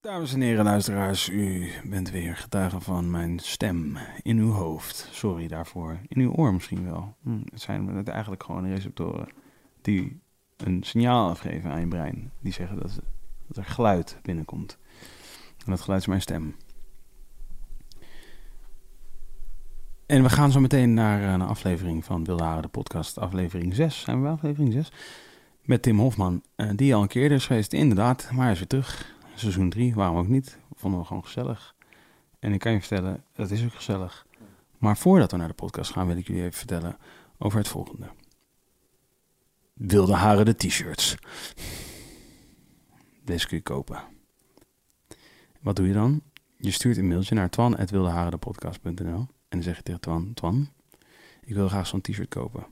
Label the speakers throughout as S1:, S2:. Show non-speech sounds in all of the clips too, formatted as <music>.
S1: Dames en heren luisteraars, u bent weer getuige van mijn stem in uw hoofd. Sorry daarvoor. In uw oor misschien wel. Hm, het zijn het eigenlijk gewoon receptoren die een signaal afgeven aan je brein. Die zeggen dat, dat er geluid binnenkomt. En dat geluid is mijn stem. En we gaan zo meteen naar een aflevering van Wilde Haren, de podcast. Aflevering 6. Zijn we bij aflevering 6? Met Tim Hofman, eh, die al een keer eerder is geweest. Inderdaad, maar hij is weer terug. Seizoen 3, waarom ook niet? Vonden we gewoon gezellig. En ik kan je vertellen, dat is ook gezellig. Maar voordat we naar de podcast gaan, wil ik jullie even vertellen over het volgende. Wilde Haren, de t-shirts. Deze kun je kopen. Wat doe je dan? Je stuurt een mailtje naar twan.wildeharendepodcast.nl en dan zeg je tegen Twan, Twan, ik wil graag zo'n t-shirt kopen.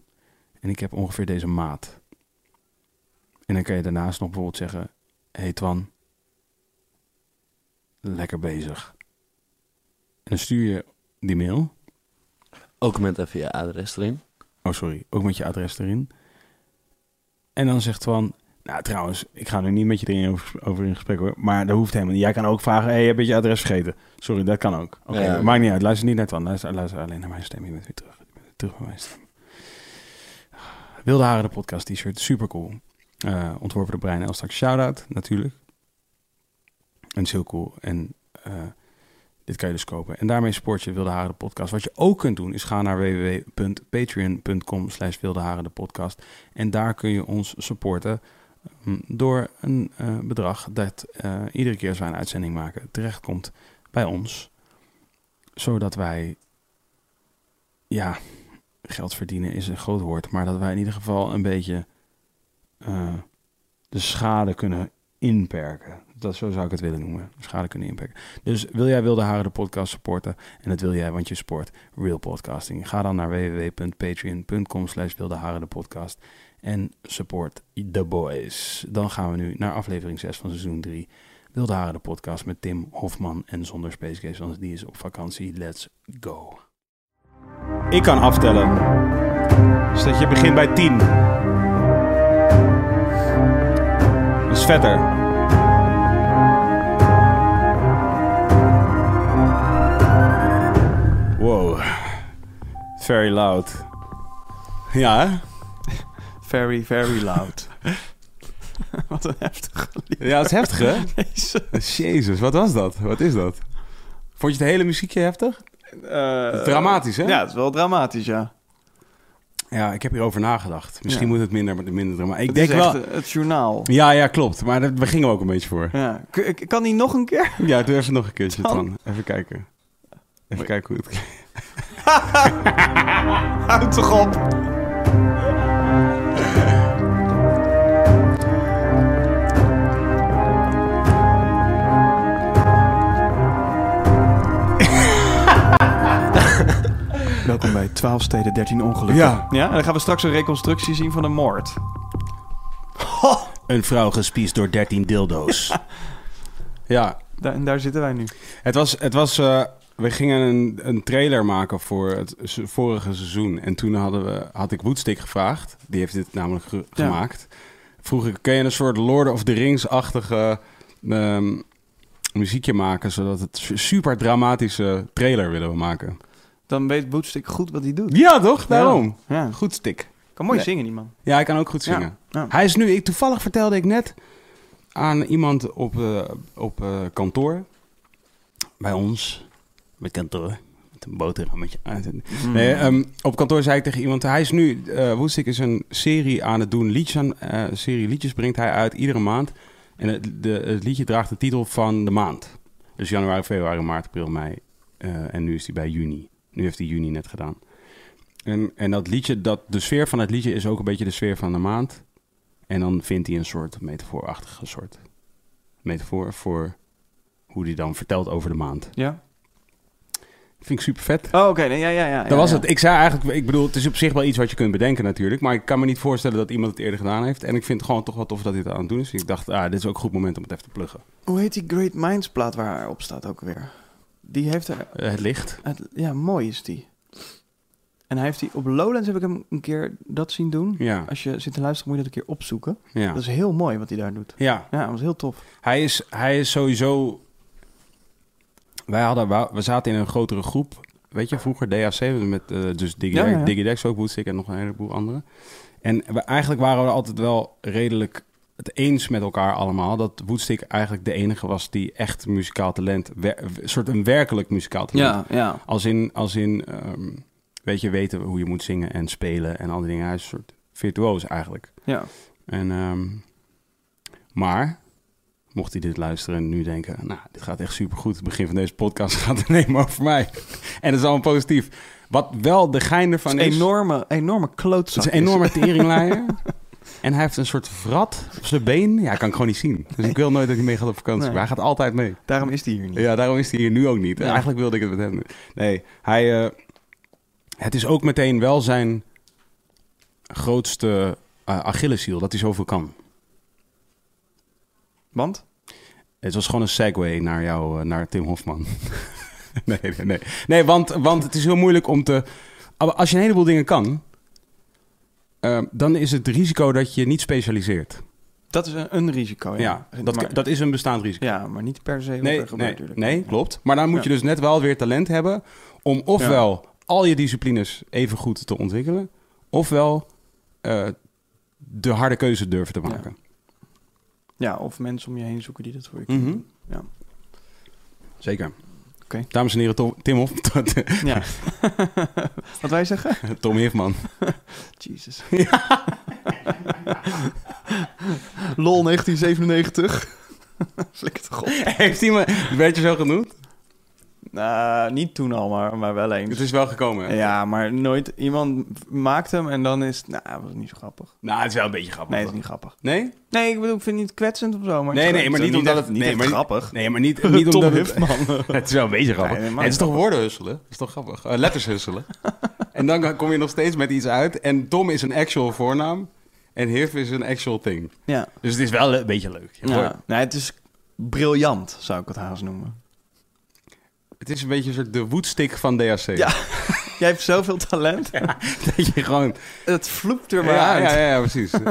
S1: En ik heb ongeveer deze maat. En dan kan je daarnaast nog bijvoorbeeld zeggen, hey Twan, lekker bezig. En dan stuur je die mail,
S2: Ook met even je adres erin.
S1: oh sorry, ook met je adres erin. En dan zegt Twan, nou trouwens, ik ga nu niet met je erin over, over in gesprek hoor, maar dat hoeft helemaal niet. Jij kan ook vragen, hey, heb je je adres vergeten? Sorry, dat kan ook. Oké,
S2: Ja.
S1: maakt niet uit, luister niet naar Twan, luister, luister alleen naar mijn stem. Je bent weer terug, je bent weer terug bij mijn stem. Wilde Haren, de podcast t-shirt, super cool. ontworpen door Brian Elstak, shout-out natuurlijk. En het is heel cool. En eh, dit kan je dus kopen. En daarmee support je Wilde Haren de podcast. Wat je ook kunt doen is gaan naar www.patreon.com slash Wilde Haren de podcast. En daar kun je ons supporten mm, door een eh, bedrag dat eh, iedere keer als wij een uitzending maken terechtkomt bij ons. Zodat wij, ja, geld verdienen is een groot woord. Maar dat wij in ieder geval een beetje eh, de schade kunnen inperken. Dat, zo zou ik het willen noemen. Schade kunnen inperken. Dus wil jij Wilde Haren de podcast supporten? En dat wil jij, want je support Real Podcasting. Ga dan naar www.patreon.com slash Wilde Haren de podcast. En support the boys. Dan gaan we nu naar aflevering 6 van seizoen 3. Wilde Haren de podcast met Tim Hofman en zonder Space Case, want die is op vakantie. Let's go. Ik kan aftellen. Dus dat je begint bij 10. Dat is vetter. Wow. Very loud. Ja, hè?
S3: Very, very <laughs> loud. Wat een heftig lied.
S1: Ja, het is heftig, hè?
S3: Deze.
S1: Jezus, wat was dat? Wat is dat? Vond je het hele muziekje heftig?
S3: Eh,
S1: Dramatisch, hè?
S3: Ja, het is wel dramatisch, ja.
S1: Ja, ik heb hierover nagedacht. Misschien
S3: Ja.
S1: moet het minder, minder dramatisch. Ik
S3: het
S1: denk
S3: is echt
S1: wel...
S3: eh, het journaal.
S1: Ja, ja, klopt. Maar daar we gingen ook een beetje voor.
S3: <laughs> Ja. K- ik- Kan die nog een
S1: <laughs>
S3: keer?
S1: Ja, doe even nog een keertje,
S3: Dan.
S1: Twan. Even kijken. Even kijken hoe het...
S3: Houd toch op.
S1: <laughs>
S3: Welkom bij 12 steden, 13 ongelukken.
S1: Ja.
S3: ja. En dan gaan we straks een reconstructie zien van een moord.
S1: Een vrouw gespiesd door 13 dildo's. <laughs> ja,
S3: Daar, en daar zitten wij nu.
S1: Het was, het was eh, we gingen een, een trailer maken voor het se- vorige seizoen. En toen hadden we, had ik Woodstick gevraagd. Die heeft dit namelijk ge-
S3: Ja.
S1: gemaakt. Vroeg ik, kun je een soort Lord of the Rings-achtige ehm, muziekje maken? Zodat het su- super dramatische trailer willen we maken.
S3: Dan weet Boetstik goed wat hij doet.
S1: Ja, toch? Daarom.
S3: Ja.
S1: Goed stik.
S3: Kan mooi
S1: Nee.
S3: zingen, die man.
S1: Ja, hij kan ook goed
S3: Ja.
S1: zingen.
S3: Ja.
S1: Hij is nu, ik, toevallig vertelde ik net aan iemand op, eh, op eh, kantoor. Bij ons. Bij kantoor. Met een boterhammetje.
S3: Mm.
S1: Nee, ehm, op kantoor zei ik tegen iemand, hij is nu, eh Woestik is een serie aan het doen, liedjes aan, eh, serie liedjes brengt hij uit iedere maand. En het, de, het liedje draagt de titel van de maand. Dus januari, februari, maart, april, mei. Eh, en nu is hij bij juni. Nu heeft hij juni net gedaan. En, en dat liedje, dat, de sfeer van het liedje is ook een beetje de sfeer van de maand. En dan vindt hij een soort metafoorachtige soort metafoor voor hoe hij dan vertelt over de maand.
S3: Ja?
S1: Vind ik super vet.
S3: Oh, oké. Nee, ja, ja, ja.
S1: Dat was het. Ik zei eigenlijk, ik bedoel, het is op zich wel iets wat je kunt bedenken natuurlijk. Maar ik kan me niet voorstellen dat iemand het eerder gedaan heeft. En ik vind het gewoon toch wel tof dat hij het aan het doen is. Ik dacht, ah, dit is ook een goed moment om het even te pluggen.
S3: Hoe heet die Great Minds plaat waar haar op staat ook weer? Die heeft er...
S1: Eh, het licht.
S3: het- ja, mooi is die. En hij heeft die... Op Lowlands heb ik hem een keer dat zien doen.
S1: Ja,
S3: Als je zit te luisteren moet je dat een keer opzoeken.
S1: ja.
S3: Dat is heel mooi wat hij daar doet.
S1: Ja,
S3: Ja, dat was heel tof.
S1: hij is, hij is sowieso... Wij hadden, wa- we zaten in een grotere groep. Weet je, vroeger DAC, met eh, dus Digi,
S3: Ja, ja, ja.
S1: Digidex ook, Woodstick en nog een heleboel anderen. En we, eigenlijk waren we altijd wel redelijk het eens met elkaar allemaal... dat Woodstick eigenlijk de enige was die echt muzikaal talent... wer- soort een werkelijk muzikaal talent
S3: ja.
S1: Als in, als in ehm, weet je, weten hoe je moet zingen en spelen en al die dingen. Hij is een soort virtuoos eigenlijk.
S3: Ja.
S1: En, ehm, maar, mocht hij dit luisteren en nu denken, nou, dit gaat echt supergoed. Het begin van deze podcast <laughs> gaat alleen maar over mij. en dat is allemaal positief. Wat wel de gein
S3: Het
S1: ervan
S3: is een
S1: is...
S3: enorme, enorme klootzak.
S1: Het is een enorme teringlaaier.
S3: <laughs>
S1: en hij heeft een soort vrat op zijn been. Ja, kan ik gewoon niet zien. Dus ik wil nooit dat hij mee gaat op vakantie.
S3: Nee.
S1: Maar hij gaat altijd mee.
S3: Daarom is die hier niet.
S1: Ja, daarom is hij hier nu ook niet.
S3: Ja.
S1: Eigenlijk wilde ik het met hem doen. Nee, hij, eh, het is ook meteen wel zijn grootste eh Achilleshiel dat hij zoveel kan.
S3: Want?
S1: Het was gewoon een segue naar jou, eh, naar Tim Hofman. <laughs> nee, nee, nee. Nee, want, want het is heel moeilijk om te... Maar Als je een heleboel dingen kan, eh, dan is het risico dat je niet specialiseert.
S3: Dat is een, een risico.
S1: Ja,
S3: Oh Ja,
S1: dat,
S3: maar,
S1: dat is een bestaand risico.
S3: ja, maar niet per se wat
S1: Nee,
S3: er gebeurt
S1: nee,
S3: natuurlijk.
S1: nee, klopt. Maar dan moet je dus net wel weer talent hebben om ofwel al je disciplines even goed te ontwikkelen, ofwel eh, de harde keuze durven te maken.
S3: Ja, of mensen om je heen zoeken die dat voor je
S1: Mhm.
S3: kunnen doen.
S1: Zeker.
S3: Oké.
S1: Dames en heren, Tom, Tim Hof,
S3: Ja. <laughs> wat wij zeggen?
S1: Tom Hifman.
S3: Jesus. <laughs> Lol 1997. <laughs> Flikker toch op.
S1: <laughs> Heeft iemand, werd je zo genoemd?
S3: Nou, niet toen al, maar, maar wel eens.
S1: Het is wel gekomen. hè?
S3: Ja, maar nooit. Iemand maakt hem en dan is. het- Nou, dat was niet zo grappig.
S1: Nou, het is wel een beetje grappig.
S3: Nee, het is niet grappig.
S1: Nee?
S3: Nee, ik bedoel, ik vind het niet kwetsend of zo. Maar
S1: Nee,
S3: het is
S1: nee, maar
S3: gewoon-
S1: niet omdat
S3: echt-
S1: het-
S3: niet
S1: nee,
S3: echt
S1: maar niet-
S3: grappig.
S1: Nee, maar
S3: <laughs>
S1: niet, niet
S3: Tom
S1: omdat het...
S3: <laughs> Hufman.
S1: <laughs> Het is wel een beetje grappig.
S3: Nee,
S1: Nee,
S3: helemaal
S1: het is
S3: niet
S1: toch woorden husselen? Het is toch grappig? Eh, letters
S3: <laughs>
S1: husselen. en dan kom je nog steeds met iets uit. En Tom is een actual voornaam. En Hif is een actual thing.
S3: Ja.
S1: Dus het is wel een beetje leuk. Je hoort-
S3: ja. Nee, het is briljant, zou ik het haast noemen.
S1: Het is een beetje een soort de woedstick van DAC.
S3: Ja. Jij hebt zoveel <laughs> talent.
S1: <laughs> Dat je gewoon...
S3: Het vloept er maar
S1: Ja,
S3: uit.
S1: ja, ja, ja,
S3: <laughs>
S1: precies. ik,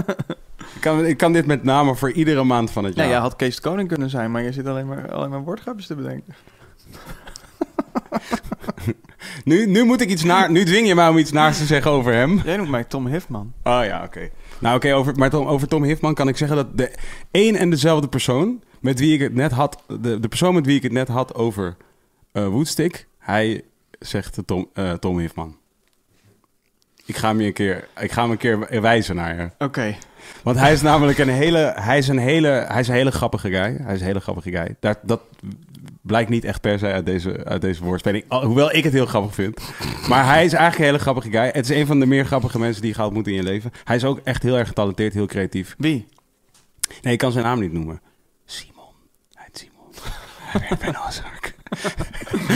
S1: kan, ik kan dit met name voor iedere maand van het
S3: Ja,
S1: jaar.
S3: jij had Kees de Koning kunnen zijn, maar je zit alleen maar, alleen maar woordgrapjes te bedenken.
S1: nu, nu moet ik iets naar... Nu dwing je mij om iets naars te zeggen over hem.
S3: Jij noemt mij Tom Hifman.
S1: Oh ja, oké. Nou oké, over, maar Tom, over Tom Hifman kan ik zeggen dat de één en dezelfde persoon met wie ik het net had, de, de persoon met wie ik het net had over eh Woodstick, hij zegt Tom, eh, Tom Hifman. Ik ga hem je een keer, ik ga hem een keer wijzen naar je.
S3: Oké.
S1: Want hij is namelijk een hele, hij is een hele, hij is een hele grappige guy. Hij is een hele grappige guy. Dat, dat blijkt niet echt per se uit deze, uit deze woordspeling. Al- Hoewel ik het heel grappig vind. Maar hij is eigenlijk een hele grappige guy. Het is een van de meer grappige mensen die je gaat moeten in je leven. Hij is ook echt heel erg getalenteerd, heel creatief.
S3: Wie?
S1: Nee, ik kan zijn naam niet noemen. Simon. Hij heet Simon. Hij werkt bij Noah's <laughs>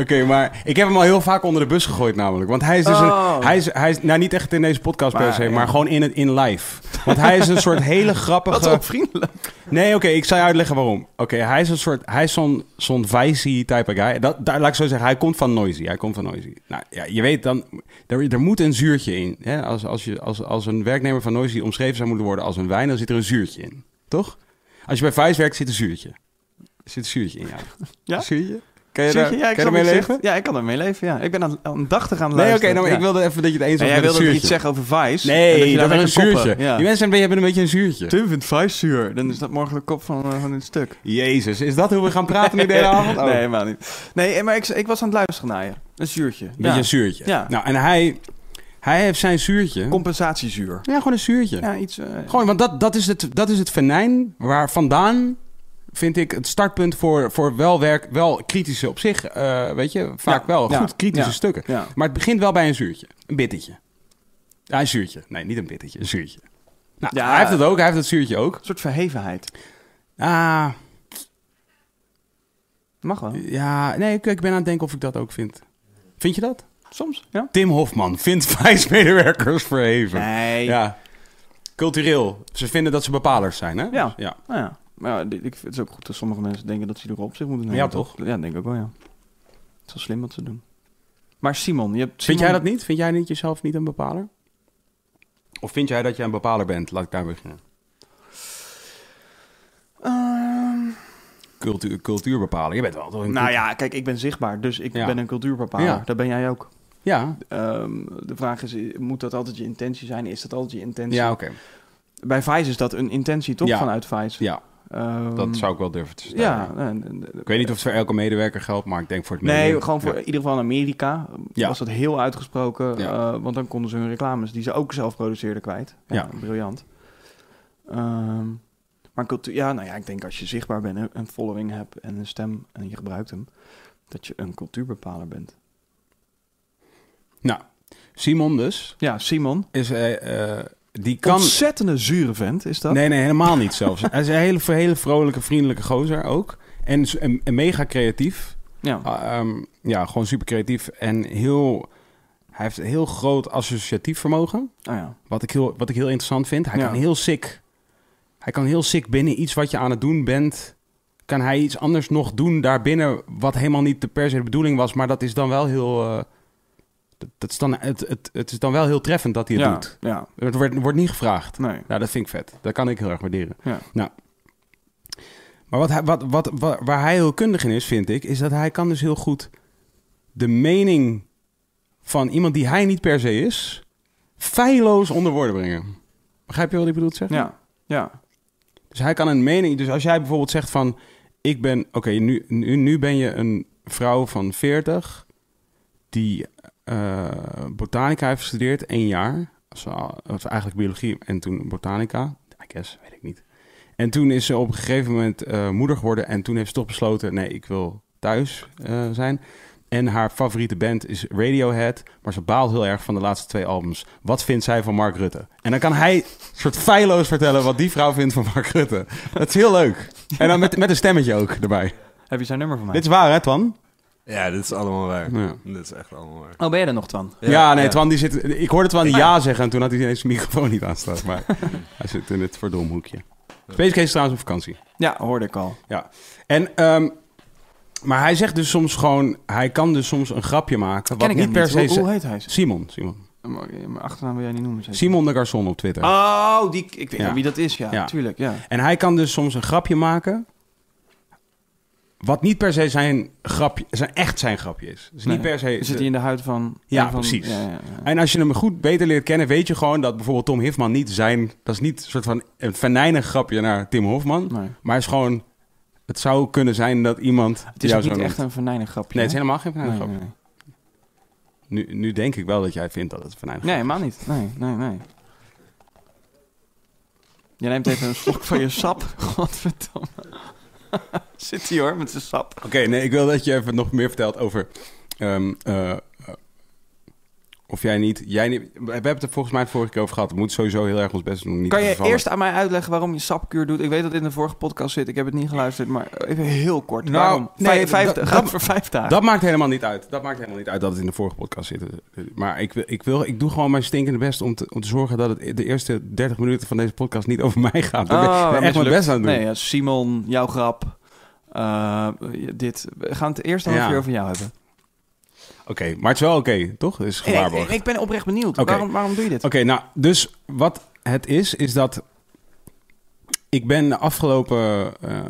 S1: Oké, maar ik heb hem al heel vaak onder de bus gegooid namelijk. Want hij is dus
S3: Oh.
S1: een... Hij is, hij is, nou, niet echt in deze podcast per
S3: Maar,
S1: se,
S3: ja.
S1: maar gewoon in, het, in live. Want hij is een soort hele
S3: Wat
S1: grappige...
S3: onvriendelijk.
S1: Nee, oké, ik zal je uitleggen waarom. Oké, hij is een soort, hij is zo'n zo'n vicey type guy. Dat, daar, laat ik zo zeggen, hij komt van noisy. Hij komt van noisy. Nou ja, je weet dan, er, er moet een zuurtje in. Hè? Als, als, je, als, als een werknemer van noisy omschreven zou moeten worden als een wijn, dan zit er een zuurtje in. Toch? Als je bij Vice werkt, zit een zuurtje. Er zit een zuurtje in, ja.
S3: Ja?
S1: Zuurtje? Kan je, daar,
S3: Zuurtje?
S1: kan
S3: ik
S1: je
S3: snap
S1: ermee
S3: wat je zegt.
S1: leven?
S3: Ja, ik kan ermee leven, ja. Ik ben aan, aandachtig aan het
S1: Nee, oké,
S3: luisteren.
S1: nou, maar
S3: ja.
S1: ik wilde even dat je het eens
S3: En
S1: was
S3: jij
S1: met
S3: wilde
S1: het
S3: dat
S1: zuurtje.
S3: je iets zeggen over Vice. en
S1: Nee,
S3: je
S1: dat
S3: daar
S1: is een
S3: mee gaat
S1: zuurtje.
S3: koppen. Ja.
S1: Die mensen hebben- hebben een beetje een zuurtje.
S3: Tim vindt Vice zuur. Dan is dat morgen de kop van, eh, van dit stuk.
S1: Jezus, is dat hoe we gaan praten nu de hele avond? Oh.
S3: <laughs> Nee, helemaal niet. Nee, eh, maar ik, ik was aan het luisteren naar je. Een zuurtje.
S1: Een beetje
S3: ja.
S1: een zuurtje.
S3: Ja.
S1: Nou, en hij, hij heeft zijn zuurtje.
S3: Compensatiezuur.
S1: Ja, gewoon een zuurtje.
S3: Ja, iets... eh,
S1: Gewoon, want dat, dat, is het, dat is het venijn waar vandaan, vind ik, het startpunt voor, voor wel werk, wel kritische op zich, eh, weet je, vaak
S3: Ja,
S1: wel
S3: ja,
S1: goed kritische
S3: ja.
S1: stukken.
S3: ja.
S1: Maar het begint wel bij een zuurtje, een bittetje. Ja, een zuurtje. Nee, niet een bittetje, een zuurtje. Nou,
S3: Ja.
S1: hij heeft het ook, hij heeft het zuurtje ook.
S3: Een soort verhevenheid.
S1: Ah,
S3: Mag wel.
S1: ja, nee, ik, ik ben aan het denken of ik dat ook vind. Vind je dat?
S3: Soms, ja.
S1: Tim Hofman vindt <laughs> vijfmedewerkers verheven.
S3: Nee. Ja.
S1: Ja. Cultureel. Ze vinden dat ze bepalers zijn, hè?
S3: Ja.
S1: ja.
S3: Nou ja. Maar ja, dit- ik vind het is ook goed dat sommige mensen denken dat ze erop op zich moeten
S1: Ja,
S3: nemen.
S1: toch?
S3: Ja, denk ik ook wel, ja. Het is wel slim wat ze doen. Maar Simon, je hebt...
S1: Vind jij
S3: Simon-
S1: dat niet? Vind jij niet jezelf niet een bepaler? Of vind jij dat jij een bepaler bent? Laat ik daar beginnen.
S3: Ehm,
S1: Cultuur, cultuur bepalen. Je bent wel toch een
S3: nou
S1: cultu-
S3: ja, kijk, ik ben zichtbaar, dus ik
S1: Ja.
S3: ben een cultuurbepaler.
S1: Ja.
S3: Dat ben jij ook.
S1: Ja,
S3: Ehm, de vraag is, moet dat altijd je intentie zijn? Is dat altijd je intentie?
S1: ja oké.
S3: Bij Vice is dat een intentie toch
S1: Ja.
S3: vanuit Vice?
S1: Ja,
S3: Ehm,
S1: dat zou ik wel durven te stellen.
S3: Ja. en- en-
S1: Ik weet niet of het voor elke medewerker geldt, maar ik denk voor het
S3: Nee,
S1: medium.
S3: gewoon voor in ieder geval in Amerika
S1: Ja.
S3: was dat heel uitgesproken.
S1: Ja.
S3: eh, want dan konden ze hun reclames, die ze ook zelf produceerden, kwijt. Ja,
S1: Ja.
S3: briljant. Ehm, maar cultuur, ja, nou ja, ik denk als je zichtbaar bent, en een following hebt en een stem en je gebruikt hem, dat je een cultuurbepaler bent.
S1: Nou, Simon dus,
S3: Ja, Simon.
S1: is, eh, eh, die kan...
S3: Ontzettende zure vent is dat.
S1: Nee, nee, helemaal niet
S3: <laughs>
S1: zelfs. Hij is een hele, hele vrolijke, vriendelijke gozer ook. En, is een- een mega creatief.
S3: Ja.
S1: Ah, ehm, ja, gewoon super creatief en heel. Hij heeft een heel groot associatief vermogen.
S3: Oh ja.
S1: Wat ik heel, wat ik heel interessant vind. Hij
S3: Ja.
S1: kan heel sick. Hij kan heel sick binnen iets wat je aan het doen bent. Kan hij iets anders nog doen daarbinnen. Wat helemaal niet de per se de bedoeling was. Maar dat is dan wel heel. eh, dat, dat is dan, het, het, het is dan wel heel treffend dat hij het
S3: ja.
S1: doet.
S3: Ja.
S1: Het wordt, wordt niet gevraagd.
S3: Nee.
S1: Nou, dat vind ik vet. Dat kan ik heel erg waarderen.
S3: Ja.
S1: Nou. Maar wat hij, wat, wat, wa- waar hij heel kundig in is, vind ik, is dat hij kan dus heel goed de mening van iemand die hij niet per se is, feilloos onder woorden brengen. Begrijp je wat ik bedoel te zeggen?
S3: Ja. Ja.
S1: Dus hij kan een mening. Dus als jij bijvoorbeeld zegt van ik ben. Oké, nu, nu, nu ben je een vrouw van 40 die eh, botanica heeft gestudeerd, één jaar. Ze was eigenlijk biologie en toen botanica. I guess, weet ik niet. En toen is ze op een gegeven moment eh, moeder geworden en toen heeft ze toch besloten: nee, ik wil thuis eh, zijn. En haar favoriete band is Radiohead, maar ze baalt heel erg van de laatste twee albums. Wat vindt zij van Mark Rutte? En dan kan hij soort feilloos vertellen wat die vrouw vindt van Mark Rutte. Dat is heel leuk. En dan met, met een stemmetje ook erbij.
S3: Heb je zijn nummer van mij?
S1: Dit is waar, hè, Twan?
S2: Ja, dit is allemaal
S3: <laughs>
S2: waar.
S1: Ja.
S2: Dit is echt allemaal waar.
S3: Oh, ben jij er nog, Twan?
S1: Ja, nee, Twan die zit... Ik hoorde Twan ja zeggen en toen had hij ineens zijn microfoon niet aanstaan. Maar hij zit in het verdomd hoekje. Space Case is trouwens op vakantie.
S3: Ja, hoorde ik al.
S1: Ja. En, ehm, maar hij zegt dus soms gewoon... Hij kan dus soms een grapje maken. Wat
S3: Ken ik
S1: niet
S3: hem
S1: per se...
S3: Hoe, hoe heet hij?
S1: Simon, Simon.
S3: Mijn achternaam wil jij niet noemen. zeker?
S1: Simon de Garçon op Twitter.
S3: Oh, die, ik weet
S1: Ja.
S3: niet wie dat is, ja,
S1: Ja.
S3: Tuurlijk, ja.
S1: En hij kan dus soms een grapje maken. Wat niet per se zijn grapje, zijn echt zijn grapje is. Dus niet
S3: Nee.
S1: per se.
S3: Zit hij in de huid van...
S1: Ja,
S3: van-
S1: precies.
S3: Ja, ja, ja.
S1: En als je hem goed beter leert kennen, weet je gewoon dat bijvoorbeeld Tom Hofman niet zijn. Dat is niet een soort van een venijnig grapje naar Tim Hofman.
S3: Nee.
S1: Maar het is gewoon. Het zou kunnen zijn dat iemand.
S3: Het is
S1: jou
S3: ook
S1: zo
S3: niet
S1: noemt.
S3: echt een venijnig grapje.
S1: Nee, het is
S3: hè?
S1: helemaal geen venijnig
S3: Nee,
S1: grapje.
S3: nee.
S1: Nu, nu denk ik wel dat jij vindt dat het een venijnig
S3: Nee,
S1: grapje
S3: helemaal niet. Nee, nee, nee. Je neemt even een slok
S1: <laughs>
S3: van je sap. Godverdamme. <laughs> Zit hij hoor, met zijn sap.
S1: is. Oké, nee, ik wil dat je even nog meer vertelt over. ehm, eh, eh, of jij niet, jij niet. We hebben het er volgens mij vorige keer over gehad. We moeten sowieso heel erg ons best doen. om Niet
S3: Kan
S1: te
S3: je
S1: vervallen.
S3: eerst aan mij uitleggen waarom je sapkuur doet? Ik weet dat het in de vorige podcast zit. Ik heb het niet geluisterd, maar even heel kort.
S1: Nou,
S3: waarom?
S1: nee,
S3: Vijf- vijf-
S1: dat-
S3: gaat
S1: dat-
S3: <laughs> voor vijf dagen.
S1: Dat maakt helemaal niet uit. Dat maakt helemaal niet uit dat het in de vorige podcast zit. Maar ik, wil, ik, wil, ik doe gewoon mijn stinkende best om te, om te zorgen dat het de eerste 30 minuten van deze podcast niet over mij gaat. ik ben-
S3: Oh,
S1: ik ben echt mijn
S3: mislukt.
S1: best aan het doen.
S3: Nee, ja, Simon, jouw grap. eh, dit. We gaan het eerst half
S1: Ja.
S3: uur over jou hebben.
S1: Oké, maar het is wel oké, toch? Het is
S3: Nee, Ik,
S1: gewaarborgd.
S3: ik ben oprecht benieuwd.
S1: Oké.
S3: Waarom, waarom doe je dit?
S1: Oké, nou, dus wat het is, is dat ik ben de afgelopen eh,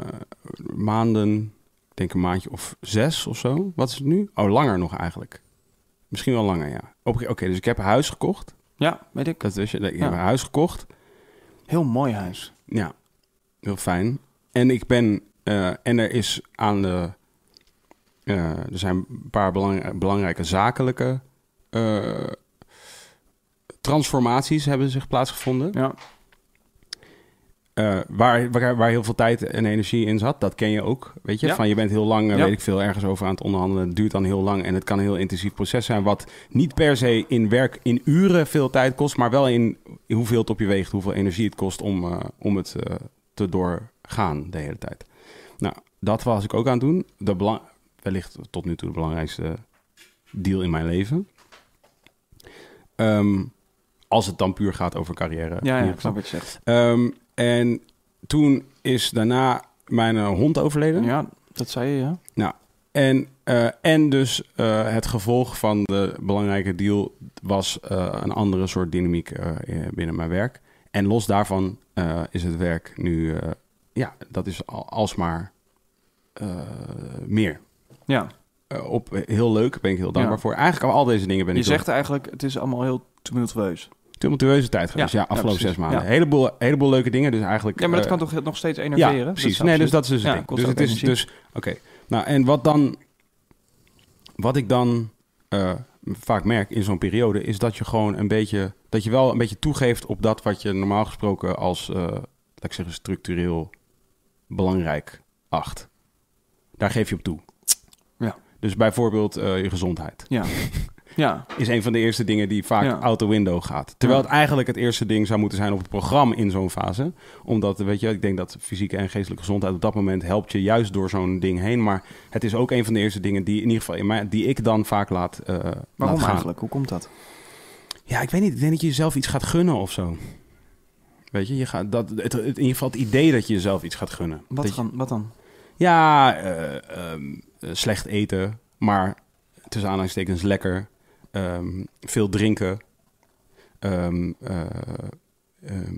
S1: maanden, denk een maandje of zes of zo. Wat is het nu? Oh, langer nog eigenlijk. Misschien wel langer, ja. Oké, oké, dus ik heb een huis gekocht.
S3: Ja, weet ik.
S1: Dat is, ik
S3: Ja.
S1: heb een huis gekocht.
S3: Heel mooi huis.
S1: Ja, heel fijn. En ik ben, eh, en er is aan de, eh, er zijn een paar belang- belangrijke zakelijke eh, transformaties hebben zich plaatsgevonden.
S3: Ja.
S1: Eh, waar, waar, waar heel veel tijd en energie in zat, dat ken je ook. Weet je,
S3: Ja.
S1: van je bent heel lang, eh,
S3: Ja.
S1: weet ik veel, ergens over aan het onderhandelen. Het duurt dan heel lang en het kan een heel intensief proces zijn. Wat niet per se in werk in uren veel tijd kost, maar wel in hoeveel het op je weegt, hoeveel energie het kost om, eh, om het eh, te doorgaan de hele tijd. Nou, dat was ik ook aan het doen. De belang wellicht tot nu toe de belangrijkste deal in mijn leven. Ehm, als het dan puur gaat over carrière. in
S3: Ja, ja,
S1: ieder
S3: ik
S1: geval.
S3: snap wat je zegt.
S1: Ehm, en toen is daarna mijn eh, hond overleden. Nou,
S3: Ja, dat zei je, ja.
S1: En, eh, en dus eh, het gevolg van de belangrijke deal was eh, een andere soort dynamiek eh, eh, binnen mijn werk. En los daarvan eh, is het werk nu, eh, ja, dat is al, alsmaar eh, meer.
S3: Ja,
S1: Eh, op, heel leuk, ben ik heel dankbaar
S3: Ja.
S1: voor. Eigenlijk al, al deze dingen ben
S3: je
S1: ik heel
S3: zegt eigenlijk, het is allemaal heel tumultueus.
S1: tumultueuze tijd geweest.
S3: Ja,
S1: Ja,
S3: ja,
S1: afgelopen
S3: precies.
S1: zes maanden.
S3: Ja.
S1: Heleboel, heleboel leuke dingen, dus eigenlijk...
S3: Ja, maar dat
S1: eh,
S3: kan toch nog steeds enerveren?
S1: Ja,
S3: Dat
S1: precies.
S3: is
S1: nee, dus
S3: absoluut-
S1: dat is dus het
S3: Ja,
S1: ding.
S3: kost
S1: Dus
S3: ook
S1: het is
S3: energie.
S1: dus... Oké. Nou, en wat dan... Wat ik dan eh, vaak merk in zo'n periode... is dat je gewoon een beetje... dat je wel een beetje toegeeft op dat wat je normaal gesproken als... eh, laat ik zeggen, structureel belangrijk acht. Daar geef je op toe.
S3: Ja.
S1: Dus bijvoorbeeld eh, je gezondheid <laughs>
S3: Ja,
S1: is een van de eerste dingen die vaak
S3: Ja.
S1: out the window gaat. Terwijl
S3: Ja.
S1: het eigenlijk het eerste ding zou moeten zijn op het programma in zo'n fase. Omdat, weet je, ik denk dat fysieke en geestelijke gezondheid op dat moment helpt je juist door zo'n ding heen. Maar het is ook een van de eerste dingen die in ieder geval in mij, die ik dan vaak laat, eh laat
S3: waarom
S1: gaan.
S3: eigenlijk? Hoe komt dat?
S1: Ja, ik weet niet. Ik denk dat je jezelf iets gaat gunnen of zo. Weet je, je gaat, dat, het, het- in ieder geval het idee dat je jezelf iets gaat gunnen. Dat
S3: Wat,
S1: je-
S3: gaan, wat dan?
S1: ja, eh, ehm, eh, slecht eten, maar tussen aanhalingstekens lekker. Ehm, veel drinken. Ehm, eh, ehm,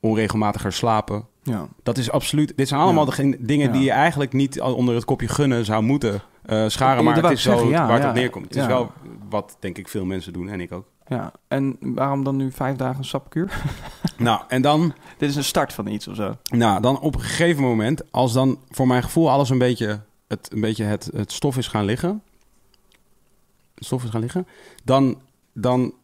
S1: onregelmatiger slapen.
S3: Ja,
S1: Dat is absoluut. Dit zijn allemaal
S3: Ja.
S1: de geen- dingen
S3: Ja.
S1: die je eigenlijk niet al onder het kopje gunnen zou moeten eh, scharen.
S3: Dat
S1: Maar het
S3: wou
S1: is
S3: ik
S1: wel
S3: zeggen, ja,
S1: waar het
S3: ja.
S1: op neerkomt. Het is
S3: Ja.
S1: wel wat denk ik veel mensen doen en ik ook.
S3: ja. En waarom dan nu vijf dagen sapkuur? <laughs>
S1: Nou, en dan
S3: Dit is een start van iets of zo.
S1: Nou, dan op een gegeven moment, als dan voor mijn gevoel alles een beetje het, een beetje het, het stof is gaan liggen. Het stof is gaan liggen. Dan, dan,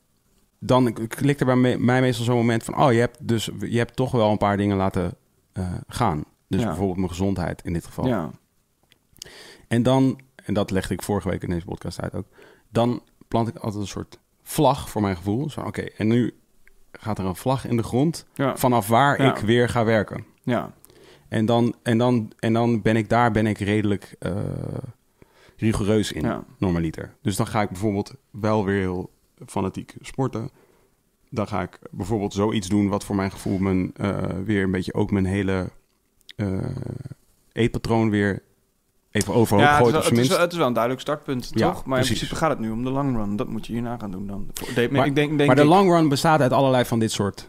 S1: dan klikt er bij me- mij meestal zo'n moment van: oh, je hebt, dus, je hebt toch wel een paar dingen laten eh, gaan. Dus
S3: Ja.
S1: bijvoorbeeld mijn gezondheid in dit geval.
S3: Ja,
S1: En dan, en dat legde ik vorige week in deze podcast uit ook, dan plant ik altijd een soort vlag voor mijn gevoel. Zo, oké, en nu gaat er een vlag in de grond
S3: ja,
S1: vanaf waar
S3: Ja.
S1: ik weer ga werken.
S3: ja.
S1: En dan, en dan, en dan ben ik daar ben ik redelijk eh, rigoureus in,
S3: Ja.
S1: normaliter. Dus dan ga ik bijvoorbeeld wel weer heel fanatiek sporten. Dan ga ik bijvoorbeeld zoiets doen wat voor mijn gevoel mijn, eh, weer een beetje ook mijn hele eh, eetpatroon weer even overhoog
S3: Ja, het, is
S1: gooit.
S3: wel,
S1: op
S3: het,
S1: zijn
S3: is
S1: minst.
S3: wel, het is wel een duidelijk startpunt,
S1: Ja,
S3: toch? Maar
S1: precies.
S3: in principe gaat het nu om de long run. Dat moet je hierna gaan doen dan. Voor- de-
S1: Maar-
S3: ik denk, denk
S1: maar de
S3: ik-
S1: long run bestaat uit allerlei van dit soort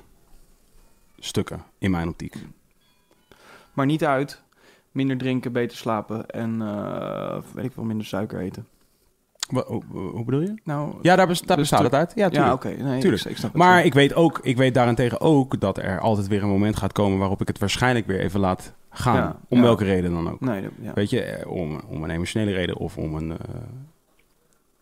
S1: stukken, in mijn optiek.
S3: maar niet uit. Minder drinken, beter slapen en eh, weet ik wel, minder suiker eten.
S1: Wa- hoe- hoe bedoel je?
S3: Nou,
S1: Ja, daar, bes- daar
S3: Dus
S1: bestaat
S3: tu-
S1: het uit. Ja,
S3: ja,
S1: tuurlijk.
S3: oké. Nee,
S1: Tuurlijk.
S3: Ik, ik snap het
S1: Maar
S3: wel.
S1: ik weet, ook, ik weet daarentegen ook dat er altijd weer een moment gaat komen waarop ik het waarschijnlijk weer even laat gaan.
S3: Ja,
S1: om
S3: ja.
S1: welke reden dan ook.
S3: Nee, dat- ja.
S1: Weet je, eh, om, om een emotionele reden of om een eh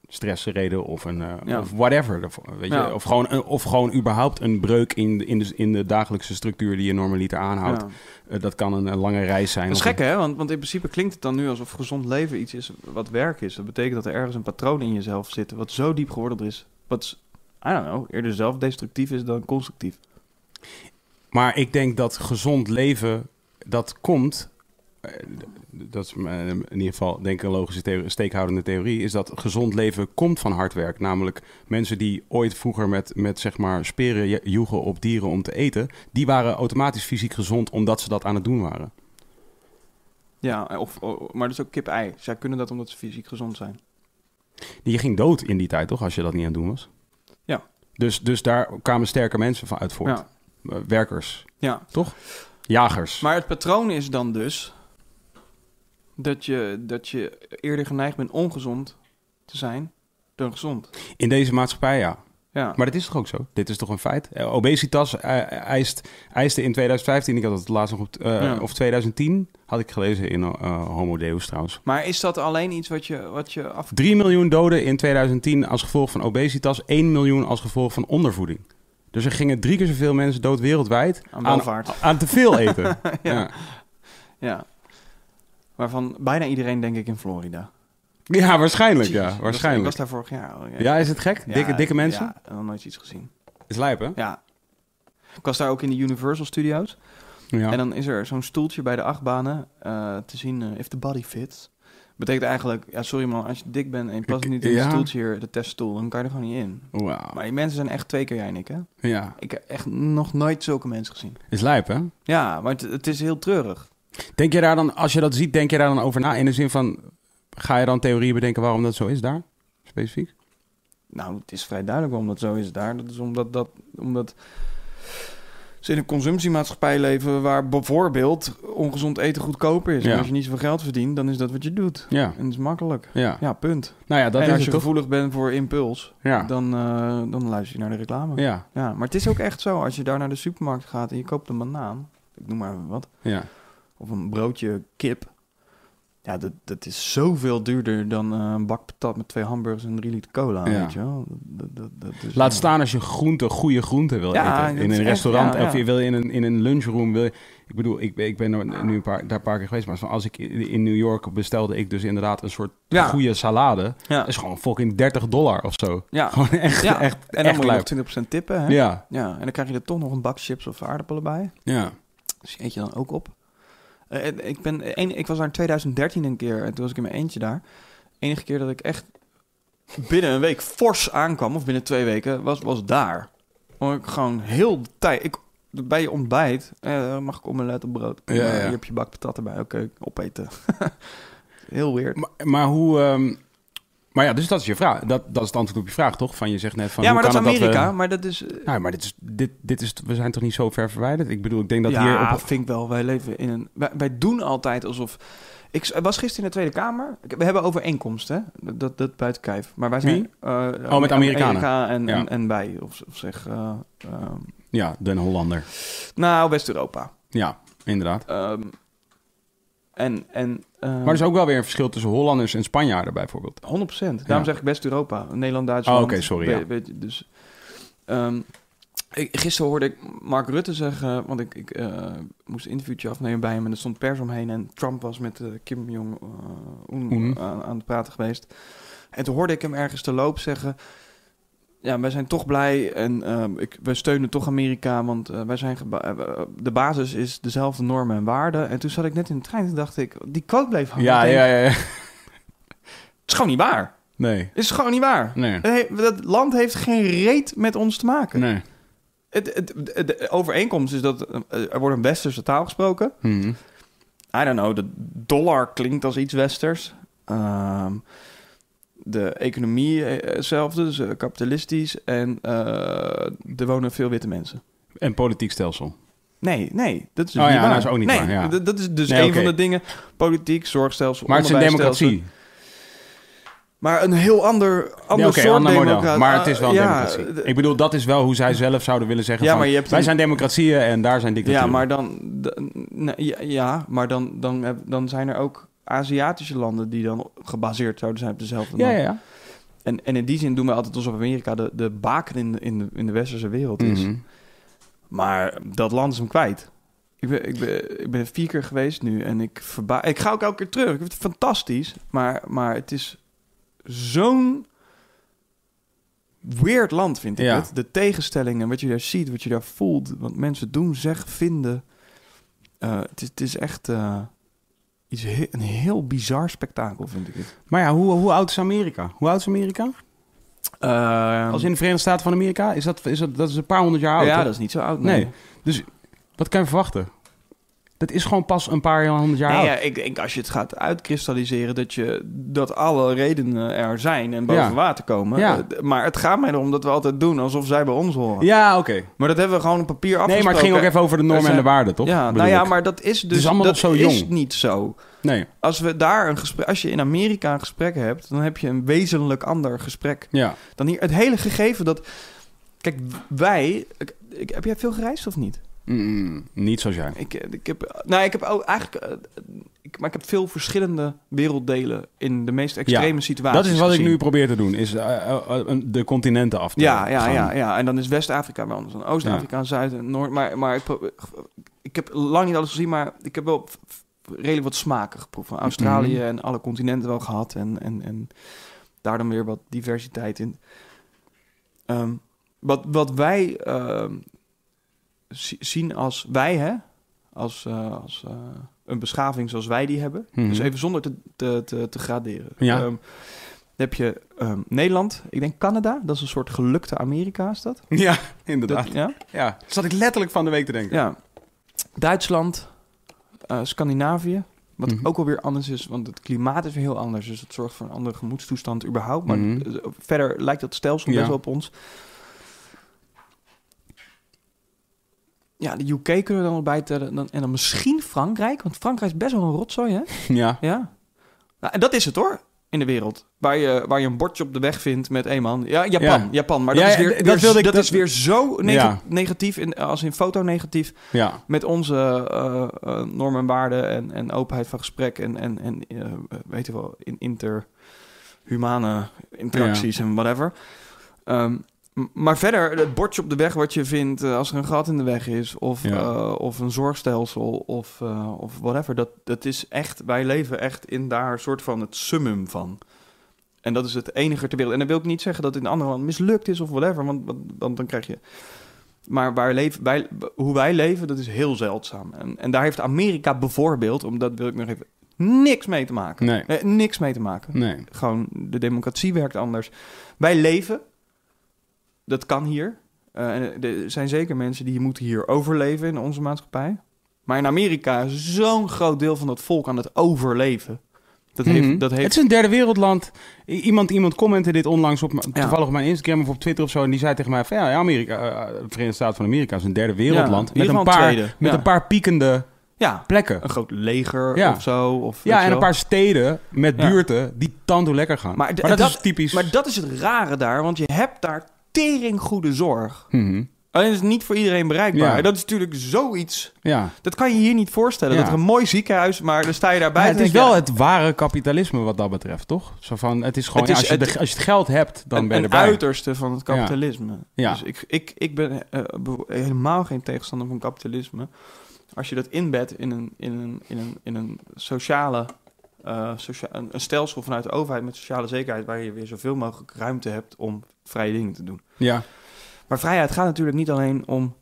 S1: stressreden of een eh,
S3: Ja.
S1: of whatever. Of, eh, Weet je?
S3: Ja.
S1: Of, gewoon, een- of gewoon überhaupt een breuk in, de- in, de, in de dagelijkse structuur die je normaliter aanhoudt.
S3: Ja.
S1: Eh, dat kan een, een lange reis zijn.
S3: Dat is
S1: of
S3: gek, hè? Want, want in principe klinkt het dan nu alsof gezond leven iets is wat werk is. Dat betekent dat er ergens een patroon in jezelf zit wat zo diep geworteld is. Wat, s- I don't know, eerder zelf destructief is dan constructief.
S1: Maar ik denk dat gezond leven, dat komt... eh, d- Dat is mijn- in ieder geval, denk ik, een logische theo- steekhoudende theorie... is dat gezond leven komt van hard werk. Namelijk mensen die ooit vroeger met, met zeg maar, speren je- joegen op dieren om te eten... die waren automatisch fysiek gezond omdat ze dat aan het doen waren.
S3: Ja, eh, of, o- maar dat is ook kip-ei. Zij kunnen dat omdat ze fysiek gezond zijn.
S1: Je ging dood in die tijd, toch? Als je dat niet aan het doen was.
S3: Ja.
S1: Dus, dus daar kwamen sterke mensen van uit voort.
S3: Ja,
S1: Eh, Werkers,
S3: ja.
S1: jagers.
S3: Maar het patroon is dan dus dat je, dat je eerder geneigd bent ongezond te zijn dan gezond.
S1: In deze maatschappij, ja.
S3: Ja.
S1: Maar dat is toch ook zo? Dit is toch een feit? Eh, obesitas eh, eist, eiste in 2015, ik had het laatst nog op, eh,
S3: Ja.
S1: of 2010, had ik gelezen in eh, Homo Deus trouwens.
S3: Maar is dat alleen iets wat je, wat je af...
S1: 3 miljoen doden in 2010 als gevolg van obesitas, 1 miljoen als gevolg van ondervoeding. Dus er gingen drie keer zoveel mensen dood wereldwijd
S3: Aan welvaart.
S1: aan, aan te veel
S3: <laughs>
S1: eten. ja. Ja.
S3: Ja. Waarvan bijna iedereen, denk ik, in Florida.
S1: waarschijnlijk.
S3: Jezus,
S1: Ja,
S3: ik was- Ik
S1: waarschijnlijk.
S3: was daar vorig jaar. al.
S1: Ja, is het gek? dikke,
S3: Ja,
S1: dikke mensen?
S3: Ja, nog nooit iets gezien.
S1: Is lijp, hè?
S3: Ja. Ik was daar ook in de Universal Studios.
S1: Ja.
S3: En dan is er zo'n stoeltje bij de achtbanen eh, te zien, eh, if the body fits. Betekent eigenlijk, ja sorry man, als je dik bent en je past
S1: Ik-
S3: niet in het
S1: ja. Ah.
S3: stoeltje hier, de teststoel, dan kan je er gewoon niet in. Maar
S1: Wauw.
S3: die mensen zijn echt twee keer jij en ik, hè?
S1: Ja,
S3: Ik heb echt nog nooit zulke mensen gezien.
S1: is lijp, hè?
S3: Ja, maar het, het is heel treurig.
S1: Denk je daar dan, als je dat ziet, denk je daar dan over na? In de zin van, ga je dan theorieën bedenken waarom dat zo is daar? Specifiek?
S3: Nou, het is vrij duidelijk waarom dat zo is daar. Dat is omdat, dat, omdat ze in een consumptiemaatschappij leven waar bijvoorbeeld ongezond eten goedkoper is. En
S1: Ja.
S3: als je niet zoveel geld verdient, dan is dat wat je doet.
S1: Ja,
S3: En dat is makkelijk.
S1: ja.
S3: Ja, punt.
S1: Nou ja, dat is
S3: en als
S1: het
S3: je
S1: toch?
S3: gevoelig bent voor impuls,
S1: Ja.
S3: dan, eh, dan luister je naar de reclame. Ja.
S1: ja,
S3: maar het is ook echt zo. Als je daar naar de supermarkt gaat en je koopt een banaan, ik noem maar even wat,
S1: ja.
S3: of een broodje kip. Ja, dat, dat is zoveel duurder dan eh, een bak patat met twee hamburgers en drie liter cola,
S1: Ja.
S3: weet je wel. Dat, dat, dat is,
S1: Laat
S3: ja.
S1: staan als je groente, goede groente wil
S3: Ja,
S1: eten.
S3: dat
S1: In
S3: is
S1: een
S3: echt-
S1: restaurant
S3: ja, ja.
S1: of je wil in een, in een lunchroom. Wil je- ik bedoel, ik, ben- ik ben er nu een paar, daar een paar keer geweest. Maar als ik in in New York bestelde, ik dus inderdaad een soort
S3: Ja.
S1: goede salade.
S3: Ja.
S1: Dat is gewoon fucking 30 dollar of zo.
S3: Ja.
S1: Gewoon echt,
S3: Ja.
S1: echt,
S3: En dan
S1: echt
S3: moet je
S1: lijp.
S3: nog 20% tippen, hè?
S1: Ja,
S3: Ja, en dan krijg je er toch nog een bak chips of aardappelen bij.
S1: ja.
S3: Dus die eet je dan ook op. Eh, en ik, ben, een, ik was daar in 2013 een keer. En toen was ik in mijn eentje daar. Enige keer dat ik echt binnen een week fors aankwam, of binnen twee weken, was, was daar. Omdat ik gewoon heel de tijd. Ik, bij je ontbijt eh, mag ik omelet op brood.
S1: Ja,
S3: Eh,
S1: ja.
S3: Hier heb je bak patat erbij. Oké, opeten. <laughs> heel weird.
S1: Maar, maar hoe... ehm, maar ja, dus dat is je vraag. Dat, dat is het antwoord op je vraag, toch? Van je zegt net van...
S3: ja,
S1: hoe
S3: maar dat is
S1: kan het
S3: Amerika.
S1: we,
S3: maar dat is. eh,
S1: nou, maar dit is, dit, dit is, we zijn toch niet zo ver verwijderd? Ik bedoel, ik denk dat
S3: ja,
S1: hier... Op,
S3: vind ik wel. Wij leven in een. Wij, wij doen altijd alsof. Ik s- was gisteren in de Tweede Kamer. Ik- We hebben overeenkomsten, hè? Dat, dat buiten kijf. Maar wij zijn.
S1: Wie?
S3: eh,
S1: Oh, met Amerikanen.
S3: Amerika en,
S1: Ja.
S3: en, en wij, of, of zeg. eh, ehm,
S1: ja, Den Hollander.
S3: nou, West-Europa.
S1: Ja, inderdaad.
S3: Ehm, en. en ehm,
S1: Maar er is ook wel weer een verschil tussen Hollanders en Spanjaarden bijvoorbeeld.
S3: 100%. Daarom
S1: Ja.
S3: zeg ik West-Europa. Nederland, Duitsland.
S1: Oh, oké, sorry, ja.
S3: Weet, weet je, dus, ehm, ik, gisteren hoorde ik Mark Rutte zeggen... Want ik, ik eh, moest een interviewtje afnemen bij hem... en er stond pers omheen... en Trump was met eh, Kim Jong-un eh,
S1: Mhm.
S3: aan, aan het praten geweest. En toen hoorde ik hem ergens te loop zeggen... Ja, wij zijn toch blij en ehm ik, wij steunen toch Amerika, want eh, wij zijn geba- eh, eh, de basis is dezelfde normen en waarden. En toen zat ik net in de trein en toen dacht ik, die quote bleef hangen.
S1: ja,
S3: Ik Oh, denk,
S1: ja, ja, ja.
S3: Het is gewoon niet waar.
S1: Nee.
S3: Is gewoon niet waar.
S1: Nee.
S3: Hey, dat land heeft geen reet met ons te maken.
S1: Nee.
S3: Het, het, het- de overeenkomst is dat eh, er wordt een westerse taal gesproken.
S1: Mhm.
S3: I don't know, de dollar klinkt als iets westers. Ehm, de economie eh, hetzelfde, dus eh, kapitalistisch. En eh, er wonen veel witte mensen.
S1: En politiek stelsel.
S3: Nee, nee, dat is dus
S1: Oh ja,
S3: niet waar.
S1: dat is ook niet
S3: nee,
S1: waar, ja.
S3: dat- dat is dus
S1: Nee,
S3: een
S1: oké.
S3: van de dingen. Politiek, zorgstelsel,
S1: Maar het is een
S3: onderwijsstelsel.
S1: democratie.
S3: Maar een heel ander, ander
S1: Ja, Oké,
S3: soort
S1: ander model.
S3: democratie.
S1: Maar het is wel een
S3: Ah, ja,
S1: democratie. Ik bedoel, dat is wel hoe zij zelf zouden willen zeggen
S3: Ja,
S1: van...
S3: maar je hebt
S1: wij
S3: een-
S1: zijn democratieën en daar zijn
S3: Ja,
S1: dictaturen.
S3: maar dan, dan- nee, ja, ja, maar dan, dan, heb- dan zijn er ook Aziatische landen die dan gebaseerd zouden zijn op dezelfde
S1: Ja,
S3: norm.
S1: ja, ja.
S3: En, en in die zin doen we altijd alsof Amerika de, de baken in de, in, de, in de westerse wereld is.
S1: Mhm.
S3: Maar dat land is hem kwijt. Ik ben, ik, ben, ik ben vier keer geweest nu en ik verba Ik ga ook elke keer terug. Ik vind het fantastisch. Maar, maar het is zo'n weird land, vind ik
S1: Ja.
S3: het. De tegenstellingen, wat je daar ziet, wat je daar voelt. Wat mensen doen, zeggen, vinden. Eh, het, is, het is echt eh, iets he- een heel bizar spektakel, vind ik het.
S1: Maar ja, hoe, hoe oud is Amerika? Hoe oud is Amerika?
S3: Ehm,
S1: Als in de Verenigde Staten van Amerika? Is dat, is dat, dat is een paar honderd jaar oud.
S3: ja,
S1: toch?
S3: dat is niet zo oud.
S1: Nee.
S3: nee.
S1: Dus wat kan je verwachten? Dat is gewoon pas een paar honderd jaar
S3: Nee,
S1: oud.
S3: ja, ik denk als je het gaat uitkristalliseren dat, je, dat alle redenen er zijn en boven
S1: Ja.
S3: water komen.
S1: Ja.
S3: Eh, Maar het gaat mij erom dat we altijd doen alsof zij bij ons horen.
S1: Ja, oké.
S3: Maar dat hebben we gewoon op papier
S1: Nee,
S3: afgesproken.
S1: maar het ging ook even over de normen
S3: Dus,
S1: en de
S3: eh,
S1: waarden, toch?
S3: Ja,
S1: Bedoel
S3: nou ja,
S1: ik.
S3: maar dat is dus
S1: is allemaal
S3: dat
S1: nog zo
S3: is
S1: jong.
S3: niet zo.
S1: Nee,
S3: Als we daar een gesprek, als je in Amerika een gesprek hebt, dan heb je een wezenlijk ander gesprek
S1: ja.
S3: dan hier. Het hele gegeven dat, kijk, wij, ik- ik, heb jij veel gereisd of niet?
S1: Mm, niet zoals jij.
S3: Ik, eh, ik heb, nou, ik heb ook eigenlijk, eh, ik, maar ik heb veel verschillende werelddelen in de meest extreme situaties.
S1: Dat is wat ik
S3: gezien.
S1: nu probeer te doen, is eh, eh, eh, de continenten af te
S3: Ja, ja,
S1: gaan.
S3: ja, ja. En dan is West-Afrika wel anders dan Oost-Afrika, en Zuid en Noord. Maar, maar ik, pro- ik heb lang niet alles gezien, maar ik heb wel f- f- redelijk wat smaken geproefd. Van Australië
S1: Mhm.
S3: en alle continenten wel gehad. En, en, en daar dan weer wat diversiteit in. Ehm, wat, wat wij ehm, zi- zien als wij, hè? Als, eh, als eh, een beschaving zoals wij die hebben.
S1: Mhm.
S3: Dus even zonder te, te, te, te graderen.
S1: Ja.
S3: Ehm, dan heb je ehm, Nederland, ik denk Canada, dat is een soort gelukte Amerika, is dat?
S1: <laughs> Ja, inderdaad.
S3: dat ja?
S1: Ja, zat ik letterlijk van de week te denken.
S3: ja. Duitsland, eh, Scandinavië, wat
S1: Mhm.
S3: ook alweer anders is, want het klimaat is weer heel anders. Dus dat zorgt voor een andere gemoedstoestand überhaupt. Maar
S1: Mhm.
S3: eh, verder lijkt dat stelsel
S1: Ja.
S3: best wel op ons. Ja, de UK kunnen we dan wel bijtellen. Dan, en dan misschien Frankrijk, want Frankrijk is best wel een rotzooi, hè?
S1: Ja.
S3: Ja. Nou, en dat is het hoor, in de wereld. Waar je, waar je een bordje op de weg vindt met één man. Ja, Japan,
S1: Ja.
S3: Japan. Maar dat,
S1: Ja,
S3: is,
S1: ja,
S3: weer,
S1: d- dat
S3: weer-
S1: wilde ik-
S3: dat
S1: dat-
S3: is weer zo neg-
S1: Ja.
S3: negatief, in, als in fotonegatief,
S1: Ja.
S3: met onze eh, eh, normen en waarden en, en openheid van gesprek en, en, en eh, weet je wel, in interhumane interacties en whatever. Ehm, m- maar verder, het bordje op de weg wat je vindt eh, als er een gat in de weg is, of,
S1: Ja.
S3: eh, of een zorgstelsel, of, eh, of whatever, dat, dat is echt, wij leven echt in daar een soort van het summum van. En dat is het enige ter wereld. En dan wil ik niet zeggen dat het in andere landen mislukt is of whatever, want, want, want dan krijg je. Maar waar leven, wij, hoe wij leven, dat is heel zeldzaam. En, en daar heeft Amerika bijvoorbeeld, omdat wil ik nog even, niks mee te maken.
S1: Nee.
S3: Eh, niks mee te maken
S1: Nee.
S3: gewoon de democratie werkt anders. Wij leven, dat kan hier. Eh, en er zijn zeker mensen die moeten hier overleven in onze maatschappij. Maar in Amerika is zo'n groot deel van dat volk aan het overleven. Dat heeft,
S1: Mhm.
S3: dat heeft
S1: Het is een derde wereldland. I- Iemand, iemand commentte dit onlangs op, m-
S3: Ja.
S1: toevallig op mijn Instagram of op Twitter of zo. En die zei tegen mij van ja, ja, Amerika, eh, de Verenigde Staten van Amerika is een derde wereldland. met
S3: Ja, hier
S1: een
S3: gewoon
S1: paar,
S3: tweede.
S1: met
S3: Ja.
S1: een paar piekende
S3: ja,
S1: plekken.
S3: een groot leger
S1: Ja.
S3: of zo. Of, weet
S1: Ja,
S3: je
S1: en
S3: wel.
S1: een paar steden met
S3: Ja.
S1: buurten die tando lekker gaan.
S3: Maar
S1: Maar,
S3: d-
S1: dat,
S3: dat-
S1: is typisch.
S3: Maar dat is het rare daar, want je hebt daar tering goede zorg.
S1: Mhm.
S3: Alleen is het niet voor iedereen bereikbaar.
S1: Ja.
S3: Dat is natuurlijk zoiets.
S1: Ja.
S3: Dat kan je hier niet voorstellen.
S1: Ja.
S3: Dat er een mooi ziekenhuis, maar dan sta je daarbij.
S1: Maar
S3: en
S1: het is
S3: denk je,
S1: wel
S3: ja,
S1: het ware kapitalisme wat dat betreft, toch? Zo van, het is gewoon,
S3: Het is-
S1: ja, als, je
S3: het-
S1: de- als je het geld hebt, dan
S3: een,
S1: ben je
S3: een
S1: erbij.
S3: uiterste van het kapitalisme.
S1: Ja.
S3: Dus ik, ik, ik ben eh, be- helemaal geen tegenstander van kapitalisme. Als je dat inbedt in een, in een, in een, in een sociale... eh, socia- een, een stelsel vanuit de overheid met sociale zekerheid... waar je weer zoveel mogelijk ruimte hebt om vrije dingen te doen.
S1: Ja,
S3: Maar vrijheid gaat natuurlijk niet alleen om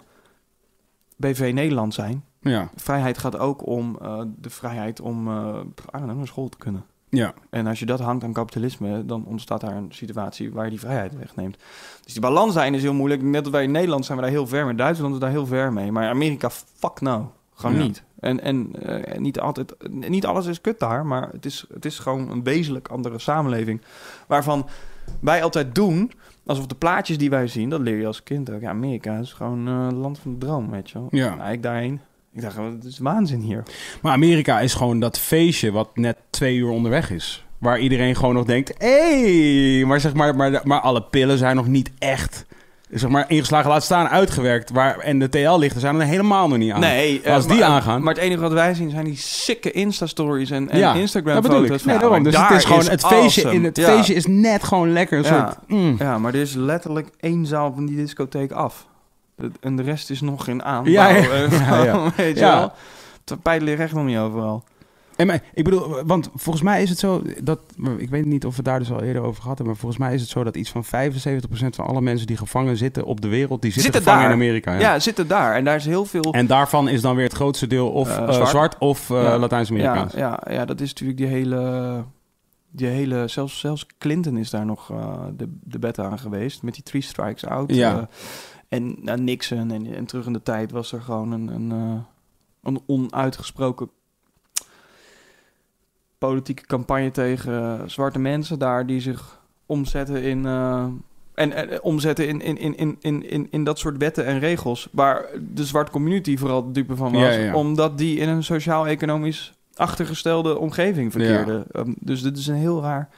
S3: BV Nederland zijn.
S1: ja,
S3: Vrijheid gaat ook om eh, de vrijheid om eh, I don't know, naar school te kunnen.
S1: ja.
S3: En als je dat hangt aan kapitalisme, dan ontstaat daar een situatie waar je die vrijheid wegneemt. Dus die balans daarin is heel moeilijk. Net als wij in Nederland zijn we daar heel ver mee. Duitsland is daar heel ver mee. Maar Amerika, fuck nou. Gewoon
S1: Ja.
S3: niet. En, en eh, niet, altijd, niet alles is kut daar, maar het is, het is gewoon een wezenlijk andere samenleving. Waarvan wij altijd doen, alsof de plaatjes die wij zien, dat leer je als kind ook. Ja, Amerika is gewoon eh, het land van de droom, weet je wel.
S1: Ja.
S3: Nou, ik daarheen. Ik dacht, wat- het is waanzin hier.
S1: Maar Amerika is gewoon dat feestje wat net twee uur onderweg is. Waar iedereen gewoon nog denkt, hé, hey! maar, zeg maar, maar, maar alle pillen zijn nog niet echt... Zeg maar, ingeslagen laat staan, uitgewerkt. Waar, en de TL-lichten zijn er helemaal nog niet aan.
S3: Nee,
S1: Maar als
S3: eh,
S1: die
S3: maar-
S1: aangaan...
S3: Maar het enige wat wij zien zijn die sikke Insta-stories en, en
S1: ja,
S3: Instagram
S1: dat bedoel ik.
S3: foto's.
S1: Nee, daarom. Dus het, is gewoon, het, feestje, in het
S3: ja.
S1: feestje is net gewoon lekker. Een
S3: Ja.
S1: soort, mm.
S3: Ja, maar er is letterlijk één zaal van die discotheek af. Dat- En de rest is nog geen aan.
S1: Ja, ja.
S3: ja,
S1: Ja, ja.
S3: <laughs> Weet je
S1: Ja.
S3: wel? Tapijt ligt echt nog niet overal.
S1: En maar, ik bedoel, want volgens mij is het zo dat. Ik weet niet of we daar dus al eerder over gehad hebben. Maar volgens mij is het zo dat iets van 75% van alle mensen die gevangen zitten op de wereld. die zitten,
S3: Zitten
S1: gevangen
S3: daar.
S1: in Amerika.
S3: Ja,
S1: Ja.
S3: zitten daar. En daar is heel veel...
S1: En daarvan is dan weer het grootste deel of
S3: Eh,
S1: eh,
S3: zwart.
S1: zwart. of eh,
S3: Ja. ja,
S1: Latijns-Amerikaans.
S3: ja, ja, dat is natuurlijk die hele... Die hele zelfs, zelfs Clinton is daar nog eh, de, de bed aan geweest. Met die three strikes out.
S1: Ja.
S3: eh, en nou, Nixon en, en terug in de tijd was er gewoon een... een eh, Een onuitgesproken politieke campagne tegen eh, zwarte mensen daar die zich omzetten in. eh, en eh, omzetten in, in, in, in, in, in, in dat soort wetten en regels. Waar de zwarte community vooral de dupe van was.
S1: Ja, ja, ja.
S3: Omdat die in een sociaal-economisch achtergestelde omgeving verkeerde. Ehm, dus dit is een heel raar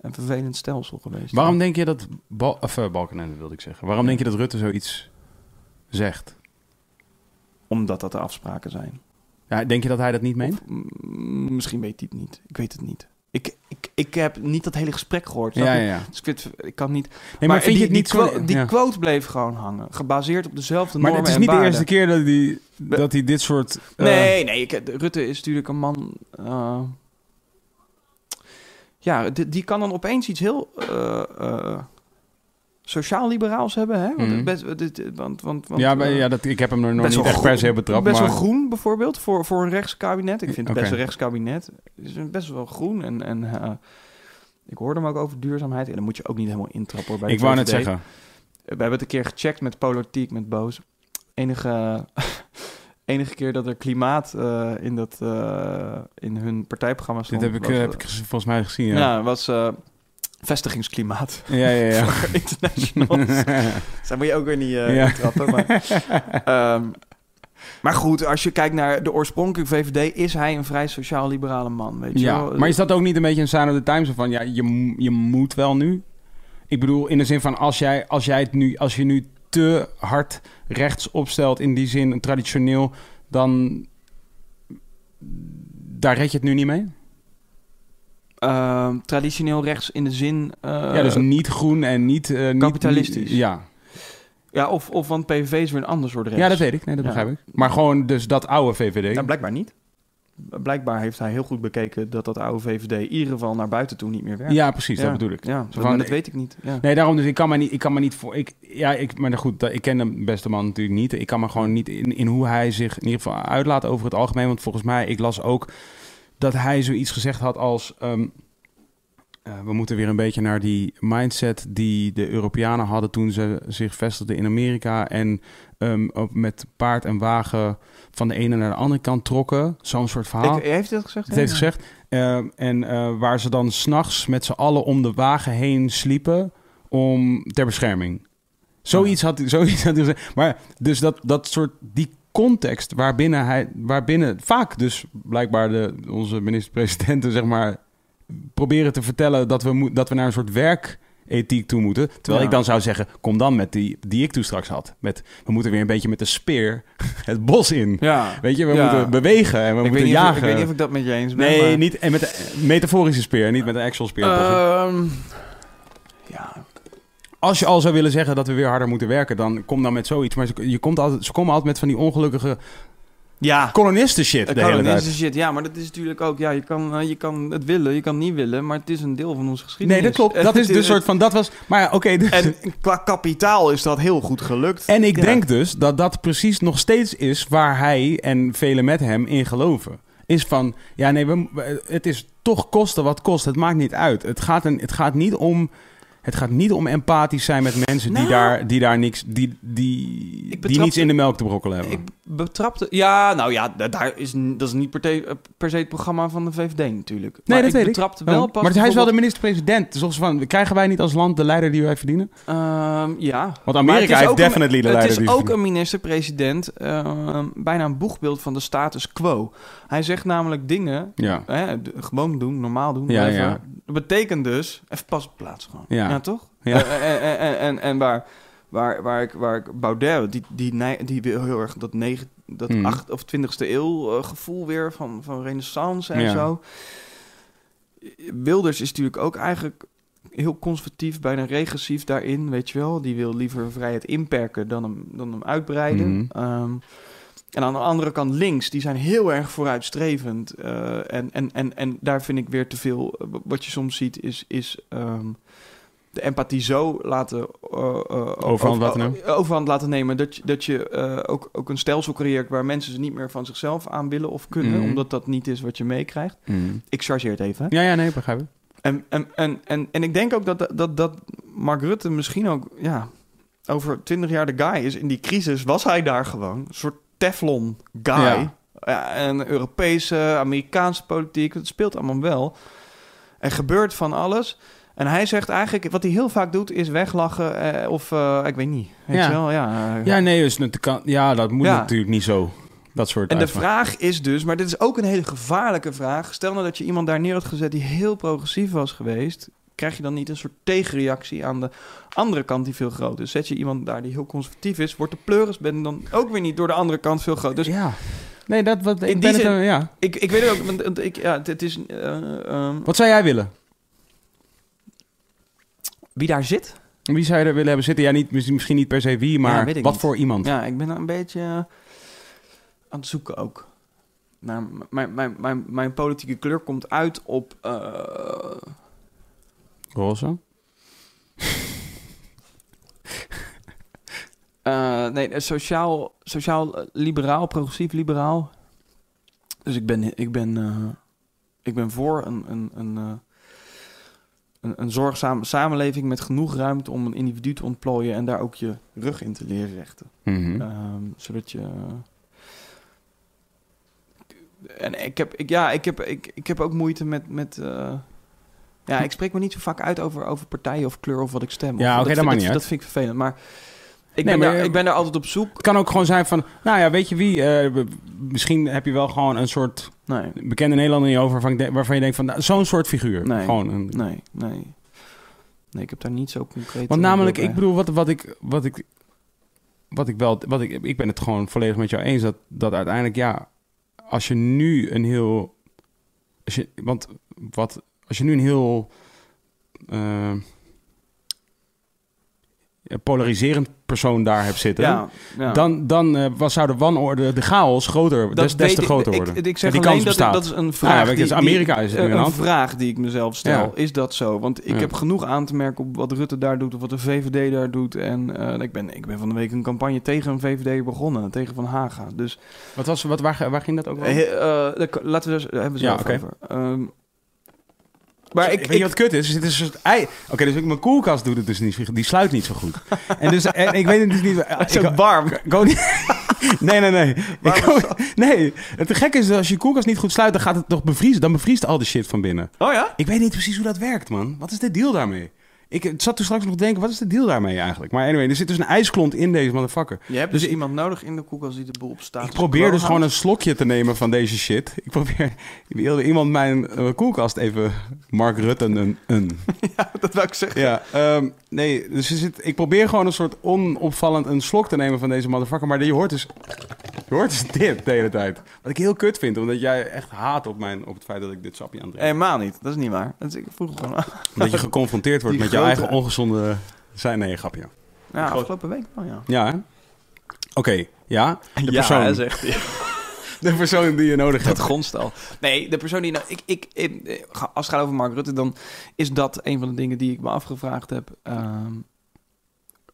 S3: en vervelend stelsel geweest.
S1: Waarom denk je dat... Bal, of, eh, Balkenende wilde ik zeggen. Waarom denk je dat Rutte zoiets zegt?
S3: Omdat dat de afspraken zijn.
S1: Ja, denk je dat hij dat niet meent?
S3: Of, mm, misschien weet hij het niet. Ik weet het niet. Ik, ik, ik heb niet dat hele gesprek gehoord. snap
S1: Ja, ja,
S3: je?
S1: ja.
S3: Dus ik, vind, ik kan niet.
S1: Nee, maar, vind je het niet
S3: die,
S1: zo...
S3: quo- die
S1: ja.
S3: quote bleef gewoon hangen. Gebaseerd op dezelfde
S1: Maar
S3: normen
S1: het is
S3: en
S1: niet de
S3: waarden.
S1: eerste keer dat hij, dat hij dit soort... eh,
S3: Nee, nee. ik- Rutte is natuurlijk een man... eh, ja, die, die kan dan opeens iets heel... eh, eh, sociaal-liberaals hebben, hè? Want,
S1: Mhm.
S3: het best, dit, want, want, want
S1: ja, maar,
S3: eh,
S1: ja dat, ik heb hem er nog
S3: best
S1: niet
S3: wel
S1: echt per se op betrapt.
S3: best
S1: maar...
S3: wel groen bijvoorbeeld voor, voor een rechtskabinet. Ik vind het best
S1: Oké.
S3: een rechtskabinet. Het is een best wel groen. En, en eh, ik hoorde hem ook over duurzaamheid. En dan moet je ook niet helemaal intrappen hoor, bij de
S1: Ik wou net
S3: VVD.
S1: zeggen.
S3: We hebben het een keer gecheckt met politiek, met Boos. Enige, <laughs> enige keer dat er klimaat eh, in, dat, eh, in hun partijprogramma
S1: Dit
S3: stond.
S1: heb ik,
S3: was,
S1: eh,
S3: eh,
S1: heb ik gez- volgens mij gezien,
S3: ja.
S1: ja.
S3: was eh,
S1: <laughs>
S3: vestigingsklimaat.
S1: Ja, ja,
S3: <laughs>
S1: ja.
S3: Voor
S1: <laughs>
S3: internationals. Dus Daar moet je ook weer niet eh
S1: Ja.
S3: in trappen. Maar,
S1: <laughs>
S3: Ehm, maar goed, als je kijkt naar de oorspronkelijke VVD, is hij een vrij sociaal-liberale man. Weet je
S1: ja.
S3: wel? eh,
S1: Maar is dat ook niet een beetje een sign of the times? Van ja, je, m- je moet wel nu. Ik bedoel, in de zin van als jij, als jij het nu, als je nu te hard rechts opstelt, in die zin traditioneel, dan. Daar red je het nu niet mee?
S3: Ehm, traditioneel rechts in de zin. eh,
S1: ja, dus niet groen en niet... eh, niet-
S3: kapitalistisch.
S1: niet- ja.
S3: ja, of, of want PVV is weer een ander soort rechts.
S1: ja, dat weet ik. Nee, dat
S3: Ja.
S1: begrijp ik. Maar gewoon dus dat oude VVD.
S3: Nou, blijkbaar niet. Blijkbaar heeft hij heel goed bekeken dat dat oude VVD in ieder geval naar buiten toe niet meer werkt.
S1: ja, precies.
S3: Ja.
S1: Dat bedoel ik.
S3: Ja,
S1: Zo
S3: maar
S1: van- eh,
S3: dat weet ik niet. Ja.
S1: Nee, daarom dus. Ik kan me niet, ik kan me niet voor. Ik, ja, ik, maar goed, dat- ik ken hem beste man natuurlijk niet. Ik kan me gewoon niet in, in hoe hij zich in ieder geval uitlaat over het algemeen. Want volgens mij, ik las ook dat hij zoiets gezegd had als. ehm, eh, we moeten weer een beetje naar die mindset die de Europeanen hadden toen ze zich vestigden in Amerika. En ehm, op- met paard en wagen van de ene naar de andere kant trokken. Zo'n soort verhaal.
S3: Ik, heeft hij dat gezegd?
S1: Het heeft
S3: Ja.
S1: gezegd. Ehm, en eh, waar ze dan s'nachts met z'n allen om de wagen heen sliepen om, ter bescherming. Zoiets had, zoiets had hij gezegd. Maar dus dat, dat soort, die context waarbinnen hij, waarbinnen vaak dus blijkbaar de, onze minister-presidenten, zeg maar, proberen te vertellen dat we, moet- dat we naar een soort werkethiek toe moeten. Terwijl
S3: Ja.
S1: ik dan zou zeggen, kom dan met die die ik toen straks had. Met, we moeten weer een beetje met de speer het bos in.
S3: Ja.
S1: Weet je, we
S3: Ja.
S1: moeten bewegen en we
S3: ik, weet
S1: moeten
S3: niet
S1: jagen.
S3: Of, ik weet niet of ik dat met je eens ben.
S1: Nee,
S3: maar-
S1: niet en met een metaforische speer, niet met een actual speer.
S3: Ehm, ja,
S1: Als je al zou willen zeggen dat we weer harder moeten werken, dan kom dan met zoiets. Maar ze, je komt altijd, ze komen altijd met van die ongelukkige
S3: Ja. Eh,
S1: kolonisten shit de hele tijd.
S3: shit. Ja, maar dat is natuurlijk ook... Ja, je kan, eh, je kan het willen, je kan niet willen... maar het is een deel van onze geschiedenis.
S1: Nee, dat
S3: <laughs>
S1: klopt. Dat
S3: Het
S1: is de soort van, dat was... Maar ja, oké. dus- en,
S3: En qua kapitaal is dat heel goed gelukt.
S1: ik
S3: Ja.
S1: denk dus dat dat precies nog steeds is waar hij en velen met hem in geloven. Is van, ja nee, we, we- het is toch kosten wat kost. Het maakt niet uit. Het gaat, een, het gaat niet om... Het gaat niet om empathisch zijn met mensen
S3: Nou.
S1: die, daar, die daar niks... Die, die, die
S3: betrapte-
S1: niets in de melk te brokkelen hebben.
S3: Ik betrapte... Ja, nou ja, da- daar is, n- dat is niet per, te- eh, per se het programma van de VVD natuurlijk.
S1: Nee,
S3: maar
S1: dat
S3: ik
S1: weet ik. Oh.
S3: betrapte wel pas...
S1: maar hij is wel de minister-president. Dus volgens van, krijgen wij niet als land de leider die wij verdienen?
S3: bijvoorbeeld- Ehm, ja.
S1: Want
S3: Maar het
S1: Amerika
S3: is
S1: heeft
S3: ook een-
S1: definitely de leider
S3: Het
S1: die ze
S3: is ook
S1: verdienen.
S3: een minister-president. ehm, bijna een boegbeeld van de status quo. Hij zegt namelijk dingen
S1: Ja.
S3: hè, d- gewoon doen, normaal doen.
S1: Ja,
S3: whatever.
S1: ja.
S3: Dat betekent dus, even pas op plaats gewoon.
S1: Ja.
S3: Ja, toch?
S1: Ja.
S3: Eh, eh, eh, En, en, en waar, waar, waar, ik, waar ik Baudet, die, die, nei- die wil heel erg dat, negen, dat
S1: Mm.
S3: acht of 20e eeuw eh, gevoel weer van, van renaissance en
S1: Ja.
S3: zo. Wilders is natuurlijk ook eigenlijk heel conservatief, bijna regressief daarin, weet je wel. Die wil liever vrijheid inperken dan hem, dan hem uitbreiden.
S1: Mhm.
S3: Ehm, en aan de andere kant links, die zijn heel erg vooruitstrevend. eh, en, en, en, en daar vind ik weer te veel. eh, Wat je soms ziet is, is ehm, de empathie zo laten... eh, eh, over-
S1: laten nemen.
S3: Overhand laten nemen. Dat je, dat je eh, ook, ook een stelsel creëert waar mensen ze niet meer van zichzelf aan willen of kunnen.
S1: Mhm.
S3: Omdat dat niet is wat je meekrijgt. Ik chargeer het even. hè.
S1: Ja, ja, nee, begrijp ik.
S3: En, en, en, en, en ik denk ook dat, dat, dat Mark Rutte misschien ook ja, over twintig jaar de guy is. In die crisis was hij daar gewoon. Een soort Teflon guy.
S1: Ja.
S3: ja, en Europese, Amerikaanse politiek. Het speelt allemaal wel. Er gebeurt van alles. En hij zegt eigenlijk, wat hij heel vaak doet, is weglachen eh, of eh, ik weet niet. Weet
S1: Ja.
S3: je wel? Ja, eh,
S1: Ja, nee, dus nat- kan- ja, dat moet
S3: Ja.
S1: natuurlijk niet zo. Dat soort
S3: En de
S1: uitspraken.
S3: vraag is dus, maar dit is ook een hele gevaarlijke vraag. Stel nou dat je iemand daar neer had gezet die heel progressief was geweest. Krijg je dan niet een soort tegenreactie aan de andere kant die veel groter is? Zet je iemand daar die heel conservatief is, wordt de pleuris ben dan ook weer niet door de andere kant veel groter. Dus
S1: ja. Nee, dat wat ik
S3: die
S1: ben het
S3: zin-
S1: er- ja.
S3: ik, ik weet het ook, want- want ik, ja, het, het is eh, ehm,
S1: Wat zou jij willen?
S3: wie daar zit.
S1: Wie zou je er willen hebben zitten? Ja, niet, misschien misschien niet per se wie, maar
S3: weet ik
S1: wat
S3: niet.
S1: voor iemand?
S3: Ja, ik ben een beetje eh, aan het zoeken ook. Naar m- mijn, mijn, mijn, mijn politieke kleur komt uit op eh,
S1: Roze?
S3: Eh, nee, eh, sociaal, sociaal eh, liberaal, progressief liberaal. Dus ik ben, ik ben, eh, ik ben voor een, een, een, eh, een, een zorgzame samenleving met genoeg ruimte om een individu te ontplooien en daar ook je rug in te leren rechten.
S1: Mhm.
S3: Ehm, zodat je. En ik heb, ik, ja, ik heb, ik, ik heb ook moeite met. met eh, ja, ik spreek me niet zo vaak uit over, over partijen of kleur of wat ik stem.
S1: Hm. Ja,
S3: Of-
S1: oké, dat
S3: vind-
S1: maakt niet
S3: dat,
S1: uit.
S3: dat vind ik vervelend. Maar
S1: Nee,
S3: ik, ben
S1: maar
S3: daar,
S1: je-
S3: ik ben daar altijd op zoek.
S1: Het kan ook gewoon zijn van, nou ja, weet je wie, eh, we- misschien heb je wel gewoon een soort
S3: Nee,
S1: bekende Nederlander in je over waarvan, ik de- waarvan je denkt van, nou, zo'n soort figuur.
S3: Nee.
S1: Gewoon een,
S3: nee, nee. Nee, ik heb daar niet zo concreet.
S1: Want
S3: eh,
S1: namelijk,
S3: beeld
S1: ik
S3: bij.
S1: bedoel, wat, wat ik. Wat ik wat ik wel, wat ik, ik ben het gewoon volledig met jou eens dat, dat uiteindelijk, ja, als je nu een heel, als je, want wat, als je nu een heel eh, polariserend persoon daar hebt zitten,
S3: Ja, ja.
S1: dan, dan eh, was, zou de wanorde, de chaos groter, des, des
S3: weet
S1: te
S3: ik-
S1: groter
S3: ik-
S1: worden.
S3: Ik,
S1: En
S3: zeg
S1: die
S3: alleen
S1: kans
S3: dat, ik-
S1: bestaat.
S3: dat is een vraag.
S1: weet je,
S3: die-
S1: dat is Amerika
S3: die-
S1: is het nu
S3: een
S1: aan de hand.
S3: vraag die ik mezelf stel.
S1: Ja.
S3: Is dat zo? Want ik
S1: Ja.
S3: heb genoeg aan te merken op wat Rutte daar doet of wat de VVD daar doet. En eh, ik, ben, ik ben van de week een campagne tegen een VVD begonnen, tegen Van Haga. Dus
S1: wat was, wat, waar, waar ging dat ook wel?
S3: eh, eh, dat- laten we dus, daar hebben we het
S1: Ja, oké.
S3: zo over. Ehm, maar ik,
S1: weet je
S3: ik,
S1: wat kut is? Er zit een soort ei. Oké, dus ik- mijn koelkast doet het dus niet. zo goed. Die sluit niet zo goed. En dus en ik weet het dus niet.
S3: <laughs> is ook
S1: warm. Ik, ook niet. <laughs> Nee, nee,
S3: <laughs>
S1: nee. Ik ook- nee. Het gekke is dat als je je koelkast niet goed sluit, dan gaat het toch bevriezen. Dan bevriest al de shit van binnen.
S3: oh ja?
S1: Ik weet niet precies hoe dat werkt, man. Wat is de deal daarmee? Ik zat toen straks nog te denken, wat is de deal daarmee eigenlijk? Maar anyway, er zit dus een ijsklont in deze motherfucker.
S3: Je hebt
S1: Dus
S3: dus,
S1: ik-
S3: iemand nodig in de koelkast die de boel op staat.
S1: Ik probeer dus
S3: <laughs>
S1: gewoon een slokje te nemen van deze shit. Ik probeer... <laughs> Wilde iemand mijn eh, koelkast even... Mark Rutte een... een.
S3: Dat wil ik zeggen.
S1: Ja, ehm, nee, dus er zit, ik probeer gewoon een soort onopvallend een slok te nemen van deze motherfucker. Maar je hoort dus, je hoort dus dit de hele tijd. Wat ik heel kut vind, omdat jij echt haat op, mijn, op het feit dat ik dit sapje aandrink.
S3: Helemaal niet. Dat is niet waar. Dat is, ik vroeg gewoon aan.
S1: Omdat je geconfronteerd wordt
S3: Die
S1: met jouw
S3: grote-
S1: eigen ongezonde... Zijn, nee, grapje.
S3: Ja, afgelopen week wel, ja.
S1: Ja, hè? Oké, ja. De persoon,
S3: Ja, zegt hij.
S1: <laughs> de persoon die je nodig
S3: Dat
S1: hebt.
S3: gonst al. Nee, de persoon die... Nou, ik, ik, ik- als het gaat over Mark Rutte, dan is dat een van de dingen die ik me afgevraagd heb. Ehm,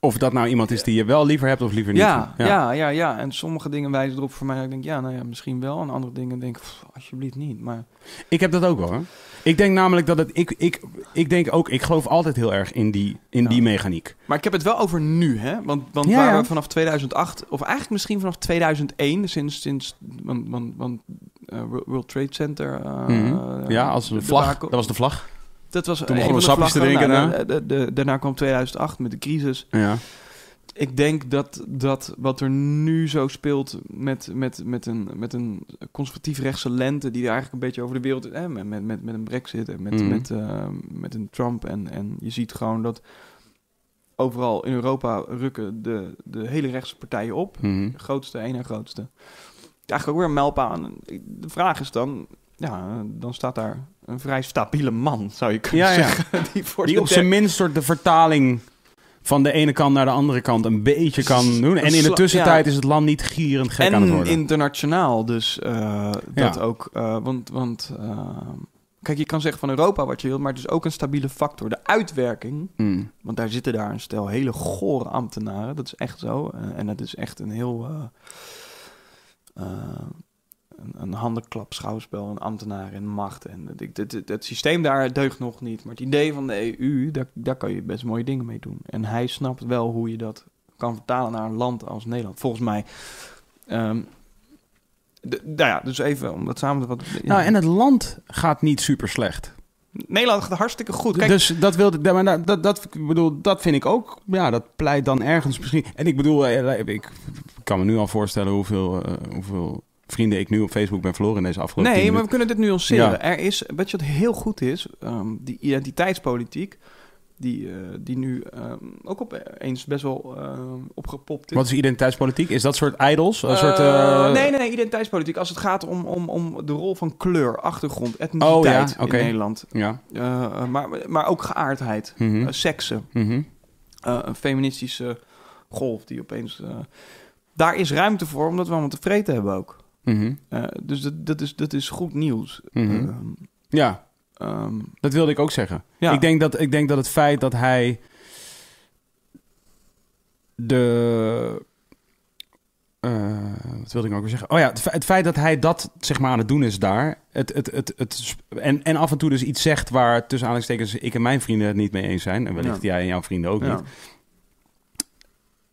S1: Of dat nou iemand is die je wel liever hebt of liever niet.
S3: ja, ja. ja, ja, En sommige dingen wijzen erop voor mij. dat Ik denk, ja, nou ja, misschien wel. En andere dingen denk ik, pff, alsjeblieft niet. Maar
S1: Ik heb dat ook wel. Hè? Ik denk namelijk dat het... Ik, ik, ik denk ook... Ik geloof altijd heel erg in die, in
S3: Ja.
S1: die mechaniek.
S3: Maar ik heb het wel over nu, hè? Want, want
S1: Ja,
S3: waar
S1: ja.
S3: we vanaf 2008, of eigenlijk misschien vanaf 2001, sinds, sinds want, want, want, eh, World Trade Center. eh,
S1: Mhm. ja, als een
S3: de
S1: vlag.
S3: debacle-
S1: Dat was de vlag.
S3: Dat was
S1: begonnen
S3: een
S1: we
S3: van de
S1: sapjes te
S3: vlaggen.
S1: drinken,
S3: Nou, de- de- de- daarna kwam 2008 met de crisis.
S1: Ja.
S3: Ik denk dat, dat wat er nu zo speelt met, met, met een, met een conservatief-rechtse lente... die er eigenlijk een beetje over de wereld... Hè, met, met, met, met een brexit en met,
S1: Mhm.
S3: met, eh, met een Trump. En, en je ziet gewoon dat overal in Europa rukken de, de hele rechtse partijen op.
S1: Mhm.
S3: Grootste, één en grootste. Eigenlijk ook weer een mijlpaal. aan. De vraag is dan... Ja, dan staat daar een vrij stabiele man, zou je kunnen
S1: Ja, ja.
S3: zeggen. Die, voor
S1: Die
S3: de
S1: op zijn
S3: derde-
S1: minst soort de vertaling van de ene kant naar de andere kant een beetje kan doen. En in de
S3: sla-
S1: tussentijd
S3: ja.
S1: is het land niet gierend gek
S3: en
S1: aan het worden.
S3: internationaal, dus eh, dat
S1: Ja.
S3: ook. eh, want want eh, kijk, je kan zeggen van Europa wat je wilt, maar het is ook een stabiele factor. De uitwerking,
S1: Mm.
S3: want daar zitten daar een stel hele gore ambtenaren. Dat is echt zo. eh, en dat is echt een heel... eh, eh, een, een handenklap schouwspel, een ambtenaar en macht. En het, het, het, het systeem daar deugt nog niet. Maar het idee van de EU, daar, daar kan je best mooie dingen mee doen. En hij snapt wel hoe je dat kan vertalen naar een land als Nederland. Volgens mij. ehm, d- nou ja, dus even om dat samen te vatten. Ja.
S1: Nou, en het land gaat niet super slecht.
S3: Nederland gaat hartstikke goed. Kijk,
S1: dus dat wilde, ja, maar dat, dat, dat, ik bedoel, dat vind ik ook. Ja, dat pleit dan ergens misschien. En ik bedoel, eh, ik kan me nu al voorstellen hoeveel, eh, hoeveel vrienden ik nu op Facebook ben verloren in deze afgelopen
S3: nee,
S1: tien
S3: maar we
S1: minuten.
S3: kunnen dit nuanceren.
S1: Ja.
S3: Er is, weet je wat heel goed is? Ehm, die identiteitspolitiek, die, eh, die nu ehm, ook opeens best wel ehm, opgepopt is.
S1: Wat is identiteitspolitiek? Is dat soort idols? Een soort,
S3: Eh,
S1: eh,
S3: nee, nee, nee, identiteitspolitiek. Als het gaat om, om, om de rol van kleur, achtergrond,
S1: Oh ja,
S3: etniciteit
S1: oké.
S3: in Nederland.
S1: Ja.
S3: Eh, maar, maar ook geaardheid,
S1: mhm,
S3: eh, seksen.
S1: mhm.
S3: eh, een feministische golf die opeens... eh, daar is ruimte voor, omdat we allemaal te vreten hebben ook.
S1: Mhm.
S3: Eh, dus dat, dat, is, dat is goed nieuws.
S1: Mhm.
S3: Ehm,
S1: Ja,
S3: ehm,
S1: dat wilde ik ook zeggen.
S3: ja.
S1: Ik, denk dat, ik denk dat het feit dat hij de. eh, wat wilde ik nou ook weer zeggen? Oh ja, het fe- het feit dat hij dat zeg maar aan het doen is daar. Het, het, het, het, sp- en, en af en toe dus iets zegt waar tussen aanhalingstekens ik en mijn vrienden het niet mee eens zijn. En wellicht jij en jouw vrienden ook
S3: ja.
S1: niet.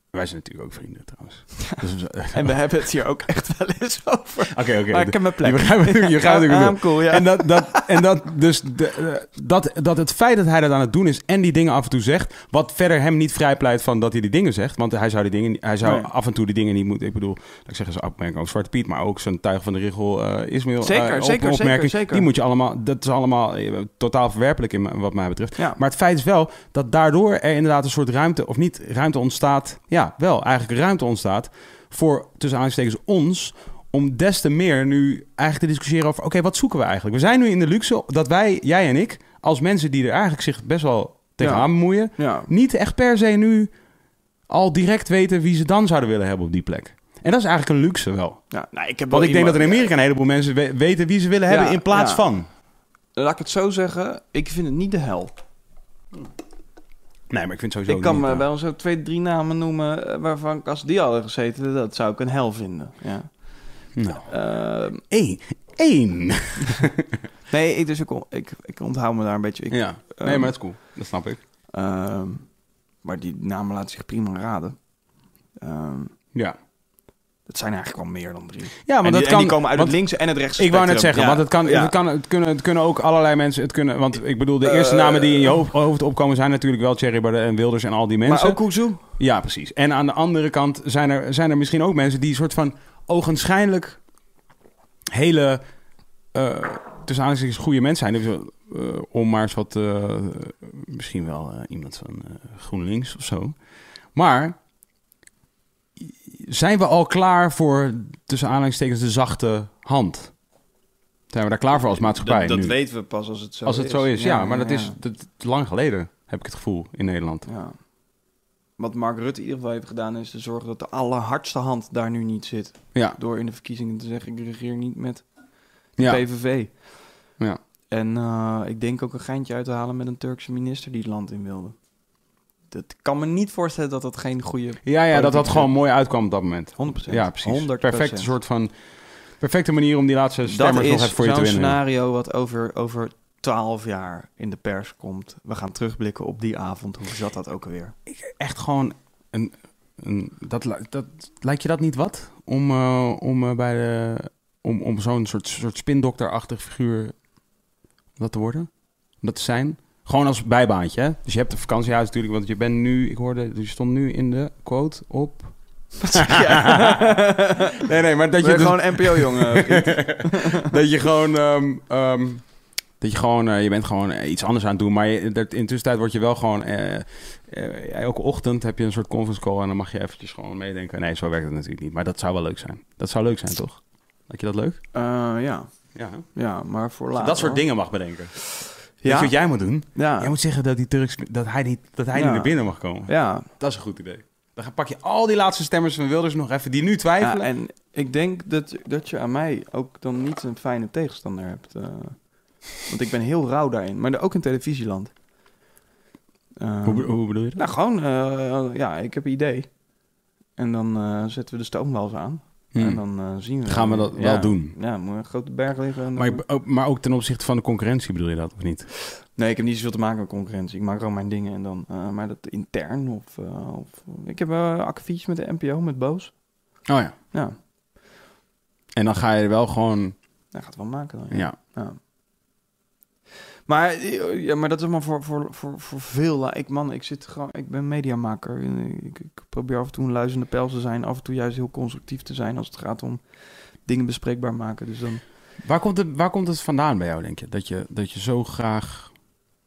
S1: Wij zijn natuurlijk ook vrienden trouwens. Dus we-
S3: En we hebben het hier ook echt wel eens over.
S1: <laughs> Oké, oké.
S3: Maar ik heb mijn
S1: Je
S3: plek.
S1: begrijpt natuurlijk je gaat natuurlijk
S3: I'm cool, ja.
S1: En, dat, dat, en dat, dus de, eh, dat, dat het feit dat hij dat aan het doen is en die dingen af en toe zegt, wat verder hem niet vrijpleit van dat hij die dingen zegt. Want hij zou, die dingen, hij zou
S3: Nee.
S1: af en toe die dingen niet moeten. Ik bedoel, laat ik zeggen, zijn opmerking over Zwarte Piet, maar ook zijn tuig van de Riggel, eh Ismail.
S3: Zeker,
S1: eh, op-
S3: zeker,
S1: opmerking,
S3: zeker, zeker.
S1: Die moet je allemaal, dat is allemaal eh, totaal verwerpelijk in, m- wat mij betreft.
S3: ja.
S1: Maar het feit is wel dat daardoor er inderdaad een soort ruimte, of niet ruimte ontstaat, ja, wel eigenlijk ruimte ontstaat voor tussen aanstekens ons. Om des te meer nu eigenlijk te discussiëren over: oké, wat zoeken we eigenlijk? We zijn nu in de luxe dat wij, jij en ik, als mensen die er eigenlijk zich best wel tegenaan
S3: Ja.
S1: bemoeien,
S3: ja.
S1: niet echt per se nu al direct weten wie ze dan zouden willen hebben op die plek. En dat is eigenlijk een luxe wel.
S3: Ja. Nou, ik heb
S1: Want
S3: wel
S1: ik denk dat in
S3: iemand-
S1: Amerika een heleboel mensen we- weten wie ze willen
S3: Ja,
S1: hebben in plaats
S3: ja.
S1: van.
S3: Laat ik het zo zeggen, ik vind het niet de hel.
S1: Nee, maar ik vind sowieso.
S3: Ik kan
S1: niet, eh,
S3: me
S1: ja.
S3: wel zo twee, drie namen noemen eh, waarvan ik als die hadden gezeten, dat zou ik een hel vinden. Ja.
S1: Nou,
S3: Ehm,
S1: één. Eén.
S3: nee, ik, dus ik, on- ik, ik onthoud me daar een beetje. Ik,
S1: ja, nee,
S3: ehm,
S1: maar dat is cool. Dat snap ik.
S3: ehm, maar die namen laten zich prima raden. Ehm,
S1: Ja,
S3: dat zijn eigenlijk wel meer dan drie.
S1: ja maar
S3: en
S1: dat
S3: die, en
S1: kan.
S3: die komen uit
S1: want
S3: het links en het rechts.
S1: ik wou net
S3: spectrum.
S1: zeggen,
S3: Ja.
S1: want het, kan,
S3: Ja.
S1: het, kan, het, kunnen, het kunnen ook allerlei mensen. Het kunnen, want ik bedoel, de eerste
S3: Eh,
S1: namen die in je hoofd, hoofd opkomen zijn natuurlijk wel Thierry Baudet en Wilders en al die mensen.
S3: Maar ook Kuzu.
S1: Ja, precies. En aan de andere kant zijn er, zijn er misschien ook mensen die soort van ogenschijnlijk hele, eh tussen aanhalingstekens, goede mensen zijn. Dus, eh, om maar eens wat, eh, misschien wel eh, iemand van eh, GroenLinks of zo. Maar zijn we al klaar voor, tussen aanhalingstekens, de zachte hand? Zijn we daar klaar voor als maatschappij
S3: Dat, dat
S1: nu?
S3: weten we pas als het zo is.
S1: als het zo is, ja. maar dat
S3: ja.
S1: is dat, lang geleden, heb ik het gevoel, in Nederland.
S3: Ja. Wat Mark Rutte in ieder geval heeft gedaan, is te zorgen dat de allerhardste hand daar nu niet zit.
S1: Ja.
S3: Door in de verkiezingen te zeggen: ik regeer niet met de
S1: Ja.
S3: PVV.
S1: Ja.
S3: En eh, ik denk ook een geintje uit te halen met een Turkse minister die het land in wilde. Dat ik kan me niet voorstellen dat dat geen goede. 100%.
S1: Ja, ja, dat dat
S3: Politiek,
S1: gewoon mooi uitkwam op dat moment. Ja, precies.
S3: 100%.
S1: Perfecte soort van perfecte manier om die laatste
S3: Dat
S1: stemmers nog
S3: is
S1: even voor je te
S3: zo'n
S1: winnen.
S3: scenario wat over, over 12 jaar in de pers komt. We gaan terugblikken op die avond. Hoe zat dat ook alweer?
S1: Echt gewoon een, een dat, li- dat lijkt je dat niet wat om, eh, om eh, bij de om, om zo'n soort soort spindokterachtig figuur om dat te worden, om dat te zijn. Gewoon als bijbaantje, hè? Dus je hebt een vakantiehuis natuurlijk, want je bent nu, ik hoorde, je stond nu in de quote op. <laughs> nee, nee, maar dat je
S3: Ben
S1: dus- <laughs>
S3: gewoon NPO-jongen.
S1: dat je gewoon. ehm, ehm, dat je gewoon, eh, je bent gewoon eh, iets anders aan het doen. Maar je, dat, in tussentijd word je wel gewoon. eh, eh, elke ochtend heb je een soort conference call en dan mag je eventjes gewoon meedenken. Nee, zo werkt het natuurlijk niet. Maar dat zou wel leuk zijn. Dat zou leuk zijn, toch? Lijkt je dat leuk?
S3: Eh, ja.
S1: Ja.
S3: ja, maar voor later.
S1: dat soort
S3: hoor.
S1: dingen mag bedenken. Ja. Dat
S3: Ja,
S1: is wat jij moet doen.
S3: ja,
S1: Jij moet zeggen dat, die Turks, dat hij, niet, dat hij
S3: Ja.
S1: niet naar binnen mag komen.
S3: ja.
S1: Dat is een goed idee. Dan ga- pak je al die laatste stemmers van Wilders nog even, die nu twijfelen.
S3: Ja, en ik denk dat, dat je aan mij ook dan niet een fijne tegenstander hebt. eh. want ik ben heel rauw daarin. Maar ook in televisieland. Eh,
S1: hoe, be- hoe bedoel je dat?
S3: Nou, gewoon, eh, ja, ik heb een idee. En dan eh, zetten we de stoomwals aan. En
S1: Hmm.
S3: dan eh, zien we...
S1: Gaan we dat
S3: ja.
S1: wel doen.
S3: Ja, moet een grote berg liggen. en dan-
S1: Maar, ook- maar ook ten opzichte van de concurrentie bedoel je dat, of niet?
S3: Nee, ik heb niet zoveel te maken met concurrentie. Ik maak gewoon mijn dingen en dan... eh, maar dat intern of... eh, Oh of ik heb eh akkefietjes met de NPO, met Boos.
S1: Oh ja.
S3: Ja.
S1: En dan ga je er wel gewoon...
S3: Dat gaat het wel maken dan.
S1: Ja,
S3: Ja. Maar, eh, ja, maar dat is maar voor, voor, voor, voor veel. la- Ik, man, ik, zit gewoon, ik ben mediamaker. Eh, Ik, ik probeer af en toe een luizende pijl te zijn. Af en toe juist heel constructief te zijn als het gaat om dingen bespreekbaar maken. Dus dan,
S1: Waar komt, het, waar komt het vandaan bij jou, denk je? Dat je, dat je zo graag...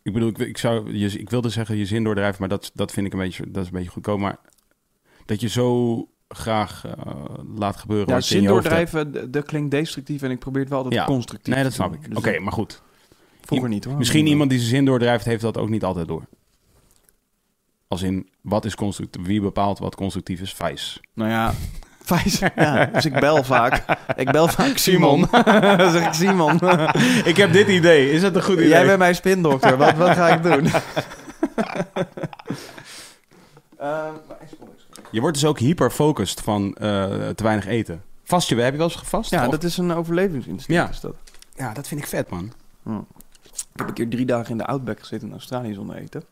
S1: Ik bedoel, ik, ik, zou, je, ik wilde zeggen je zin doordrijven, maar dat, dat vind ik een beetje, dat is een beetje goedkoop. Maar dat je zo graag eh, laat gebeuren
S3: ja,
S1: wat je in
S3: zin
S1: je hoofd hebt.
S3: doordrijven, d- dat klinkt destructief. En ik probeer het wel altijd
S1: Ja.
S3: constructief
S1: Nee, dat
S3: te
S1: snap
S3: doen.
S1: ik.
S3: Dus
S1: Oké,
S3: dat-
S1: maar goed.
S3: Vroeger niet hoor.
S1: Misschien
S3: Maar-
S1: iemand die zijn zin doordrijft, heeft dat ook niet altijd door. Als in, wat is constructief? Wie bepaalt wat constructief is? Vijs.
S3: Nou ja, Vijs. Ja, dus ik bel vaak. Ik bel vaak Simon. <laughs> Dan zeg ik Simon.
S1: ik heb dit idee. Is dat een goed
S3: <laughs> Jij bent mijn spindokter. Wat, wat ga ik doen? Ehm,
S1: Je wordt dus ook hyperfocust van eh, te weinig eten. Vast je, heb je wel eens gevast?
S3: ja,
S1: Of-
S3: dat is een overlevingsinstinct.
S1: Ja.
S3: Is dat.
S1: ja, dat vind ik vet, man.
S3: Ik heb een keer drie dagen in de Outback gezeten in Australië zonder eten.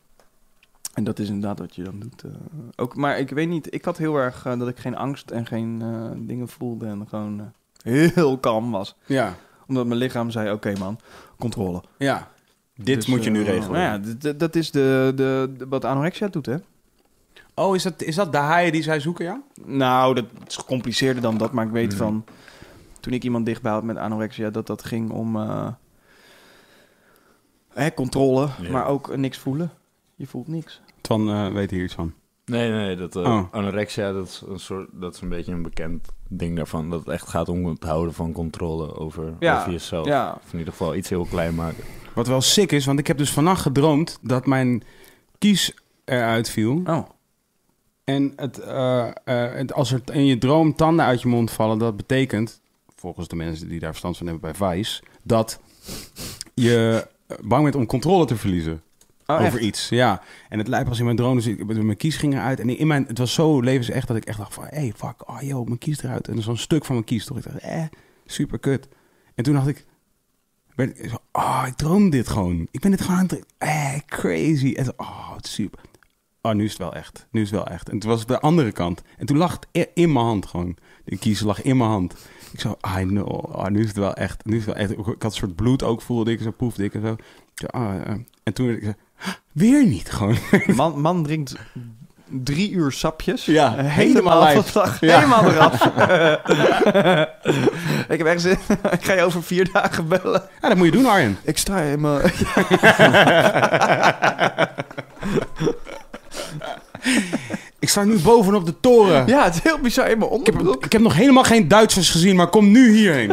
S3: En dat is inderdaad wat je dan doet. eh, ook, maar ik weet niet, ik had heel erg eh, dat ik geen angst en geen eh, dingen voelde. En gewoon eh, heel kalm was.
S1: Ja,
S3: Omdat mijn lichaam zei, oké man, controle.
S1: ja. Dit
S3: Dus,
S1: moet je nu
S3: eh,
S1: regelen.
S3: Nou ja, d- d- dat is de, de, de- wat anorexia doet, hè?
S1: Oh, is dat, is dat de haaien die zij zoeken, ja?
S3: Nou, dat is gecompliceerder dan dat, maar ik weet
S2: Mhm.
S3: van... Toen ik iemand dichtbij had met anorexia, dat dat ging om... eh, hè, controle,
S2: Ja.
S3: maar ook eh, niks voelen. Je voelt niks.
S1: Twan eh, weet hier iets van.
S2: Nee, nee, dat eh,
S1: Oh.
S2: anorexia, dat is, een soort, dat is een beetje een bekend ding daarvan. Dat het echt gaat om het houden van controle over,
S3: Ja,
S2: over
S1: Oh.
S2: jezelf.
S3: Ja,
S2: Of in ieder geval iets heel klein maken.
S1: Wat wel sick is, want ik heb dus vannacht gedroomd dat mijn kies eruit viel.
S3: oh.
S1: En het, eh, eh, het- als er t- in je droom tanden uit je mond vallen, dat betekent, volgens de mensen die daar verstand van hebben bij Vice, dat je bang bent om controle te verliezen
S3: oh
S1: over
S3: echt?
S1: iets. Ja. En het lijkt als in mijn droom, dus ik, mijn kies ging eruit. En in mijn, het was zo levensecht dat ik echt dacht van, hey, fuck, oh joh, mijn kies eruit. En zo'n stuk van mijn kies, toch? Ik dacht, eh, super kut. En toen dacht ik, werd ik zo, oh, ik droom dit gewoon. Ik ben dit gewoon aan het, eh, crazy. En zo, oh, het is super. Oh, nu is het wel echt. Nu is het wel echt. En toen was het de andere kant. En toen lag het i- in mijn hand gewoon. De kies lag in mijn hand. Ik zo, I know. Oh, nu is het wel echt. Nu is het wel echt. Ik had een soort bloed ook, voelde ik zo, proefde ik en zo. Ik zo, ah, eh. En toen werd ik zo, weer niet gewoon.
S3: Man, man drinkt drie uur sapjes.
S1: Ja, <laughs>
S3: Eh,
S1: helemaal
S3: helemaal
S1: lijf.
S3: afslag,
S1: Ja.
S3: Helemaal eraf. <laughs> ik heb echt zin. <laughs> ik ga je over vier dagen bellen.
S1: Ja, dat moet je doen, Arjen.
S3: Ik sta in mijn...
S1: Ik sta nu bovenop de toren.
S3: <laughs> Ja, het is heel bizar in mijn
S1: Ik, heb,
S3: onderbroek.
S1: ik heb nog helemaal geen Duitsers gezien, maar kom nu
S3: <laughs>
S1: hierheen.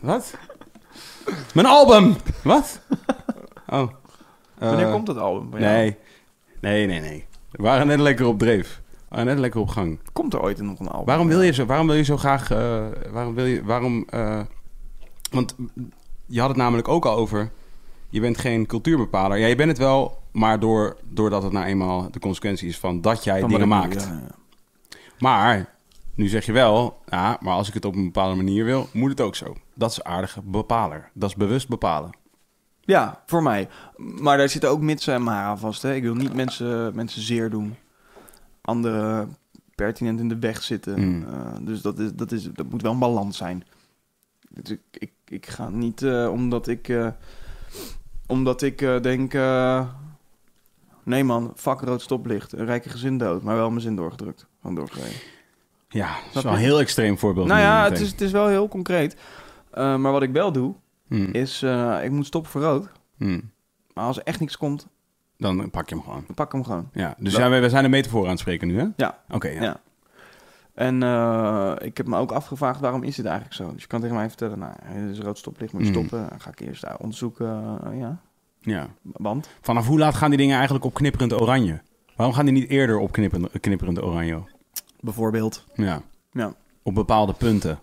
S1: Wat? Mijn album! Wat? Oh.
S3: Wanneer
S1: Eh,
S3: komt dat album? bij jou?
S1: Nee. Nee, nee, nee. We waren net lekker op dreef. We waren net lekker op gang.
S3: Komt er ooit nog een album?
S1: Waarom wil je zo, waarom wil je zo graag... eh, waarom wil je... Waarom, eh, want je had het namelijk ook al over... Je bent geen cultuurbepaler. Ja, je bent het wel, maar door, doordat het nou eenmaal de consequentie is van dat jij
S3: Dan
S1: dingen
S3: wat ik
S1: maakt.
S3: doe, ja, ja.
S1: Maar nu zeg je wel, ja, maar als ik het op een bepaalde manier wil, moet het ook zo. Dat is aardige bepaler. Dat is bewust bepalen.
S3: Ja, voor mij. Maar daar zitten ook mitsen en maren aan vast. Hè? Ik wil niet mensen, mensen zeer doen. Anderen pertinent in de weg zitten.
S1: Mm.
S3: Eh, dus dat, is, dat, is, dat moet wel een balans zijn. Dus ik, ik, ik ga niet eh, omdat ik, eh, omdat ik eh, denk... eh, nee man, fuck rood stoplicht. Een rijke gezin dood. Maar wel mijn zin doorgedrukt. Van doorgereden.
S1: Ja, dat is
S3: Snap
S1: wel een
S3: je?
S1: heel extreem voorbeeld.
S3: Nou
S1: nu
S3: ja, het
S1: meteen.
S3: is, het is wel heel concreet. Eh, maar wat ik wel doe,
S1: Hmm,
S3: is... eh, ik moet stoppen voor rood.
S1: hmm.
S3: Maar als er echt niks komt,
S1: Dan pak je hem gewoon.
S3: dan pak ik hem gewoon.
S1: Ja, dus
S3: Dat-
S1: ja, we, we zijn de metafoor aan het spreken nu, hè?
S3: Ja.
S1: Oké, ja.
S3: Ja. En eh, ik heb me ook afgevraagd, waarom is dit eigenlijk zo? Dus je kan tegen mij vertellen, nou, het is rood stoplicht, moet je
S1: Mhm.
S3: stoppen. Dan ga ik eerst eh, onderzoeken, eh, ja,
S1: Ja.
S3: want...
S1: Vanaf hoe laat gaan die dingen eigenlijk op knipperend oranje? Waarom gaan die niet eerder op knipperend, knipperend oranje?
S3: Bijvoorbeeld.
S1: Ja.
S3: Ja.
S1: Op bepaalde punten.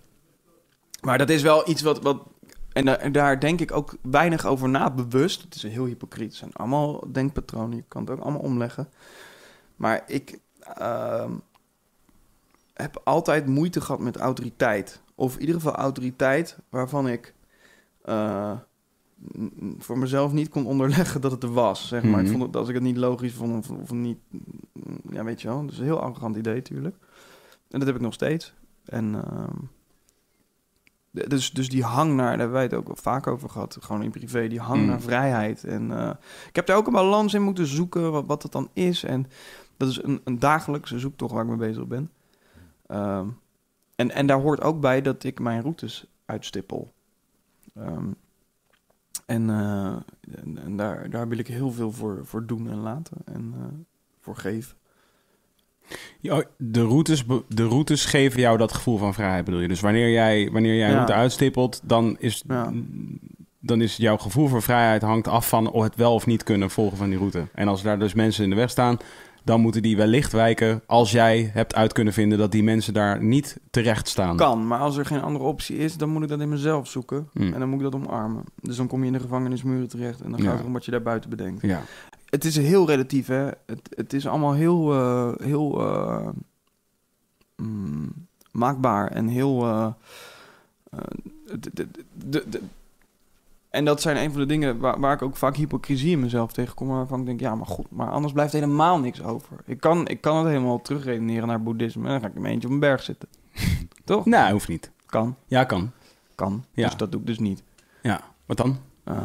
S3: Maar dat is wel iets wat... wat en, da- en daar denk ik ook weinig over na, bewust. Het is heel hypocriet. Het zijn allemaal denkpatronen, je kan het ook allemaal omleggen. Maar ik ehm, heb altijd moeite gehad met autoriteit. Of in ieder geval autoriteit waarvan ik eh, n- n- voor mezelf niet kon onderleggen dat het er was. Zeg maar.
S1: Mhm.
S3: ik vond het, als ik het niet logisch vond of, of niet... Ja, weet je wel. Dus een heel arrogant idee, natuurlijk. En dat heb ik nog steeds. En... ehm, D- Dus, dus die hang naar, daar hebben wij het ook wel vaak over gehad, gewoon in privé, die hang
S1: Mm.
S3: naar vrijheid. En eh, ik heb daar ook een balans in moeten zoeken, wat, wat dat dan is. En dat is een, een dagelijkse zoektocht waar ik mee bezig ben. Ehm, en, en daar hoort ook bij dat ik mijn routes uitstippel. Ehm, en eh, en, en daar, daar wil ik heel veel voor, voor doen en laten en eh, voor geven.
S1: Ja, Oh, de, routes, be- de routes geven jou dat gevoel van vrijheid, bedoel je? Dus wanneer jij, wanneer jij een
S3: Ja.
S1: route uitstippelt, dan is,
S3: Ja.
S1: dan is jouw gevoel voor vrijheid hangt af van of het wel of niet kunnen volgen van die route. En als daar dus mensen in de weg staan, dan moeten die wellicht wijken als jij hebt uit kunnen vinden dat die mensen daar niet terecht staan.
S3: Kan, maar als er geen andere optie is, dan moet ik dat in mezelf zoeken.
S1: Hmm.
S3: En dan moet ik dat omarmen. Dus dan kom je in de gevangenismuren terecht en dan
S1: Ja.
S3: gaat het om wat je daar buiten bedenkt.
S1: Ja.
S3: Het is heel relatief, hè. Het, het is allemaal heel, eh, heel eh, mm, maakbaar en heel... eh, eh, d- d- d- d- d- en dat zijn een van de dingen waar, waar ik ook vaak hypocrisie in mezelf tegenkom. Waarvan ik denk, ja, maar god, maar anders blijft helemaal niks over. Ik kan, ik kan het helemaal terugredeneren naar boeddhisme. En dan ga ik in mijn eentje op een berg zitten. Toch?
S1: Nou, hoeft niet.
S3: Kan,
S1: Ja, kan.
S3: kan.
S1: Ja.
S3: Dus dat doe ik dus niet.
S1: Ja. Wat dan?
S3: Eh,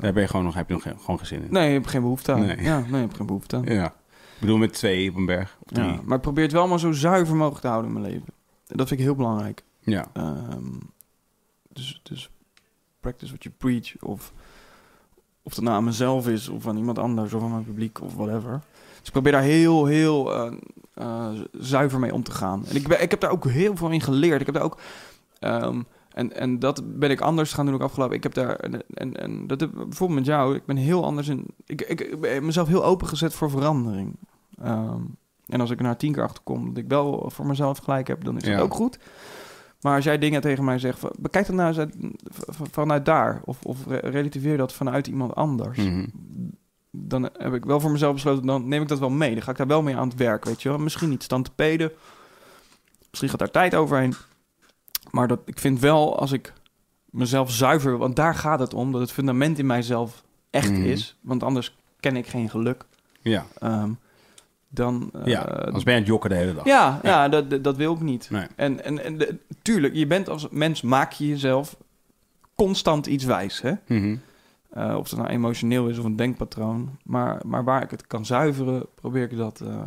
S1: Daar ben je gewoon nog, heb je nog geen- gewoon geen zin in.
S3: nee, je hebt geen behoefte aan.
S1: Nee.
S3: Ja, nee, je hebt geen behoefte aan.
S1: Ja. Ik bedoel, met twee op een berg. Of drie.
S3: Ja, maar ik probeer het wel maar zo zuiver mogelijk te houden in mijn leven. En Dat vind ik heel belangrijk.
S1: ja.
S3: Ehm, dus, dus practice what you preach. Of, of dat nou aan mezelf is, of aan iemand anders, of aan mijn publiek, of whatever. Dus ik probeer daar heel, heel eh, eh, zuiver mee om te gaan. En ik, ben, ik heb daar ook heel veel in geleerd. Ik heb daar ook... ehm, en, en dat ben ik anders gaan doen ook afgelopen. Ik heb daar... En, en, en dat heb, bijvoorbeeld met jou, ik ben heel anders in... Ik, ik, ik ben mezelf heel opengezet voor verandering. Ehm, en als ik er na tien keer achter kom dat ik wel voor mezelf gelijk heb, dan is dat
S1: Ja.
S3: ook goed. Maar als jij dingen tegen mij zegt, van, bekijk dat nou eens uit- v- v- vanuit daar. Of, of re- relativeer dat vanuit iemand anders.
S1: Mhm.
S3: Dan heb ik wel voor mezelf besloten, dan neem ik dat wel mee. Dan ga ik daar wel mee aan het werk, weet je wel. Misschien niet stand te peden. Misschien gaat daar tijd overheen. Maar dat, ik vind wel, als ik mezelf zuiver... Want daar gaat het om, dat het fundament in mijzelf echt
S1: Mhm.
S3: is. Want anders ken ik geen geluk.
S1: Ja.
S3: Ehm, dan... eh,
S1: ja. Anders ben je aan het jokken de hele dag.
S3: ja,
S1: Oh. Ja.
S3: ja. dat, dat- dat wil ik niet.
S1: Nee.
S3: En, en, en de- tuurlijk, je bent als mens, maak je jezelf constant iets wijs. Hè?
S1: Mhm.
S3: Eh, of dat nou emotioneel is of een denkpatroon. Maar, maar waar ik het kan zuiveren, probeer ik dat, eh,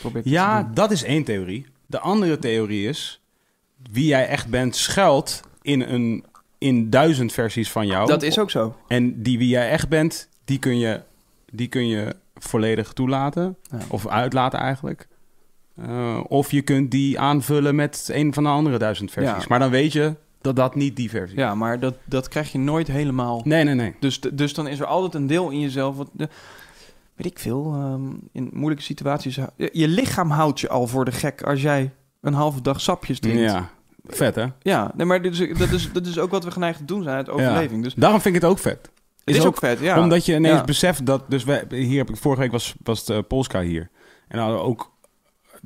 S3: probeer ik dat
S1: Ja,
S3: te doen.
S1: dat is één theorie. De andere theorie is, wie jij echt bent schuilt in, een, in duizend versies van jou.
S3: dat is ook zo.
S1: En die wie jij echt bent, die kun je, die kun je volledig toelaten.
S3: Ja.
S1: Of uitlaten eigenlijk. Eh, of je kunt die aanvullen met een van de andere duizend versies.
S3: Ja.
S1: Maar dan weet je dat dat niet die versie is.
S3: Ja, maar dat, dat krijg je nooit helemaal.
S1: Nee, nee, nee.
S3: Dus, de- dus dan is er altijd een deel in jezelf. Wat de, weet ik veel. ehm, in moeilijke situaties. Je, je lichaam houdt je al voor de gek als jij een halve dag sapjes drinkt.
S1: Ja, vet hè?
S3: Ja, nee, maar dit is, dat, is, dat is ook wat we geneigd te doen zijn uit overleving. Dus
S1: Daarom vind ik het ook vet.
S3: het is,
S1: ook
S3: ook, vet, ja.
S1: Omdat je ineens
S3: Ja.
S1: beseft dat... Dus wij, hier heb ik, vorige week was, was de Polska hier. En hadden we ook...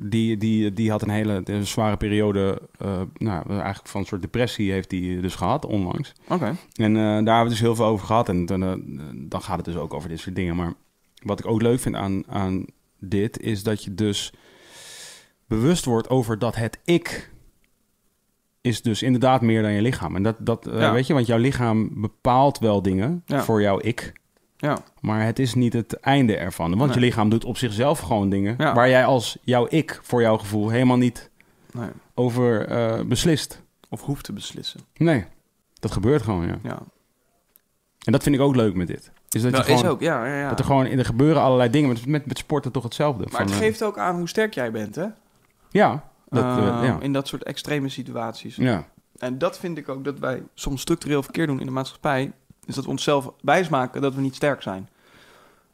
S1: Die, die, die had een hele een zware periode... eh, nou, eigenlijk van een soort depressie heeft die dus gehad onlangs.
S3: Oké.
S1: En eh, daar hebben we het dus heel veel over gehad. En dan, eh, dan gaat het dus ook over dit soort dingen. Maar wat ik ook leuk vind aan, aan dit... is dat je dus bewust wordt over dat het ik... is dus inderdaad meer dan je lichaam. En dat, dat eh,
S3: Ja.
S1: weet je... want jouw lichaam bepaalt wel dingen
S3: Ja.
S1: voor jouw ik...
S3: Ja,
S1: Maar het is niet het einde ervan. Want
S3: Nee.
S1: je lichaam doet op zichzelf gewoon dingen...
S3: Ja.
S1: waar jij als jouw ik, voor jouw gevoel... helemaal niet
S3: nee.
S1: over eh, beslist.
S3: Of hoeft te beslissen.
S1: Nee, dat gebeurt gewoon, ja.
S3: Ja.
S1: En dat vind ik ook leuk met dit. Is dat, je
S3: Dat
S1: gewoon,
S3: Nou, is ook, ja. ja, ja.
S1: dat er gewoon... Er gebeuren allerlei dingen. Met, met, met sporten toch hetzelfde.
S3: maar het
S1: Van, eh,
S3: geeft ook aan hoe sterk jij bent, hè?
S1: ja, dat, eh,
S3: Ehm,
S1: ja.
S3: In dat soort extreme situaties.
S1: ja.
S3: En dat vind ik ook dat wij soms structureel verkeerd doen in de maatschappij. Is dat we onszelf wijsmaken dat we niet sterk zijn.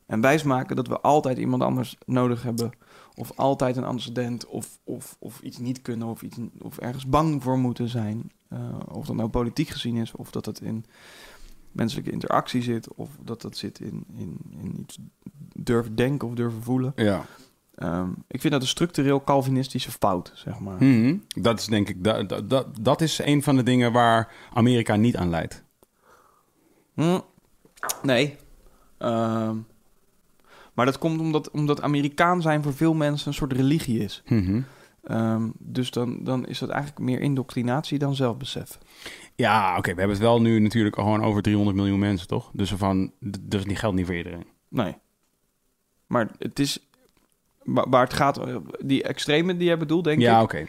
S3: En wijsmaken dat we altijd iemand anders nodig hebben. Of altijd een antecedent. Of, of, of iets niet kunnen. Of, iets, of ergens bang voor moeten zijn. Eh, of dat nou politiek gezien is. Of dat het in menselijke interactie zit. Of dat dat zit in, in, in iets durven denken of durven voelen.
S1: ja.
S3: Ehm, ik vind dat een structureel Calvinistische fout, zeg maar.
S1: Mhm. Dat is denk ik... Dat, dat- dat, dat is een van de dingen waar Amerika niet aan leidt.
S3: Hm, Nee. Ehm, maar dat komt omdat, omdat Amerikaan zijn voor veel mensen een soort religie is.
S1: Mhm.
S3: Eh, Ehm, dus dan, dan is dat eigenlijk meer indoctrinatie dan zelfbesef.
S1: Ja, oké, we hebben het wel nu natuurlijk al gewoon over 300 miljoen mensen, toch? Dus, van, d- dus die geldt niet voor iedereen.
S3: Nee. Maar het is... wa- Waar het gaat... eh, Die extremen die jij bedoelt, denk
S1: ja,
S3: ik...
S1: oké.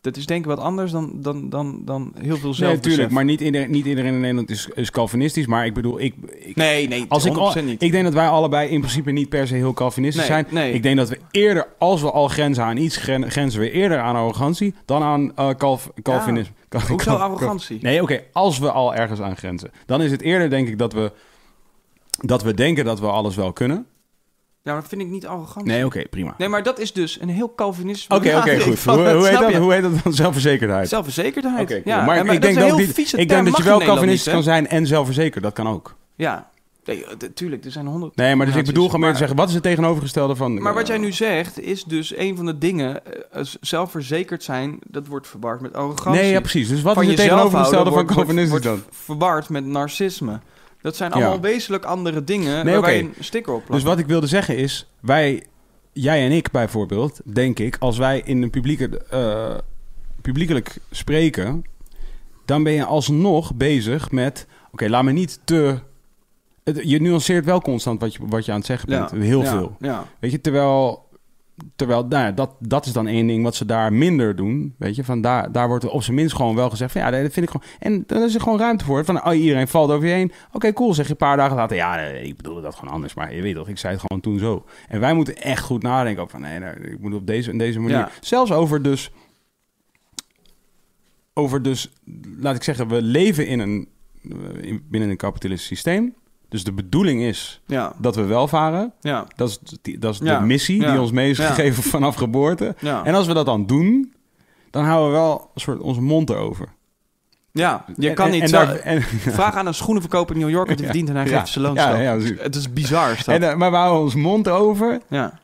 S3: Dat is denk ik wat anders dan, dan, dan, dan heel veel zelfbesef.
S1: Nee, natuurlijk, maar niet iedereen, niet iedereen in Nederland is, is Calvinistisch. Maar ik bedoel, ik, ik,
S3: Nee, nee,
S1: als ik, al-
S3: 100% niet.
S1: ik denk dat wij allebei in principe niet per se heel Calvinistisch
S3: Nee,
S1: zijn.
S3: nee.
S1: Ik denk dat we eerder, als we al grenzen aan iets, gren- grenzen we eerder aan arrogantie dan aan eh Calv- Calvinisme. <laughs> Cal-
S3: Hoezo
S1: Cal-
S3: arrogantie?
S1: Nee, oké, als we al ergens aan grenzen. Dan is het eerder, denk ik, dat we, dat we denken dat we alles wel kunnen.
S3: Ja, maar dat vind ik niet arrogant.
S1: Nee, oké, prima.
S3: Nee, maar dat is dus een heel Calvinisme.
S1: Oké, oké,
S3: <laughs> benadering
S1: goed.
S3: van
S1: Hoe,
S3: het,
S1: hoe, heet
S3: snap
S1: dat,
S3: je?
S1: hoe heet dat dan? Zelfverzekerdheid.
S3: Zelfverzekerdheid.
S1: Oké, cool.
S3: ja,
S1: maar
S3: en-
S1: ik
S3: dat
S1: denk
S3: is een
S1: dat,
S3: heel
S1: die-
S3: vieze
S1: ik denk
S3: term,
S1: dat je
S3: mag
S1: wel
S3: in Nederland
S1: Calvinist kan
S3: niet,
S1: zijn en zelfverzekerd. Dat kan ook.
S3: hè? Ja, nee, t- tuurlijk, er zijn honderd...
S1: Nee, maar dus ik
S3: combinaties.
S1: bedoel gewoon meer te
S3: Maar-
S1: zeggen, wat is het tegenovergestelde van...
S3: Maar wat jij nu zegt is dus een van de dingen... eh, als zelfverzekerd zijn, dat wordt verward met arrogantie.
S1: Nee, ja, precies. Dus wat
S3: Van
S1: is het
S3: jezelf
S1: tegenovergestelde
S3: houden
S1: van
S3: wordt- wordt-
S1: Calvinistisch
S3: wordt
S1: dan?
S3: Verward met narcisme. Dat zijn
S1: Ja.
S3: allemaal wezenlijk andere dingen
S1: Nee,
S3: waar
S1: oké.
S3: wij een sticker op
S1: Dus
S3: plakken.
S1: wat ik wilde zeggen is, wij, jij en ik bijvoorbeeld, denk ik, als wij in een publieke, eh, publiekelijk spreken, dan ben je alsnog bezig met, oké, laat me niet te... het- Je nuanceert wel constant wat je, wat je aan het zeggen bent. Heel
S3: Ja,
S1: veel.
S3: Ja,
S1: Weet je, terwijl, terwijl nou ja, dat, dat is dan één ding wat ze daar minder doen. Weet je, van daar, daar wordt op zijn minst gewoon wel gezegd van ja, nee, dat vind ik gewoon. En dan is er gewoon ruimte voor. Van oh, iedereen valt over je heen. Oké, cool. Zeg je een paar dagen later. Ja, nee, ik bedoelde dat gewoon anders. Maar je weet toch, ik zei het gewoon toen zo. En wij moeten echt goed nadenken over van nee, nou, ik moet op deze en deze manier.
S3: Ja.
S1: Zelfs over dus. Over dus, laat ik zeggen, we leven in een, eh, in- binnen een kapitalistisch systeem. Dus de bedoeling is
S3: ja,
S1: dat we welvaren.
S3: ja,
S1: Dat is, die- dat is
S3: Ja,
S1: de missie
S3: ja,
S1: die ons mee is
S3: ja.
S1: gegeven vanaf geboorte.
S3: ja.
S1: En als we dat dan doen, dan houden we wel een soort onze mond erover.
S3: Ja, je
S1: En-
S3: kan
S1: en-
S3: niet...
S1: En,
S3: zo-
S1: daar- en,
S3: Vraag aan een schoenenverkoper in New York wat hij verdient en hij
S1: <laughs> Ja.
S3: geeft zijn
S1: Ja,
S3: loonstrook.
S1: ja, precies.
S3: het is bizar. Is dat.
S1: en, eh, maar we houden ons mond over
S3: ja.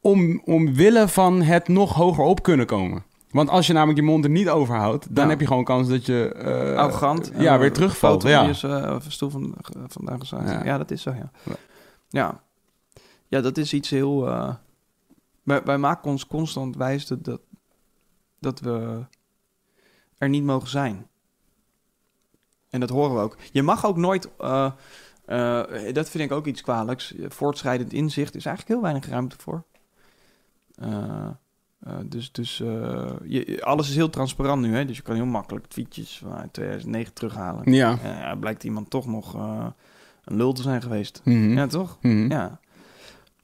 S1: om, omwille van het nog hoger op kunnen komen. Want als je namelijk je mond er niet over houdt, dan
S3: Ja.
S1: heb je gewoon kans dat je... eh,
S3: Arrogant.
S1: Ja,
S3: eh,
S1: weer terugvalt.
S3: foto die
S1: Ja.
S3: Is, eh, of een stoel van, vandaag is uit.
S1: Ja.
S3: Ja. dat is zo, ja.
S1: Ja.
S3: Ja, ja dat is iets heel... eh, wij, wij maken ons constant wijs dat, dat, dat we er niet mogen zijn. En dat horen we ook. Je mag ook nooit... eh, eh, dat vind ik ook iets kwalijks. Voortschrijdend inzicht is eigenlijk heel weinig ruimte voor. Eh, eh, dus dus eh, je- je- alles is heel transparant nu, hè? dus je kan heel makkelijk tweetjes van 2009 terughalen.
S1: ja.
S3: Eh, ja, blijkt iemand toch nog eh, een lul te zijn geweest.
S1: Mhm.
S3: Ja, toch?
S1: Mhm.
S3: Ja.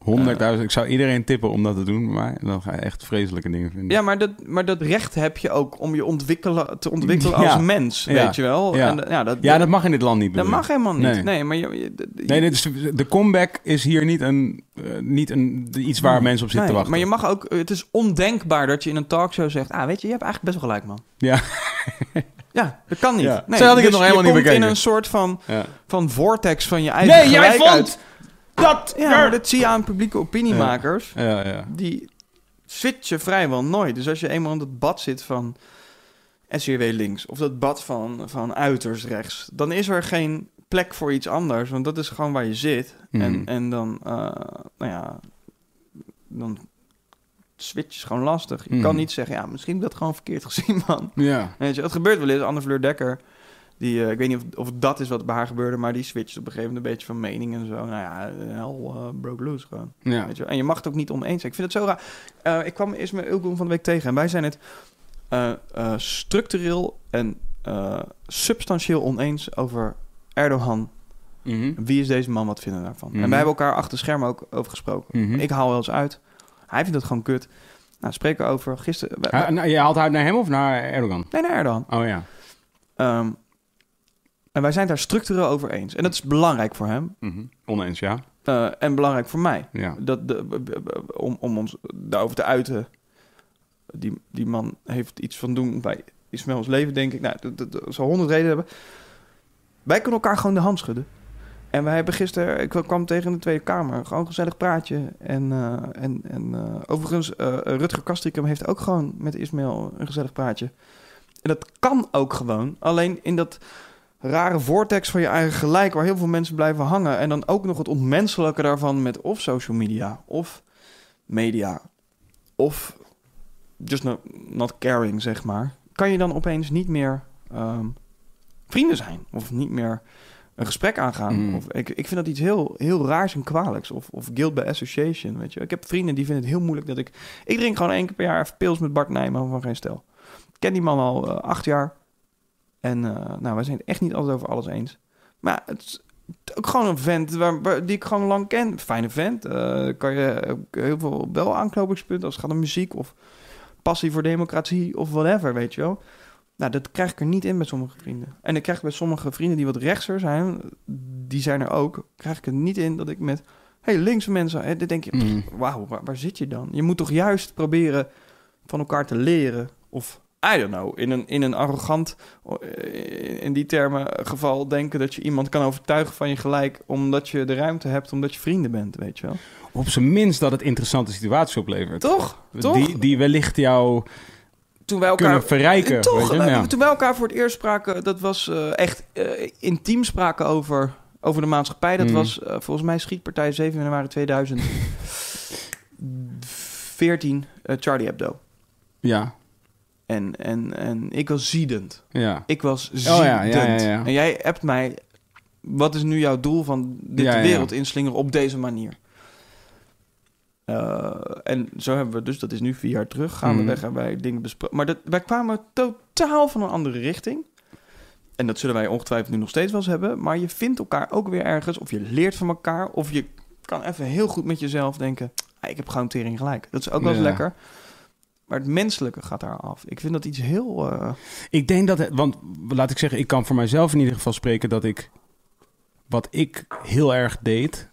S1: 100.000. Ik zou iedereen tippen om dat te doen, maar dan ga je echt vreselijke dingen vinden.
S3: ja maar, dat, maar dat recht heb je ook om je ontwikkelen, te ontwikkelen
S1: Ja.
S3: als mens,
S1: Ja.
S3: weet je wel.
S1: Ja.
S3: En, dat- ja, dat,
S1: Ja,
S3: dat,
S1: dat mag in dit land niet. bedoel ik.
S3: mag helemaal niet.
S1: Nee.
S3: Nee, maar je, je- dat-
S1: Nee, dit is, de comeback is hier niet, een, eh, niet een, iets waar
S3: Nee.
S1: mensen op zitten
S3: nee,
S1: te wachten.
S3: Maar je mag ook, het is ondenkbaar dat je in een talkshow zegt: Ah, weet je, je hebt eigenlijk best wel gelijk, man.
S1: Ja.
S3: ja, dat kan niet. dus
S1: Ja. Zo had ik het nog
S3: je
S1: helemaal niet
S3: komt
S1: bekeken.
S3: in een soort van,
S1: Ja.
S3: van vortex van je eigen gelijk uit.
S1: dat...
S3: Ja, maar dat zie je aan publieke opiniemakers.
S1: Ja, ja.
S3: die switchen vrijwel nooit. Dus als je eenmaal in dat bad zit van SCW links of dat bad van, van uiterst rechts, dan is er geen plek voor iets anders, want dat is gewoon waar je zit.
S1: Mhm.
S3: En, en dan, eh, nou ja, dan switch is gewoon lastig. Je
S1: Mhm.
S3: kan niet zeggen, ja, misschien heb ik dat gewoon verkeerd <laughs> gezien, man.
S1: Ja.
S3: Weet je, het gebeurt wel eens. Anne Fleur Dekker, die, eh, ik weet niet of, of dat is wat bij haar gebeurde, maar die switcht op een gegeven moment een beetje van mening en zo. Nou ja, hel eh, broke loose gewoon.
S1: Ja.
S3: Weet je wel. En je mag het ook niet oneens zijn. Ik vind het zo raar. Eh, ik kwam eerst met Ulgoen van de week tegen. En wij zijn het eh, eh, structureel en eh, substantieel oneens over Erdogan.
S1: Mhm.
S3: Wie is deze man? Wat vinden we daarvan?
S1: Mhm.
S3: En wij hebben elkaar achter schermen ook over gesproken.
S1: Mhm.
S3: Ik haal wel eens uit. Hij vindt het gewoon kut. Nou, spreken we over gisteren. wij-
S1: Ah,
S3: wij-
S1: nou, je haalt uit naar hem of naar Erdogan?
S3: Nee, naar Erdogan.
S1: Oh ja.
S3: Ehm, en wij zijn daar structureel over eens. En dat is belangrijk voor hem.
S1: Mhm. Oneens, ja.
S3: eh, en belangrijk voor mij.
S1: Ja.
S3: dat de, b- b- b- om, om ons daarover te uiten. Die, die man heeft iets van doen bij iets met ons leven, denk ik. Nou, dat, dat, dat zal honderd redenen hebben. Wij kunnen elkaar gewoon de hand schudden. En wij hebben gisteren, ik kwam tegen in de Tweede Kamer, gewoon een gezellig praatje. En, eh, en, en eh, overigens, eh, Rutger Kastricum heeft ook gewoon met Ismail een gezellig praatje. En dat kan ook gewoon. Alleen in dat rare vortex van je eigen gelijk, waar heel veel mensen blijven hangen. En dan ook nog het onmenselijke daarvan met of social media, of media, of just no- not caring, zeg maar. Kan je dan opeens niet meer ehm, vrienden zijn? Of niet meer een gesprek aangaan?
S1: Mm.
S3: Of, ik, ik vind dat iets heel, heel raars en kwalijks. Of, of guilt by association, weet je. Ik heb vrienden die vinden het heel moeilijk dat ik... Ik drink gewoon één keer per jaar even pils met Bart Nijman van Geen Stel. Ik ken die man al eh, acht jaar. En eh, nou, wij zijn het echt niet altijd over alles eens. Maar het, is- het is ook gewoon een vent waar, waar- die ik gewoon lang ken. Fijne vent. Eh, kan je ook heel veel wel aanknopingspunten als het gaat om muziek of passie voor democratie of whatever, weet je wel. Nou, dat krijg ik er niet in bij sommige vrienden. En ik krijg bij sommige vrienden die wat rechtser zijn, die zijn er ook, krijg ik het niet in dat ik met, hey, linkse mensen, hè, dit denk je,
S1: Mm.
S3: wauw, waar, waar zit je dan? Je moet toch juist proberen van elkaar te leren. Of, I don't know, in een, in een arrogant, eh, in die termen, eh, geval denken dat je iemand kan overtuigen van je gelijk. omdat je de ruimte hebt, omdat je vrienden bent, weet je wel.
S1: Op zijn minst dat het interessante situaties oplevert.
S3: Toch? Toch?
S1: Die, die wellicht jou
S3: Toen wij elkaar.
S1: kunnen verrijken.
S3: Toch,
S1: weet je?
S3: eh,
S1: Ja.
S3: toen wij elkaar voor het eerst spraken, dat was eh, echt eh, intiem spraken over, over de maatschappij. Dat
S1: Mhm.
S3: was eh, volgens mij schietpartij 7 januari 2014, eh, Charlie Hebdo.
S1: ja,
S3: En, en, en ik was ziedend.
S1: ja.
S3: Ik was ziedend.
S1: Oh ja, ja, ja, ja.
S3: En jij appt mij, wat is nu jouw doel van dit
S1: Ja, ja, ja.
S3: wereld inslingeren op deze manier? Eh, en zo hebben we dus, dat is nu vier jaar terug, gaan we
S1: Mhm.
S3: weg en wij dingen bespreken. Maar dat, wij kwamen totaal van een andere richting. En dat zullen wij ongetwijfeld nu nog steeds wel eens hebben. Maar je vindt elkaar ook weer ergens, of je leert van elkaar, of je kan even heel goed met jezelf denken. "Ah, ik heb gewoon tering gelijk. Dat is ook wel eens
S1: Ja.
S3: lekker. Maar het menselijke gaat daar af. Ik vind dat iets heel. eh,
S1: Ik denk dat, het- want laat ik zeggen, ik kan voor mijzelf in ieder geval spreken dat ik, wat ik heel erg deed,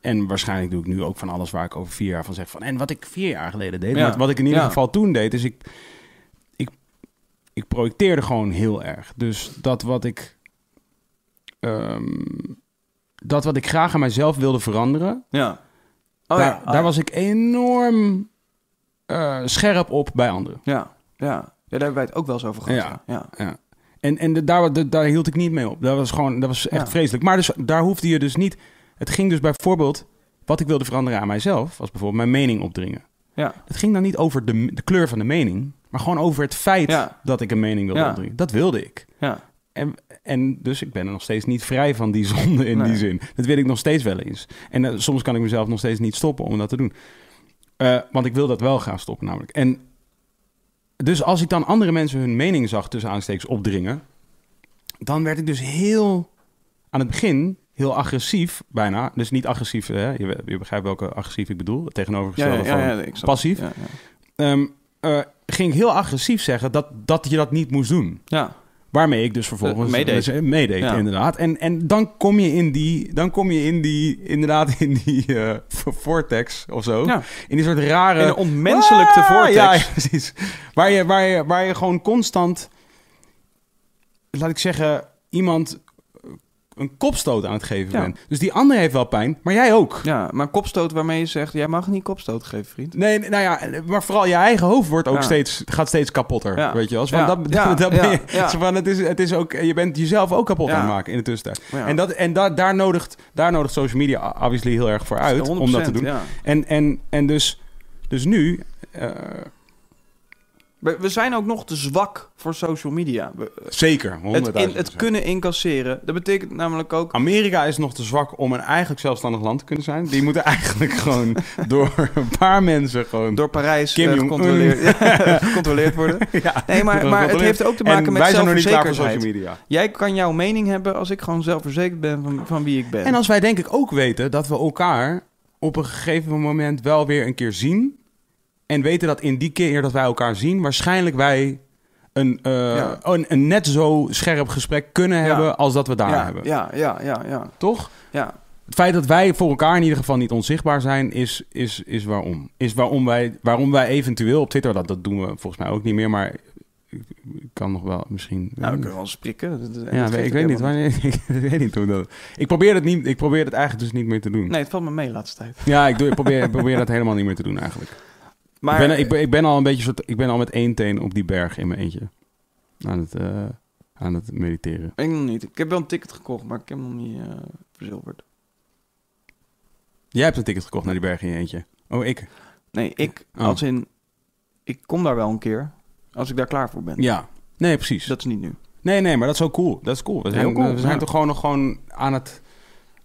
S1: en waarschijnlijk doe ik nu ook van alles waar ik over vier jaar van zeg van, en wat ik vier jaar geleden deed,
S3: Ja.
S1: maar wat ik in ieder
S3: Ja.
S1: geval toen deed, is ik, ik, ik projecteerde gewoon heel erg. Dus dat wat ik, ehm, dat wat ik graag aan mijzelf wilde veranderen,
S3: ja. Oh,
S1: daar,
S3: ja. Oh,
S1: daar was ik enorm eh, scherp op bij anderen.
S3: Ja, ja. ja daar hebben wij het ook wel eens over gehad.
S1: Ja.
S3: Ja. Ja.
S1: Ja. En, en de- daar, de- daar hield ik niet mee op. Dat was gewoon, dat was echt
S3: Ja.
S1: vreselijk. Maar dus, daar hoefde je dus niet. Het ging dus bijvoorbeeld, wat ik wilde veranderen aan mijzelf, was bijvoorbeeld mijn mening opdringen.
S3: Ja.
S1: Het ging dan niet over de, de kleur van de mening, maar gewoon over het feit
S3: Ja.
S1: dat ik een mening wilde
S3: Ja.
S1: opdringen. Dat wilde ik.
S3: Ja.
S1: En, en dus ik ben er nog steeds niet vrij van die <laughs> zonde in
S3: Nee.
S1: die zin. Dat weet ik nog steeds wel eens. En eh, soms kan ik mezelf nog steeds niet stoppen om dat te doen. Eh, want ik wil dat wel gaan stoppen namelijk. En dus als ik dan andere mensen hun mening zag tussen aanstekens opdringen... dan werd ik dus heel aan het begin heel agressief bijna. Dus niet agressief, hè? Je, je begrijpt welke agressief ik bedoel. Het tegenovergestelde
S3: ja, ja,
S1: van
S3: ik snap-
S1: passief.
S3: Ja, ja.
S1: Ehm, eh, ging ik heel agressief zeggen dat, dat je dat niet moest doen.
S3: ja.
S1: Waarmee ik dus vervolgens
S3: Eh, meedeed.
S1: dus, eh, meedeed,
S3: Ja.
S1: inderdaad. En, en dan kom je in die, dan kom je in die, inderdaad in die eh, vortex of zo.
S3: Ja.
S1: In die soort rare...
S3: In een ontmenselijkte
S1: Ah,
S3: vortex.
S1: Ja, <laughs> ja, precies. Waar je, waar, je, waar je gewoon constant, laat ik zeggen, iemand een kopstoot aan het geven
S3: Ja.
S1: bent. Dus die ander heeft wel pijn, maar jij ook.
S3: Ja, maar kopstoot waarmee je zegt, jij mag niet kopstoot geven, vriend.
S1: Nee, nee, nou ja, maar vooral je eigen hoofd wordt ook
S3: Ja.
S1: steeds, gaat steeds kapotter,
S3: Ja.
S1: weet je wel. Zo van,
S3: Ja.
S1: Dat, <laughs>
S3: Ja.
S1: dat ben je,
S3: Ja. Ja.
S1: zo van, het is, het is ook, je bent jezelf ook kapot
S3: Ja.
S1: aan het maken in de tussentijd.
S3: Ja.
S1: En, dat, en da, daar, nodigt, daar nodigt social media obviously heel erg voor uit om dat te
S3: 100%,
S1: doen.
S3: Ja.
S1: En, en, en dus, dus nu... eh,
S3: We, we zijn ook nog te zwak voor social media. We-
S1: zeker,
S3: het,
S1: 100.000
S3: in, het kunnen incasseren, dat betekent namelijk
S1: Ah,
S3: ook...
S1: Amerika is nog te zwak om een eigenlijk zelfstandig land te kunnen zijn. Die moeten <laughs> eigenlijk gewoon door een paar mensen gewoon...
S3: Door Parijs
S1: Kim
S3: eh,
S1: Jong-un.
S3: gecontroleerd, <laughs> ja, gecontroleerd worden.
S1: <laughs> ja,
S3: Nee, maar, maar het heeft ook te maken
S1: en
S3: met
S1: wij zijn nog niet klaar voor social
S3: zelfverzekerdheid.
S1: media.
S3: Jij kan jouw mening hebben als ik gewoon zelfverzekerd ben van, van wie ik ben.
S1: En als wij denk ik ook weten dat we elkaar op een gegeven moment wel weer een keer zien. En weten dat in die keer dat wij elkaar zien, waarschijnlijk wij een, eh,
S3: Ja.
S1: een, een net zo scherp gesprek kunnen
S3: Ja.
S1: hebben als dat we daar
S3: ja,
S1: hebben.
S3: ja, ja, ja, ja,
S1: Toch?
S3: ja.
S1: Het feit dat wij voor elkaar in ieder geval niet onzichtbaar zijn, is, is, is waarom. Is waarom wij, waarom wij eventueel op Twitter, dat, dat doen we volgens mij ook niet meer, maar ik, ik kan nog wel misschien...
S3: Nou, we kunnen wel eens prikken. Dat- dat- dat
S1: ja,
S3: geeft
S1: ik
S3: ook
S1: weet niet.
S3: helemaal
S1: Wanneer, <laughs> ik weet niet hoe dat... Ik probeer, het niet, ik probeer het eigenlijk dus niet meer te doen.
S3: Nee, het valt me mee de laatste tijd.
S1: Ja, ik, doe, ik probeer, ik probeer dat helemaal niet meer te doen eigenlijk.
S3: Maar
S1: ik, ben, ik, ben, ik ben al een beetje soort, ik ben al met één teen op die berg in mijn eentje. Aan het, eh, aan het mediteren.
S3: Ik nog niet. Ik heb wel een ticket gekocht, maar ik heb hem nog niet eh, verzilverd.
S1: Jij hebt een ticket gekocht naar die berg in je eentje. Oh, ik.
S3: Nee, ik
S1: Oh.
S3: als in ik kom daar wel een keer als ik daar klaar voor ben.
S1: Ja, nee, precies.
S3: Dat is niet nu.
S1: Nee, nee, maar dat is wel cool. Dat is cool. We zijn,
S3: Heel cool,
S1: we zijn
S3: ja.
S1: toch gewoon nog gewoon aan het,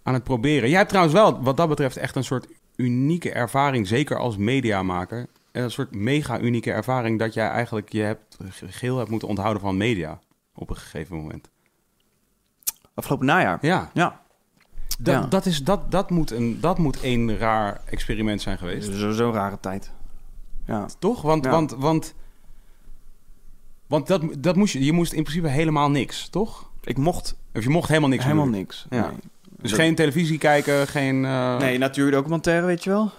S1: aan het proberen. Jij hebt trouwens wel, wat dat betreft, echt een soort unieke ervaring, zeker als mediamaker. Een soort mega unieke ervaring dat jij eigenlijk je hebt, geheel hebt moeten onthouden van media op een gegeven moment.
S3: Afgelopen najaar.
S1: Ja,
S3: Ja.
S1: dat,
S3: Ja.
S1: Dat, is, dat, dat, moet een, dat moet een raar experiment zijn geweest.
S3: Sowieso Dus rare tijd. Ja.
S1: Toch? Want,
S3: Ja.
S1: want, want, want dat, dat moest je, je moest in principe helemaal niks, toch?
S3: Ik mocht
S1: Of je mocht helemaal niks
S3: helemaal
S1: bedoel ik.
S3: niks.
S1: Ja.
S3: Nee.
S1: Dus geen televisie kijken, geen... eh,
S3: Nee, natuurdocumentaire, weet je wel.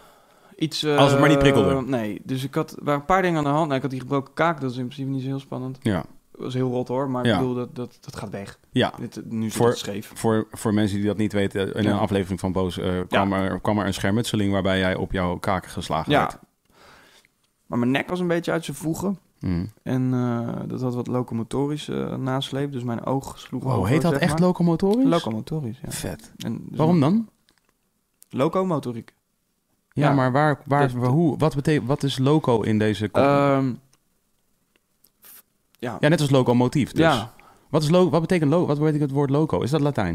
S3: Iets, eh,
S1: Als het maar niet prikkelde.
S3: Nee, dus ik had, er waren een paar dingen aan de hand. Nou, ik had die gebroken kaak, dat is in principe niet zo heel spannend.
S1: Ja,
S3: Dat was heel rot hoor, maar
S1: Ja.
S3: ik bedoel, dat, dat, dat gaat weg.
S1: ja.
S3: Dit, eh, nu zit
S1: Voor-
S3: het scheef.
S1: Voor, voor mensen die dat niet weten, eh, in een
S3: Ja.
S1: aflevering van Boos eh, kwam, er, kwam er een schermutseling waarbij jij op jouw kaken geslagen werd.
S3: Ja. Maar mijn nek was een beetje uit zijn voegen.
S1: Mm.
S3: En eh, dat had wat locomotorisch eh, nasleep, dus mijn oog sloeg
S1: Wow,
S3: over,
S1: heet dat
S3: zeg
S1: echt
S3: maar.
S1: locomotorisch?
S3: Locomotorisch, ja.
S1: Vet.
S3: En dus
S1: Waarom dan?
S3: Locomotoriek.
S1: Ja,
S3: Ja.
S1: maar waar, waar,
S3: Dus-
S1: waar- hoe, wat, betekent, wat is loco in deze... kop-
S3: Ehm, f- ja,
S1: ja, net als locomotief dus.
S3: ja,
S1: Wat, is lo wat, betekent lo wat betekent het woord loco? Is dat Latijn?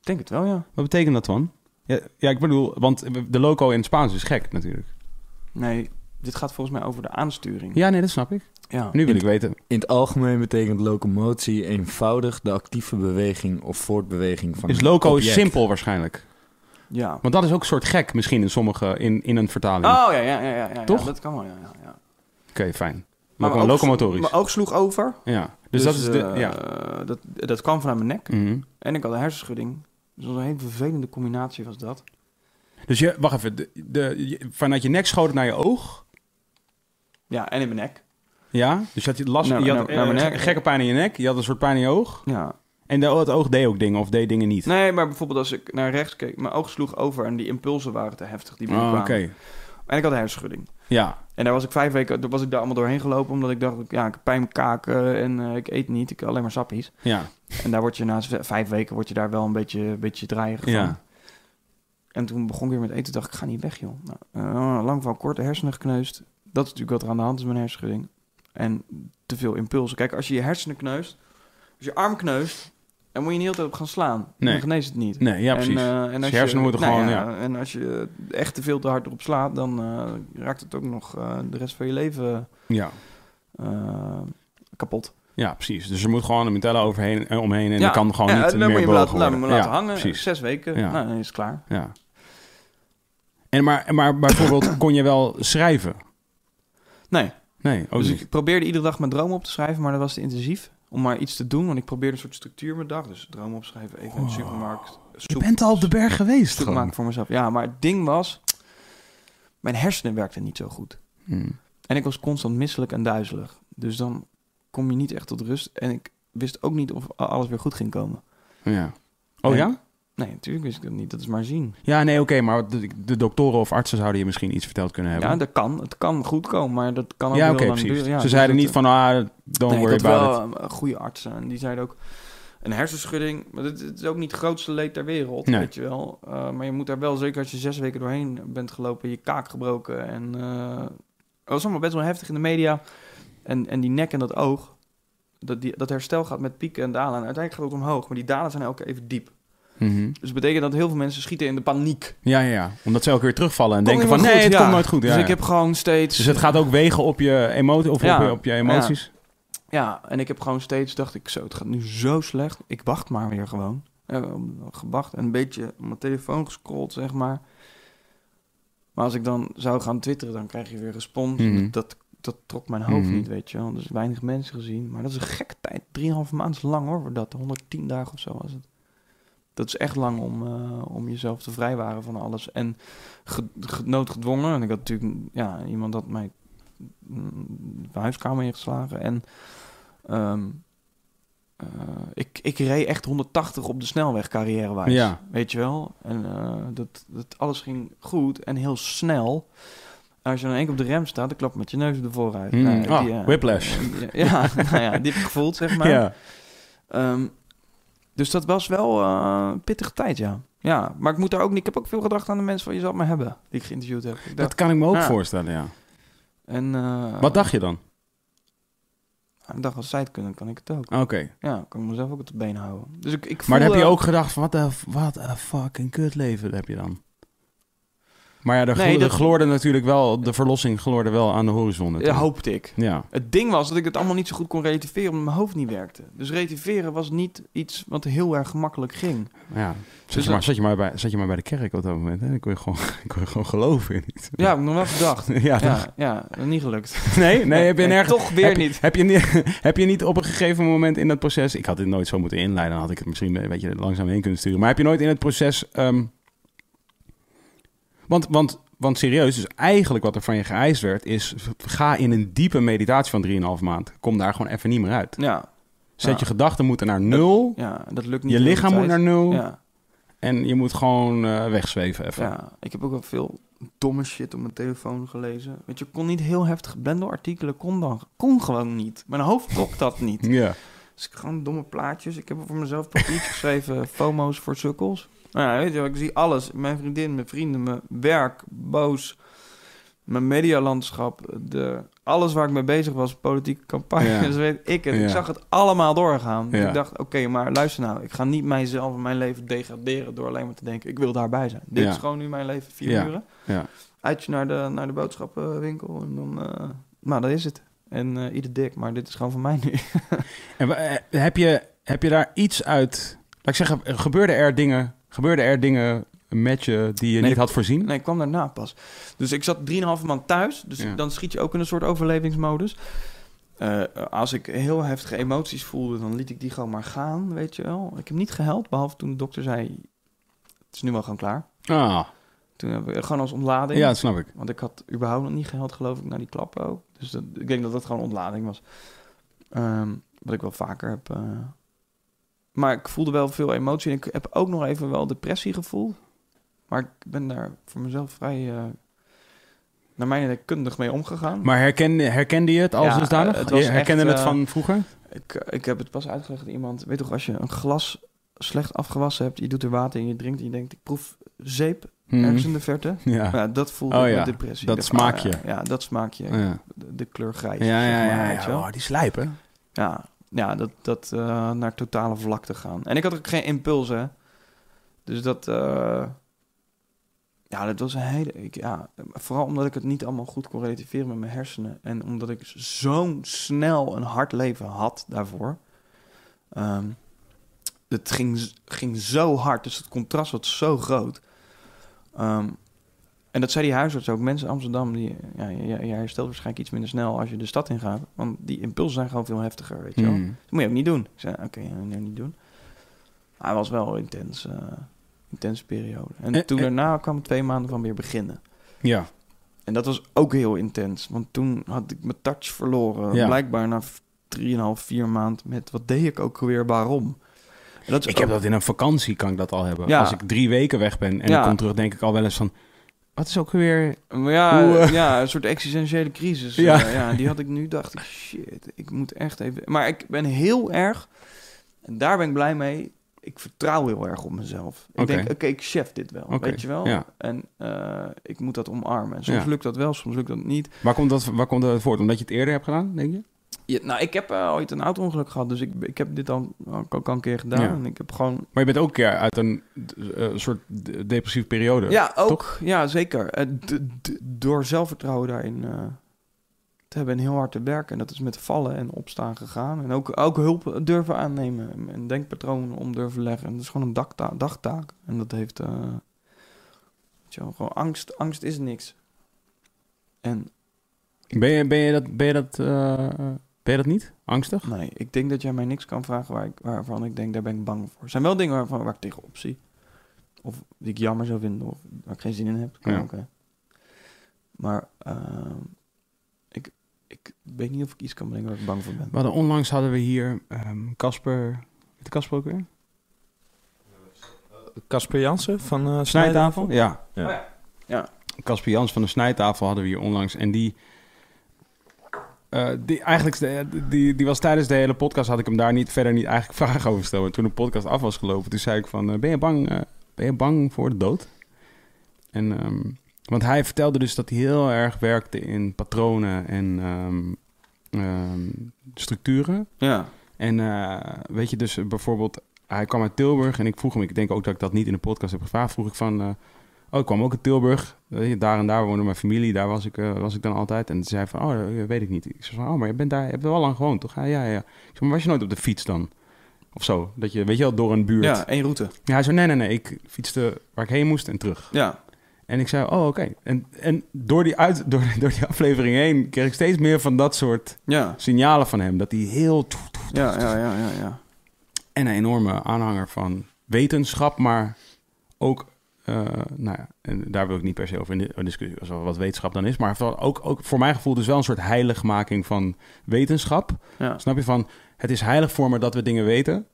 S3: ik denk het wel, ja.
S1: Wat betekent dat dan? Ja, ja, ik bedoel, want de loco in het Spaans is gek natuurlijk.
S3: Nee, dit gaat volgens mij over de aansturing.
S1: Ja, nee, dat snap ik.
S3: ja.
S1: Nu wil ik weten.
S2: In het algemeen betekent locomotie eenvoudig de actieve beweging of voortbeweging van
S1: Is
S2: een
S1: loco
S2: object.
S1: simpel waarschijnlijk?
S3: ja.
S1: Want dat is ook een soort gek misschien in sommige, in, in een vertaling.
S3: Oh ja, ja, ja, ja, ja, ja,
S1: Toch?
S3: dat kan wel, ja. ja, ja.
S1: Oké, fijn.
S3: Maar
S1: Maar
S3: mijn oog-
S1: locomotorisch.
S3: Mijn oog sloeg over.
S1: Ja, dus, dat is de...
S3: eh,
S1: ja.
S3: dat, dat kwam vanuit mijn nek.
S1: Mhm.
S3: En ik had een hersenschudding. Dus dat was een hele vervelende combinatie was dat.
S1: Dus je, wacht even. De, de, je- vanuit je nek schoot het naar je oog.
S3: Ja, en in mijn nek.
S1: Ja, dus je had last,
S3: Nou,
S1: je had
S3: nou,
S1: eh,
S3: naar mijn
S1: ge-
S3: nek.
S1: gekke pijn in je nek. Je had een soort pijn in je oog.
S3: Ja.
S1: En de, het oog deed ook dingen of deed dingen niet.
S3: Nee, maar bijvoorbeeld als ik naar rechts keek, mijn oog sloeg over en die impulsen waren te heftig die
S1: Ah,
S3: binnenkwamen.
S1: Oké,
S3: En ik had een hersenschudding.
S1: ja.
S3: En daar was ik vijf weken, daar was ik daar allemaal doorheen gelopen, omdat ik dacht, ja, ik heb pijn in mijn kaken en eh, ik eet niet, ik alleen maar sappies.
S1: ja.
S3: En daar word je na z- vijf weken, word je daar wel een beetje, beetje draaierig van.
S1: Ja.
S3: En toen begon ik weer met eten, dacht ik, ik ga niet weg, joh. Nou, eh, lang van kort, de hersenen gekneusd. Dat is natuurlijk wat er aan de hand is met een hersenschudding. En te veel impulsen. Kijk, als je je hersenen kneust, als je arm kneust, dan moet je niet heel de hele tijd op gaan slaan.
S1: Nee.
S3: Dan geneest het niet.
S1: Nee, ja, precies. Dus
S3: En, eh, en als
S1: je hersenen
S3: je,
S1: moeten gewoon, ja.
S3: En als je echt te veel te hard erop slaat, dan eh, raakt het ook nog eh, de rest van je leven
S1: ja.
S3: eh, kapot.
S1: ja, precies. Dus er moet gewoon een metellen overheen en omheen en
S3: Ja.
S1: dat kan gewoon
S3: Ja,
S1: niet
S3: dan
S1: meer
S3: moet je hem
S1: bewogen
S3: laten, laten,
S1: worden.
S3: laten
S1: ja,
S3: hangen.
S1: Precies.
S3: Zes weken.
S1: Ja.
S3: Nou, dan is het klaar.
S1: Ja. En maar, maar
S3: <coughs>
S1: bijvoorbeeld kon je wel schrijven?
S3: Nee.
S1: Nee, ook
S3: dus
S1: niet.
S3: ik probeerde iedere dag mijn dromen op te schrijven, maar dat was te intensief om maar iets te doen. Want ik probeerde een soort structuur mijn dag. Dus dromen opschrijven, even in de
S1: Wow.
S3: supermarkt.
S1: Oh. Je
S3: Soep,
S1: bent al op de berg geweest
S3: soep
S1: gewoon.
S3: maken voor mezelf. Ja, maar het ding was, mijn hersenen werkten niet zo goed.
S1: Hmm.
S3: En ik was constant misselijk en duizelig. Dus dan kom je niet echt tot rust. En ik wist ook niet of a- alles weer goed ging komen.
S1: Ja. Oh
S3: En-
S1: ja?
S3: Nee, natuurlijk wist ik dat niet. Dat is maar zien.
S1: Ja, nee, oké, maar de, de doktoren of artsen zouden je misschien iets verteld kunnen hebben.
S3: Ja, dat kan. Het kan goed komen, maar dat kan ook
S1: Ja,
S3: heel
S1: oké,
S3: lang
S1: precies.
S3: duren. Ja,
S1: Ze
S3: dus
S1: zeiden
S3: dat-
S1: niet van, ah, don't
S3: nee,
S1: worry
S3: ik had
S1: about it.
S3: wel eh, goede artsen. En die zeiden ook een hersenschudding. Maar dit, dit is ook niet het grootste leed ter wereld,
S1: Nee.
S3: weet je wel. Eh, maar je moet daar wel, zeker als je zes weken doorheen bent gelopen... je kaak gebroken en... eh het was allemaal best wel heftig in de media. En, en die nek en dat oog... Dat, die, dat herstel gaat met pieken en dalen. En uiteindelijk gaat het omhoog. Maar die dalen zijn elke keer even diep.
S1: Mhm.
S3: Dus dat betekent dat heel veel mensen schieten in de paniek.
S1: Ja, ja, ja. Omdat ze elke keer terugvallen en
S3: Komt
S1: denken van,
S3: helemaal
S1: nee,
S3: goed,
S1: het
S3: ja.
S1: komt nooit goed. Ja,
S3: dus
S1: ja.
S3: ik heb gewoon steeds...
S1: Dus het gaat ook wegen op je, emotie, of op,
S3: Ja.
S1: je, op je emoties.
S3: Ja, en ik heb gewoon steeds dacht ik zo, het gaat nu zo slecht. Ik wacht maar weer gewoon. Eh, gewacht en een beetje op mijn telefoon gescrolld, zeg maar. Maar als ik dan zou gaan twitteren, dan krijg je weer respons.
S1: Mhm.
S3: Dat, dat trok mijn hoofd
S1: Mhm.
S3: niet, weet je wel. Dus weinig mensen gezien. Maar dat is een gekke tijd. 3,5 maand is lang hoor, voor dat. 110 dagen of zo was het. Dat is echt lang om, eh, om jezelf te vrijwaren van alles. En ge- ge- noodgedwongen. En ik had natuurlijk, ja, iemand had mij mm, de huiskamer ingeslagen. En ehm, eh, ik, ik reed echt 180 op de snelweg carrièrewijs.
S1: Ja.
S3: Weet je wel? En eh, dat, dat alles ging goed en heel snel. En als je dan één keer op de rem staat, dan klap je met je neus op de vooruit.
S1: Mhm.
S3: Nou, die,
S1: Ah,
S3: eh, <laughs>
S1: whiplash.
S3: ja, nou ja, die heb ik gevoeld, zeg maar.
S1: Ja.
S3: Ehm, dus dat was wel eh, een pittige tijd, ja. Ja, maar ik moet daar ook niet... Ik heb ook veel gedacht aan de mensen van je zal het maar hebben, die ik geïnterviewd heb. Ik dacht,
S1: Dat kan ik me ook
S3: Ja.
S1: voorstellen, ja.
S3: En, eh,
S1: Wat dacht je dan?
S3: Ik dacht, als zij het kunnen, kan ik het ook.
S1: Oké.
S3: Ja, kan ik mezelf ook op de been houden. Dus ik, ik
S1: Maar dan
S3: voel,
S1: heb je
S3: eh,
S1: ook gedacht van, wat een wat een fucking kutleven heb je dan. Maar ja, er,
S3: Nee,
S1: glo-
S3: dat-
S1: er gloorde natuurlijk wel, de verlossing gloorde wel aan de horizon.
S3: ja,
S1: natuurlijk.
S3: hoopte ik.
S1: Ja.
S3: Het ding was dat ik het allemaal niet zo goed kon relativeren, omdat mijn hoofd niet werkte. Dus relativeren was niet iets wat heel erg gemakkelijk ging.
S1: Ja, zet,
S3: Dus
S1: je, maar, zet, je, maar bij, zet je maar bij de kerk op dat moment. Hè? Dan kon je gewoon, <laughs> kon je gewoon geloven in iets. <laughs>
S3: Ja, heb ik nog wel gedacht.
S1: ja, toch?
S3: Ja, ja, niet gelukt.
S1: Nee, <laughs> nee, heb je nergens...
S3: Toch weer
S1: heb je-
S3: niet.
S1: Heb je, niet, <laughs> heb je niet op een gegeven moment in dat proces... Ik had dit nooit zo moeten inleiden. Dan had ik het misschien eh, een beetje langzaam heen kunnen sturen. Maar heb je nooit in het proces... ehm, want, want, want serieus, dus eigenlijk wat er van je geëist werd... is ga in een diepe meditatie van 3,5 maand. Kom daar gewoon even niet meer uit.
S3: Ja,
S1: Zet
S3: Ja.
S1: je gedachten moeten naar nul.
S3: ja, dat lukt niet.
S1: Je
S3: de hele
S1: lichaam moet naar
S3: tijd.
S1: nul.
S3: Ja,
S1: En je moet gewoon eh, wegzweven even.
S3: ja, ik heb ook wel veel domme shit op mijn telefoon gelezen. Weet je, ik kon niet heel heftig blende artikelen, kon, dan, kon gewoon niet. Mijn hoofd trok dat niet.
S1: ja.
S3: Dus ik gewoon domme plaatjes. Ik heb voor mezelf papiertjes geschreven, <laughs> FOMO's voor sukkels. Nou ja, weet je wel, ik zie alles. Mijn vriendin, mijn vrienden, mijn werk, boos. Mijn medialandschap, de, alles waar ik mee bezig was, politieke <laughs> campagnes,
S1: Ja.
S3: weet ik het.
S1: Ja.
S3: Ik zag het allemaal doorgaan. Dus
S1: Ja.
S3: ik dacht, oké, maar luister nou, ik ga niet mijzelf en mijn leven degraderen door alleen maar te denken, ik wil daarbij zijn. Dit
S1: Ja.
S3: is gewoon nu mijn leven, vier
S1: Ja.
S3: uren.
S1: Ja.
S3: Uitje naar de, naar de boodschappenwinkel en dan, eh, nou, dat is het. En eh, ieder dik, maar dit is gewoon van mij nu.
S1: En wa- eh, heb je, heb je daar iets uit... Laat ik zeggen, gebeurde er dingen, gebeurde er dingen met je die je
S3: Nee.
S1: niet had voorzien?
S3: Nee, ik kwam daarna pas. Dus ik zat 3,5 maand thuis. Dus
S1: Ja.
S3: dan schiet je ook in een soort overlevingsmodus. Eh, als ik heel heftige emoties voelde, dan liet ik die gewoon maar gaan, weet je wel. Ik heb niet gehuild, behalve toen de dokter zei... Het is nu wel gewoon klaar.
S1: Ah,
S3: Toen hebben we gewoon als ontlading.
S1: ja, dat snap ik.
S3: Want ik had überhaupt nog niet gehuild, geloof ik, na die klap ook. Dus dat, ik denk dat dat gewoon ontlading was. Ehm, wat ik wel vaker heb. eh. Maar ik voelde wel veel emotie. En ik heb ook nog even wel depressiegevoel. Maar ik ben daar voor mezelf vrij... eh, naar mijn idee kundig mee omgegaan.
S1: Maar herkende, herkende je het als
S3: Ja,
S1: dusdanig?
S3: het was
S1: je herkende
S3: echt,
S1: het
S3: eh,
S1: van vroeger?
S3: Ik, eh, ik heb het pas uitgelegd aan iemand. Weet toch, als je een glas slecht afgewassen hebt... je doet er water in, je drinkt en je denkt... ik proef zeep
S1: Mhm.
S3: ergens in de verte.
S1: <laughs> Ja.
S3: Ja, dat voelde
S1: Oh
S3: ik
S1: ja,
S3: met depressie.
S1: dat
S3: Ik dacht,
S1: smaak
S3: ah,
S1: je.
S3: ja, Ja, dat smaak je.
S1: Ja,
S3: De, de kleur grijs.
S1: ja,
S3: zeg
S1: ja.
S3: maar,
S1: ja,
S3: weet je
S1: ja.
S3: wel.
S1: Oh, die slijpen.
S3: Ja, ja dat, dat eh, naar totale vlakte gaan. En ik had ook geen impulsen. Dus dat. eh, ja, dat was een hele. Ik, ja, vooral omdat ik het niet allemaal goed kon relativeren met mijn hersenen. En omdat ik zo'n snel een hard leven had daarvoor. Ehm, het ging, z- ging zo hard. Dus het contrast was zo groot. Ehm, en dat zei die huisarts ook. Mensen in Amsterdam, die, ja, je, je herstelt waarschijnlijk iets minder snel als je de stad ingaat. Want die impulsen zijn gewoon veel heftiger, weet je wel.
S1: Hmm.
S3: Dat moet je ook niet doen. Ik zei, oké, ja, nee, niet doen. Maar Hij was wel een intens, eh, intense periode. En
S1: Eh,
S3: toen
S1: eh.
S3: daarna kwam het twee maanden van weer beginnen.
S1: Ja.
S3: En dat was ook heel intens. Want toen had ik mijn touch verloren.
S1: Ja.
S3: Blijkbaar na v- 3,5, 4 maand met wat deed ik ook weer, waarom? En Dat is
S1: Ik heb
S3: ook-
S1: dat in een vakantie, kan ik dat al hebben.
S3: Ja.
S1: Als ik drie weken weg ben en
S3: Ja.
S1: ik kom terug, denk ik al wel eens van... Wat is ook weer...
S3: Maar ja,
S1: Hoe, eh,
S3: ja, een soort existentiële crisis.
S1: <laughs> Ja.
S3: Ja. ja, die had ik nu, dacht ik, shit, ik moet echt even... Maar ik ben heel erg, en daar ben ik blij mee, ik vertrouw heel erg op mezelf. Ik
S1: Oké.
S3: denk, oké, ik chef dit wel,
S1: Oké,
S3: weet je wel?
S1: ja.
S3: En eh, ik moet dat omarmen. En soms
S1: Ja.
S3: lukt dat wel, soms lukt dat niet.
S1: Waar komt dat, waar komt dat voort? Omdat je het eerder hebt gedaan, denk je?
S3: Ja, nou, ik heb eh, ooit een auto-ongeluk gehad, dus ik, ik heb dit dan ook al een keer gedaan.
S1: Ja.
S3: En ik heb gewoon
S1: Maar je bent ook een keer uit een eh, soort de- depressieve periode.
S3: Ja, ook. Ja, zeker. Eh, d- d- door zelfvertrouwen daarin eh, te hebben en heel hard te werken. En dat is met vallen en opstaan gegaan. En ook, ook hulp durven aannemen. En denkpatroon om durven leggen. En dat is gewoon een dagta- dagtaak. En dat heeft... eh, weet je wel, gewoon angst. Angst is niks. En
S1: Ben je, ben je dat, ben je dat, eh, ben je dat niet? Angstig?
S3: nee, ik denk dat jij mij niks kan vragen waar ik, waarvan ik denk, daar ben ik bang voor. Er zijn wel dingen waarvan, waar ik tegenop zie. Of die ik jammer zou vinden, of waar ik geen zin in heb. Kan
S1: Ja.
S3: ook, hè. Maar ehm, ik, ik weet niet of ik iets kan bedenken waar ik bang voor ben.
S1: We hadden, onlangs hadden we hier ehm, Casper... heet Casper ook weer?
S2: Casper Jansen van eh
S1: Snijtafel? Ja.
S2: Ja.
S3: Oh ja.
S1: Casper Jans van de Snijtafel hadden we hier onlangs. En die... eh, die, eigenlijk, de- die, die was tijdens de hele podcast, had ik hem daar niet, verder niet eigenlijk <laughs> vragen over stellen. En toen de podcast af was gelopen, toen zei ik van, eh, ben, je bang, eh, ben je bang voor de dood? En ehm, Want hij vertelde dus dat hij heel erg werkte in patronen en ehm, ehm, structuren.
S3: Ja.
S1: En eh, weet je, dus bijvoorbeeld, hij kwam uit Tilburg en ik vroeg hem, ik denk ook dat ik dat niet in de podcast heb gevraagd, vroeg ik van, eh, oh, ik kwam ook uit Tilburg, weet je, daar en daar woonde mijn familie, daar was ik, eh, was ik dan altijd. En toen zei hij van, oh, dat weet ik niet. Ik zei van, oh, maar je bent daar, je hebt er wel lang gewoond, toch? Ja, ja, ja. Ik zei, maar was je nooit op de fiets dan? Of zo, dat je, weet je wel, door een buurt.
S3: ja, één route.
S1: Ja, hij zei, nee, nee, nee, ik fietste waar ik heen moest en terug.
S3: Ja.
S1: En ik zei, oh, oké. En, en door, die uit, <laughs> door, door die aflevering heen kreeg ik steeds meer van dat soort
S3: Ja.
S1: signalen van hem. Dat hij heel...
S3: Ja, ja, ja, ja, ja.
S1: En een enorme aanhanger van wetenschap, maar ook... eh, nou ja, en daar wil ik niet per se over in de discussie over wat wetenschap dan is. Maar vooral ook, ook voor mijn gevoel dus wel een soort heiligmaking van wetenschap.
S3: ja.
S1: Snap je van, het is heilig voor me dat we dingen weten.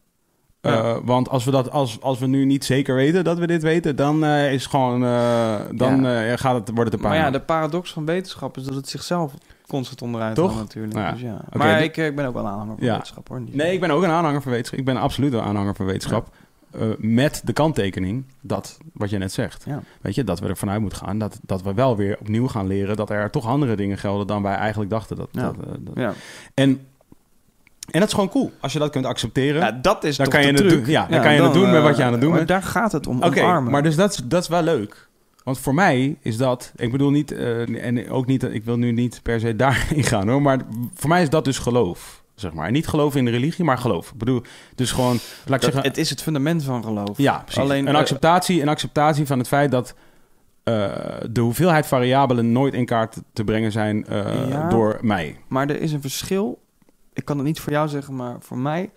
S1: Eh,
S3: Ja.
S1: want als we, dat, als, als we nu niet zeker weten dat we dit weten, dan eh, is gewoon, eh, dan eh, gaat het, wordt het een
S3: Maar
S1: paar.
S3: ja, de paradox van wetenschap is dat het zichzelf constant onderuit
S1: Toch?
S3: haalt natuurlijk.
S1: Nou ja.
S3: Dus ja.
S1: Oké,
S3: maar
S1: die-
S3: ik, eh, ik ben ook wel een aanhanger van
S1: Ja.
S3: wetenschap hoor. Niet-
S1: Nee, ik ben ook een aanhanger van wetenschap. Ik ben absoluut een aanhanger van wetenschap. Eh, met de kanttekening dat, wat je net zegt.
S3: Ja.
S1: Weet je, dat we ervan uit moeten gaan dat, dat we wel weer opnieuw gaan leren dat er toch andere dingen gelden dan wij eigenlijk dachten. Dat,
S3: Ja.
S1: dat, eh, dat-
S3: Ja.
S1: En, en dat is gewoon cool. Als je dat kunt accepteren,
S3: Ja, Nou, dat is
S1: dan
S3: toch
S1: kan je
S3: de
S1: het
S3: truc.
S1: doen. Ja, dan kan je het doen met
S3: eh,
S1: wat je aan het doen
S3: maar
S1: bent.
S3: Daar gaat het om,
S1: Oké,
S3: omarmen.
S1: maar dus dat is, dat is wel leuk. Want voor mij is dat, ik bedoel niet, eh, en ook niet, ik wil nu niet per se <laughs> daarin gaan hoor, maar voor mij is dat dus geloof, zeg maar. En niet geloof in de religie, maar geloof. Ik bedoel, dus gewoon, laat ik
S3: Dat-
S1: zeggen,
S3: het is het fundament van geloof.
S1: ja, precies.
S3: alleen,
S1: een,
S3: eh,
S1: acceptatie, een acceptatie van het feit dat eh, de hoeveelheid variabelen nooit in kaart te brengen zijn eh,
S3: Ja.
S1: door mij.
S3: Maar er is een verschil. Ik kan het niet voor jou zeggen, maar voor mij.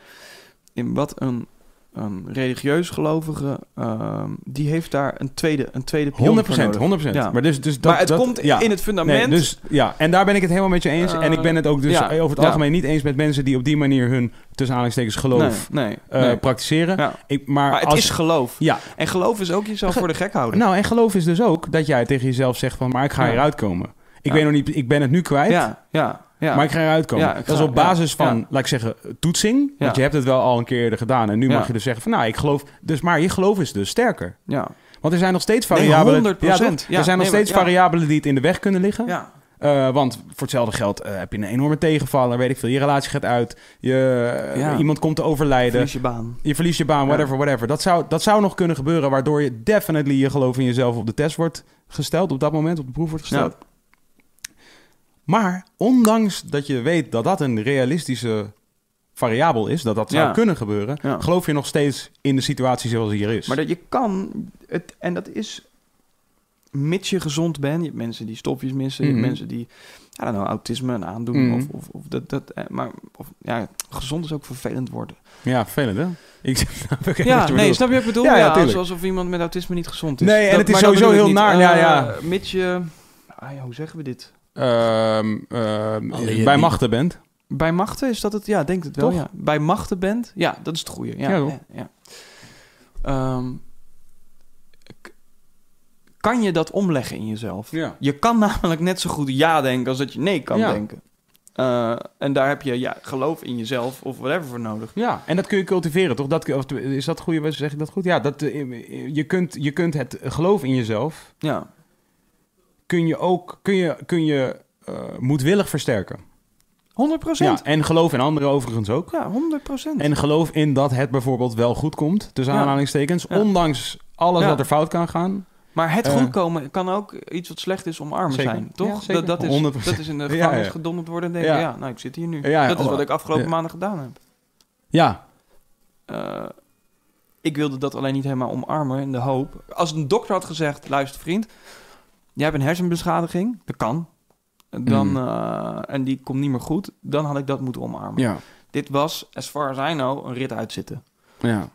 S3: In wat een, een religieus gelovige. ehm, die heeft daar een tweede, een tweede
S1: 100%,
S3: pion
S1: 100%.
S3: voor nodig. Ja.
S1: Maar, dus, dus dat,
S3: maar het
S1: dat-
S3: komt
S1: ja.
S3: in het
S1: Nee,
S3: fundament.
S1: dus, ja, en daar ben ik het helemaal met je eens.
S3: Eh,
S1: en ik ben het ook dus
S3: ja,
S1: over het
S3: ja.
S1: algemeen niet eens met mensen die op die manier hun tussen aanhalingstekens geloof
S3: Nee, nee,
S1: eh,
S3: nee.
S1: praktiseren.
S3: Ja.
S1: Ik, maar,
S3: Maar het
S1: als,
S3: is geloof.
S1: Ja.
S3: En geloof is ook jezelf
S1: Ge-
S3: voor de gek houden.
S1: Nou, en geloof is dus ook dat jij tegen jezelf zegt van, maar ik ga
S3: Ja.
S1: eruit komen. Ik
S3: Ja.
S1: weet nog niet, ik ben het nu kwijt,
S3: ja, ja, ja.
S1: maar ik ga eruit komen.
S3: Ja, ik
S1: dat is
S3: ga-
S1: op basis
S3: ja,
S1: van,
S3: ja.
S1: laat ik zeggen, toetsing.
S3: Ja.
S1: Want je hebt het wel al een keer eerder gedaan. En nu
S3: Ja.
S1: mag je dus zeggen van, nou, ik geloof. Dus, maar je geloof is dus sterker.
S3: ja.
S1: Want er zijn nog steeds
S3: Nee,
S1: variabelen.
S3: 100%.
S1: toch?
S3: Ja,
S1: er zijn nog
S3: nee, maar-
S1: steeds
S3: ja.
S1: variabelen die het in de weg kunnen liggen.
S3: ja.
S1: Eh, want voor hetzelfde geld eh, heb je een enorme tegenvaller, weet ik veel. Je relatie gaat uit, je, eh,
S3: Ja.
S1: iemand komt te overlijden,
S3: Verlies je baan.
S1: je verliest je baan, whatever, whatever. Dat zou, dat zou nog kunnen gebeuren, waardoor je definitely je geloof in jezelf op de test wordt gesteld, op dat moment op de proef wordt gesteld. Maar ondanks dat je weet dat dat een realistische variabel is, dat dat zou
S3: Ja.
S1: kunnen gebeuren,
S3: Ja.
S1: geloof je nog steeds in de situatie zoals die hier is.
S3: Maar dat je kan, het, en dat is, mits je gezond bent, je hebt mensen die stofjes missen, je hebt
S1: Mhm.
S3: mensen die, I don't know, autisme en aandoen,
S1: Mhm.
S3: of, of, of dat, dat, eh, maar, of, ja, gezond is ook vervelend worden.
S1: Ja, vervelend hè? Ik <laughs> snap ook echt wat je
S3: Ja, nee,
S1: bedoelt.
S3: snap je wat ik bedoel?
S1: Ja,
S3: Ja,
S1: ja,
S3: alsof,
S1: tuurlijk.
S3: alsof iemand met autisme niet gezond is.
S1: Nee, en het is
S3: maar
S1: sowieso
S3: bedoel ik
S1: heel
S3: niet.
S1: naar, ja,
S3: Eh, Mits je, ah, ja, hoe zeggen we dit?
S1: Ehm, ehm,
S2: Alleen je
S1: bij
S2: niet.
S1: machten bent.
S3: Bij machten is dat het, ja, ik denk het wel,
S1: Toch?
S3: ja. Bij machten bent, ja, dat is het goede.
S1: Ja,
S3: Ja, ja,
S1: toch?
S3: ja, Ehm, k- kan je dat omleggen in jezelf?
S1: Ja.
S3: Je kan <laughs> namelijk net zo goed ja denken als dat je nee kan
S1: Ja.
S3: denken. Eh, en daar heb je ja, geloof in jezelf of whatever voor nodig.
S1: Ja, en dat kun je cultiveren, toch? Dat, kun- of, is dat goede woord? Zeg ik dat goed? Ja, dat, eh, je, kunt, je kunt het geloof in jezelf...
S3: Ja,
S1: kun je ook kun je, kun je, eh, moedwillig versterken.
S3: 100
S1: Ja, en geloof in anderen overigens ook.
S3: Ja, 100 procent.
S1: En geloof in dat het bijvoorbeeld wel goed komt, tussen
S3: Ja.
S1: aanhalingstekens.
S3: Ja.
S1: Ondanks alles
S3: Ja.
S1: wat er fout kan gaan.
S3: Maar het
S1: Eh,
S3: goedkomen kan ook iets wat slecht is omarmen
S1: Zeker.
S3: zijn,
S1: Ja,
S3: toch?
S1: zeker.
S3: dat, dat, is,
S1: 100%.
S3: dat is in de <laughs>
S1: Ja,
S3: gevangenis
S1: ja.
S3: gedonderd worden en denken, ja.
S1: Ja.
S3: nou, ik zit hier nu.
S1: Ja,
S3: dat is
S1: oh,
S3: wat ik afgelopen
S1: ja.
S3: maanden gedaan heb.
S1: Ja,
S3: Eh, ik wilde dat alleen niet helemaal omarmen in de hoop. Als een dokter had gezegd: luister, vriend, jij hebt een hersenbeschadiging, dat kan. Dan,
S1: Mhm.
S3: eh, en die komt niet meer goed, dan had ik dat moeten omarmen.
S1: ja,
S3: Dit was, as far as I know, een rit uitzitten.
S1: ja.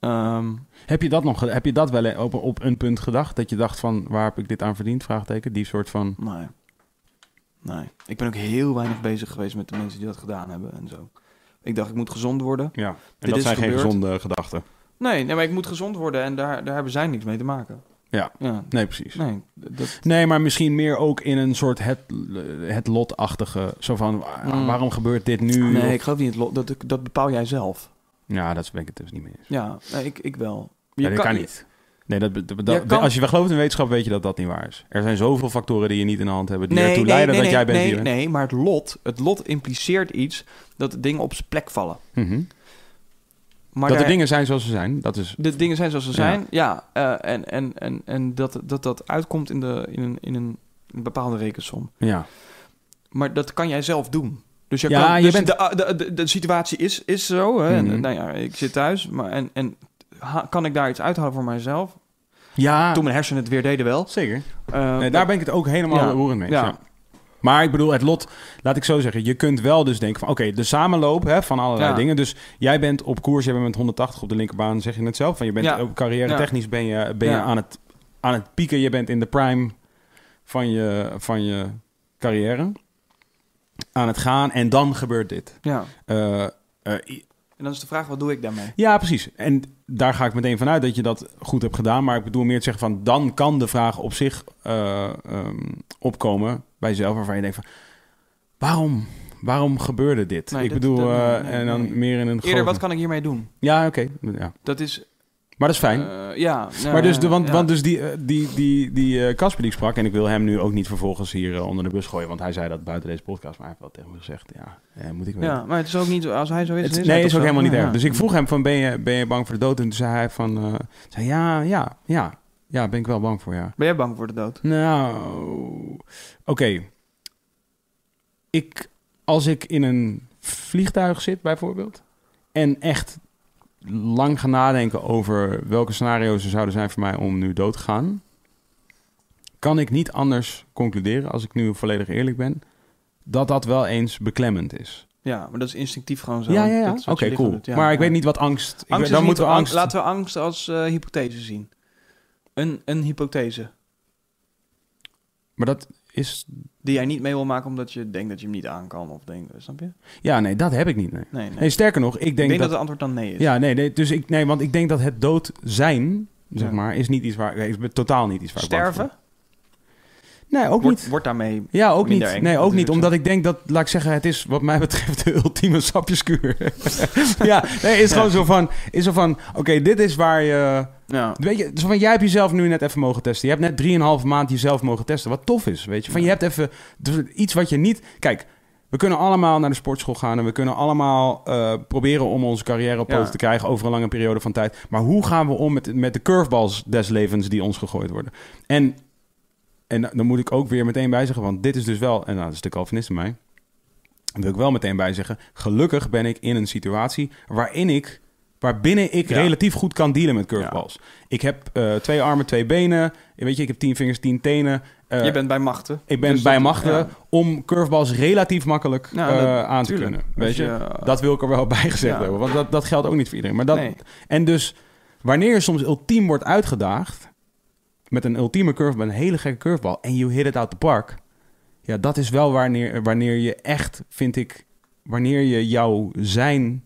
S3: Ehm,
S1: Heb je dat, nog, ge- heb je dat wel op, op een punt gedacht? Dat je dacht van, waar heb ik dit aan verdiend? Vraagteken. Die soort van...
S3: nee. nee. Ik ben ook heel weinig bezig geweest met de mensen die dat gedaan hebben en zo. Ik dacht, ik moet gezond worden.
S1: Ja, en
S3: Dit is gebeurd.
S1: gezonde gedachten.
S3: Nee, nee maar ik moet gezond worden en daar, daar hebben zij niks mee te maken.
S1: Ja.
S3: ja.
S1: Nee, precies.
S3: Nee, dat,
S1: Nee, maar misschien meer ook in een soort het, het lotachtige. Zo van, wa-
S3: Mm.
S1: waarom gebeurt dit nu?
S3: nee
S1: Of-
S3: ik geloof niet. in het lot. Dat, dat bepaal jij zelf.
S1: Ja, dat ben ik het dus niet meer eens.
S3: Ja, nee, ik, ik wel.
S1: Ja, dat kan niet. Nee, dat, be- dat-
S3: Ja,
S1: dat-
S3: kan-
S1: als je wel gelooft in wetenschap, weet je dat dat niet waar is. Er zijn zoveel factoren die je niet in de hand hebt, die ertoe leiden dat jij bent
S3: nee,
S1: wie je bent.
S3: nee, maar het lot, het lot impliceert iets dat de dingen op zijn plek vallen.
S1: Mhm. dat
S3: Maar daar-
S1: er dingen zijn zoals ze zijn, dat is...
S3: de dingen zijn zoals ze zijn, ja. eh, en en, en, en dat, dat dat uitkomt in, de, in, een, in een bepaalde rekensom.
S1: Ja,
S3: Maar dat kan jij zelf doen. Dus, je
S1: Ja,
S3: kan,
S1: je
S3: dus
S1: bent-
S3: de, de, de, de situatie is, is zo. Hè? En,
S1: Mhm.
S3: nou ja, ik zit thuis. Maar, en en ha- kan ik daar iets uithalen voor mijzelf?
S1: ja
S3: Toen mijn hersenen het weer deden wel.
S1: zeker.
S3: Eh,
S1: Ah. Nee, daar ben ik het ook helemaal
S3: Ja.
S1: roerend mee. eens,
S3: Ja.
S1: Ja. Maar ik bedoel, het lot, laat ik zo zeggen, je kunt wel dus denken van oké, de samenloop hè, van allerlei
S3: Ja.
S1: dingen. Dus jij bent op koers, jij bent met 180 op de linkerbaan, zeg je net zelf. Van je bent
S3: Ja.
S1: op carrière technisch ben je, ben je
S3: Ja.
S1: aan, het, aan het pieken, je bent in de prime van je, van je carrière aan het gaan en dan gebeurt dit.
S3: ja.
S1: Eh, eh,
S3: En dan is de vraag, wat doe ik daarmee?
S1: ja, precies. En daar ga ik meteen vanuit dat je dat goed hebt gedaan. Maar ik bedoel meer te zeggen van... dan kan de vraag op zich eh, ehm, opkomen bij jezelf... waarvan je denkt van... waarom, waarom gebeurde dit?
S3: Nee,
S1: ik
S3: dit-
S1: bedoel,
S3: dat-
S1: eh,
S3: nee, nee,
S1: en dan
S3: nee.
S1: meer in een...
S3: Eerder,
S1: grote-
S3: wat kan ik hiermee doen?
S1: Ja, oké. Ja.
S3: Dat is...
S1: Maar dat is fijn.
S3: eh, ja. nou,
S1: maar dus, de, want,
S3: ja.
S1: want dus die, eh, die, die, die eh, Casper die ik sprak... en ik wil hem nu ook niet vervolgens hier eh, onder de bus gooien... want hij zei dat buiten deze podcast... maar hij heeft wel tegen me gezegd... ja, eh, moet ik weten.
S3: Ja, maar het is ook niet... Als hij zo is,
S1: Het-
S3: dan is
S1: nee,
S3: hij
S1: is
S3: toch
S1: ook
S3: zo.
S1: helemaal niet
S3: Ja,
S1: erg.
S3: ja.
S1: Dus ik vroeg hem van, ben je, ben je bang voor de dood? En toen zei hij van, eh, zei, ja, ja, ja, ja, ben ik wel bang voor, ja.
S3: Ben jij bang voor de dood?
S1: Nou, oké. Ik, als ik in een vliegtuig zit bijvoorbeeld... en echt lang ga nadenken over welke scenario's er zouden zijn voor mij om nu dood te gaan... kan ik niet anders concluderen, als ik nu volledig eerlijk ben... dat dat wel eens beklemmend is.
S3: Ja, maar dat is instinctief gewoon zo.
S1: Ja, ja, ja.
S3: Dat is
S1: Oké,
S3: wat je lichaam
S1: cool.
S3: doet, ja.
S1: maar ik
S3: Ja.
S1: weet niet wat angst... ik
S3: Angst
S1: weet-
S3: is
S1: dan
S3: niet-
S1: moeten we
S3: ang-
S1: angst...
S3: Laten we angst als eh, hypothese zien. Een, een hypothese
S1: Maar dat is...
S3: die jij niet mee wil maken omdat je denkt dat je hem niet aan kan. Of denkt, snap je?
S1: Ja, nee, dat heb ik niet, nee.
S3: Nee, nee.
S1: Nee, sterker nog, ik
S3: ik denk
S1: denk
S3: dat...
S1: dat...
S3: het antwoord dan nee is.
S1: ja, nee, nee, dus ik, nee, want ik denk dat het dood zijn, zeg
S3: Ja.
S1: maar, is niet iets waar... Is totaal niet iets waar ik bang voor
S3: Sterven
S1: ben. Nee, ook
S3: wordt,
S1: niet.
S3: wordt daarmee...
S1: Ja, ook niet.
S3: minder eng,
S1: nee, ook niet.
S3: natuurlijk,
S1: Omdat ik denk dat, laat ik zeggen, het is wat mij <laughs> betreft de ultieme sapjeskuur. <laughs> ja, nee, is gewoon zo van, is zo van oké, dit is waar je...
S3: Ja.
S1: Weet je, zo van, jij hebt jezelf nu net even mogen testen. Je hebt net 3,5 maand jezelf mogen testen. Wat tof is, weet je. Van, je hebt even dus iets wat je niet... Kijk, we kunnen allemaal naar de sportschool gaan... en we kunnen allemaal eh, proberen om onze carrière op
S3: Ja.
S1: poten te krijgen... over een lange periode van tijd. Maar hoe gaan we om met, met de curveballs des levens die ons gegooid worden? En, en dan moet ik ook weer meteen bij zeggen... want dit is dus wel... en nou, dat is de Calvinist in mij... wil ik wel meteen bij zeggen... gelukkig ben ik in een situatie waarin ik... waarbinnen ik
S3: Ja.
S1: relatief goed kan dealen met curveballs. Ik heb eh, twee armen, twee benen. Weet je, ik heb tien vingers, tien tenen. Eh,
S3: je bent bij machten.
S1: ik ben
S3: Dus
S1: bij
S3: dat-
S1: machten
S3: ja.
S1: om curveballs relatief makkelijk
S3: Ja,
S1: eh,
S3: dat-
S1: aan te
S3: tuurlijk.
S1: kunnen.
S3: Als
S1: Weet je?
S3: eh,
S1: dat wil ik er wel bij gezegd
S3: ja.
S1: hebben. Want dat, dat geldt ook niet voor iedereen. Maar dat,
S3: Nee.
S1: En dus, wanneer je soms ultiem wordt uitgedaagd... met een ultieme curvebal, een hele gekke curvebal... en you hit it out the park... ja, dat is wel wanneer, wanneer je echt, vind ik... wanneer je jouw zijn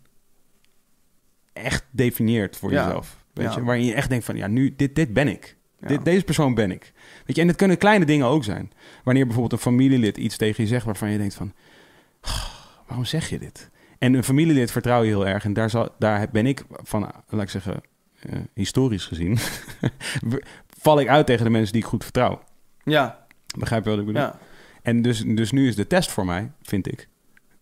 S1: echt definieert voor
S3: Ja.
S1: jezelf. Weet
S3: Ja.
S1: je? Waarin je echt denkt van, ja, nu, dit, dit ben ik.
S3: ja.
S1: Dit, deze persoon ben ik. Weet je, en het kunnen kleine dingen ook zijn. Wanneer bijvoorbeeld een familielid iets tegen je zegt waarvan je denkt van... "Ah, Waarom zeg je dit? En een familielid vertrouw je heel erg. En daar, zal, daar ben ik van, laat ik zeggen, eh, historisch gezien... <laughs> val ik uit tegen de mensen die ik goed vertrouw.
S3: Ja,
S1: Begrijp je wat ik bedoel?
S3: ja.
S1: En dus, dus nu is de test voor mij, vind ik...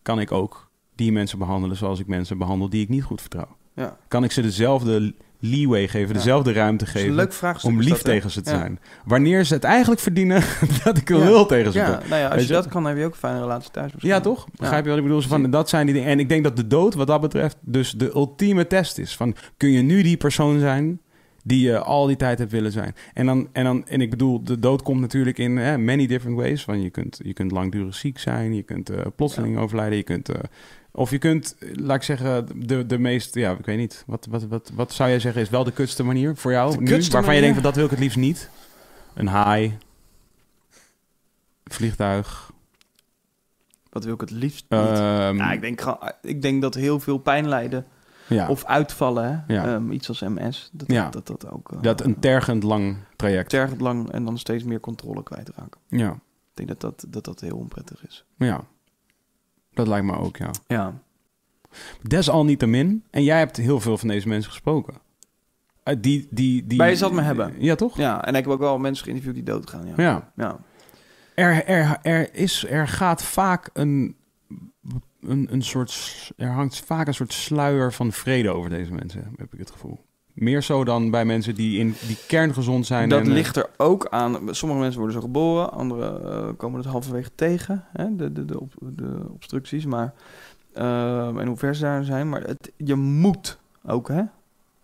S1: kan ik ook die mensen behandelen zoals ik mensen behandel die ik niet goed vertrouw?
S3: ja.
S1: Kan ik ze dezelfde leeway geven,
S3: Ja. Dus
S1: dezelfde ruimte
S3: Dat is
S1: geven?
S3: een leuk vraagstuk.
S1: om
S3: is
S1: lief
S3: dat, hè?
S1: tegen ze te
S3: Ja.
S1: zijn. Wanneer ze het eigenlijk verdienen <laughs> dat ik een
S3: Ja.
S1: lul tegen ze
S3: Ja,
S1: ben.
S3: nou ja, als
S1: Weet
S3: je
S1: je?
S3: dat kan, heb je ook een fijne relatie
S1: Ja,
S3: thuis. waarschijnlijk.
S1: toch? Begrijp je wat ik bedoel? Zo Van, dat zijn die dingen. En ik denk dat de dood wat dat betreft dus de ultieme test is. Van, kun je nu die persoon zijn die je al die tijd hebt willen zijn? En, dan, en, dan, en ik bedoel, de dood komt natuurlijk in hè, many different ways. Van, je, kunt, je kunt langdurig ziek zijn, je kunt eh, plotseling overlijden, je kunt... eh, of je kunt, eh, laat ik zeggen, de, de meest... Ja, ik weet niet. Wat, wat, wat, wat zou jij zeggen is wel de kutste manier voor jou
S3: De
S1: nu?
S3: kutste
S1: Waarvan je
S3: manier?
S1: denkt, van, dat wil ik het liefst niet. Een haai. Vliegtuig.
S3: Wat wil ik het liefst niet?
S1: ehm,
S3: Nou, ik, denk, gewoon- ik denk dat heel veel pijn lijden
S1: ja.
S3: of uitvallen, hè?
S1: Ja.
S3: Ehm, iets als MS, dat
S1: Ja.
S3: dat, dat, ook eh,
S1: Dat een tergend lang traject.
S3: tergend lang en dan steeds meer controle kwijtraken.
S1: Ja,
S3: Ik denk dat dat, dat, dat heel onprettig is.
S1: ja. Dat lijkt me ook, ja.
S3: Ja.
S1: Desalniettemin, en jij hebt heel veel van deze mensen gesproken. Eh, die, die, die,
S3: Maar je zal het maar hebben.
S1: Ja, toch?
S3: Ja, en ik heb ook wel mensen geïnterviewd die doodgaan. Ja.
S1: ja.
S3: ja.
S1: Er, er, er, is, er gaat vaak een, een, een soort. s- Er hangt vaak een soort sluier van vrede over deze mensen, heb ik het gevoel. Meer zo dan bij mensen die, in, die kerngezond zijn.
S3: dat
S1: en, eh,
S3: ligt er ook aan. Sommige mensen worden zo geboren, andere eh, komen het halverwege tegen, hè, de, de, de, op- de obstructies. Maar, ehm, en hoe ver ze daar zijn. Maar het, je moet ook, hè?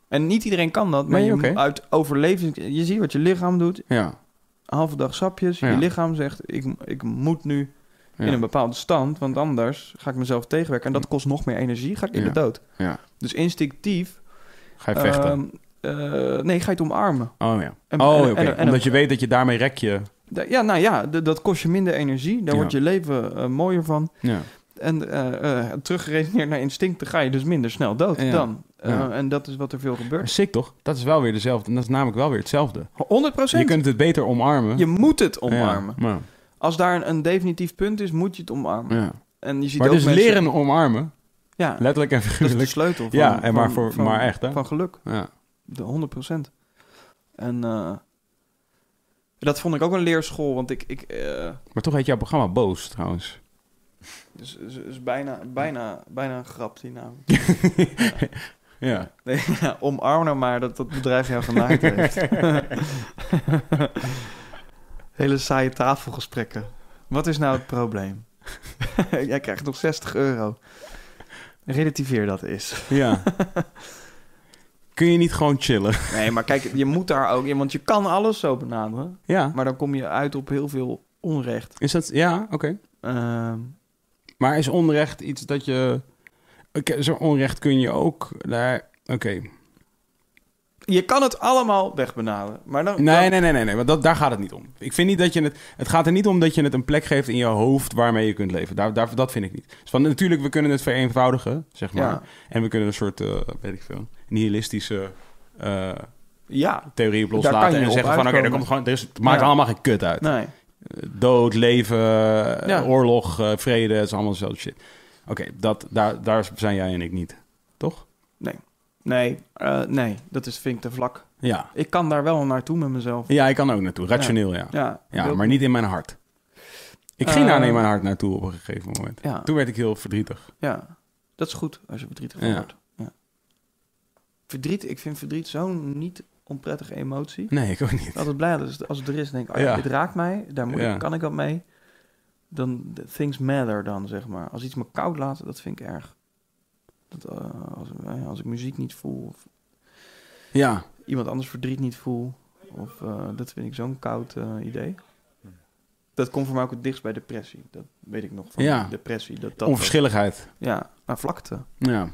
S3: En niet iedereen kan dat, maar
S1: Nee,
S3: je
S1: oké.
S3: moet uit overleving. Je ziet wat je lichaam doet.
S1: Ja.
S3: Halve dag sapjes.
S1: Ja.
S3: Je lichaam zegt: ik, ik moet nu
S1: ja.
S3: in een bepaalde stand, want anders ga ik mezelf tegenwerken. En dat kost nog meer energie, ga ik in
S1: Ja.
S3: de dood.
S1: Ja.
S3: Dus instinctief.
S1: Ga je vechten?
S3: ehm, eh, nee, ga je het omarmen.
S1: oh ja.
S3: en-
S1: oh,
S3: en-
S1: oké.
S3: en- en-
S1: Omdat je weet dat je daarmee rek je.
S3: Da- Ja, nou ja, d- dat kost je minder energie. Daar
S1: Ja.
S3: wordt je leven eh, mooier van.
S1: Ja.
S3: En eh, eh, teruggeredeneerd naar instincten ga je dus minder snel dood
S1: Ja.
S3: dan. Eh,
S1: Ja.
S3: En dat is wat er veel gebeurt.
S1: Sick toch? Dat is wel weer dezelfde. Dat is namelijk wel weer hetzelfde.
S3: 100
S1: Je
S3: procent. Je,
S1: kunt het beter omarmen.
S3: moet het omarmen.
S1: Ja. Maar,
S3: Als daar een, een definitief punt is, moet je het omarmen.
S1: ja.
S3: En je ziet
S1: maar
S3: ook
S1: dus
S3: mensen-
S1: leren omarmen.
S3: Ja, dat
S1: Letterlijk en
S3: is dus- de
S1: figuurlijk.
S3: sleutel. Van,
S1: Ja, en maar,
S3: van-
S1: voor,
S3: van-
S1: maar echt hè?
S3: Van geluk.
S1: Ja.
S3: De 100 procent. En eh, dat vond ik ook een leerschool, want ik... ik eh,
S1: Maar toch heet jouw programma Boos trouwens.
S3: <laughs> dus, is is bijna, bijna, bijna een grap, die naam.
S1: Ja.
S3: Nee, ja, <laughs> omarm nou maar dat dat bedrijf jou gemaakt <laughs> heeft. Hele saaie tafelgesprekken. Wat is nou het probleem? <laughs> Jij krijgt nog 60 euro. Relativeer dat is.
S1: ja. Kun je niet gewoon chillen?
S3: Nee, maar kijk, je moet daar ook in, want je kan alles zo benaderen.
S1: Ja.
S3: Maar dan kom je uit op heel veel onrecht.
S1: Is dat... Ja, oké.
S3: Ehm,
S1: Maar is onrecht iets dat je... Oké, Zo'n onrecht kun je ook... Daar... Oké.
S3: je kan het allemaal wegbenaderen. Maar dan,
S1: Nee,
S3: dan-
S1: nee, nee, nee, nee. Want dat, daar gaat het niet om. Ik vind niet dat je het... Het gaat er niet om dat je het een plek geeft in je hoofd waarmee je kunt leven. Daar, daar, dat vind ik niet. Dus van, natuurlijk, we kunnen het vereenvoudigen, zeg maar.
S3: Ja,
S1: En we kunnen een soort, eh, weet ik veel, nihilistische... eh,
S3: ja,
S1: theorie op
S3: Daar
S1: loslaten
S3: kan je
S1: en
S3: op
S1: zeggen van oké,
S3: uitkomen.
S1: daar komt gewoon, er is, het maakt
S3: Ja.
S1: allemaal geen kut uit.
S3: nee.
S1: Dood, leven, eh,
S3: Ja.
S1: oorlog, eh, vrede, het is allemaal dezelfde shit. Oké, dat, daar, daar zijn jij en ik niet, toch?
S3: Nee, eh, nee, dat is, vind ik te vlak.
S1: Ja.
S3: Ik kan daar wel naartoe met mezelf.
S1: Ja, ik kan ook naartoe. Rationeel, ja. Ja,
S3: Ja, wil-
S1: maar niet in mijn hart. Ik ging
S3: Eh.
S1: daar in mijn hart naartoe op een gegeven moment.
S3: Ja,
S1: Toen werd ik heel verdrietig.
S3: ja, dat is goed als je verdrietig van
S1: Ja.
S3: wordt. Ja. Verdriet, ik vind verdriet zo'n niet onprettige emotie.
S1: Nee, ik ook niet.
S3: Altijd blij als, het- als het er is, denk ik, oh ja,
S1: Hm. Ja.
S3: dit raakt mij, daar moet ik-
S1: Ja.
S3: kan ik wat mee. Dan things matter dan, zeg maar. Als iets me koud laat, dat vind ik erg. Dat, eh, als, eh, als ik muziek niet voel, of
S1: Ja,
S3: iemand anders verdriet niet voel, of eh, dat vind ik zo'n koud eh, idee. Dat komt voor mij ook het dichtst bij depressie. Dat weet ik nog van
S1: Ja.
S3: depressie. Dat, dat
S1: onverschilligheid.
S3: Ja, naar vlakte.
S1: Ja,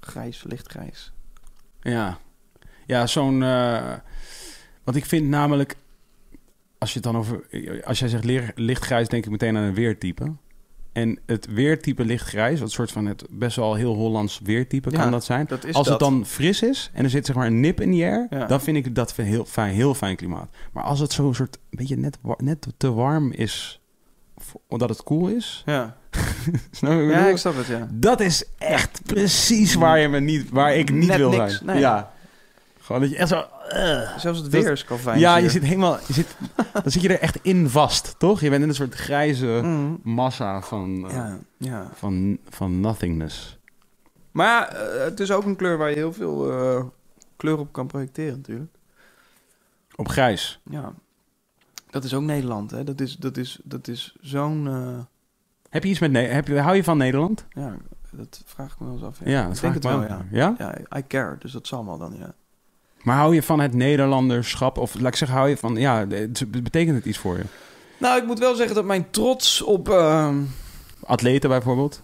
S3: Grijs, lichtgrijs.
S1: ja. Ja, zo'n... eh, want ik vind namelijk... Als, je het dan over, als jij zegt leer- lichtgrijs, denk ik meteen aan een weertype. En het weertype lichtgrijs, wat soort van het best wel heel Hollands weertype
S3: Ja.
S1: kan dat zijn.
S3: Dat is
S1: als
S3: dat.
S1: het dan fris is en er zit zeg maar een nip in die air,
S3: Ja.
S1: dan vind ik dat een heel fijn, heel fijn klimaat. Maar als het zo'n soort een beetje net, wa- net te warm is, voor- omdat het koel is.
S3: Ja.
S1: Snap je wat ik
S3: ja,
S1: bedoel?
S3: ik snap het, ja.
S1: Dat is echt precies waar, je me niet, waar ik niet
S3: Net
S1: wil
S3: niks,
S1: zijn.
S3: nee.
S1: Ja. Gewoon dat je echt zo... eh.
S3: Zelfs het
S1: Dat-
S3: weer is kalfijn.
S1: Ja, je
S3: hier.
S1: zit helemaal... Je zit, dan zit je er echt in vast, toch? Je bent in een soort grijze
S3: Mm.
S1: massa van, eh,
S3: Ja, ja.
S1: van, van nothingness.
S3: Maar ja, eh, het is ook een kleur waar je heel veel eh, kleur op kan projecteren natuurlijk.
S1: Op grijs.
S3: Ja. Dat is ook Nederland, hè. Dat is, dat is, dat is zo'n... eh,
S1: Heb je iets met... Ne- Heb je, hou je van Nederland?
S3: ja, dat vraag ik me wel eens af.
S1: Ja, dat
S3: denk
S1: vraag
S3: het
S1: ik me
S3: wel,
S1: ook.
S3: ja.
S1: ja?
S3: Ja, I care, dus dat zal wel dan, ja.
S1: Maar hou je van het Nederlanderschap? Of laat ik zeggen, hou je van... Ja, het, betekent het iets voor je?
S3: Nou, ik moet wel zeggen dat mijn trots op... ehm, <laughs>
S1: Atleten bijvoorbeeld?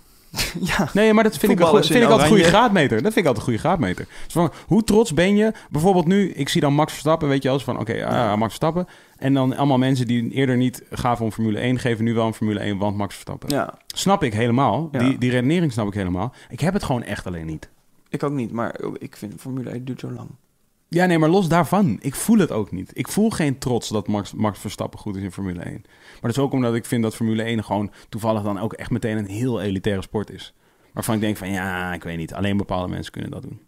S3: ja,
S1: Nee, maar dat vind ik,
S3: Voetballers
S1: vind ik
S3: in
S1: altijd een goede
S3: oranje.
S1: graadmeter. Dat vind ik altijd een goede graadmeter. Dus van, hoe trots ben je? Bijvoorbeeld nu, ik zie dan Max Verstappen, weet je wel. eens van, oké, ah, ja, Max Verstappen. En dan allemaal mensen die eerder niet gaven om Formule 1... geven nu wel een Formule 1, want Max Verstappen.
S3: ja,
S1: Snap ik helemaal.
S3: Ja.
S1: Die, die redenering snap ik helemaal. Ik heb het gewoon echt alleen niet.
S3: ik ook niet, maar ik vind Formule 1 duurt zo lang.
S1: Ja, nee, maar los daarvan. Ik voel het ook niet. Ik voel geen trots dat Max, Max Verstappen goed is in Formule 1. Maar dat is ook omdat ik vind dat Formule 1 gewoon toevallig dan ook echt meteen een heel elitaire sport is. Waarvan ik denk van, ja, ik weet niet. Alleen bepaalde mensen kunnen dat doen.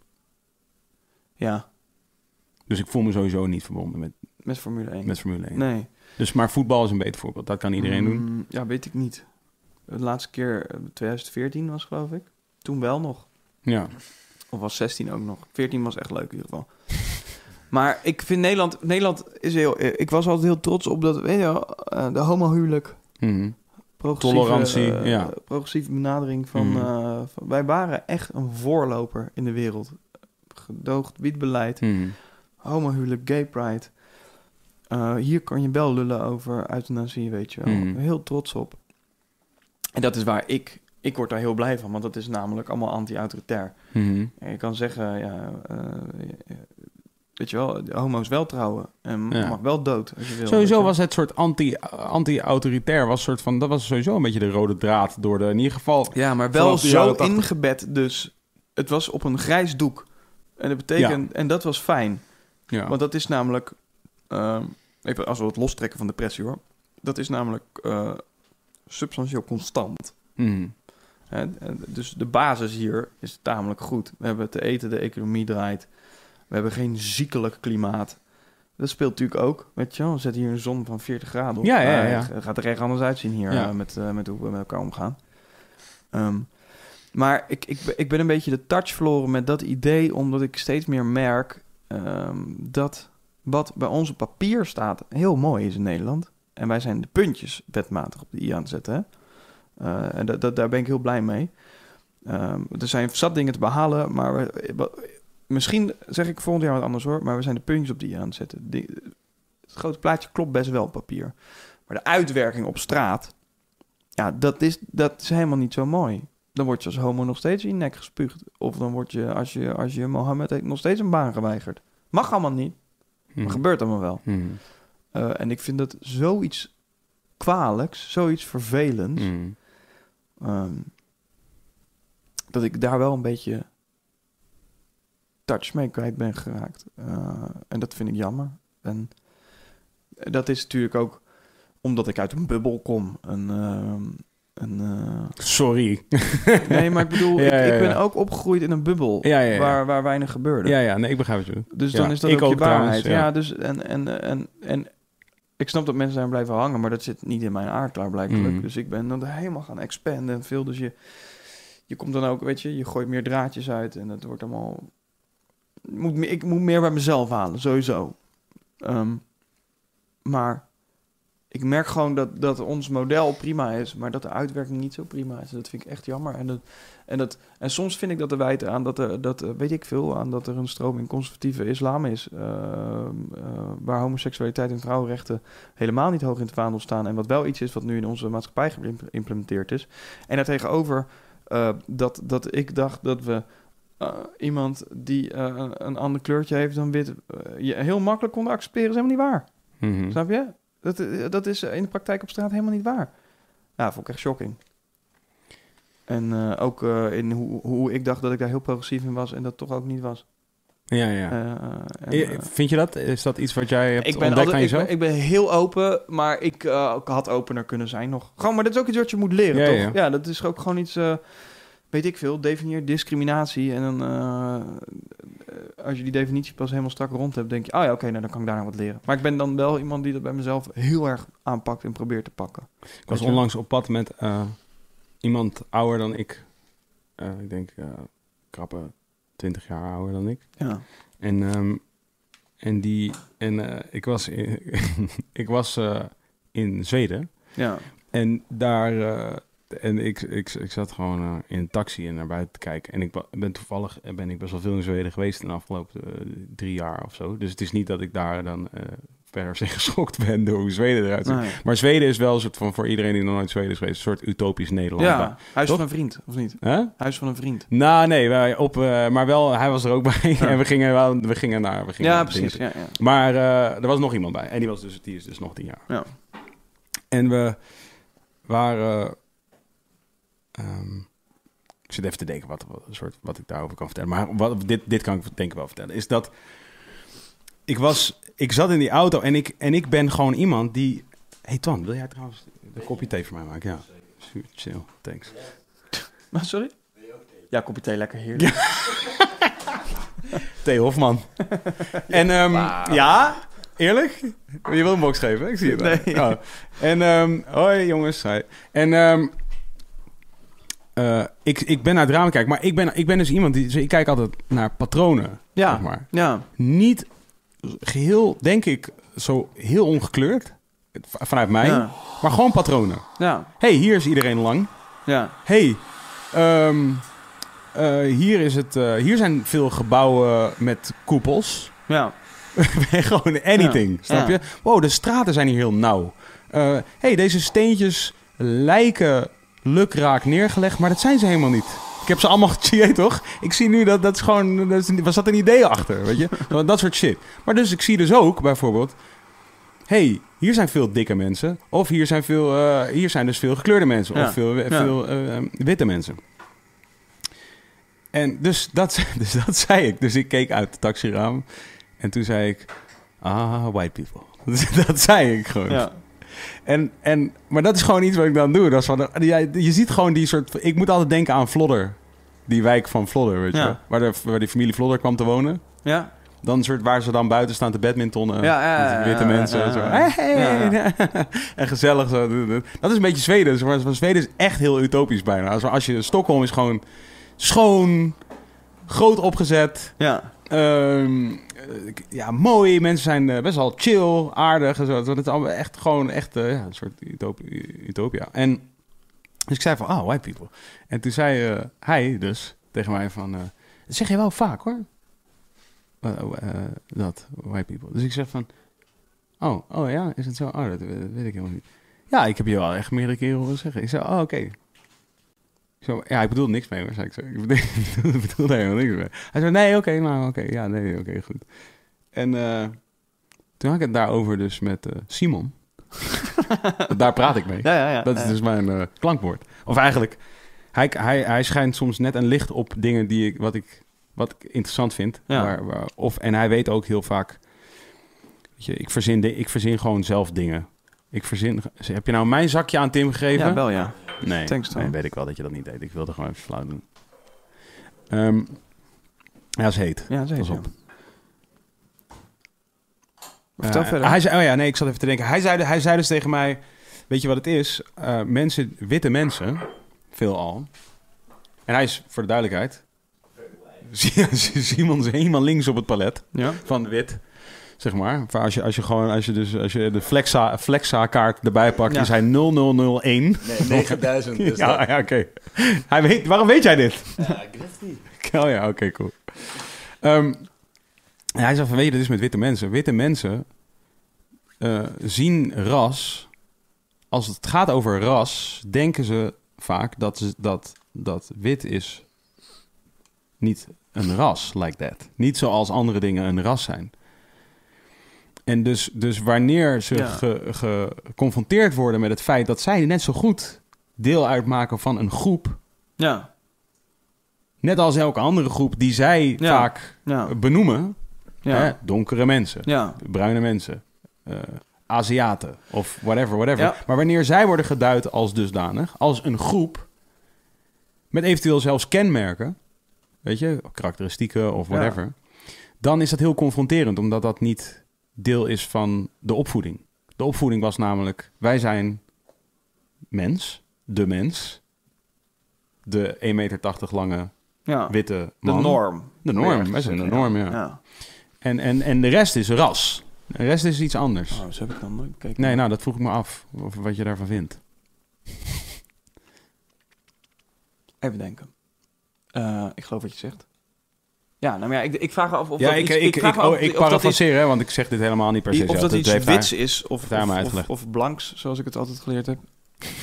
S3: Ja.
S1: Dus ik voel me sowieso niet verbonden met,
S3: Met Formule 1.
S1: met Formule 1.
S3: nee.
S1: Dus, maar voetbal is een beter voorbeeld. Dat kan iedereen doen.
S3: Mm, Ja, weet ik niet. De laatste keer eh, 2014 was geloof ik. Toen wel nog.
S1: Ja.
S3: Of was 16 ook nog. 14 was echt leuk in ieder
S1: <laughs>
S3: geval. maar ik vind Nederland... Nederland is heel... eh, Ik was altijd heel trots op dat... Weet je wel, eh, de homohuwelijk.
S1: Mhm.
S3: Progressieve,
S1: Tolerantie,
S3: eh,
S1: ja.
S3: Progressieve benadering van,
S1: Mhm.
S3: eh, van- Wij waren echt een voorloper in de wereld. Gedoogd wietbeleid.
S1: Mhm.
S3: homohuwelijk, gay pride. Eh, hier kan je wel lullen over euthanasie, weet je wel.
S1: Mhm.
S3: Heel trots op. En dat is waar ik... Ik word daar heel blij van, want dat is namelijk allemaal anti-autoritair.
S1: Mhm.
S3: En je kan zeggen, ja... eh, weet je wel, de homo's wel trouwen. En
S1: Ja.
S3: mag wel dood, als je wil. weet je
S1: Sowieso
S3: wel.
S1: was het soort anti- anti-autoritair. was soort van, dat was sowieso een beetje de rode draad door de... In ieder geval...
S3: Ja, maar wel
S1: Vanaf de
S3: zo
S1: jaren 80.
S3: ingebed dus. Het was op een grijs doek. En dat betekent... En dat was fijn.
S1: Ja.
S3: Want dat is namelijk, ehm, even als we het lostrekken van depressie hoor, dat is namelijk eh, substantieel constant.
S1: Mhm.
S3: Hè? En Dus de basis hier is tamelijk goed. We hebben te eten, de economie draait. We hebben geen ziekelijk klimaat. Dat speelt natuurlijk ook. Weet je wel, we zetten hier een zon van 40 graden op.
S1: Ja, ja,
S3: Eh,
S1: ja.
S3: het gaat er echt anders uitzien hier
S1: Ja.
S3: eh, met, eh, met hoe we met elkaar omgaan. Ehm, maar ik, ik, ben- ik ben een beetje de touch verloren met dat idee, omdat ik steeds meer merk ehm, dat wat bij ons op papier staat heel mooi is in Nederland. En wij zijn de puntjes wetmatig op de i aan het zetten. Hè? Eh, en dat, dat, daar ben ik heel blij mee. Ehm, er zijn zat dingen te behalen, maar we- eh, wa- misschien zeg ik volgend jaar wat anders hoor. Maar we zijn de puntjes op de i aan het zetten. Die- het grote plaatje klopt best wel op papier. Maar de uitwerking op straat, ja, dat is, dat is helemaal niet zo mooi. Dan word je als homo nog steeds in je nek gespuugd. Of dan word je, als je, als je Mohammed heet, nog steeds een baan geweigerd. Mag allemaal niet,
S1: Mhm.
S3: maar gebeurt allemaal wel.
S1: Mhm.
S3: Eh, en ik vind dat zoiets kwalijks, zoiets vervelends.
S1: Mhm.
S3: ehm, dat ik daar wel een beetje touch mee kwijt ben geraakt. Eh, en dat vind ik jammer. En dat is natuurlijk ook omdat ik uit een bubbel kom. Een, ehm, een,
S1: <laughs>
S3: eh,
S1: Sorry.
S3: Nee, maar ik bedoel, ik,
S1: Ja, ja,
S3: ik ben
S1: ja.
S3: ook opgegroeid in een bubbel
S1: Ja, ja, ja.
S3: Waar, waar weinig gebeurde.
S1: Ja, ja, nee, ik begrijp het. joh.
S3: Dus
S1: Ja,
S3: dan is dat
S1: ik
S3: ook, je
S1: ook trouwens,
S3: waarheid. ja.
S1: ja.
S3: dus en, en, en, en ik snap dat mensen daar blijven hangen, maar dat zit niet in mijn aard daar blijkbaar.
S1: Mhm.
S3: Dus ik ben dan helemaal gaan expanden en veel. Dus je, je komt dan ook, weet je, je gooit meer draadjes uit en het wordt allemaal... Moet, me- ik moet meer bij mezelf halen, sowieso. Ehm, maar ik merk gewoon dat, dat ons model prima is, maar dat de uitwerking niet zo prima is. En Dat vind ik echt jammer. En, dat, en, dat, en soms vind ik dat te wijten aan dat er, dat, eh, weet ik veel, aan dat er een stroming conservatieve islam is. ehm, eh, waar homoseksualiteit en vrouwenrechten helemaal niet hoog in het vaandel staan. En wat wel iets is wat nu in onze maatschappij geïmplementeerd is. En daartegenover eh dat, dat ik dacht dat we. eh, iemand die eh, een- een ander kleurtje heeft dan wit, eh, je heel makkelijk konden accepteren, is helemaal niet waar.
S1: Mhm.
S3: Snap je? Dat, eh, dat is eh, in de praktijk op straat helemaal niet waar. Ja, vond ik echt shocking. En eh, ook eh, in hoe, hoe ik dacht dat ik daar heel progressief in was en dat toch ook niet was.
S1: Ja, ja.
S3: Eh, eh, en,
S1: Eh,
S3: eh,
S1: Vind je dat? Is dat iets wat jij hebt
S3: ik ben,
S1: ontdekt
S3: altijd,
S1: aan
S3: ik,
S1: jezelf?
S3: ben, ik ben heel open, maar ik eh, ik had opener kunnen zijn nog. Gewoon, maar dat is ook iets wat je moet leren,
S1: Ja,
S3: toch?
S1: ja.
S3: Ja. dat is ook gewoon iets, eh, weet ik veel, definieer discriminatie. En dan, eh, als je die definitie pas helemaal strak rond hebt, denk je, oh ja, oké, nou, dan kan ik daarna wat leren. Maar ik ben dan wel iemand die dat bij mezelf heel erg aanpakt en probeert te pakken.
S1: Ik was
S3: Weet je?
S1: onlangs op pad met eh, iemand ouder dan ik. Eh, ik denk eh krappe 20 jaar ouder dan ik.
S3: Ja.
S1: En, ehm, en, die, en eh, ik was, in, <laughs> ik was eh, in Zweden.
S3: Ja.
S1: En daar. eh, en ik, ik, ik zat gewoon eh, in een taxi en naar buiten te kijken. En ik wa- ben toevallig eh, ben ik best wel veel in Zweden geweest in de afgelopen eh, drie jaar of zo. Dus het is niet dat ik daar dan eh, per <laughs> se geschokt ben door hoe Zweden eruit ziet.
S3: Nee.
S1: Maar Zweden is wel een soort van, voor iedereen die nog nooit Zweden is geweest, een soort utopisch Nederland.
S3: ja, huis
S1: Toch?
S3: van een vriend, of niet?
S1: Hè?
S3: Huis van een vriend.
S1: Nou, nee, wij op, eh, maar wel, hij was er ook bij.
S3: Ja.
S1: <laughs> en we gingen, wel, we gingen naar. We gingen
S3: Ja,
S1: naar
S3: precies.
S1: dingen.
S3: Ja, ja. <laughs>
S1: Maar eh, er was nog iemand bij. En die, was dus, die is dus nog tien jaar.
S3: Ja.
S1: En we waren. ehm, ik zit even te denken wat, wat, soort, wat ik daarover kan vertellen. Maar wat, dit, dit kan ik denk ik wel vertellen. Is dat. Ik, was, ik zat in die auto en ik, en ik ben gewoon iemand die. hey Twan, wil jij trouwens een kopje thee voor mij maken? Ja. Super chill, thanks.
S3: Maar sorry? Ja, kopje thee, lekker heerlijk.
S1: Theo
S3: <laughs>
S1: Hofman. en ehm, ja, eerlijk? Je wil een box geven, hè? ik zie het. al.
S3: Nee.
S1: Oh. En ehm, hoi jongens, hi. En ehm, eh, ik, ik ben naar het raam kijken, maar ik ben, ik ben dus iemand die... dus ik kijk altijd naar patronen,
S3: Ja.
S1: zeg maar.
S3: Ja,
S1: Niet geheel, denk ik, zo heel ongekleurd. v- Vanuit mij.
S3: Ja.
S1: Maar gewoon patronen.
S3: ja,
S1: hey, hier is iedereen lang.
S3: ja.
S1: hey, ehm, eh, hier, is het, eh, hier zijn veel gebouwen met koepels.
S3: ja.
S1: <laughs> Gewoon anything,
S3: Ja,
S1: snap
S3: ja.
S1: je? Wow, de straten zijn hier heel nauw. Eh hey, deze steentjes lijken lukraak neergelegd, maar dat zijn ze helemaal niet. Ik heb ze allemaal <laughs> gechieerd, toch? Ik zie nu dat dat is gewoon... Dat is, was dat een idee achter, weet
S3: <laughs>
S1: je? Dat- Dat soort shit. Maar dus ik zie dus ook, bijvoorbeeld... hey, hier zijn veel dikke mensen. Of hier zijn, veel, eh, hier zijn dus veel gekleurde mensen.
S3: Ja,
S1: Of veel,
S3: ja.
S1: veel eh, eh, witte mensen. En dus dat, <laughs> dus dat zei ik. Dus ik keek uit het taxiraam. En toen zei ik... Ah, white people. <laughs> dat zei ik gewoon.
S3: ja.
S1: En, en, maar dat is gewoon iets wat ik dan doe. Dat is van, je, je ziet gewoon die soort... Ik moet altijd denken aan Vlodder. Die wijk van Vlodder, weet je
S3: Ja.
S1: wel. Waar, de, waar die familie Vlodder kwam te wonen.
S3: Ja,
S1: Dan een soort waar ze dan buiten staan te badmintonnen.
S3: Ja, ja, ja,
S1: met witte
S3: ja,
S1: mensen.
S3: ja, ja.
S1: Zo. Hey, hey, <laughs> en gezellig. Zo. Dat is een beetje Zweden. zeg Maar Zweden is echt heel utopisch bijna. Als, als je, Stockholm is gewoon schoon, groot opgezet.
S3: ja.
S1: Ehm, eh, ja, mooi. Mensen zijn eh, best wel chill, aardig en zo. Het is allemaal echt gewoon echt eh, ja, een soort utop- utopia. En dus ik zei van, ah, white people. En toen zei eh, hij dus tegen mij van, eh, dat zeg je wel vaak hoor. Eh, eh, dat, white people. Dus ik zeg van, oh, oh ja, is het zo? Oh, dat, eh, weet ik helemaal niet. Ja, ik heb je wel echt meerdere keren horen zeggen. Ik zei, oh, oké. Ik zei, ja, ik bedoel niks mee hoor, zei ik zo. Ik bedoel, <laughs> ik bedoel daar helemaal niks mee. Hij zei, nee, oké, nou, oké, ja, nee, oké, goed. En eh, toen had ik het daarover dus met eh, Simon. <laughs> Want daar praat ik mee.
S3: Ja, ja, ja.
S1: Dat is
S3: ja.
S1: dus mijn eh, klankwoord. Of eigenlijk, hij, hij, hij schijnt soms net een licht op dingen die ik, wat, ik, wat ik interessant vind.
S3: Ja.
S1: Waar, waar- of, en hij weet ook heel vaak, weet je, ik, verzin, di- ik verzin gewoon zelf dingen. Ik verzin, heb je nou mijn Ah, zakje aan Tim gegeven?
S3: Ja, wel ja.
S1: Nee,
S3: Thanks, Tom.
S1: nee, weet ik wel dat je dat niet deed. Ik wilde gewoon even flauw doen. Ehm, ja, ze heet.
S3: Ja, zeker.
S1: Pas op.
S3: Vertel
S1: Eh,
S3: verder.
S1: Hij zei, oh ja, nee, ik zat even te denken. Hij zei, hij zei dus tegen mij, weet je wat het is? Eh, mensen, witte mensen, veelal. En hij is, voor de duidelijkheid... <laughs> Simon is helemaal links op het palet
S3: Ja.
S1: van wit, zeg maar. Voor Als je, als je, gewoon, als je, dus, als je de flexa, flexa kaart erbij pakt,
S3: Ja.
S1: is hij 0001.
S2: Nee,
S1: <laughs>
S2: 9000 is
S1: Ja, ja oké. Hij weet, waarom weet jij dit? Oh <laughs> ja, oké, cool. Ehm, en hij zei van, weet je, dit is dus met witte mensen. Witte mensen eh, zien ras... Als het gaat over ras, denken ze vaak dat, ze, dat, dat wit is niet een ras, like that. Niet zoals andere dingen een ras zijn. En dus, dus wanneer ze
S3: Ja.
S1: ge- ge- geconfronteerd worden met het feit dat zij net zo goed deel uitmaken van een groep,
S3: Ja.
S1: net als elke andere groep die zij
S3: Ja.
S1: vaak
S3: Ja.
S1: benoemen, hè,
S3: Ja.
S1: donkere mensen,
S3: Ja.
S1: bruine mensen, eh, Aziaten of whatever, whatever.
S3: Ja.
S1: Maar wanneer zij worden geduid als dusdanig, als een groep, met eventueel zelfs kenmerken, weet je, karakteristieken of
S3: Ja.
S1: whatever, dan is dat heel confronterend, omdat dat niet deel is van de opvoeding. De opvoeding was namelijk, wij zijn mens, de mens, de 1,80 meter lange
S3: Ja.
S1: witte
S3: De
S1: man.
S3: norm.
S1: De norm,
S3: Weer.
S1: wij zijn de norm, ja.
S3: Ja.
S1: En, en, en de rest is ras. De rest is iets anders.
S3: Oh, zo heb ik dan nooit bekeken.
S1: Nee, nou, dat vroeg ik me af. Of wat je daarvan vindt.
S3: Even denken. Eh, ik geloof wat je zegt. Ja, nou maar ja, ik, ik vraag me af of
S1: ja,
S3: dat
S1: ik,
S3: iets...
S1: ik, ik,
S3: vraag me af
S1: oh,
S3: of-
S1: ik
S3: of dat iets-
S1: parafraseer, hè, want ik zeg dit helemaal niet per se.
S3: of
S1: zelf.
S3: dat iets
S1: heeft
S3: wits
S1: hij-
S3: is, of,
S1: hij maar
S3: of, of,
S1: uitgelegd.
S3: of blanks, zoals ik het altijd geleerd heb.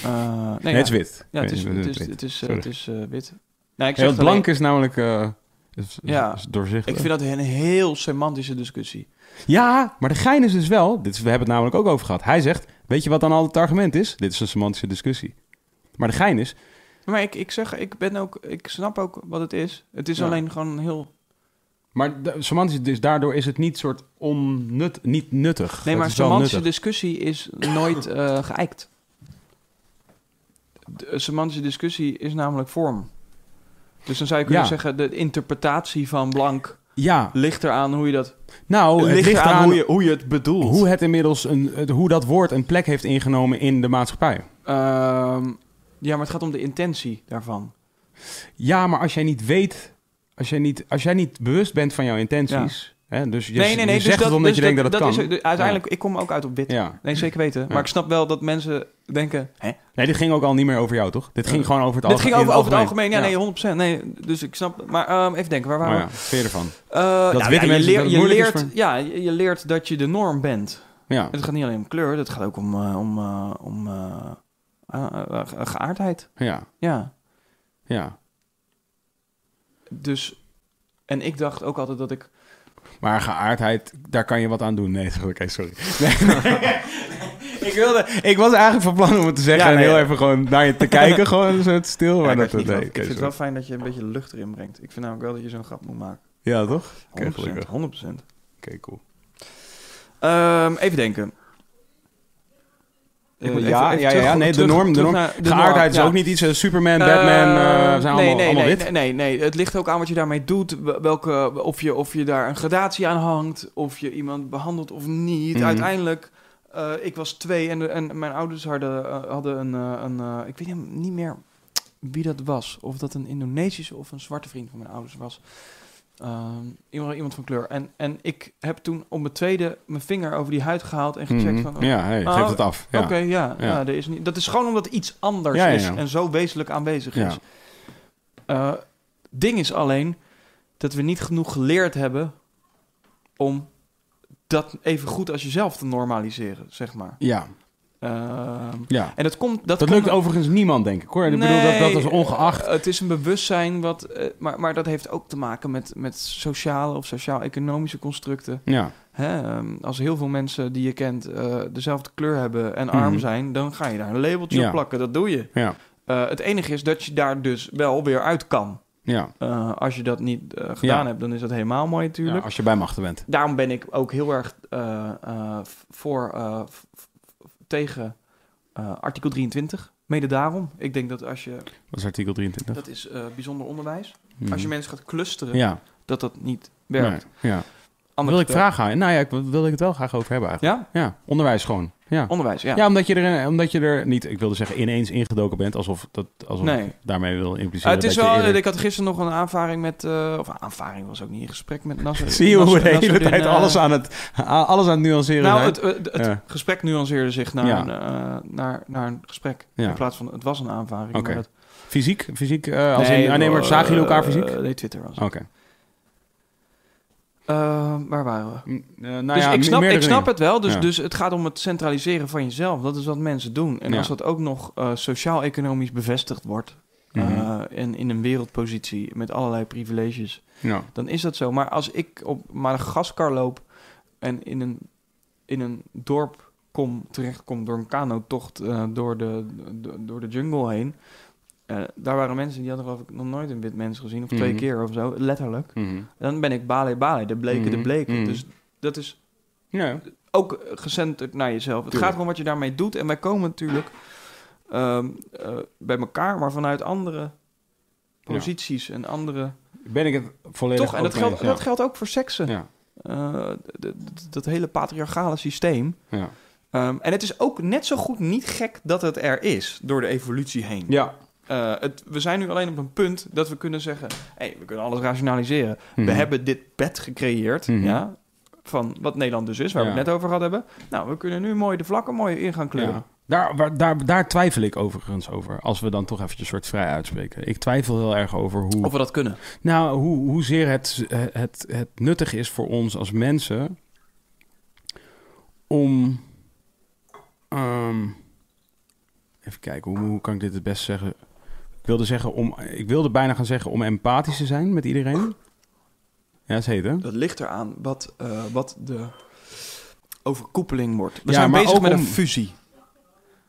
S3: Eh, nee,
S1: Nee,
S3: ja.
S1: het is wit.
S3: Ja, het is,
S1: Nee,
S3: het is,
S1: wit.
S3: het is, eh,
S1: Sorry.
S3: het is eh, wit. Nee, ik
S1: Ja,
S3: zeg
S1: want
S3: alleen-
S1: blank is namelijk eh, is, is-
S3: Ja.
S1: is doorzichtig.
S3: Ik vind dat een heel semantische discussie.
S1: Ja, maar de gein is dus wel... Dit is, we hebben het namelijk ook over gehad. Hij zegt, weet je wat dan al het argument is? Dit is een semantische discussie. Maar de gein is...
S3: Maar ik, ik zeg, ik ben ook, ik snap ook wat het is. Het is
S1: Ja.
S3: alleen gewoon heel.
S1: Maar de, semantisch, dus daardoor is het niet soort onnut, niet nuttig.
S3: Nee,
S1: Het
S3: maar
S1: is wel
S3: semantische
S1: nuttig.
S3: discussie is
S1: <laughs>
S3: nooit eh geëikt. De eh, semantische discussie is namelijk vorm. Dus dan zou je kunnen
S1: Ja.
S3: zeggen, de interpretatie van blank
S1: Ja,
S3: Ligt eraan hoe je dat...
S1: nou, het
S3: ligt
S1: ligt
S3: eraan
S1: eraan
S3: hoe, je, hoe je het bedoelt.
S1: hoe het inmiddels een, het- hoe dat woord een plek heeft ingenomen in de maatschappij.
S3: Ehm, ja, maar het gaat om de intentie daarvan.
S1: Ja, maar als jij niet weet, als jij niet, als jij niet bewust bent van jouw intenties, hè, dus je, je
S3: dus
S1: zegt het omdat
S3: dus
S1: je denkt dat het kan.
S3: Is, uiteindelijk, ik kom ook uit op wit.
S1: ja.
S3: Nee, zeker weten. Maar
S1: Ja.
S3: ik snap wel dat mensen denken... Hè?
S1: Nee, dit ging ook al niet meer over jou, toch? Dit ging
S3: Ja.
S1: gewoon over het
S3: Dit
S1: algemeen.
S3: ging over, over het
S1: in
S3: algemeen. Ja, nee, 100%. Nee, dus ik snap... Maar ehm, even denken, waar waren
S1: Maar
S3: we?
S1: ja, vind je ervan?
S3: Eh, nou
S1: witte
S3: ja, je,
S1: mensen dat
S3: leert-
S1: het
S3: je
S1: moeilijk is
S3: leert,
S1: voor-
S3: ja, je je leert dat je de norm bent.
S1: Ja.
S3: Het gaat niet alleen om kleur, het gaat ook om, eh, om, eh, om eh, eh, eh, ge- geaardheid.
S1: Ja.
S3: Ja.
S1: Ja.
S3: Dus, en ik dacht ook altijd dat ik...
S1: Maar geaardheid, daar kan je wat aan doen. Nee, <laughs> oké, sorry. <laughs> ik, wilde, ik was eigenlijk van plan om het te zeggen
S3: Ja,
S1: en
S3: nee,
S1: heel
S3: ja.
S1: even gewoon naar <laughs> je te kijken. gewoon zo het stil.
S3: Ja,
S1: maar Oh,
S3: ik
S1: dat,
S3: dacht niet
S1: nee,
S3: van- ik
S1: oké,
S3: vind het wel
S1: sorry.
S3: fijn dat je een beetje lucht erin brengt. Ik vind namelijk wel dat je zo'n grap moet maken. 100%,
S1: Ja, toch? Oké, gelukkig.
S3: 100%.
S1: Oké, cool.
S3: Ehm, even denken. Eh,
S1: Ik moet- ja, ja, ja, nee, de norm- de norm- Geaardheid is ook niet iets. eh, Superman, Batman, eh, zijn allemaal,
S3: nee, nee,
S1: allemaal
S3: nee,
S1: wit.
S3: Nee, nee, nee. het ligt ook aan wat je daarmee doet. w- Welke, of, je, of je daar een gradatie aan hangt. Of je iemand behandelt of niet.
S1: Mhm.
S3: Uiteindelijk, eh, ik was twee en, en mijn ouders hadden, eh, hadden een... eh, een eh, ik weet hem niet meer wie dat was. Of dat een Indonesische of een zwarte vriend van mijn ouders was. Ehm, iemand, iemand van kleur. En, en ik heb toen op mijn tweede mijn vinger over die huid gehaald en gecheckt
S1: Mhm.
S3: van...
S1: ja, hey,
S3: Oh,
S1: geef het af. Ja.
S3: Oké, ja.
S1: Ja.
S3: ja. er is niet, dat is gewoon omdat iets anders
S1: Ja, ja,
S3: is
S1: ja.
S3: en zo wezenlijk aanwezig
S1: Ja.
S3: is. Eh, ding is alleen dat we niet genoeg geleerd hebben om dat even goed als jezelf te normaliseren, zeg maar.
S1: ja,
S3: Ehm,
S1: ja.
S3: en dat komt...
S1: Dat, lukt overigens niemand, denk ik hoor. Ik bedoel, dat, dat is ongeacht.
S3: eh, Het is een bewustzijn, wat, eh, maar, maar dat heeft ook te maken met, met sociale of sociaal-economische constructen.
S1: Ja,
S3: Hè, ehm, als heel veel mensen die je kent eh, dezelfde kleur hebben en arm
S1: Mhm.
S3: zijn, dan ga je daar een labeltje
S1: Ja.
S3: op plakken. Dat doe je.
S1: ja,
S3: Eh, het enige is dat je daar dus wel weer uit kan.
S1: ja.
S3: Eh, als je dat niet eh, gedaan
S1: Ja.
S3: hebt, dan is dat helemaal mooi natuurlijk.
S1: ja. Als je bij machten bent.
S3: Daarom ben ik ook heel erg eh, eh, f- voor eh, f- f- tegen eh, artikel 23. Mede daarom. Ik denk dat als je...
S1: Dat is artikel 23.
S3: Dat is eh, bijzonder onderwijs.
S1: Mhm.
S3: Als je mensen gaat clusteren,
S1: Ja,
S3: dat dat niet werkt.
S1: nee, ja.
S3: Anders
S1: Wil ik
S3: wel.
S1: vragen aan? Nou ja, ik wil ik het wel graag over hebben eigenlijk.
S3: Ja?
S1: Ja, onderwijs gewoon. Ja.
S3: Onderwijs, Oh, ja.
S1: Ja, omdat, je er, eh, omdat je er niet, ik wilde zeggen, ineens ingedoken bent. Alsof, dat, alsof
S3: Nee.
S1: ik daarmee wil
S3: Ah,
S1: impliceren.
S3: het is
S1: dat
S3: wel,
S1: Je eerder-
S3: ik had gisteren nog een aanvaring met, eh, of een aanvaring was ook niet in gesprek met
S1: <laughs>
S3: Nasser.
S1: Zie je hoe we
S3: Nasser-
S1: de hele
S3: Nasseruddin,
S1: tijd
S3: eh,
S1: alles, aan het, aan- alles aan het nuanceren
S3: Nou,
S1: zijn?
S3: het, het, het
S1: Ja.
S3: gesprek nuanceerde zich naar,
S1: Ja.
S3: een, eh, naar, naar een gesprek.
S1: Ja.
S3: In plaats van, het was een aanvaring. maar
S1: Oké.
S3: dat-
S1: Fysiek? Fysiek? eh, als in, ah, nee, maar
S3: eh,
S1: zagen jullie elkaar
S3: eh,
S1: fysiek? Oh.
S3: nee, Twitter was het.
S1: Oké.
S3: Eh, waar waren we?
S1: Mm, eh, nou
S3: dus
S1: ja,
S3: ik snap,
S1: meerdere
S3: ik snap
S1: dingen.
S3: het wel. Dus,
S1: Ja.
S3: dus het gaat om het centraliseren van jezelf. Dat is wat mensen doen. En
S1: Ja.
S3: als dat ook nog eh, sociaal-economisch bevestigd wordt...
S1: Mhm.
S3: eh, en in een wereldpositie met allerlei privileges...
S1: Ja.
S3: dan is dat zo. Maar als ik op Madagaskar loop en in een, in een dorp kom, terechtkom door een kanotocht eh, door, de, do- door de jungle heen. eh, daar waren mensen die hadden geloof ik nog nooit een wit mens gezien, of twee
S1: Mhm.
S3: keer of zo, letterlijk.
S1: Mhm.
S3: Dan ben ik Bale Bale, de bleke
S1: Mhm,
S3: de bleke.
S1: mhm.
S3: Dus dat is
S1: Ja.
S3: ook gecenterd naar jezelf. Het
S1: Tuurlijk.
S3: gaat om wat je daarmee doet. En wij komen natuurlijk ehm, eh, bij elkaar, maar vanuit andere posities en andere...
S1: Ben ik het volledig
S3: Toch, en
S1: ook
S3: dat
S1: mee
S3: geldt,
S1: eens, ja.
S3: dat geldt ook voor seksen.
S1: Ja.
S3: Eh, d- d- dat hele patriarchale systeem.
S1: Ja.
S3: Ehm, en het is ook net zo goed niet gek dat het er is door de evolutie heen.
S1: ja.
S3: Eh, het, we zijn nu alleen op een punt dat we kunnen zeggen: hey, we kunnen alles rationaliseren.
S1: Mhm.
S3: We hebben dit bed gecreëerd.
S1: Mhm.
S3: Ja, van wat Nederland dus is, waar we
S1: Ja.
S3: het net over gehad hebben. Nou, we kunnen nu mooi de vlakken mooi in gaan kleuren.
S1: Ja. Daar, waar- daar, daar twijfel ik overigens over. Als we dan toch eventjes een soort vrij uitspreken. Ik twijfel heel erg over hoe,
S3: Of we dat kunnen.
S1: nou, hoe, hoezeer het, het, het nuttig is voor ons als mensen om. ehm, even kijken, hoe, hoe kan ik dit het best zeggen? Ik wilde, zeggen om, ik wilde bijna gaan zeggen om empathisch te zijn met iedereen. Ja, dat is heet, hè?
S3: Dat ligt eraan wat, eh, wat de overkoepeling wordt. We
S1: Ja,
S3: zijn
S1: maar
S3: bezig
S1: ook
S3: met
S1: om-
S3: een fusie.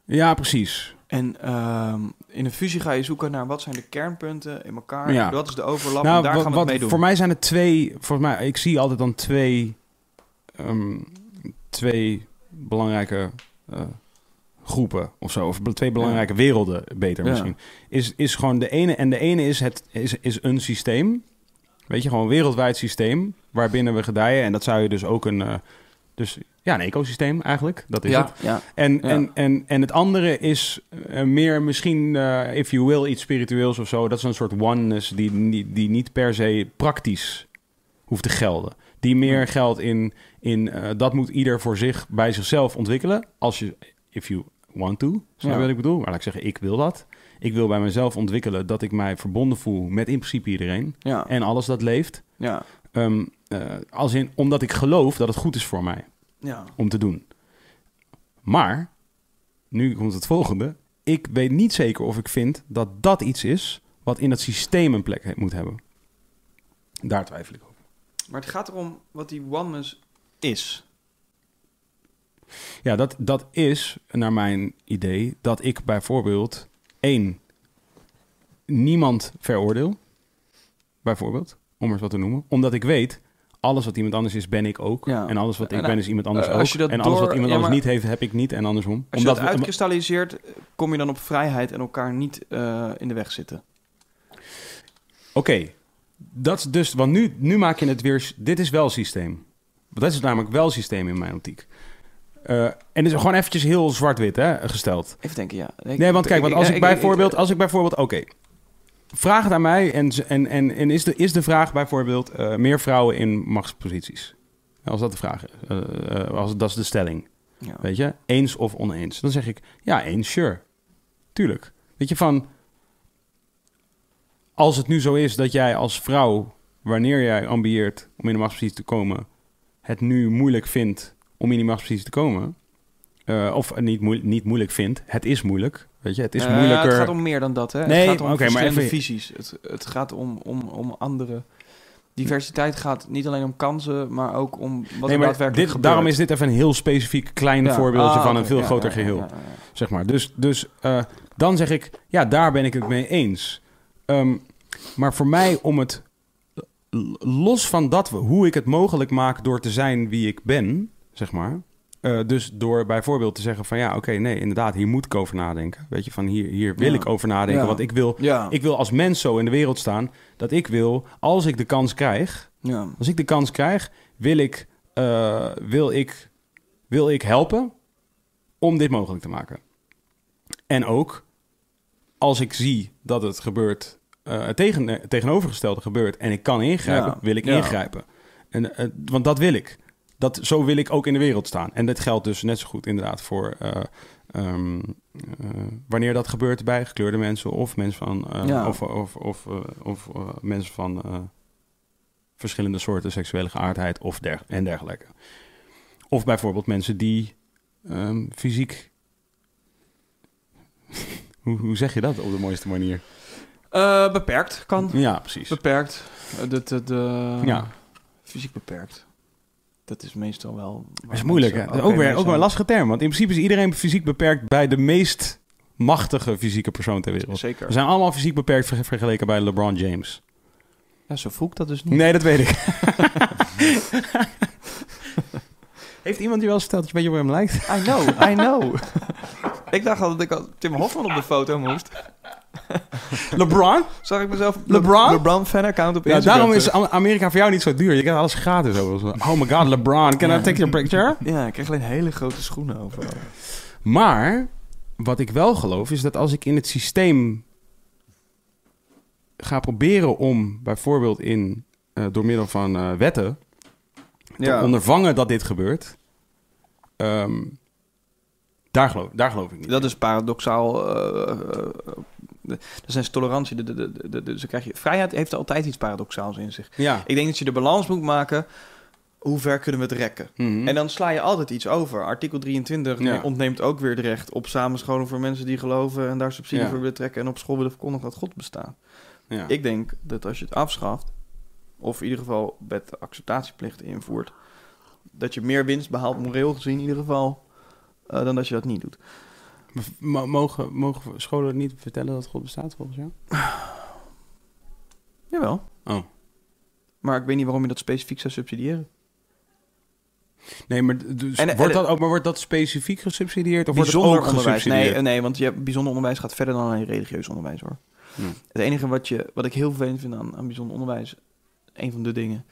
S1: Ja, precies.
S3: En ehm, in een fusie ga je zoeken naar wat zijn de kernpunten in elkaar.
S1: Ja.
S3: Wat is de overlap?
S1: Nou,
S3: en daar
S1: wa-
S3: gaan we
S1: wat-
S3: het mee doen.
S1: Voor mij zijn het twee. Volgens mij, ik zie altijd dan twee, ehm, twee belangrijke eh, groepen of zo. Of be- twee belangrijke werelden, beter
S3: Ja.
S1: misschien. Is, is gewoon de ene. En de ene is, het, is, is een systeem. Weet je, gewoon een wereldwijd systeem waarbinnen we gedijen. En dat zou je dus ook een... eh, dus ja, een ecosysteem eigenlijk. Dat is het.
S3: ja.
S1: En,
S3: Ja.
S1: en, en, en het andere is eh, meer misschien, eh, if you will, iets spiritueels of zo. Dat is een soort oneness die, niet- die niet per se praktisch hoeft te gelden. Die meer geldt in, in eh, dat moet ieder voor zich bij zichzelf ontwikkelen. Als je, if you want to, snap je
S3: Ja.
S1: wat ik bedoel? Maar laat ik zeggen, ik wil dat. Ik wil bij mezelf ontwikkelen dat ik mij verbonden voel met in principe iedereen.
S3: Ja.
S1: En alles dat leeft.
S3: Ja.
S1: Ehm, eh, als in, omdat ik geloof dat het goed is voor mij
S3: Ja.
S1: om te doen. Maar, nu komt het volgende. Ik weet niet zeker of ik vind dat dat iets is wat in dat systeem een plek he- moet hebben. Daar twijfel ik over.
S3: Maar het gaat erom wat die oneness is.
S1: Ja, dat, dat is, naar mijn idee, dat ik bijvoorbeeld één, niemand veroordeel. Bijvoorbeeld, om er eens wat te noemen. Omdat ik weet, alles wat iemand anders is, ben ik ook.
S3: Ja.
S1: En alles wat ik
S3: En,
S1: ben, is iemand anders
S3: eh,
S1: ook.
S3: als je dat
S1: en alles wat
S3: door-
S1: iemand
S3: ja,
S1: anders
S3: maar-
S1: niet heeft, heb ik niet. En andersom.
S3: Als je dat
S1: we-
S3: uitkristalliseert, kom je dan op vrijheid en elkaar niet eh, in de weg zitten.
S1: Oké, dat is dus, want nu, nu maak je het weer. Dit is wel systeem. Want dat is namelijk wel systeem in mijn optiek. Eh, en het is gewoon eventjes heel zwart-wit hè, gesteld.
S3: Even denken, ja. Ik-
S1: Nee, want kijk, want als ik
S3: ja,
S1: bijvoorbeeld, als ik bijvoorbeeld, oké, vraag het aan mij en, ze- en, en, en is, de, is de vraag bijvoorbeeld eh, meer vrouwen in machtsposities? Als dat de vraag is, eh, eh, als, dat is de stelling.
S3: ja.
S1: Weet je, eens of oneens. Dan zeg ik, ja, eens, sure. Tuurlijk. Weet je, van... Als het nu zo is dat jij als vrouw, wanneer jij ambieert om in de machtspositie te komen, het nu moeilijk vindt om in die machtspositie te komen, eh, of het niet, moe- niet moeilijk vindt, het is moeilijk, weet je, het is
S3: Nou ja,
S1: moeilijker.
S3: Het gaat om meer dan dat, hè?
S1: Nee,
S3: het gaat om
S1: oké, maar
S3: verschillende
S1: even-
S3: visies. Het, het gaat om, om, om andere... Diversiteit gaat niet alleen om kansen, maar ook om wat
S1: Nee,
S3: er
S1: maar
S3: daadwerkelijk
S1: dit,
S3: gebeurt.
S1: daarom is dit even een heel specifiek klein
S3: Ja.
S1: voorbeeldje
S3: Ah,
S1: van
S3: oké,
S1: een veel
S3: ja,
S1: groter
S3: ja, ja,
S1: geheel.
S3: ja, ja.
S1: zeg maar. Dus, dus eh, dan zeg ik, ja, daar ben ik het mee eens. Ehm, maar voor mij om het l- los van dat, hoe ik het mogelijk maak door te zijn wie ik ben, zeg maar. eh, dus door bijvoorbeeld te zeggen van ja, oké, nee, inderdaad, hier moet ik over nadenken. Weet je, van hier, hier wil
S3: Ja.
S1: ik over nadenken.
S3: Ja.
S1: Want ik wil,
S3: Ja,
S1: ik wil als mens zo in de wereld staan dat ik wil, als ik de kans krijg,
S3: ja,
S1: als ik de kans krijg, wil ik, eh, wil ik, wil ik helpen om dit mogelijk te maken. En ook als ik zie dat het gebeurt, eh, het tegen, het tegenovergestelde gebeurt en ik kan ingrijpen,
S3: Ja,
S1: wil ik
S3: ja.
S1: ingrijpen. En, eh, want dat wil ik. Dat, zo wil ik ook in de wereld staan. En dat geldt dus net zo goed inderdaad voor eh, ehm, eh, wanneer dat gebeurt bij gekleurde mensen of mensen van eh,
S3: Ja.
S1: of, of, of, eh, of eh, mensen van eh, verschillende soorten seksuele geaardheid of der en dergelijke. Of bijvoorbeeld mensen die ehm, fysiek. <laughs> hoe, hoe zeg je dat op de mooiste manier?
S3: Eh, beperkt kan.
S1: Ja, precies.
S3: Beperkt. Eh, De, de, de-
S1: Ja.
S3: Fysiek beperkt. Dat is meestal wel...
S1: Dat is moeilijk, hè? Dat is ook weer, ook weer een lastige term. Want in principe is iedereen fysiek beperkt bij de meest machtige fysieke persoon ter wereld. We
S3: Zeker.
S1: zijn allemaal fysiek beperkt ver- vergeleken bij LeBron James.
S3: Ja, zo voel ik dat dus niet.
S1: Nee, dat weet ik. <laughs> Heeft iemand je wel eens verteld dat je een beetje op hem lijkt?
S3: I know, I
S1: <laughs>
S3: know. ik dacht al dat ik al Tim Hofman op de foto moest.
S1: <laughs> LeBron?
S3: Zag ik mezelf...
S1: LeBron?
S3: LeBron fan-account op
S1: Ja,
S3: Instagram.
S1: daarom is
S3: terug.
S1: Am- Amerika voor jou niet zo duur. Je krijgt alles gratis over. Oh my god, LeBron, can I take your picture?
S3: Ja, ik kreeg alleen hele grote schoenen overal.
S1: Maar wat ik wel geloof is dat als ik in het systeem ga proberen om bijvoorbeeld in, eh, door middel van eh, wetten te ondervangen dat dit gebeurt, ehm, daar, geloof, daar geloof ik niet.
S3: Dat is paradoxaal. eh, eh, eh, dat is tolerantie. De, de, de, de- de- zo krijg je, vrijheid heeft altijd iets paradoxaals in zich.
S1: ja.
S3: Ik denk dat je de balans moet maken. Hoe ver kunnen we het rekken?
S1: Mhm.
S3: En dan sla je altijd iets over. Artikel 23
S1: Ja.
S3: ontneemt ook weer het recht op samenscholing voor mensen die geloven en daar subsidie
S1: Ja.
S3: voor willen trekken en op school willen verkondigen dat God bestaat.
S1: ja.
S3: Ik denk dat als je het afschaft, of in ieder geval met de acceptatieplicht invoert, dat je meer winst behaalt, moreel gezien in ieder geval, eh, dan dat je dat niet doet.
S1: M- mogen, mogen scholen niet vertellen dat God bestaat volgens jou?
S3: Jawel.
S1: Oh.
S3: Maar ik weet niet waarom je dat specifiek zou subsidiëren.
S1: Nee, maar, d- dus
S3: En- en-
S1: wordt dat ook, maar wordt dat specifiek gesubsidieerd? Of wordt het ook
S3: onderwijs.
S1: gesubsidieerd?
S3: Nee, nee, want je hebt, bijzonder onderwijs gaat verder dan alleen religieus onderwijs hoor.
S1: Hmm.
S3: Het enige wat, je, wat ik heel vervelend vind aan, aan bijzonder onderwijs. een van de dingen,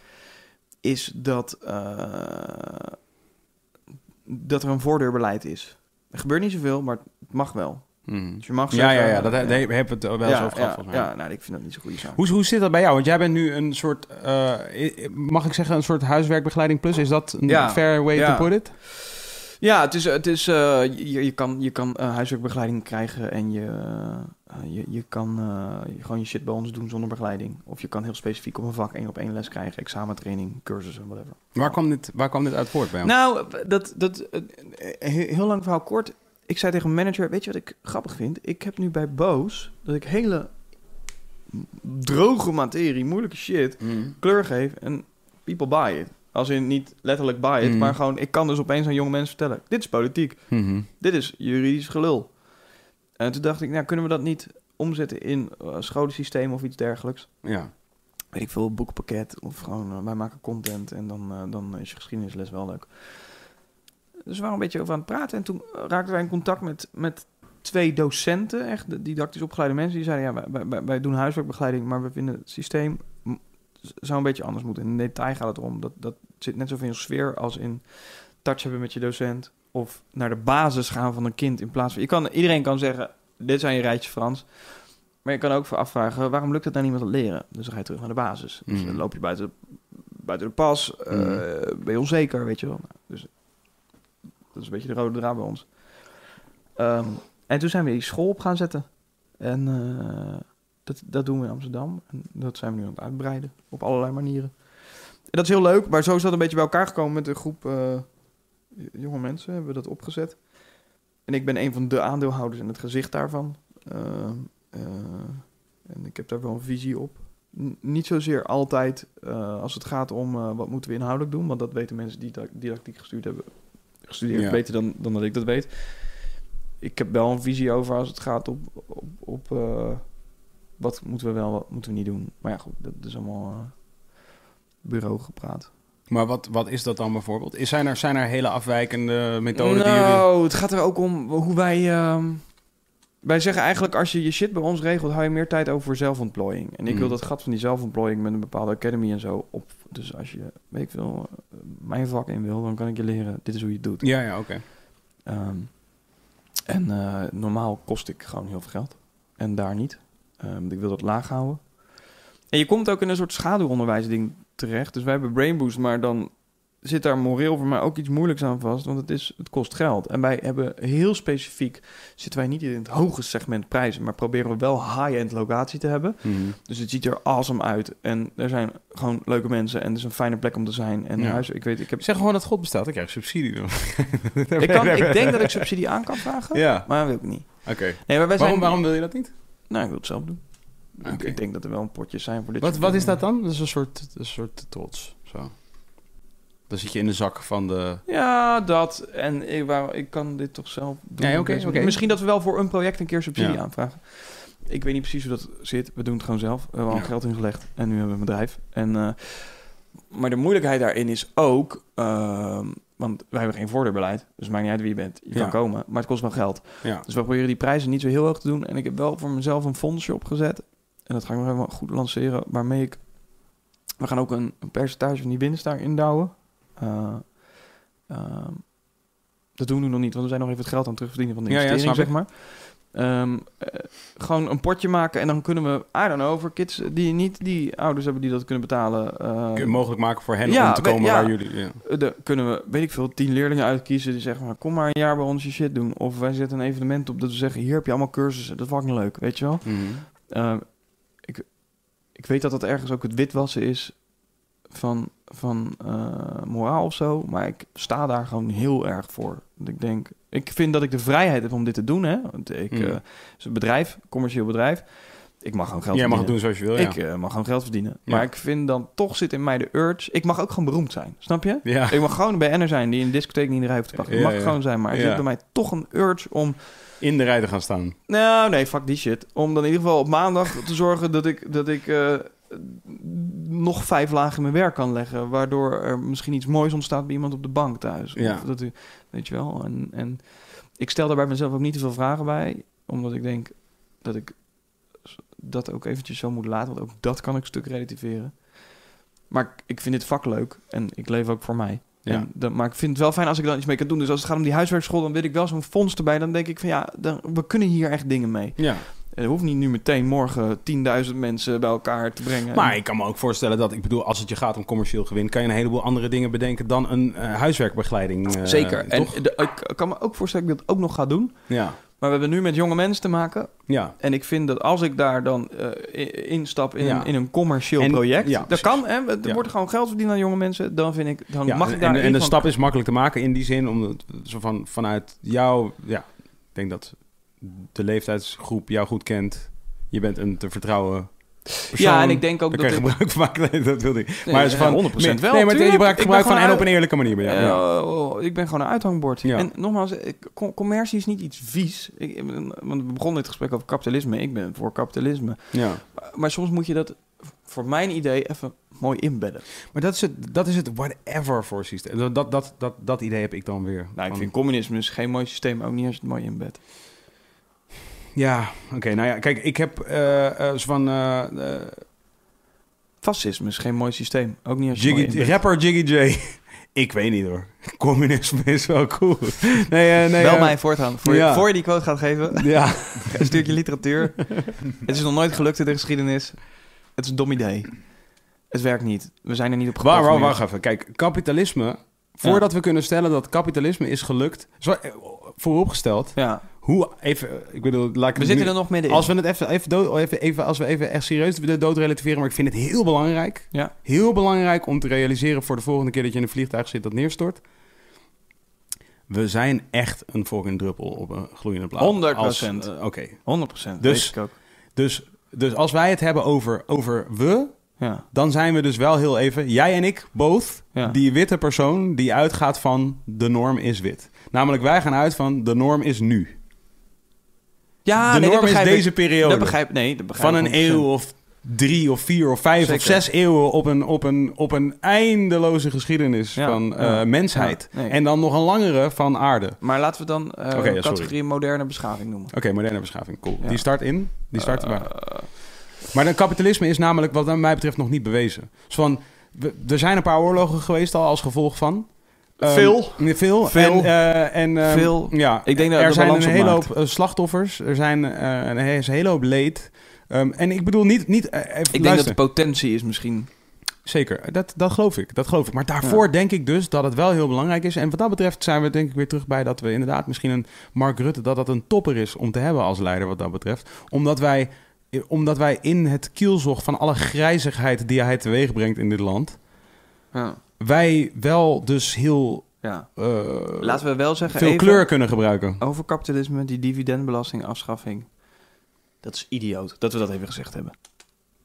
S3: is dat, eh, dat er een voordeurbeleid is. Er gebeurt niet zoveel, maar het mag wel.
S1: Hmm.
S3: Dus je mag
S1: Ja, ja,
S3: zeggen,
S1: ja, dat
S3: eh,
S1: heb we hebben het er wel eens
S3: ja,
S1: over gehad.
S3: ja,
S1: volgens mij.
S3: ja, nou, ik vind dat niet zo'n goede zaak.
S1: Hoe, hoe zit dat bij jou? Want jij bent nu een soort, eh, i- mag ik zeggen, een soort huiswerkbegeleiding plus. Is dat een
S3: Ja,
S1: fair way
S3: ja.
S1: to put it?
S3: Ja, het is, het is, eh, je, je kan, je kan eh, huiswerkbegeleiding krijgen en je, eh, je, je kan eh, je- gewoon je shit bij ons doen zonder begeleiding. Of je kan heel specifiek op een vak één op één les krijgen, examentraining, cursussen, whatever.
S1: Waar kwam dit, waar kwam dit uit voort bij jou?
S3: Nou, dat, dat, eh, he- heel lang verhaal kort. Ik zei tegen mijn manager, weet je wat ik grappig vind? Ik heb nu bij Boos dat ik hele droge materie, moeilijke shit,
S1: Hmm.
S3: kleur geef en people buy it. Als in niet letterlijk buy it,
S1: Mm.
S3: maar gewoon ik kan dus opeens aan jonge mensen vertellen: dit is politiek,
S1: Mhm.
S3: dit is juridisch gelul. En toen dacht ik, nou kunnen we dat niet omzetten in eh scholensysteem of iets dergelijks?
S1: Ja.
S3: Weet ik veel, boekpakket of gewoon eh, wij maken content en dan, eh, dan is je geschiedenisles wel leuk. Dus we waren een beetje over aan het praten en toen eh, raakten wij in contact met, met twee docenten, echt de didactisch opgeleide mensen, die zeiden: ja, wij- wij, wij, wij doen huiswerkbegeleiding, maar we vinden het systeem zou een beetje anders moeten. In detail gaat het erom. Dat, dat zit net zoveel in sfeer als in touch hebben met je docent. Of naar de basis gaan van een kind in plaats van... Je kan, iedereen kan zeggen, dit zijn je rijtjes Frans. Maar je kan ook voor afvragen, waarom lukt het nou niet met dat leren? Dus dan ga je terug naar de basis. Dus
S1: Mhm.
S3: dan loop je buiten, buiten de pas, eh, ben je onzeker, weet je wel. Nou, dus dat is een beetje de rode draad bij ons. Ehm, en toen zijn we die school op gaan zetten. En eh, dat, dat doen we in Amsterdam. En dat zijn we nu aan het uitbreiden op allerlei manieren. En dat is heel leuk, maar zo is dat een beetje bij elkaar gekomen met een groep eh, j- jonge mensen. Hebben we dat opgezet. En ik ben een van de aandeelhouders en het gezicht daarvan. Eh, eh, en ik heb daar wel een visie op. N- niet zozeer altijd eh, als het gaat om eh, wat moeten we inhoudelijk doen, want dat weten mensen die da- didactiek gestuurd hebben, gestudeerd
S1: Ja.
S3: beter dan, dan dat ik dat weet. Ik heb wel een visie over als het gaat op, op, op eh, wat moeten we wel, wat moeten we niet doen. Maar ja, goed, dat is allemaal eh, bureau gepraat.
S1: Maar wat, wat is dat dan bijvoorbeeld? Is, zijn, er, zijn er hele afwijkende methoden die jullie...
S3: nou, het gaat er ook om hoe wij... ehm, wij zeggen eigenlijk, als je je shit bij ons regelt... hou je meer tijd over voor zelfontplooiing. En ik
S1: Mhm.
S3: wil dat gat van die zelfontplooiing... met een bepaalde academy en zo op. Dus als je, weet ik veel, eh, mijn vak in wil... dan kan ik je leren, dit is hoe je het doet.
S1: Ja, ja, oké.
S3: Ehm, en eh, normaal kost ik gewoon heel veel geld. En daar niet. Ehm, ik wil dat laag houden. En je komt ook in een soort schaduwonderwijsding terecht. Dus wij hebben Brainboost, maar dan zit daar moreel voor mij ook iets moeilijks aan vast. Want het, is, het kost geld. En wij hebben heel specifiek, zitten wij niet in het hoge segment prijzen, maar proberen we wel high-end locatie te hebben.
S1: Mhm.
S3: Dus het ziet er awesome uit. En er zijn gewoon leuke mensen. En het is een fijne plek om te zijn. En
S1: Ja.
S3: huis, ik weet, ik heb...
S1: Zeg gewoon dat God bestaat, dan krijg je subsidie.
S3: Ik, kan, ik
S1: <laughs>
S3: denk dat ik subsidie aan kan vragen,
S1: Ja,
S3: maar dat wil ik niet.
S1: oké.
S3: Nee, maar wij
S1: Waarom,
S3: zijn...
S1: waarom wil je dat niet?
S3: Nou, ik wil het zelf doen. Ik-
S1: Oké.
S3: Ik denk dat er wel een potjes zijn voor dit
S1: Wat,
S3: soort
S1: wat is
S3: dingen.
S1: dat dan? Dat is een soort, een soort trots. Zo. Dan zit je in de zak van de...
S3: Ja, dat. En ik, waar, ik kan dit toch zelf doen.
S1: Nee,
S3: Oké,
S1: oké, oké.
S3: Misschien dat we wel voor een project een keer subsidie
S1: Ja.
S3: aanvragen. Ik weet niet precies hoe dat zit. We doen het gewoon zelf. We hebben al
S1: Ja.
S3: geld ingelegd en nu hebben we een bedrijf. En, eh, maar de moeilijkheid daarin is ook... ehm, want wij hebben geen voordeelbeleid. Dus het maakt niet uit wie je bent. Je
S1: Ja.
S3: kan komen, maar het kost wel geld.
S1: Ja.
S3: Dus we proberen die prijzen niet zo heel hoog te doen. En ik heb wel voor mezelf een fondsje opgezet. En dat ga ik nog even goed lanceren. Waarmee ik... We gaan ook een, een percentage van die winst daarin douwen. Eh, ehm, dat doen we nog niet, want we zijn nog even het geld aan het terugverdienen van de
S1: Ja, ja,
S3: investering,
S1: snap
S3: zeg maar. Ehm, eh, gewoon een potje maken en dan kunnen we, I don't know, voor kids die niet die ouders hebben die dat kunnen betalen. eh,
S1: Kun je mogelijk maken voor hen
S3: Ja,
S1: om te
S3: we-
S1: komen
S3: ja.
S1: waar jullie... Ja.
S3: Eh, de, kunnen we, weet ik veel, tien leerlingen uitkiezen die zeggen, maar, kom maar een jaar bij ons je shit doen. Of wij zetten een evenement op dat we zeggen, hier heb je allemaal cursussen, dat is fucking leuk, weet je wel.
S1: Mhm.
S3: Ehm, ik, ik weet dat dat ergens ook het witwassen is van, van eh, moraal of zo. Maar ik sta daar gewoon heel erg voor. Want ik denk, ik vind dat ik de vrijheid heb om dit te doen. Hè? Want ik,
S1: Mm.
S3: eh, het is een bedrijf, commercieel bedrijf. Ik mag gewoon geld
S1: Jij mag het
S3: verdienen.
S1: doen zoals je wil, ja.
S3: Ik eh, mag gewoon geld verdienen.
S1: Ja.
S3: Maar ik vind dan toch zit in mij de urge. Ik mag ook gewoon beroemd zijn, snap je?
S1: <laughs> ja.
S3: Ik mag gewoon een BN'er zijn die in de discotheek niet in de rij hoeft te pakken. Ik
S1: Ja,
S3: mag
S1: ja.
S3: gewoon zijn, maar er
S1: Ja.
S3: zit bij mij toch een urge om
S1: In de rij te gaan staan.
S3: nou, nee, fuck die shit. Om dan in ieder geval op maandag te zorgen dat ik, dat ik eh, nog vijf lagen in mijn werk kan leggen. Waardoor er misschien iets moois ontstaat bij iemand op de bank thuis. Of
S1: Ja.
S3: dat, u- weet je wel. En, en ik stel daar bij mezelf ook niet te veel vragen bij. Omdat ik denk dat ik s- dat ook eventjes zo moet laten. Want ook dat kan ik een stuk relativeren. Maar ik- ik vind dit vak leuk en ik leef ook voor mij.
S1: Ja.
S3: En dat, maar ik vind het wel fijn als ik dan iets mee kan doen. Dus als het gaat om die huiswerkschool, dan weet ik wel zo'n fonds erbij. Dan denk ik van ja, dan, we kunnen hier echt dingen mee.
S1: Ja.
S3: En Het hoeft niet nu meteen morgen 10.000 mensen bij elkaar te brengen.
S1: Maar ik kan me ook voorstellen dat, ik bedoel, als het je gaat om commercieel gewin, kan je een heleboel andere dingen bedenken dan een eh, huiswerkbegeleiding. eh,
S3: Zeker. En
S1: toch?
S3: de- ik kan me ook voorstellen dat ik dat ook nog ga doen.
S1: Ja.
S3: Maar we hebben nu met jonge mensen te maken.
S1: Ja.
S3: En ik vind dat als ik daar dan eh, i- instap in,
S1: Ja.
S3: een, in een commercieel
S1: En-
S3: project,
S1: ja,
S3: dat
S1: precies.
S3: kan, hè, er
S1: Ja.
S3: wordt gewoon geld verdiend aan jonge mensen, dan vind ik, dan
S1: ja.
S3: mag ik
S1: en,
S3: daar
S1: en,
S3: in
S1: de
S3: van-
S1: stap is makkelijk te maken in die zin, omdat zo van, vanuit jou, ja, ik denk dat de leeftijdsgroep jou goed kent. Je bent een te vertrouwen persoon.
S3: Ja, en ik denk ook
S1: Daar
S3: dat
S1: kan je
S3: ik,
S1: gebruik van maken. Nee, dat wilde ik.
S3: Nee,
S1: Maar het is
S3: ja,
S1: van
S3: 100% wel,
S1: Nee, maar je
S3: tuurlijk.
S1: gebruikt
S3: Ik ben
S1: gebruik van en
S3: gewoon
S1: op een eerlijke manier. Ja,
S3: eh,
S1: ja.
S3: oh, oh, ik ben gewoon een uithangbord.
S1: Ja.
S3: En nogmaals, ik- com- commercie is niet iets vies. Ik, want we begonnen dit gesprek over kapitalisme. Ik ben voor kapitalisme.
S1: ja.
S3: Maar soms moet je dat, voor mijn idee, even mooi inbedden.
S1: Maar dat is het, dat is het whatever voor systeem. Dat, dat, dat, dat, dat idee heb ik dan weer.
S3: Nou, ik
S1: Van-
S3: vind communisme is geen mooi systeem, ook niet als je het mooi inbedt.
S1: Ja, oké. nou ja, kijk, ik heb eh, eh, zo van eh, eh,
S3: Fascisme is geen mooi systeem, ook niet als je het mooi
S1: Jiggy,
S3: inbedt.
S1: rapper Jiggy J. <laughs> ik weet niet hoor. Communisme <laughs> is wel cool. Nee, eh, nee.
S3: Bel
S1: eh,
S3: mij voortaan. Voor, je-
S1: Ja.
S3: voor je die quote gaat geven,
S1: <laughs>
S3: <laughs>
S1: Ja,
S3: een stukje literatuur. het is nog nooit gelukt in de geschiedenis. Het is een dom idee. Het werkt niet. We zijn er niet op
S1: waar, waar,
S3: geprogrammeerd.
S1: wacht even. Kijk, kapitalisme. Voordat we kunnen stellen dat kapitalisme is gelukt, zo, eh, vooropgesteld,
S3: Ja,
S1: hoe even, eh, ik bedoel, laat ik
S3: we
S1: het nu-
S3: zitten er nog middenin.
S1: Als we het even, even, dood, oh, even, even, als we even echt serieus de dood relativeren, maar ik vind het heel belangrijk.
S3: Ja.
S1: Heel belangrijk om te realiseren voor de volgende keer dat je in een vliegtuig zit dat neerstort. We zijn echt een fucking druppel op een gloeiende plaat.
S3: 100%.
S1: Als, eh, Oké.
S3: 100%.
S1: Dus-
S3: weet ik ook.
S1: Dus, dus als wij het hebben over, over we,
S3: Ja,
S1: dan zijn we dus wel heel even, jij en ik, both,
S3: ja.
S1: die witte persoon die uitgaat van de norm is wit. Namelijk wij gaan uit van de norm is nu.
S3: ja
S1: de
S3: nee, dat
S1: norm is
S3: begrijp ik.
S1: deze periode.
S3: Dat begrijp, nee, dat begrijp
S1: van
S3: ik
S1: een
S3: 100%.
S1: eeuw of drie of vier of vijf of
S3: Zeker.
S1: zes eeuwen op een, op een, op een eindeloze geschiedenis
S3: Ja,
S1: van
S3: ja,
S1: eh, mensheid.
S3: ja, nee.
S1: En dan nog een langere van aarde.
S3: Maar laten we dan eh
S1: Oké, ja, sorry.
S3: categorie moderne beschaving noemen.
S1: Oké, moderne beschaving, cool.
S3: Ja.
S1: Die start in? Die start
S3: Eh,
S1: waar? Maar dan kapitalisme is namelijk wat mij betreft nog niet bewezen. Dus van, we- er zijn een paar oorlogen geweest al als gevolg van. Ehm,
S3: Veel.
S1: nee, veel.
S3: Veel.
S1: En, eh, en, ehm,
S3: Veel.
S1: Ja,
S3: Ik denk dat
S1: er
S3: het
S1: zijn een
S3: balans op
S1: hele
S3: maakt.
S1: hoop eh, slachtoffers. Er zijn eh, een, he- is een hele hoop leed. Ehm, en ik bedoel niet... niet eh, even
S3: ik denk dat
S1: luisteren.
S3: de potentie is misschien...
S1: Zeker, dat, dat geloof ik. Dat geloof ik. Maar daarvoor denk ik dus dat het wel heel belangrijk is. En wat dat betreft zijn we denk ik weer terug bij dat we inderdaad misschien een Mark Rutte, dat dat een topper is om te hebben als leider wat dat betreft. Omdat wij, eh, omdat wij in het kielzog van alle grijzigheid die hij teweeg brengt in dit land,
S3: Ja.
S1: wij wel dus heel
S3: ja.
S1: eh,
S3: Laten we wel zeggen...
S1: veel
S3: even-
S1: kleur kunnen gebruiken.
S3: over kapitalisme, die dividendbelastingafschaffing. Dat is idioot dat we dat even gezegd hebben.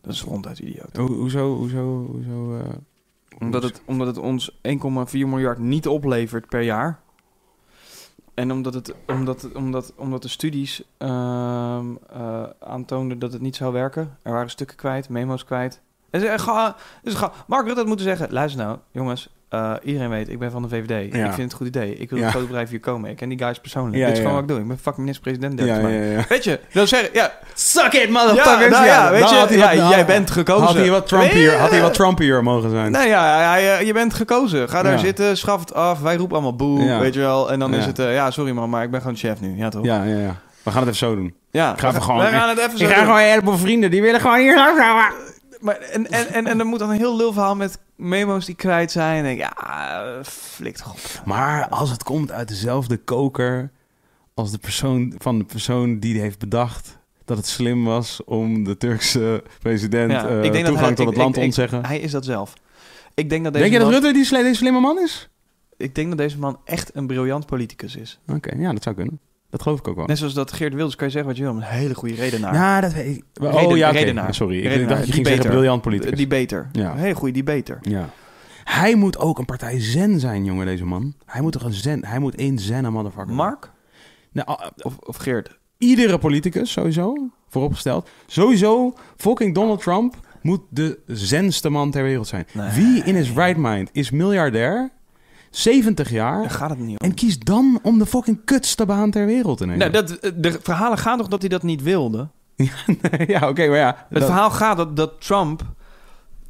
S3: Dat is ronduit idioot.
S1: Ho- hoezo, hoezo, hoezo... eh,
S3: Omdat het, omdat het ons 1,4 miljard niet oplevert per jaar. En omdat, het, omdat, omdat, omdat de studies ehm, eh, aantoonden dat het niet zou werken. Er waren stukken kwijt, memo's kwijt. Het is echt ga, het is ga. Mark Rutte had moeten zeggen, luister nou, jongens. eh, iedereen weet, ik ben van de VVD.
S1: Ja.
S3: Ik vind het een goed idee. Ik wil
S1: Ja.
S3: een groot bedrijf hier komen. Ik ken die guys persoonlijk.
S1: Ja,
S3: Dit is
S1: ja,
S3: gewoon
S1: ja.
S3: wat ik doe. Ik ben fucking minister-president
S1: Ja,
S3: 30
S1: ja,
S3: maanden.
S1: ja, ja.
S3: Weet je, wil zeggen, ja.
S1: Suck it,
S3: Ja, nou ja, weet je, ja, jij bent gekozen.
S1: nou, Had hij wat Trumpier,
S3: Nee,
S1: had hij wat Trumpier mogen zijn.
S3: Nou ja, ja, ja, je bent gekozen. Ga daar
S1: Ja.
S3: zitten, schaf het af. Wij roepen allemaal boe,
S1: Ja.
S3: weet je wel. En dan is
S1: Ja.
S3: het, eh, ja, sorry man, maar ik ben gewoon chef nu. Ja, toch?
S1: Ja, ja, ja. We gaan het even zo doen.
S3: Ja,
S1: Ik ga even
S3: we-
S1: gewoon-
S3: We gaan het even zo
S1: Ik ga
S3: doen.
S1: gewoon een heleboel vrienden, die willen gewoon hier lang houden.
S3: Maar, en, en, en, en dan moet dan een heel lul verhaal met memo's die kwijt zijn. En denk ik, ja, eh, flikt god.
S1: Maar als het komt uit dezelfde koker als de persoon van de persoon die heeft bedacht dat het slim was om de Turkse president
S3: Ja,
S1: eh,
S3: ik denk dat
S1: toegang
S3: hij-
S1: tot
S3: ik-
S1: het land te
S3: ik- ik-
S1: ontzeggen.
S3: Hij is dat zelf. Ik denk dat deze,
S1: Denk je dat
S3: man,
S1: Rutte die sli- die slimme man is?
S3: ik denk dat deze man echt een briljant politicus is.
S1: Oké, ja, dat zou kunnen. Dat geloof ik ook wel.
S3: Net zoals dat Geert Wilders, kan je zeggen wat je wil, maar een hele goede redenaar. Eh,
S1: Ja, dat weet ik. Oh
S3: Reden-
S1: ja, oké.
S3: redenaar.
S1: sorry. Ik
S3: Redenaar,
S1: dacht dat je ging
S3: die
S1: zeggen
S3: beter.
S1: briljant politicus.
S3: Die beter.
S1: Ja.
S3: Een hele goede die beter.
S1: Ja. Hij moet ook een partij zen zijn, jongen, deze man. Hij moet toch een zen... Hij moet één zen motherfucker.
S3: Mark
S1: Nou, a-
S3: of, of Geert?
S1: iedere politicus sowieso, vooropgesteld. Sowieso, fucking Donald Trump moet de zenste man ter wereld zijn.
S3: Nee.
S1: Wie in his right mind is miljardair, 70
S3: Daar
S1: jaar...
S3: gaat het niet om.
S1: en kiest dan om de fucking kutste baan ter wereld te nemen.
S3: Nou, dat, de verhalen gaan toch dat hij dat niet wilde?
S1: <laughs> ja, oké, maar ja. <laughs>
S3: Het
S1: dat-
S3: verhaal gaat dat, dat Trump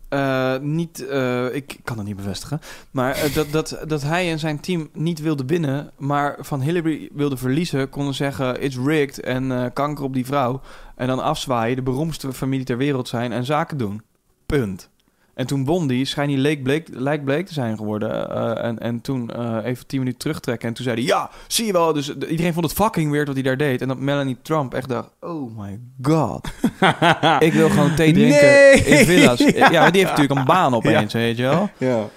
S3: eh, niet, eh, ik kan dat niet bevestigen, maar eh, dat, dat, dat hij en zijn team niet wilden winnen, maar van Hillary wilden verliezen, konden zeggen it's rigged en eh, kanker op die vrouw. En dan afzwaaien, de beroemdste familie ter wereld zijn en zaken doen. Punt. En toen won die, schijnt hij leek bleek, lijk bleek te zijn geworden. eh, en, en toen eh, even tien minuten terugtrekken. En toen zei hij, ja, zie je wel. Dus de- iedereen vond het fucking weird wat hij daar deed. En dat Melanie Trump echt dacht, oh my god. Ik wil gewoon thee drinken
S1: Ah. Nee! <laughs>
S3: in villa's. Ja, maar die heeft natuurlijk een baan opeens, weet je wel.
S1: Ja.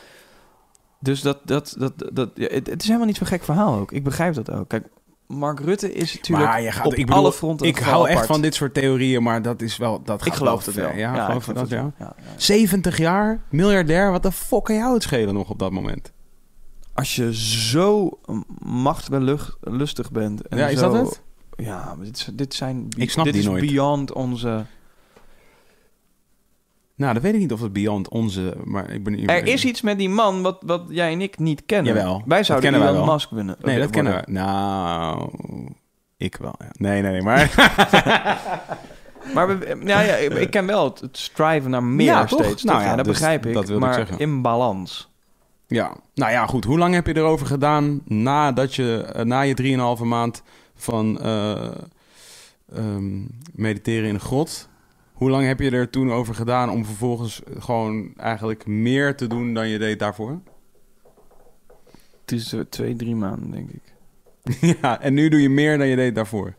S3: Dus dat, dat, dat, dat, ja, het, het is helemaal niet zo'n gek verhaal ook. Ik begrijp dat ook. Kijk, Mark Rutte is natuurlijk
S1: Maar je gaat-
S3: op
S1: ik bedoel,
S3: alle fronten
S1: Ik
S3: een geval
S1: hou echt
S3: apart.
S1: van dit soort theorieën, maar dat is wel... Dat
S3: Ik
S1: gaat
S3: geloof
S1: wel
S3: het wel.
S1: ver. Ja,
S3: ik
S1: geloof
S3: geloof
S1: dat,
S3: het
S1: ja.
S3: wel. Ja, ja.
S1: 70 jaar, miljardair, wat de fuck kan jou het schelen nog op dat moment?
S3: Als je zo machtbelustig bent. En
S1: ja, is dat
S3: zo-
S1: het?
S3: Ja, maar dit, is- dit zijn...
S1: Ik snap
S3: dit
S1: die
S3: is
S1: nooit.
S3: beyond onze...
S1: Nou, dat weet ik niet of het beyond onze... Maar ik ben,
S3: Er is iets met die man wat, wat jij en ik niet kennen.
S1: Jawel,
S3: wij
S1: dat
S3: zouden
S1: kennen wij
S3: Elon
S1: wel.
S3: Musk winnen.
S1: Nee, dat kennen we. Nou, ik wel. ja. Nee, nee, nee,
S3: <laughs>
S1: maar...
S3: Maar we, ja, ja, ik, ik ken wel het, het strijven naar meer
S1: Ja, toch?
S3: steeds.
S1: Nou
S3: Nou, ja,
S1: ja,
S3: dat
S1: dus
S3: begrijp ik.
S1: dat wilde ik
S3: maar
S1: zeggen.
S3: in balans.
S1: ja, nou ja, goed. Hoe lang heb je erover gedaan nadat je, eh, na je 3,5 maand van eh, ehm, mediteren in een grot... Hoe lang heb je er toen over gedaan om vervolgens gewoon eigenlijk meer te doen dan je deed daarvoor? <laughs>
S3: Het is eh, twee, drie maanden, denk ik.
S1: ja, en nu doe je meer dan je deed daarvoor.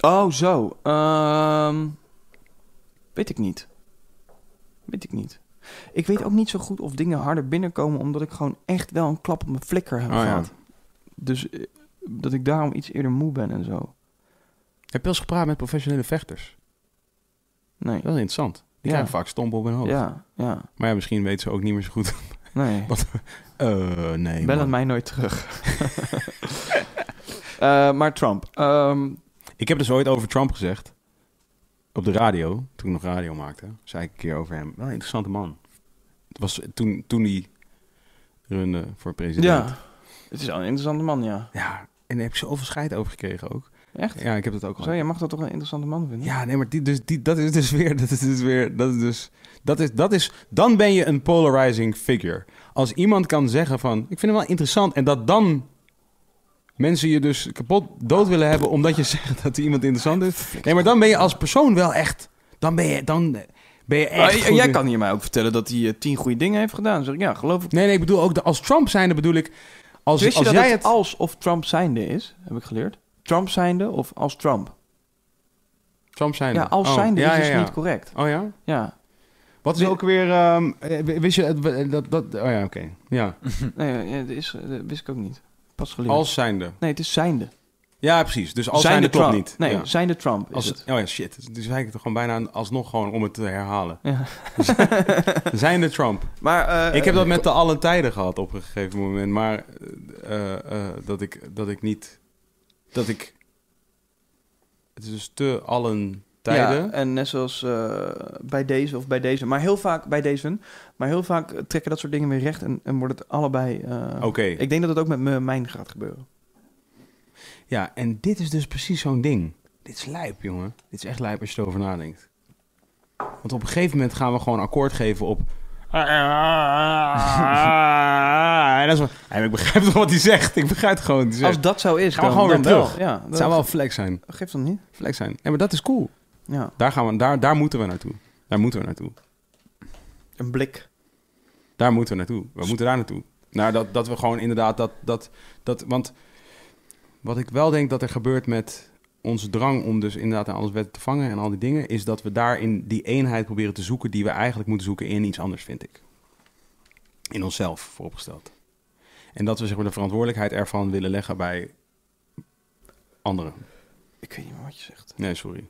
S3: Oh, zo. Ehm, weet ik niet. Weet ik niet. Ik weet ook niet zo goed of dingen harder binnenkomen... omdat ik gewoon echt wel een klap op mijn flikker heb
S1: Oh, ja.
S3: gehad. Dus eh, dat ik daarom iets eerder moe ben en zo.
S1: Heb je wel eens gepraat met professionele vechters?
S3: Nee.
S1: Dat is interessant. Die
S3: Ja.
S1: krijgen vaak stompen op hun hoofd.
S3: Ja, ja.
S1: Maar ja, misschien weten ze ook niet meer zo goed. <laughs>
S3: Nee.
S1: Eh, nee.
S3: Bel
S1: man.
S3: het mij nooit terug. <laughs> Eh, maar Trump. ehm,
S1: Ik heb dus ooit over Trump gezegd. Op de radio, toen ik nog radio maakte, zei ik een keer over hem. Wel een interessante man. Het was toen, toen hij runde voor president.
S3: ja. Het is wel een interessante man, ja.
S1: ja. En daar heb ik zoveel scheid over gekregen ook.
S3: Echt?
S1: Ja, ik heb dat ook al
S3: Zo, je mag dat toch een interessante man vinden?
S1: Ja, nee, maar die, dus, die, dat is dus <laughs> weer. Dat is dus weer. Dat is dus. Dat is, dat is. Dan ben je een polarizing figure. Als iemand kan zeggen van. Ik vind hem wel interessant. En dat dan. Mensen je dus kapot dood willen hebben. omdat je <laughs> zegt dat iemand interessant is. Nee, maar dan ben je als persoon wel echt. Dan ben je. Dan ben je
S3: Maar
S1: echt.
S3: j-
S1: goed
S3: Oh, jij
S1: in-
S3: kan hier mij ook vertellen dat hij eh, tien goede dingen heeft gedaan. Dan zeg ik, ja, geloof ik.
S1: Nee, nee, ik bedoel ook. de- Als Trump zijnde bedoel ik. Als,
S3: Wist
S1: als
S3: je dat
S1: jij
S3: het
S1: het.
S3: als of Trump zijnde is, heb ik geleerd. Trump zijnde of als Trump.
S1: Trump zijnde.
S3: Ja, als
S1: Oh,
S3: zijnde
S1: ja,
S3: is
S1: ja,
S3: dus
S1: ja.
S3: niet correct.
S1: Oh ja.
S3: Ja.
S1: Wat is ook weer. ehm, eh, wist je. eh, Dat, dat, oh ja, oké. Ja.
S3: Nee, eh, dat is, eh, dat wist ik ook niet. Pas geleerd.
S1: Hm. Als zijnde.
S3: Nee, het is zijnde.
S1: Ja, precies. Dus als zijnde klopt
S3: Trump.
S1: niet.
S3: Nee,
S1: Ja.
S3: zijnde Trump is
S1: Als,
S3: het.
S1: oh ja, shit. Dus eigenlijk toch gewoon bijna alsnog gewoon om het te herhalen. <laughs>
S3: Ja.
S1: Zijnde Trump.
S3: Maar, eh,
S1: ik heb dat met de alle tijden gehad op een gegeven moment. Maar eh, eh, eh, dat, ik, dat ik niet... Dat ik... Het is dus te allen tijden.
S3: Ja, en net zoals eh, bij deze of bij deze. Maar heel vaak bij deze. Maar heel vaak trekken dat soort dingen weer recht en, en wordt het allebei... eh,
S1: Oké.
S3: Ik denk dat het ook met me, mijn gaat gebeuren.
S1: Ja, en dit is dus precies zo'n ding. Dit is lijp, jongen. Dit is echt lijp als je erover nadenkt. Want op een gegeven moment gaan we gewoon akkoord geven op... en dat is wel... Ja, maar ik begrijp toch wat hij zegt. Ik begrijp het gewoon. wat hij zegt.
S3: Als dat zo is,
S1: Dus Gaan we
S3: dan,
S1: gewoon
S3: dan
S1: weer
S3: wel.
S1: terug.
S3: Ja,
S1: Het
S3: dat
S1: zou wel flex zijn.
S3: Geeft dan niet.
S1: Flex zijn. Ja, maar dat is cool.
S3: Ja.
S1: Daar, gaan we, daar, daar moeten we naartoe. Daar moeten we naartoe.
S3: Een blik.
S1: Daar moeten we naartoe. We moeten daar naartoe. Naar dat, dat we gewoon inderdaad dat, dat, dat... Want wat ik wel denk dat er gebeurt met onze drang om dus inderdaad aan alles wetten te vangen en al die dingen... is dat we daarin die eenheid proberen te zoeken die we eigenlijk moeten zoeken in iets anders, vind ik. In onszelf, vooropgesteld. En dat we zeg maar, de verantwoordelijkheid ervan willen leggen bij anderen.
S3: Ik weet niet meer wat je zegt.
S1: Nee, sorry.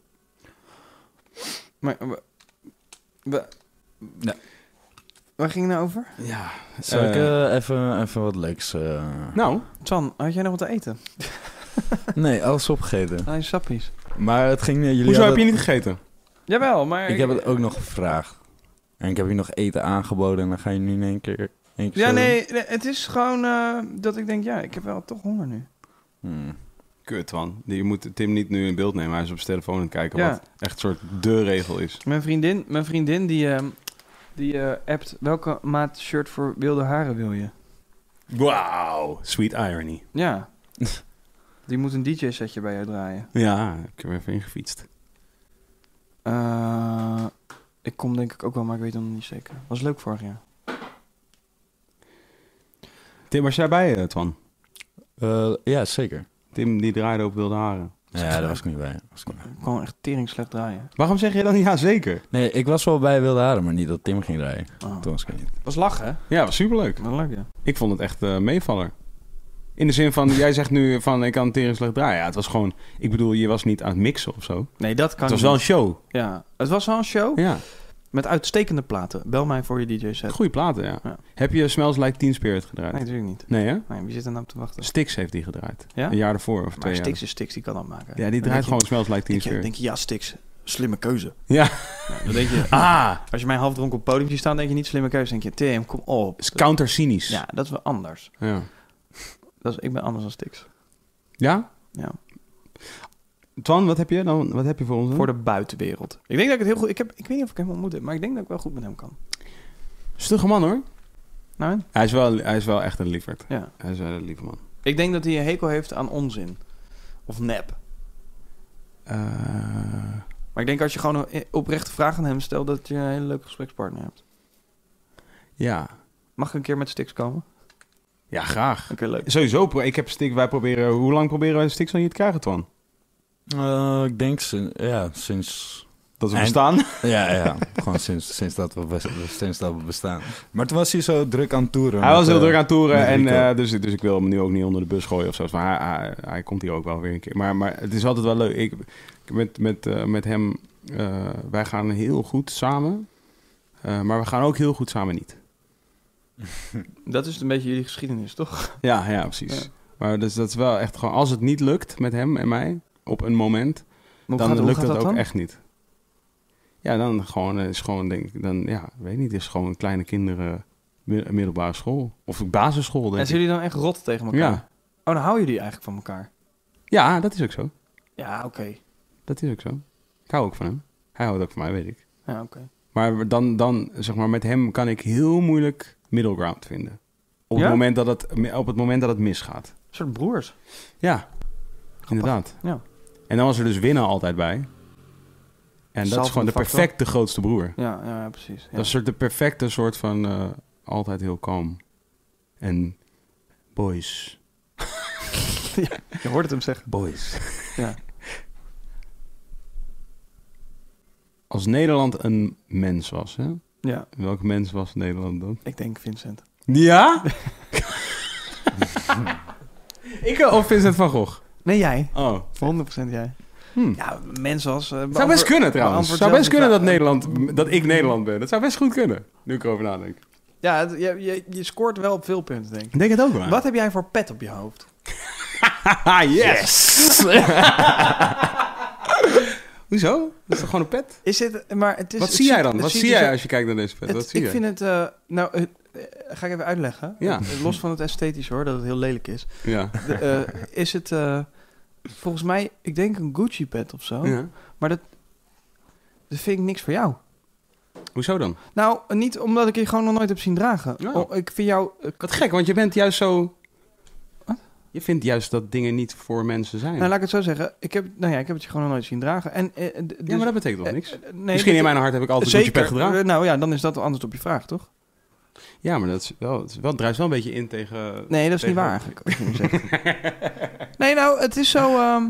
S3: Maar we... we
S2: Ja.
S3: Waar ging het nou over?
S1: Ja.
S2: Zal ik
S1: eh,
S2: eh, even, even wat leuks... eh,
S1: nou,
S3: Twan, had jij nog wat te eten?
S2: Nee, alles opgegeten.
S3: Ah, je sappies.
S2: Maar het ging... eh, jullie
S1: hoezo heb
S2: hadden-
S1: je niet gegeten?
S3: Jawel, maar...
S2: Ik heb het ook nog gevraagd. En ik heb je nog eten aangeboden en dan ga je nu in één keer... één keer
S3: Ja,
S2: zo-
S3: nee, nee, het is gewoon eh, dat ik denk, ja, ik heb wel toch honger nu.
S2: Hmm.
S1: Kut, man. Je moet Tim niet nu in beeld nemen. Hij is op zijn telefoon aan het kijken.
S3: Ja.
S1: Wat echt een soort de regel is.
S3: Mijn vriendin, mijn vriendin die, ehm, Die eh appt, welke maat shirt voor wilde haren wil je?
S1: Wauw, sweet irony. <laughs>
S3: Ja. Die moet een DJ-setje bij jou draaien.
S1: Ja, ik heb er even ingefietst.
S3: Eh, ik kom denk ik ook wel, maar ik weet het nog niet zeker. Was leuk vorig jaar.
S1: Tim, was jij bij, eh, Twan?
S2: Eh, ja, zeker.
S1: Tim, die draaide op wilde haren.
S2: Ja, daar was ik niet bij. Was ik niet bij.
S3: Ik kon echt tering slecht draaien.
S1: Waarom zeg je dan ja, zeker?
S2: Nee, ik was wel bij Wilde Haren, maar niet dat Tim ging rijden.
S3: Oh.
S2: Toen was ik er niet.
S3: Was lachen, hè?
S1: Ja, was superleuk.
S3: Wel leuk, ja.
S1: Ik vond het echt eh, meevaller. In de zin van, <laughs> jij zegt nu van, ik kan tering slecht draaien. Ja, het was gewoon, ik bedoel, je was niet aan het mixen of zo.
S3: Nee, dat kan
S1: het was wel een
S3: niet.
S1: show.
S3: Ja, het was wel een show
S1: Ja,
S3: met uitstekende platen. Bel mij voor je DJ-set.
S1: goede platen, ja.
S3: Ja.
S1: Heb je Smells Like Teen Spirit gedraaid?
S3: Nee, natuurlijk niet.
S1: Nee, hè?
S3: Nee, wie zit er nou op te wachten?
S1: Stix heeft die gedraaid.
S3: Ja?
S1: Een jaar ervoor of twee
S3: Maar
S1: jaar.
S3: Stix is Stix, die kan dat maken.
S1: Ja, die
S3: Dan
S1: draait
S3: denk
S1: gewoon Smells Like Teen
S3: Je, denk, je,
S1: Spirit.
S3: denk je, ja, Stix, slimme keuze.
S1: Ja.
S3: Nou, dan denk je,
S1: Ah,
S3: als je mij half dronken op het podium ziet staan, denk je niet slimme keuze. denk je, Tim, kom op.
S1: is countercynisch.
S3: Ja, dat is wel anders.
S1: Ja.
S3: Dat is, ik ben anders dan Stix.
S1: Ja?
S3: Ja.
S1: Twan, wat heb je dan? Wat heb je voor ons? dan?
S3: Voor de buitenwereld. Ik denk dat ik het heel goed... Ik, heb, ik weet niet of ik hem ontmoet heb, maar ik denk dat ik wel goed met hem kan.
S1: Stugge man, hoor.
S3: Nou, en?
S1: Hij is wel, hij is wel echt een lieverd.
S3: Ja.
S1: Hij is wel een lieve man.
S3: Ik denk dat hij een hekel heeft aan onzin. Of nep.
S1: Eh,
S3: Maar ik denk als je gewoon een oprechte vraag aan hem stelt... dat je een hele leuke gesprekspartner hebt.
S1: ja.
S3: Mag ik een keer met Stix komen?
S1: Ja, graag.
S3: Oké, leuk.
S1: Sowieso, pro- ik heb Stix, wij proberen, hoe lang proberen wij Stix al hier te krijgen, Twan?
S2: Eh, ik denk sin- ja, sinds...
S1: Dat we
S2: En-
S1: bestaan?
S2: Ja, ja. gewoon sinds, sinds, dat we bes- sinds dat we bestaan. Maar toen was hij zo druk aan toeren.
S1: Hij
S2: met,
S1: was heel
S2: eh,
S1: druk aan toeren
S2: met
S1: en
S2: Rico.
S1: eh, dus, dus ik wil hem nu ook niet onder de bus gooien of zo. Maar hij, hij, hij komt hier ook wel weer een keer. Maar, maar het is altijd wel leuk. Ik, ik met, met, eh, met hem, eh, wij gaan heel goed samen. Eh, maar we gaan ook heel goed samen niet.
S3: Dat is een beetje jullie geschiedenis, toch?
S1: Ja, ja, precies.
S3: Ja.
S1: Maar dus dat is wel echt gewoon, als het niet lukt met hem en mij op een moment,
S3: Maar
S1: dan
S3: hoe gaat, hoe
S1: lukt
S3: gaat
S1: dat,
S3: dat
S1: ook
S3: dan?
S1: echt niet. Ja, dan gewoon eh, is gewoon denk ik, dan ja, weet niet, is gewoon kleine kinderen mi- middelbare school of basisschool
S3: En
S1: denk
S3: zijn
S1: ik.
S3: jullie dan echt rot tegen elkaar?
S1: Ja.
S3: Oh, dan houden jullie eigenlijk van elkaar.
S1: Ja, dat is ook zo.
S3: Ja, oké.
S1: Dat is ook zo. Ik hou ook van hem. Hij houdt ook van mij, weet ik.
S3: Ja, oké.
S1: Maar dan, dan zeg maar, met hem kan ik heel moeilijk middle ground vinden. Op,
S3: Ja?
S1: het, moment dat het, op het moment dat het misgaat.
S3: Een soort broers.
S1: Ja, inderdaad.
S3: Ja.
S1: En dan was er dus winnen altijd bij. En dat is
S3: Zelfde
S1: gewoon de
S3: factor.
S1: perfecte grootste broer.
S3: Ja, ja, ja, precies. Ja.
S1: Dat is een soort de perfecte soort van eh, altijd heel kalm. En boys.
S3: Je hoort het hem zeggen.
S1: Boys.
S3: Ja.
S1: Als Nederland een mens was, hè?
S3: ja,
S1: Welk mens was Nederland dan?
S3: ik denk Vincent.
S1: Ja? <laughs> ik eh, of Vincent van Gogh?
S3: Nee, jij.
S1: Oh.
S3: Voor 100% jij.
S1: Hm.
S3: Ja, mensen als... eh,
S1: Zou
S3: beantwoord-
S1: best kunnen trouwens.
S3: beantwoord
S1: Zou best
S3: zelf
S1: kunnen dat,
S3: die vraag.
S1: Nederland, dat ik Nederland ben. Dat zou best goed kunnen, nu ik erover nadenk.
S3: Ja, het- je, je, je scoort wel op veel punten, denk ik.
S1: Ik denk <laughs> het ook wel.
S3: Wat heb jij voor pet op je hoofd?
S1: Haha, Ah, yes! <laughs> Hoezo? Dat is toch gewoon een pet?
S3: Is dit... Maar het is,
S1: Wat
S3: Dus het
S1: zie jij dan?
S3: het
S1: Wat
S3: ziet
S1: zie
S3: er
S1: jij
S3: zo-
S1: als je kijkt naar deze pet?
S3: het-
S1: Wat zie
S3: ik
S1: jij?
S3: vind het... eh, nou, eh, eh, ga ik even uitleggen.
S1: Ja.
S3: Eh, Los van het esthetisch hoor, dat het heel lelijk is.
S1: Ja.
S3: De,
S1: <laughs>
S3: eh, is het... eh, volgens mij, ik denk een Gucci-pet of zo.
S1: Ja.
S3: Maar dat, dat vind ik niks voor jou.
S1: Hoezo dan?
S3: Nou, niet omdat ik je gewoon nog nooit heb zien dragen.
S1: Ja.
S3: Oh, ik vind jou... eh,
S1: Wat gek, want je bent juist zo...
S3: Wat?
S1: Je vindt juist dat dingen niet voor mensen zijn.
S3: Nou, laat ik het zo zeggen. Ik heb, nou ja, ik heb het je gewoon nog nooit zien dragen. En, eh, d- dus-
S1: ja, maar dat betekent toch
S3: eh,
S1: niks?
S3: eh, nee,
S1: Misschien
S3: dat-
S1: in mijn hart heb ik altijd een
S3: zeker,
S1: pet gedragen.
S3: Eh, Nou ja, dan is dat wel antwoord op je vraag, toch?
S1: Ja, maar dat is wel, het is wel, het drijft wel een beetje in tegen...
S3: Nee, dat is
S1: Tegen-
S3: niet waar eigenlijk. wat je nu zegt. <laughs> nee, nou, het is zo... ehm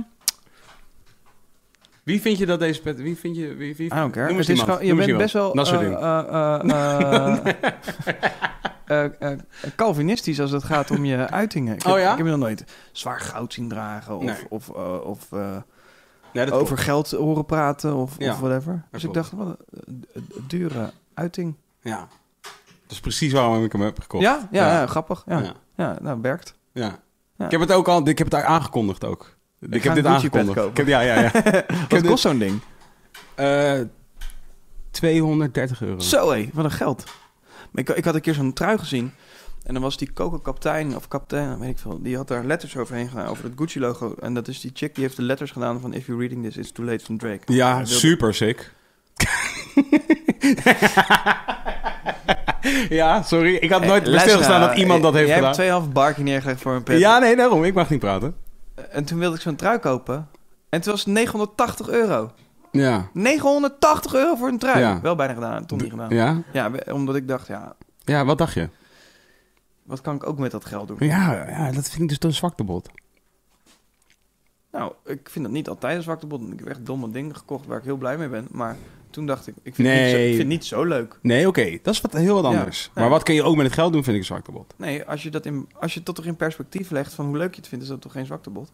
S1: Wie vind je dat deze pet... Wie vind je... Wie, wie,
S3: I don't care.
S1: Noem eens
S3: Het is
S1: iemand.
S3: gewoon- je
S1: Noem eens
S3: bent best
S1: iemand.
S3: wel...
S1: Dat soort
S3: eh,
S1: dingen.
S3: eh, eh, <laughs> eh, eh, eh, Calvinistisch als het gaat om je uitingen. Ik heb,
S1: Oh ja?
S3: ik heb je nog nooit zwaar goud zien dragen of,
S1: Nee.
S3: of, eh, of eh,
S1: Nee, dat
S3: over geld horen praten of,
S1: Ja,
S3: of whatever. Dus ik
S1: klopt.
S3: dacht, wat een eh, d- dure uiting.
S1: Ja. Dat is precies waarom ik hem heb gekocht.
S3: Ja, ja,
S1: Ja.
S3: ja, grappig. Ja.
S1: Ja.
S3: Ja. nou, werkt.
S1: Ja.
S3: Ja.
S1: Ik heb het ook al, ik heb het aangekondigd ook. Ik,
S3: ga
S1: heb dit
S3: een Gucci-pet
S1: aangekondigd.
S3: kopen.
S1: Ik heb, ja, ja,
S3: <laughs>
S1: ja.
S3: Wat
S1: dit-
S3: kost zo'n ding?
S1: Eh, 230 euro.
S3: Zo hé, wat een geld. Maar ik, ik had een keer zo'n trui gezien. En dan was die Coco kaptein of kaptein, weet ik veel. Die had daar letters overheen gedaan, over het Gucci logo. En dat is die chick die heeft de letters gedaan van If You're Reading This, It's Too Late van Drake.
S1: Ja,
S3: Hij wilde-
S1: super sick. <laughs> ja, sorry. Ik had nooit
S3: Eh,
S1: bij stilgestaan
S3: luister,
S1: dat iemand dat
S3: eh,
S1: heeft
S3: jij
S1: gedaan.
S3: hebt 2,5 barkie neergelegd voor een pet.
S1: Ja, nee, daarom. Ik mag niet praten.
S3: En toen wilde ik zo'n trui kopen. En toen was het 980 euro.
S1: Ja.
S3: 980 euro voor een trui.
S1: Ja.
S3: Wel bijna gedaan, toch niet gedaan. Ja.
S1: Ja?
S3: we- omdat ik dacht, ja,
S1: Ja, wat dacht je?
S3: wat kan ik ook met dat geld doen?
S1: Ja, ja dat vind ik dus een zwakte bot.
S3: Nou, ik vind dat niet altijd een zwakte bot. want Ik heb echt domme dingen gekocht waar ik heel blij mee ben. Maar toen dacht ik, ik vind, het, niet zo,
S1: Nee.
S3: ik vind het niet zo leuk.
S1: Nee, oké. Dat is wat heel wat
S3: Ja.
S1: anders.
S3: Ja.
S1: Maar wat kun je ook met het geld doen, vind ik een zwakte bot.
S3: Nee, als je, dat in, als je dat toch in perspectief legt van hoe leuk je het vindt, is dat toch geen zwakte
S1: <laughs>
S3: bot?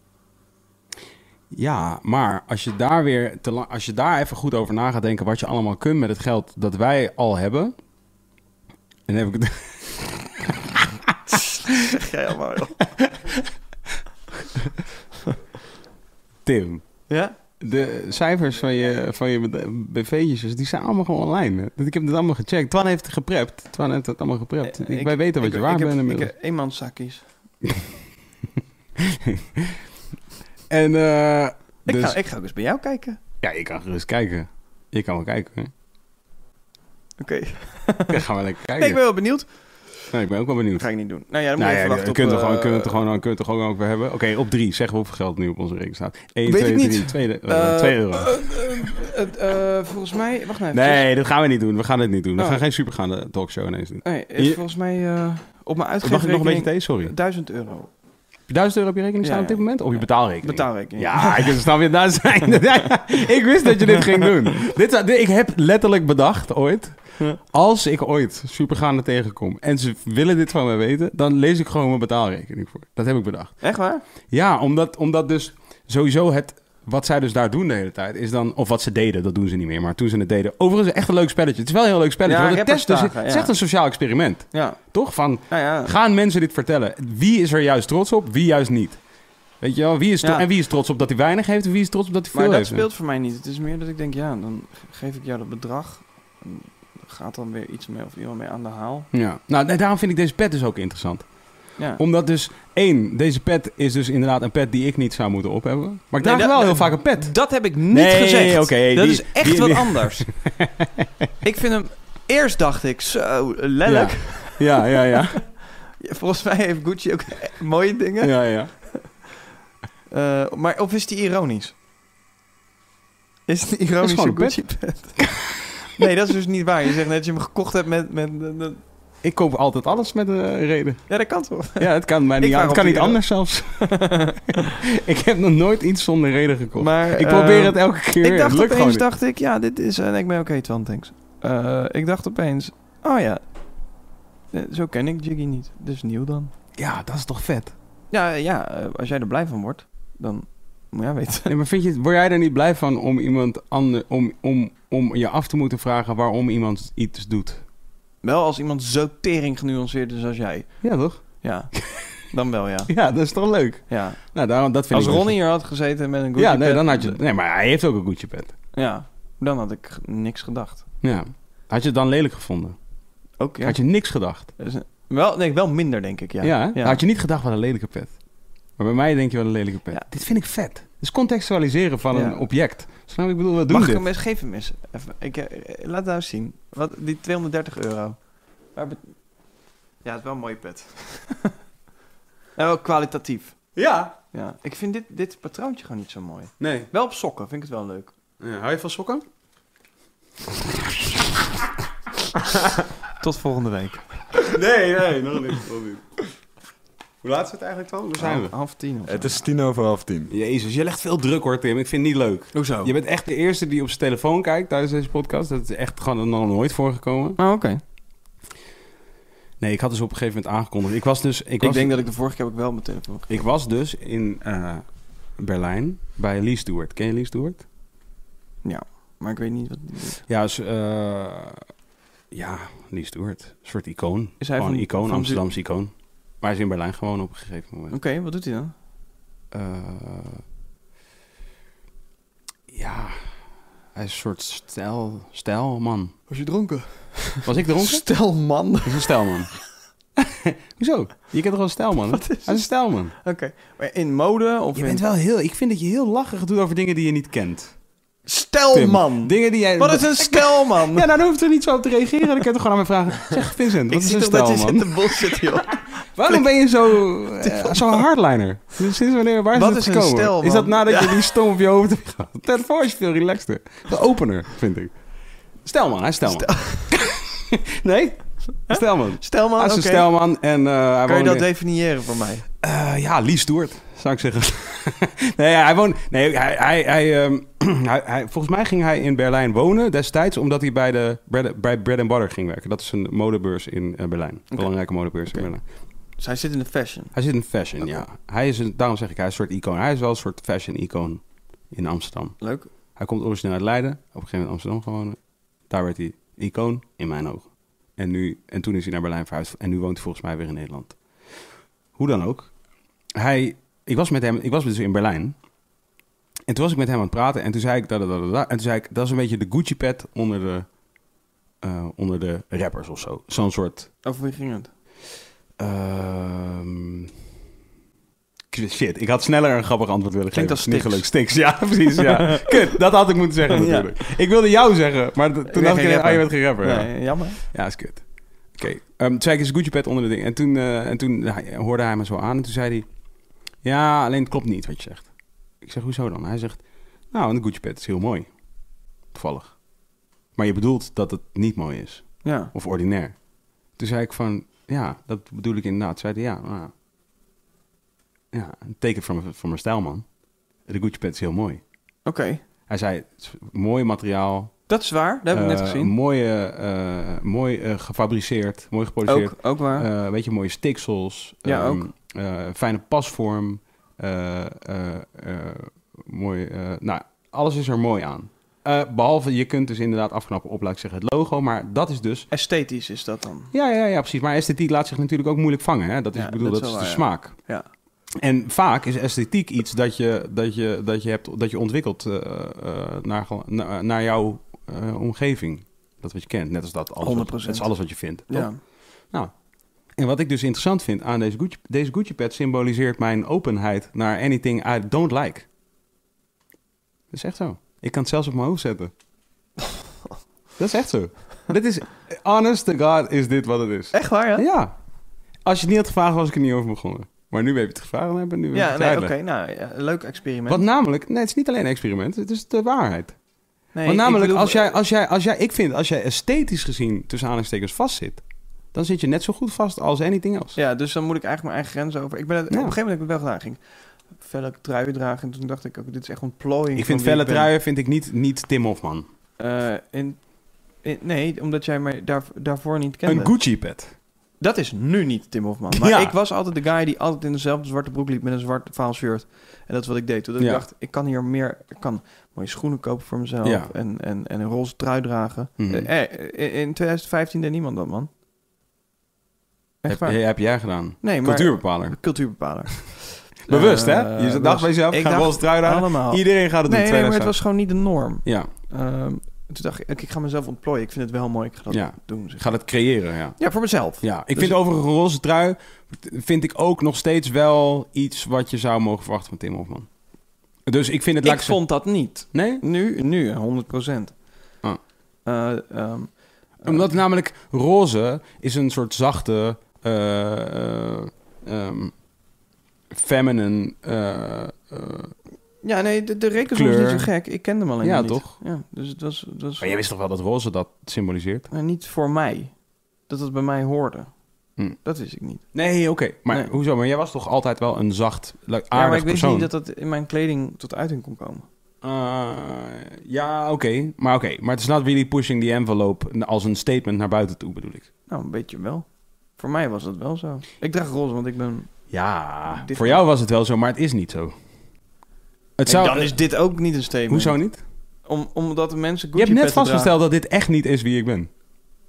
S1: Ja, maar als je daar weer te lang, als je daar even goed over na gaat denken wat je allemaal kunt met het geld dat wij al hebben. En heb ik het <laughs>
S3: Zeg jij allemaal, joh.
S1: Tim.
S3: Ja?
S1: De cijfers van je, van je BV'tjes, die zijn allemaal gewoon online. hè. Ik heb het allemaal gecheckt. Twan heeft geprept. Twan heeft het allemaal geprept.
S3: Eh,
S1: Ik, wij weten wat
S3: ik-
S1: je waar
S3: ik heb-
S1: bent inmiddels.
S3: Ik heb eenmanszakjes.
S1: en eh,
S3: Ik,
S1: dus,
S3: ga, ik ga ook eens bij jou kijken.
S1: ja, ik kan gerust kijken. Je kan wel kijken.
S3: <laughs>
S1: Hè?
S3: Oké. <laughs>
S1: Dan gaan we lekker kijken.
S3: Nee, ik ben wel benieuwd.
S1: Nee, ik ben ook wel benieuwd.
S3: Dat ga ik niet doen. Nou ja, dan moet
S1: Nou ja,
S3: je even wachten
S1: je
S3: op...
S1: kunt er gewoon,
S3: eh,
S1: kunt er gewoon, kunt er gewoon ook weer hebben. Oké, op drie. Zeg hoeveel geld nu op onze rekening staat. 1,
S3: Weet
S1: 2,
S3: ik niet.
S1: 3, 2,
S3: eh,
S1: euro.
S3: eh, eh, het, eh, volgens mij... Wacht nou even.
S1: nee, dat gaan we niet doen. We gaan dit niet doen. We
S3: Oh.
S1: gaan geen supergaande talkshow ineens doen.
S3: Nee, eh,
S1: Je-
S3: volgens mij eh, op mijn
S1: Mag ik nog een beetje
S3: uitgeefrekening...
S1: thee? Sorry.
S3: 1000 euro.
S1: 1000 euro op je rekening staan
S3: Ja,
S1: op dit
S3: ja.
S1: moment? Of je betaalrekening?
S3: Betaalrekening.
S1: Ja, ik snap je daar zijn. <laughs> ik wist dat je dit ging doen.
S3: <laughs>
S1: Dit, zou- dit- ik heb letterlijk bedacht ooit.
S3: Ja.
S1: Als ik ooit supergaande tegenkom en ze willen dit van mij weten, dan lees ik gewoon mijn betaalrekening voor. Dat heb ik bedacht.
S3: Echt waar?
S1: Ja, omdat, omdat dus sowieso het... Wat zij dus daar doen de hele tijd is dan... Of wat ze deden, dat doen ze niet meer. Maar toen ze het deden... Overigens echt een leuk spelletje. Het is wel een heel leuk spelletje.
S3: Ja,
S1: want het, test dus,
S3: rappersdagen,
S1: het is
S3: ja.
S1: echt een sociaal experiment.
S3: Ja.
S1: Toch? Van,
S3: Nou ja.
S1: gaan mensen dit vertellen? Wie is er juist trots op? Wie juist niet? Weet je wel? Wie is tro-
S3: Ja.
S1: En wie is trots op dat hij weinig heeft? En wie is trots op dat hij veel
S3: Maar dat
S1: heeft?
S3: speelt voor mij niet. Het is meer dat ik denk, ja, dan ge- geef ik jou dat bedrag. En Gaat dan weer iets mee of iemand mee aan de haal.
S1: Ja. Nou, nee, daarom vind ik deze pet dus ook interessant.
S3: Ja.
S1: Omdat dus... één, deze pet is dus inderdaad een pet die ik niet zou moeten ophebben. Maar ik
S3: Nee,
S1: draag
S3: dat-
S1: wel heel
S3: dat-
S1: vaak een pet.
S3: <laughs> Dat heb ik niet
S1: Nee,
S3: gezegd.
S1: oké,
S3: dat
S1: die-
S3: is echt
S1: die-
S3: wat
S1: die- <laughs>
S3: anders. ik vind hem... Eerst dacht ik, zo, lelijk.
S1: Ja, ja, ja.
S3: Volgens mij heeft Gucci ook mooie dingen.
S1: Ja, ja. ja.
S3: Eh, maar of is die ironisch? Is het een
S1: Dat is
S3: ironische
S1: gewoon een pet.
S3: Gucci pet? <laughs> nee, dat is dus niet waar. Je zegt net dat je hem gekocht hebt met... met, met- met-
S1: Ik koop altijd alles met een reden.
S3: Ja, dat kan toch?
S1: Ja, het kan mij
S3: Ik
S1: niet,
S3: vraag
S1: het
S3: of
S1: kan
S3: die
S1: niet
S3: er-
S1: anders zelfs. <laughs> ik heb nog nooit iets zonder reden gekocht.
S3: <laughs> Maar,
S1: ik probeer
S3: eh,
S1: het elke keer.
S3: Ik dacht
S1: het lukt gewoon
S3: opeens,
S1: niet.
S3: dacht ik, ja, dit is... En ik ben oké, Twan, thanks. Eh, ik dacht opeens, oh ja, eh, zo ken ik Jiggy niet. Dus nieuw dan.
S1: Ja, dat is toch vet.
S3: Ja, ja, eh, als jij er blij van wordt, dan moet jij weten. <laughs>
S1: Nee, maar vind je, word jij er niet blij van om iemand ander, om, om, om je af te moeten vragen waarom iemand iets doet?
S3: Wel als iemand zo tering genuanceerd is als jij.
S1: Ja, toch?
S3: Ja, dan wel ja.
S1: Ja, dat is toch leuk.
S3: ja.
S1: Nou, daarom, dat vind
S3: Als
S1: ik dus-
S3: Ronnie hier had gezeten met een Gucci
S1: Ja, nee,
S3: pet,
S1: dan had je. Nee, maar hij heeft ook een Gucci pet.
S3: Ja, dan had ik g- niks gedacht.
S1: Ja. Had je het dan lelijk gevonden?
S3: Ook ja.
S1: Had je niks gedacht?
S3: Dus, eh, wel, nee, wel minder denk ik, ja.
S1: Ja. hè? Had je niet gedacht wat een lelijke pet? Maar bij mij denk je wel een lelijke pet.
S3: Ja.
S1: Dit vind ik vet. Dus contextualiseren van
S3: Ja.
S1: een object. Snap je? Ik bedoel, wat doen
S3: Mag ik
S1: dit?
S3: hem eens geven, mis? Even, ik, eh, eh, laat nou eens zien. Wat, die 230 euro. Waar bet- Ja, het is wel een mooie pet. <laughs> en wel kwalitatief.
S1: Ja.
S3: Ja, ik vind dit, dit patroontje gewoon niet zo mooi.
S1: Nee.
S3: Wel op sokken, vind ik het wel leuk.
S1: hou je van sokken? <laughs>
S3: Tot volgende week.
S1: Nee, nee, nog niet. Hoe laat is het eigenlijk dan? Hoe
S3: Half tien of zo.
S2: Het is tien over half tien.
S1: Oh. Jezus, je legt veel druk hoor, Tim. Ik vind het niet leuk.
S3: Hoezo?
S1: Je bent echt de eerste die op zijn telefoon kijkt tijdens deze podcast. Dat is echt gewoon nog nooit voorgekomen.
S3: Oh, oké.
S1: Nee, ik had dus op een gegeven moment aangekondigd. Ik was dus... Ik,
S3: Ik,
S1: was,
S3: denk dat ik de vorige keer ook wel mijn telefoon kreeg.
S1: ik was dus in eh, Berlijn bij Lee Stewart. Ken je Lee Stewart?
S3: Ja, maar ik weet niet wat die doet.
S1: Ja, is, eh, ja, Lee Stewart. Een soort icoon.
S3: Is hij
S1: gewoon
S3: van-
S1: een icoon,
S3: van-
S1: Amsterdamse icoon. Maar hij is in Berlijn gewoon op een gegeven moment.
S3: Oké, wat doet hij dan?
S1: Eh, ja, hij is een soort stijl,
S3: <laughs>
S1: stijlman.
S3: Was je dronken?
S1: Was ik dronken?
S3: Stel man.
S1: Hij is een stijlman. Hoezo? Je kent toch wel een stijlman? hè?
S3: Wat is
S1: Hij is een stijlman.
S3: <laughs> Oké, maar in mode of
S1: Je
S3: in...
S1: bent wel heel... Ik vind dat je heel lachig doet over dingen die je niet kent.
S3: Stelman.
S1: Dingen die jij...
S3: Oh, Wat is een <laughs> stelman?
S1: Ja, nou, dan hoeft er niet zo op te reageren. Dan kan je toch gewoon aan me vragen. Zeg, Vincent, wat is een stel, man?
S3: bullshit, joh. <laughs>
S1: Waarom ben je zo, eh, zo'n hardliner? Sinds wanneer, waar is
S3: Wat
S1: dat
S3: is een
S1: gekomen?
S3: stel, man?
S1: is dat nadat je die stom op je hoofd hebt
S3: <laughs>
S1: gehad? Daarvoor is je veel relaxter. De opener, vind ik. Stelman, hij is Stelman. <laughs> nee? Stelman.
S3: Stelman,
S1: Hij is
S3: oké.
S1: een Stelman en eh, hij
S3: Kan je
S1: woont
S3: dat
S1: in-
S3: definiëren voor mij?
S1: eh, ja, Lee Stewart, zou ik zeggen. <laughs> nee, hij woont... Nee, hij, hij, hij, ehm, <clears throat> hij, hij- volgens mij ging hij in Berlijn wonen destijds... omdat hij bij, de bread, bij Bread and Butter ging werken. Dat is een modebeurs in eh, Berlijn. Belangrijke modebeurs
S3: Oké.
S1: in Berlijn.
S3: Dus hij zit in de fashion.
S1: Hij zit in fashion, ja. Hij is een, daarom zeg ik, hij is een soort icoon. Hij is wel een soort fashion-icoon in Amsterdam.
S3: Leuk.
S1: Hij komt origineel uit Leiden, op een gegeven moment Amsterdam gewoond. Daar werd hij icoon, in mijn ogen. En, nu, en toen is hij naar Berlijn verhuisd en nu woont hij volgens mij weer in Nederland. Hoe dan ook. Hij, ik, was met hem, ik was dus in Berlijn. En toen was ik met hem aan het praten en toen zei ik... Da, da, da, da, da. en toen zei ik, dat is een beetje de Gucci-pet onder de, eh, onder de rappers of zo. Zo'n soort...
S3: Over wie ging het?
S1: Ehm, shit, ik had sneller een grappig antwoord willen
S3: Klinkt
S1: geven.
S3: als
S1: Niet gelukt. Stiks, ja, <laughs> precies.
S3: <laughs>
S1: Ja. Kut, dat had ik moeten zeggen
S3: Ja.
S1: natuurlijk. Ik wilde jou zeggen, maar d- toen
S3: bent
S1: dacht ik,
S3: geen
S1: ineens, ah, je
S3: rapper.
S1: bent geen rapper. ja.
S3: Nee, jammer.
S1: Ja, is kut. Oké. ehm toen zei ik eens Gucci pet onder de ding. En toen, eh, en toen hij- hoorde hij me zo aan. En toen zei hij... Ja, alleen het klopt niet wat je zegt. Ik zeg, hoezo dan? Hij zegt... Nou, een Gucci pet is heel mooi. Toevallig. Maar je bedoelt dat het niet mooi is.
S3: Ja.
S1: Of ordinair. Toen zei ik van... Ja, dat bedoel ik inderdaad. Toen zei hij, ja, nou... Ja, een teken van, mijn- van mijn stijl, man. De Gucci pet is heel mooi.
S3: Oké.
S1: Hij zei, het is mooi materiaal,
S3: Dat is waar. Dat heb ik net
S1: eh,
S3: gezien.
S1: Mooie, eh, mooi eh, gefabriceerd, mooi geproduceerd.
S3: Ook, ook waar.
S1: Eh, weet je, mooie stiksels.
S3: Ja,
S1: ehm,
S3: ook.
S1: eh, fijne pasvorm. eh, eh, eh, mooi, eh, nou, alles is er mooi aan. Eh, behalve, je kunt dus inderdaad afknappen op, laat ik zeggen, het logo. Maar dat is dus...
S3: Esthetisch is dat dan.
S1: Ja, ja, ja, precies. Maar esthetiek laat zich natuurlijk ook moeilijk vangen. Hè? Dat is,
S3: Ja,
S1: ik bedoel, dat,
S3: dat
S1: is
S3: is
S1: de
S3: wel waar, ja.
S1: smaak.
S3: Ja.
S1: En vaak is esthetiek iets dat je, dat je, dat je, hebt, dat je ontwikkelt eh, eh, naar, ge- na- naar jouw eh, omgeving. Dat wat je kent. Net als dat alles, wat,
S3: 100%.
S1: dat is alles wat je vindt. toch?
S3: Ja.
S1: Nou, en wat ik dus interessant vind aan deze Gucci, deze Gucci pet symboliseert mijn openheid naar anything I don't like. Dat is echt zo. Ik kan het zelfs op mijn hoofd
S3: <laughs>
S1: zetten. dat is echt zo. Dit is, honest to God, is dit wat het is.
S3: Echt waar, ja?
S1: Ja. Als je het niet had gevraagd, was ik er niet over begonnen. Maar nu heb je het gevraagd en heb ik nu weer
S3: Ja,
S1: het
S3: nee, oké.
S1: uitleggen.
S3: nou, ja, leuk experiment.
S1: Want namelijk, nee, het is niet alleen een experiment, het is de waarheid.
S3: nee,
S1: Want
S3: ik
S1: namelijk,
S3: bedoel-
S1: als, jij, als, jij, als jij, ik vind, als jij esthetisch gezien tussen aanhalingstekens vastzit, dan zit je net zo goed vast als anything else.
S3: Ja, dus dan moet ik eigenlijk mijn eigen grens over. Ik ben het,
S1: Ja.
S3: Op een gegeven moment heb ik het wel gedaan. Ik ging felle truien dragen. En toen dacht ik ook, dit is echt ontplooiing.
S1: Ik vind
S3: van wie
S1: felle
S3: ben.
S1: truien vind ik niet, niet Tim Hofman.
S3: Eh, in, in- nee, omdat jij mij daar, daarvoor niet kende.
S1: Een Gucci pet.
S3: Dat is nu niet Tim Hofman. Maar
S1: Ja.
S3: ik was altijd de guy die altijd in dezelfde zwarte broek liep met een zwart vaal shirt. En dat is wat ik deed. Toen
S1: Ja.
S3: ik dacht, ik kan hier meer... Ik kan mooie schoenen kopen voor mezelf.
S1: Ja.
S3: En, en, en een roze trui dragen.
S1: Mhm.
S3: Eh, eh, in 2015 deed niemand dat, man. Echt
S1: Heb,
S3: waar.
S1: heb jij gedaan.
S3: nee, maar...
S1: Cultuurbepaler.
S3: Cultuurbepaler.
S1: <laughs> Bewust,
S3: Eh,
S1: hè? Je dacht
S3: bewust.
S1: bij jezelf,
S3: Ik
S1: ga
S3: dacht
S1: roze trui aan.
S3: Allemaal.
S1: Iedereen gaat het
S3: nee,
S1: doen.
S3: nee, maar het
S1: 2000.
S3: was gewoon niet de norm.
S1: Ja,
S3: Ehm, toen dacht ik, ik, ik ga mezelf ontplooien. Ik vind het wel mooi. Ik ga dat
S1: Ja.
S3: doen. zeg.
S1: gaat het creëren, ja.
S3: Ja, voor mezelf.
S1: Ja, ik
S3: Dus-
S1: vind overigens een roze trui vind ik ook nog steeds wel iets wat je zou mogen verwachten van Tim Hofman. Dus ik vind het
S3: ik
S1: lekker.
S3: vond dat niet.
S1: Nee?
S3: Nu, nu, 100 procent. Eh, ehm,
S1: Ah. Omdat namelijk roze is een soort zachte, eh, eh, ehm, feminine. eh, eh,
S3: ja, nee, de, de rekel is
S1: Kleur.
S3: niet zo gek. Ik kende hem alleen
S1: Ja,
S3: niet.
S1: toch?
S3: Ja, dus het was, het was
S1: maar jij wist toch wel dat roze dat symboliseert?
S3: eh, niet voor mij. Dat het bij mij hoorde.
S1: Hm.
S3: Dat wist ik niet.
S1: Nee, oké. Maar
S3: Nee.
S1: hoezo? Maar jij was toch altijd wel een zacht, le- aardig
S3: ja, maar ik wist
S1: persoon?
S3: niet dat dat in mijn kleding tot uiting kon komen.
S1: Eh, ja, oké. Maar oké. Maar het is not really pushing the envelope als een statement naar buiten toe, bedoel ik.
S3: Nou, een beetje wel. Voor mij was dat wel zo. Ik draag roze, want ik ben...
S1: Ja,
S3: Dit-
S1: voor jou was het wel zo, maar het is niet zo. Het
S3: En
S1: zou...
S3: dan is dit ook niet een statement.
S1: Hoezo niet?
S3: Om, omdat de mensen
S1: Je hebt net
S3: Gucci-petten
S1: vastgesteld dat dit echt niet is wie ik ben.
S3: dragen.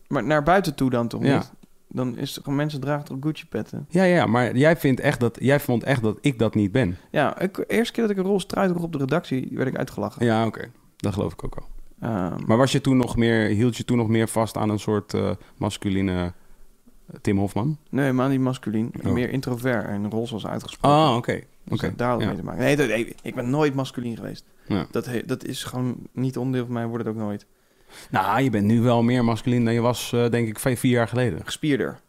S3: Maar naar buiten toe dan toch
S1: Ja.
S3: niet? Dan is toch mensen dragen toch Gucci-petten?
S1: Ja, ja, maar jij, vindt echt dat, jij vond echt dat ik dat niet ben.
S3: Ja, ik, de eerste keer dat ik een roze trui droeg op de redactie, werd ik uitgelachen.
S1: Ja, oké. Dat geloof ik ook wel.
S3: Ehm,
S1: Maar was je toen nog meer, hield je toen nog meer vast aan een soort eh, masculine eh, Tim Hofman?
S3: nee, helemaal niet masculien.
S1: Oh.
S3: Meer introvert en roze was uitgesproken.
S1: Ah, oké.
S3: Dus
S1: oké,
S3: dat- daar had het
S1: ja.
S3: mee te maken. Nee, dat- nee, ik ben nooit masculien geweest.
S1: Ja.
S3: Dat, he- dat is gewoon niet onderdeel van mij, wordt het ook nooit.
S1: Nou, je bent nu wel meer masculin dan je was, eh, denk ik, vijf, vier jaar geleden.
S3: Gespierder.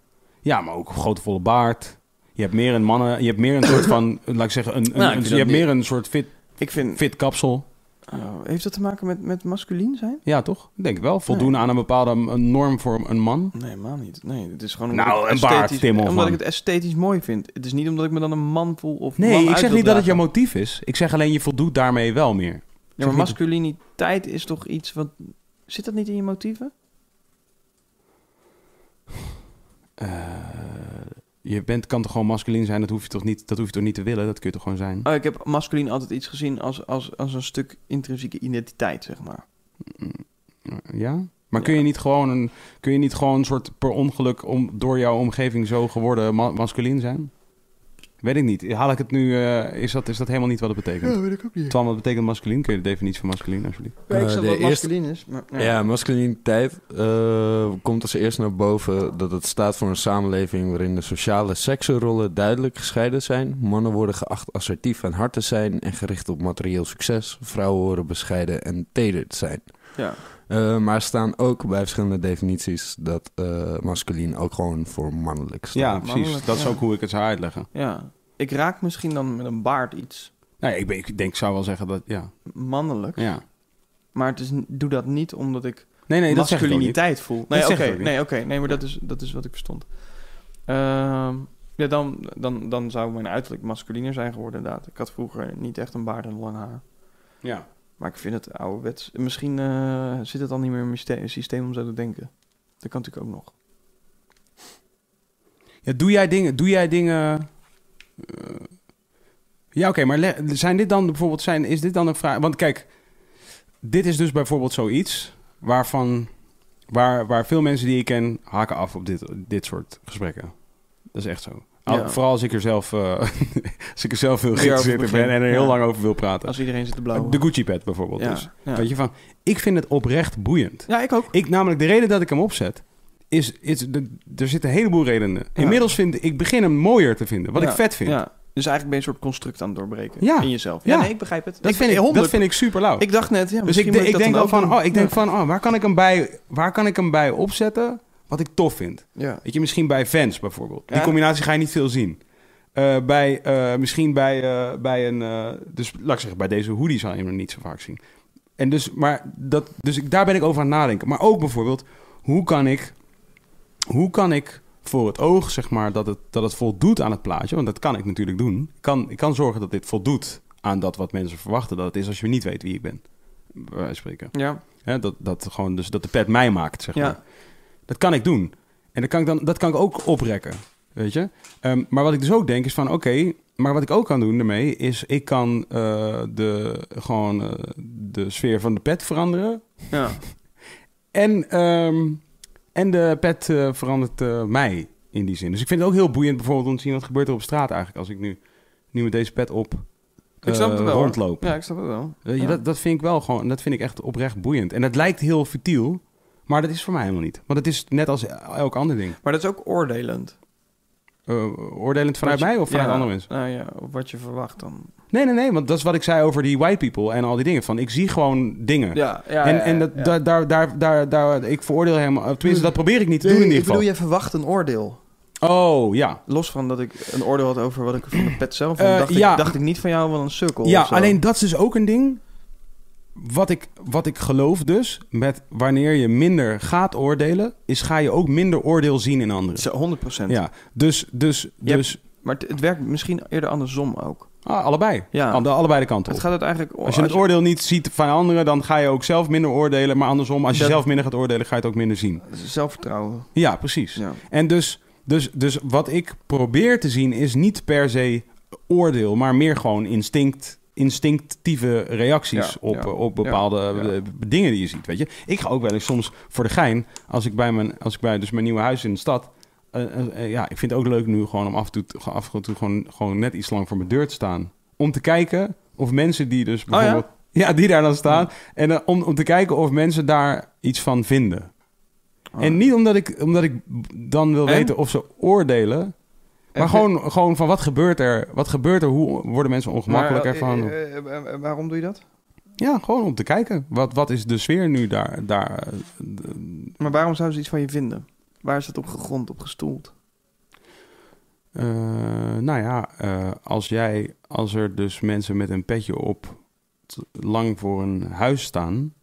S1: Ja, maar ook een grote volle baard. Je hebt meer een mannen... Je hebt meer een
S3: <coughs>
S1: soort van... laat ik zeggen, een, een-
S3: Nou, ik
S1: een-
S3: vind
S1: je
S3: dat
S1: hebt
S3: niet-
S1: meer een soort fit,
S3: Ik vind...
S1: fit kapsel.
S3: Oh, heeft dat te maken met, met masculien zijn?
S1: Ja, toch? Ik Denk ik wel. Voldoen aan een bepaalde m- een norm voor een man.
S3: Nee, helemaal niet. Nee, het is gewoon
S1: Nou,
S3: ik het
S1: een baard,
S3: esthetisch-
S1: Tim Hofman.
S3: Omdat ik het esthetisch mooi vind. Het is niet omdat ik me dan een man voel of man
S1: Nee, ik
S3: uit
S1: zeg
S3: wil
S1: niet dat het jouw
S3: dragen.
S1: motief is. Ik zeg alleen, je voldoet daarmee wel meer.
S3: Ja, maar masculiniteit is toch iets wat... Zit dat niet in je motieven?
S1: Eh, Je bent, kan toch gewoon masculin zijn? Dat hoef, je toch niet, dat hoef je toch niet te willen? Dat kun je toch gewoon zijn?
S3: Oh, ik heb masculin altijd iets gezien als, als, als een stuk intrinsieke identiteit, zeg maar.
S1: Ja? Maar
S3: Ja.
S1: kun je niet gewoon een, kun je niet gewoon een soort per ongeluk om, door jouw omgeving zo geworden ma- masculin zijn? Weet ik niet. Haal ik het nu, eh, is, dat, is dat helemaal niet wat het betekent?
S3: weet ik ook niet.
S1: Twan, wat betekent masculin? Kun je de definitie van masculin alsjeblieft?
S3: ik
S2: Eh,
S3: snap
S2: de
S3: wat
S2: eerste-
S3: masculin is, maar... ja.
S2: Ja, masculiniteit eh, komt als eerst naar boven dat het staat voor een samenleving waarin de sociale seksenrollen duidelijk gescheiden zijn. Mannen worden geacht assertief en hard te zijn en gericht op materieel succes. Vrouwen horen bescheiden en teder te zijn.
S3: Ja.
S2: Eh, maar staan ook bij verschillende definities dat eh masculin ook gewoon voor mannelijk staat.
S1: Ja, precies.
S3: mannelijk,
S1: dat is
S3: ja.
S1: ook hoe ik het zou uitleggen.
S3: Ja. Ik raak misschien dan met een baard iets
S1: Nou, ja, ik, ben- ik denk, ik zou wel zeggen dat, ja.
S3: mannelijk.
S1: ja.
S3: Maar het is, n- doe dat niet omdat ik
S1: Nee, nee, dat zeg ik ook niet.
S3: masculiniteit voel. Nee,
S1: zeg
S3: oké.
S1: ik ook niet.
S3: nee, oké, nee, maar dat is, dat is wat ik verstond. Ehm, ja, dan, dan, dan zou mijn uiterlijk masculiner zijn geworden, inderdaad. Ik had vroeger niet echt een baard en lang haar.
S1: Ja.
S3: Maar ik vind het ouderwets. Misschien eh, zit het al niet meer in mijn systeem, systeem om zo te denken. Dat kan natuurlijk ook nog.
S1: Ja, doe jij dingen... Doe jij dingen eh, ja, oké, maar le- zijn dit dan bijvoorbeeld... Zijn, is dit dan een vraag... Want kijk, dit is dus bijvoorbeeld zoiets waarvan... Waar, waar veel mensen die ik ken haken af op dit, dit soort gesprekken. Dat is echt zo. Al-
S3: Ja.
S1: Vooral als ik er zelf, eh, <laughs> als ik er zelf heel
S3: Weer over
S1: geïnteresseerd in ben
S3: begin.
S1: en er heel
S3: Ja.
S1: lang over wil praten.
S3: Als iedereen zit te blauwen.
S1: De Gucci pet bijvoorbeeld.
S3: ja,
S1: Dus.
S3: ja.
S1: Weet je, van, ik vind het oprecht boeiend.
S3: ja, ik ook.
S1: Ik, namelijk de reden dat ik hem opzet, is, is de- er zitten een heleboel redenen.
S3: Ja.
S1: Inmiddels vind ik, begin hem mooier te vinden, wat
S3: Ja,
S1: ik vet vind.
S3: Ja. Dus eigenlijk ben je een soort construct aan het doorbreken.
S1: Ja.
S3: In jezelf. Ja,
S1: Ja.
S3: nee, ik begrijp het.
S1: Dat,
S3: ik
S1: vind
S3: het
S1: ik, dat
S3: honderd-
S1: vind ik super lauw.
S3: Ik dacht net, ja,
S1: dus ik,
S3: misschien
S1: de-
S3: moet
S1: ik denk
S3: dat
S1: wel
S3: dan ook
S1: van,
S3: doen.
S1: oh, ik denk
S3: Ja.
S1: van, oh, waar kan ik hem bij, waar kan ik hem bij opzetten wat ik tof vind?
S3: Ja.
S1: Weet je, misschien bij fans bijvoorbeeld. Die
S3: Ja.
S1: combinatie ga je niet veel zien. Eh, bij, eh, misschien bij, eh, bij een, eh, dus laat ik zeggen, bij deze hoodie zal je hem niet zo vaak zien. En dus, maar dat, dus ik, daar ben ik over aan het nadenken. Maar ook bijvoorbeeld, hoe kan ik, hoe kan ik voor het oog, zeg maar, dat het, dat het voldoet aan het plaatje? Want dat kan ik natuurlijk doen. Ik kan, ik kan zorgen dat dit voldoet aan dat wat mensen verwachten dat het is als je niet weet wie ik ben. Bij wijze van spreken.
S3: Ja.
S1: Hè, dat, dat, gewoon, dus dat de pet mij maakt, zeg
S3: Ja.
S1: maar. Dat kan ik doen. En dat kan ik, dan, dat kan ik ook oprekken, weet je. Ehm, maar wat ik dus ook denk is van, oké... maar wat ik ook kan doen daarmee is... ik kan eh, de, gewoon eh, de sfeer van de pet veranderen.
S3: ja.
S1: En, ehm, en de pet eh, verandert eh, mij in die zin. Dus ik vind het ook heel boeiend bijvoorbeeld om te zien... wat gebeurt er op straat eigenlijk als ik nu, nu met deze pet op
S3: Ik snap
S1: eh,
S3: het wel. hoor.
S1: rondloop.
S3: Ja, ik snap het wel.
S1: Weet je,
S3: Ja.
S1: dat, dat vind ik wel gewoon, dat vind ik echt oprecht boeiend. En dat lijkt heel futiel, maar dat is voor mij helemaal niet. Want het is net als elk ander ding.
S3: Maar dat is ook oordelend.
S1: Eh, oordelend vanuit
S3: Wat je-
S1: mij of vanuit
S3: ja,
S1: andere mensen?
S3: Nou ja, of wat je verwacht dan.
S1: Nee, nee, nee, want dat is wat ik zei over die white people en al die dingen. Van, ik zie gewoon dingen.
S3: Ja, ja.
S1: en
S3: ja,
S1: en dat,
S3: ja.
S1: daar, daar, daar, daar, daar- ik veroordeel helemaal, tenminste dat probeer ik niet te doen in ieder geval.
S3: je verwacht een oordeel.
S1: Oh, ja.
S3: Los van dat ik een oordeel had over wat ik van de pet zelf vond,
S1: Eh,
S3: dacht,
S1: ja.
S3: ik, dacht ik niet van jou wel een sukkel.
S1: Ja,
S3: of zo.
S1: alleen dat is dus ook een ding. Wat ik, wat ik geloof dus, met wanneer je minder gaat oordelen, is ga je ook minder oordeel zien in anderen.
S3: Zo, 100 procent.
S1: Ja, dus, dus,
S3: Je
S1: dus
S3: Maar het, het werkt misschien eerder andersom ook.
S1: ah, allebei.
S3: Ja.
S1: Aan de, allebei de kanten
S3: Het
S1: op.
S3: gaat het eigenlijk...
S1: Als je het oordeel niet ziet van anderen, dan ga je ook zelf minder oordelen. Maar andersom, als je
S3: Dat-
S1: zelf minder gaat oordelen, ga je het ook minder zien.
S3: Zelfvertrouwen.
S1: Ja, precies.
S3: Ja.
S1: En dus, dus, dus wat ik probeer te zien is niet per se oordeel, maar meer gewoon instinct, instinctieve reacties
S3: Ja,
S1: op,
S3: ja,
S1: eh, op bepaalde
S3: ja, ja.
S1: eh, dingen die je ziet. Weet je? Ik ga ook wel eens soms voor de gein, als ik bij mijn, als ik bij dus mijn nieuwe huis in de stad. eh, eh, eh, ja, ik vind het ook leuk nu gewoon om af en toe, af en toe gewoon, gewoon net iets lang voor mijn deur te staan. Om te kijken of mensen die dus
S3: Oh ja?
S1: bijvoorbeeld. ja? die daar dan staan. En dan om, om te kijken of mensen daar iets van vinden. En niet omdat ik, omdat ik dan wil
S3: Oh. En?
S1: weten of ze oordelen. Maar
S3: En-
S1: gewoon, gewoon van wat gebeurt er? Wat gebeurt er? Hoe worden mensen
S3: Maar,
S1: ongemakkelijk
S3: eh,
S1: ervan?
S3: eh, eh, eh, waarom doe je dat?
S1: Ja, gewoon om te kijken. Wat, wat is de sfeer nu daar? daar eh, d-
S3: Maar waarom zouden ze iets van je vinden? Waar is dat op gegrond, op gestoeld?
S1: Eh, nou ja, eh, als jij, als er dus mensen met een petje op t- lang voor een huis staan,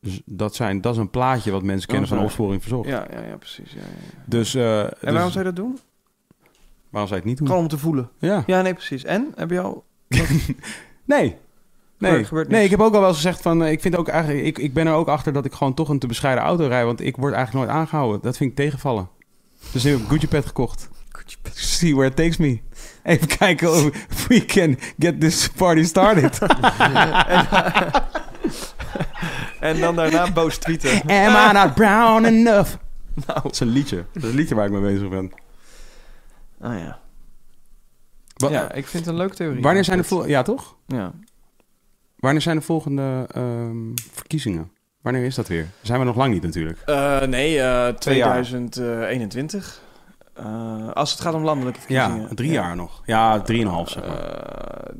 S1: z- dat, zijn, dat is een plaatje wat mensen kennen van
S3: sorry.
S1: opsporing verzocht.
S3: Ja, ja, ja precies. Ja, ja, ja.
S1: Dus, eh,
S3: En
S1: dus-
S3: waarom zou je dat doen?
S1: waarom zou je het niet doen?
S3: Gewoon om te voelen.
S1: Ja.
S3: Ja, nee, precies. En? Heb je al...
S1: Nee. Nee.
S3: Er gebeurt
S1: nee,
S3: niks.
S1: ik heb ook al wel eens gezegd van, eh, ik, vind ook eigenlijk, ik, ik ben er ook achter dat ik gewoon toch een te bescheiden auto rijd, want ik word eigenlijk nooit aangehouden. Dat vind ik tegenvallen. Dus ik heb Gucci Pet gekocht. See where it takes me. Even kijken of we can get this party started.
S3: <laughs> En dan <laughs> daarna boos tweeten.
S1: Am I not brown enough?
S3: Nou.
S1: Dat is een liedje. Dat is een liedje waar ik mee bezig ben.
S3: Ah ja.
S1: Wa-
S3: ja, ik vind het een leuke theorie.
S1: Wanneer zijn de vol- ja, toch?
S3: Ja.
S1: Wanneer zijn de volgende ehm, verkiezingen? Wanneer is dat weer? Zijn we nog lang niet natuurlijk.
S3: Eh, nee, eh,
S1: jaar.
S3: 2021. Eh, als het gaat om landelijke verkiezingen.
S1: Ja, drie jaar nog. Ja, drieënhalf zeg maar.
S3: Eh,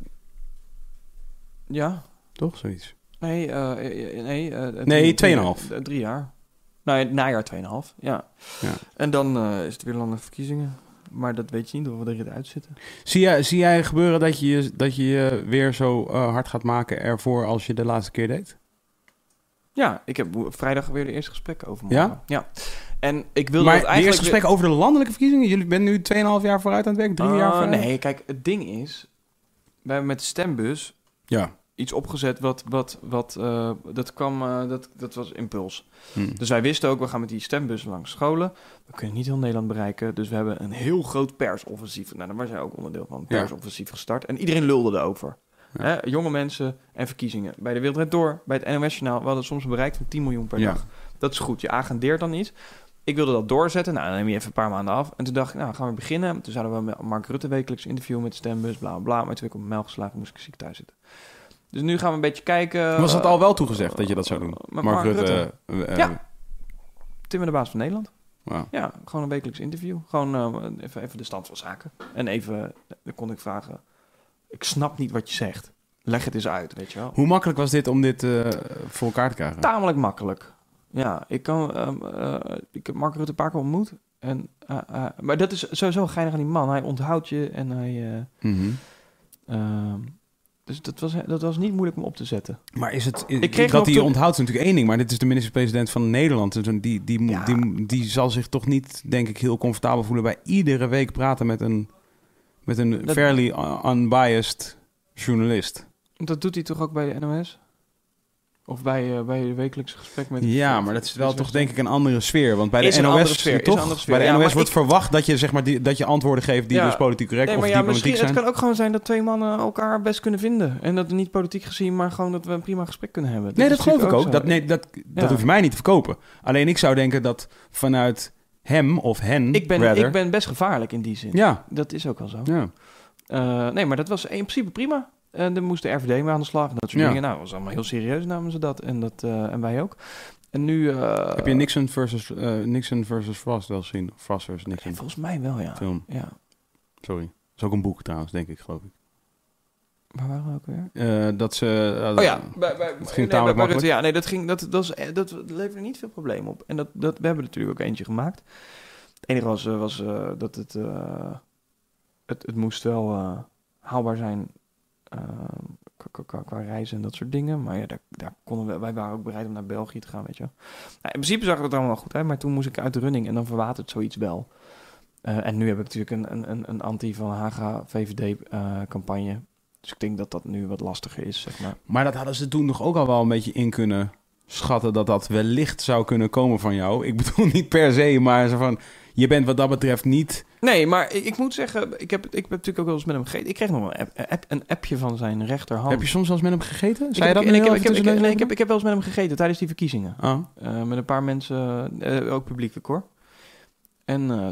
S3: ja,
S1: toch? Zoiets.
S3: nee. eh, eh, nee, eh, drie-
S1: Nee,
S3: drie-
S1: tweeënhalf.
S3: eh, Drie jaar. Nou, ja, het najaar 2,5. Ja.
S1: Ja.
S3: En dan eh, is het weer landelijke verkiezingen. Maar dat weet je niet, hoe we erin uitzitten.
S1: Zie jij, zie jij gebeuren dat je je, dat je je weer zo eh, hard gaat maken ervoor als je de laatste keer deed?
S3: Ja, ik heb wo- vrijdag weer de eerste gesprekken over.
S1: Ja?
S3: morgen. Ja. En ik wilde
S1: maar
S3: dat eigenlijk...
S1: de eerste gesprek over de landelijke verkiezingen? Jullie bent nu 2,5 jaar vooruit aan het werk? Drie
S3: Ah,
S1: jaar vooruit?
S3: Nee, kijk, het ding is... Wij hebben met de stembus
S1: Ja.
S3: iets opgezet wat... wat, wat eh, dat kwam... eh, dat, dat was impuls.
S1: Hm.
S3: Dus wij wisten ook, we gaan met die stembus langs scholen. We kunnen niet heel Nederland bereiken. Dus we hebben een heel groot persoffensief. Nou, daar was jij ook onderdeel van.
S1: Ja.
S3: Persoffensief gestart. En iedereen lulde erover.
S1: Ja.
S3: Hè, jonge mensen en verkiezingen. Bij de Wildred Door, bij het NOS Journaal. We hadden soms een bereik van 10 miljoen per
S1: Ja.
S3: dag. Dat is goed. Je agendeert dan iets. Ik wilde dat doorzetten. Nou, dan neem je even een paar maanden af. En toen dacht ik, nou, gaan we beginnen. Toen zouden we met Mark Rutte wekelijks interview met stembus, bla bla bla. Maar toen werd ik op melk geslagen, moest ik ziek thuis zitten. Dus nu gaan we een beetje kijken. Eh,
S1: Was dat al wel toegezegd dat je dat zou doen?
S3: Met Mark, Rutte.
S1: eh, eh,
S3: Ja. Timmer de baas van Nederland.
S1: wauw.
S3: Ja, gewoon een wekelijks interview. Gewoon eh, even, even de stand van zaken. En even, dan kon ik vragen... Ik snap niet wat je zegt. Leg het eens uit, weet je wel.
S1: Hoe makkelijk was dit om dit eh, voor elkaar te krijgen?
S3: Tamelijk makkelijk. Ja, ik kan... ehm, eh, ik heb Mark Rutte een paar keer ontmoet. En, eh, eh, maar dat is sowieso geinig aan die man. Hij onthoudt je en hij... eh,
S1: Mhm.
S3: ehm, dus dat was, dat was niet moeilijk om op te zetten.
S1: Maar is het.
S3: Ik kreeg
S1: dat
S3: nog
S1: hij
S3: toen-
S1: onthoudt is natuurlijk één ding, maar dit is de minister-president van Nederland. Dus een- die, die, mo-
S3: Ja.
S1: die, die zal zich toch niet, denk ik, heel comfortabel voelen bij iedere week praten met een, met een
S3: Dat-
S1: fairly un- unbiased journalist.
S3: Dat doet hij toch ook bij de NOS? Of bij, eh, bij je wekelijkse gesprek met...
S1: Ja, maar Dus dat is wel toch denk ik een andere sfeer. Want bij
S3: Is
S1: de
S3: een
S1: NOS
S3: andere sfeer, is
S1: toch?
S3: een andere sfeer.
S1: Bij de
S3: Ja,
S1: NOS
S3: maar
S1: wordt
S3: ik-
S1: verwacht dat je, zeg maar, die, dat je antwoorden geeft die
S3: Ja.
S1: dus politiek correct
S3: Nee,
S1: of
S3: maar ja,
S1: diplomatiek
S3: misschien, het
S1: zijn.
S3: kan ook gewoon zijn dat twee mannen elkaar best kunnen vinden. En dat niet politiek gezien, maar gewoon dat we een prima gesprek kunnen hebben.
S1: Nee,
S3: is
S1: dat geloof ik
S3: natuurlijk
S1: ook. Dat,
S3: zo.
S1: nee, dat, dat
S3: Ja.
S1: hoef je mij niet te verkopen. Alleen ik zou denken dat vanuit hem of hen.
S3: ik, ben,
S1: rather-
S3: ik ben best gevaarlijk in die zin.
S1: Ja,
S3: Dat is ook wel zo.
S1: ja.
S3: Eh, nee, maar dat was in principe prima. En dan moest de RVD mee aan de slag en dat soort
S1: Ja.
S3: dingen. Nou, dat was allemaal heel serieus namen ze dat. En, dat, eh, en wij ook. En nu... eh,
S1: Heb je Nixon versus, eh, Nixon versus Frost wel gezien? Frost versus Nixon.
S3: Volgens mij wel, ja.
S1: Film.
S3: ja.
S1: Sorry. is ook een boek trouwens, denk ik, geloof ik.
S3: Waar waren we ook weer?
S1: Eh, dat ze... eh,
S3: Oh ja, bij, bij,
S1: ging
S3: nee,
S1: tamelijk
S3: bij
S1: makkelijk.
S3: Rutte, ja, nee, dat, ging, dat, dat, is- eh, dat leverde niet veel problemen op. En dat, dat, we hebben natuurlijk ook eentje gemaakt. Het enige was, eh, was eh, dat het, eh, het... Het moest wel eh, haalbaar zijn eh, qua- qua, qua, qua reizen en dat soort dingen. Maar ja, daar, daar konden we, wij waren ook bereid om naar België te gaan, weet je wel. Nou, in principe zag het er allemaal wel goed uit, maar toen moest ik uit de running. En dan verwatert zoiets wel. Eh, en nu heb ik natuurlijk een, een, een, een anti-Van Haga-VVD-campagne. eh, dus ik denk dat dat nu wat lastiger is, zeg maar.
S1: Maar dat hadden ze toen nog ook al wel een beetje in kunnen schatten... dat dat wellicht zou kunnen komen van jou. Ik bedoel <laughs> niet per se, maar zo van... Je bent wat dat betreft niet...
S3: Nee, maar ik, ik moet zeggen, ik heb, ik heb natuurlijk ook wel eens met hem gegeten. Ik kreeg nog wel een, app- een app, een appje van zijn rechterhand.
S1: Heb je soms wel eens met hem gegeten?
S3: Oh. Ik
S1: Zei je dus
S3: heb-
S1: dat
S3: en
S1: nu
S3: ik,
S1: heel
S3: heb,
S1: even
S3: ik, heb,
S1: tussen
S3: ik, heb-
S1: neus
S3: nee,
S1: en
S3: ik, heb, ik heb wel eens met hem gegeten tijdens die verkiezingen.
S1: lippen? Oh.
S3: Eh, met een paar mensen, eh, ook publiekelijk hoor. En eh,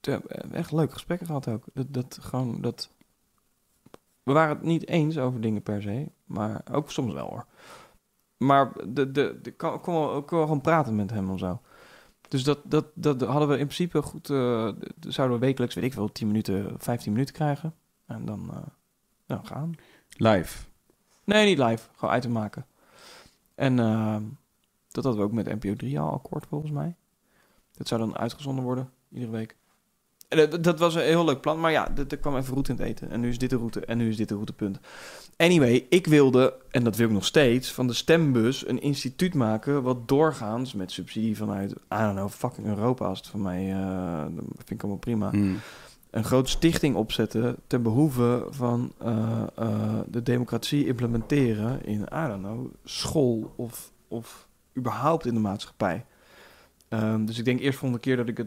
S3: te- eh, echt leuke gesprekken gehad ook. Dat, dat gewoon, dat... We waren het niet eens over dingen per se, maar ook soms wel hoor. Maar de, de, de, kan, kon, wel, kon wel gewoon praten met hem of zo. Dus dat, dat, dat hadden we in principe goed... eh, d- zouden we wekelijks, weet ik wel, 10 minuten, 15 minuten krijgen. En dan eh nou, gaan.
S1: Live.
S3: Nee, niet live. Gewoon item maken. En ehm, dat hadden we ook met NPO 3 al akkoord, volgens mij. Dat zou dan uitgezonden worden, iedere week. En dat, dat was een heel leuk plan, maar ja, d- er kwam even route in het eten. En nu is dit de route, en nu is dit de routepunt. Anyway, ik wilde, en dat wil ik nog steeds, van de stembus een instituut maken... wat doorgaans met subsidie vanuit, I don't know, fucking Europa... als het van mij, eh dat vind ik allemaal prima
S1: Mm.
S3: een grote stichting opzetten ten behoeve van eh, eh, de democratie implementeren in, I don't know, school of, of überhaupt in de maatschappij. Ehm, dus ik denk eerst volgende keer dat ik het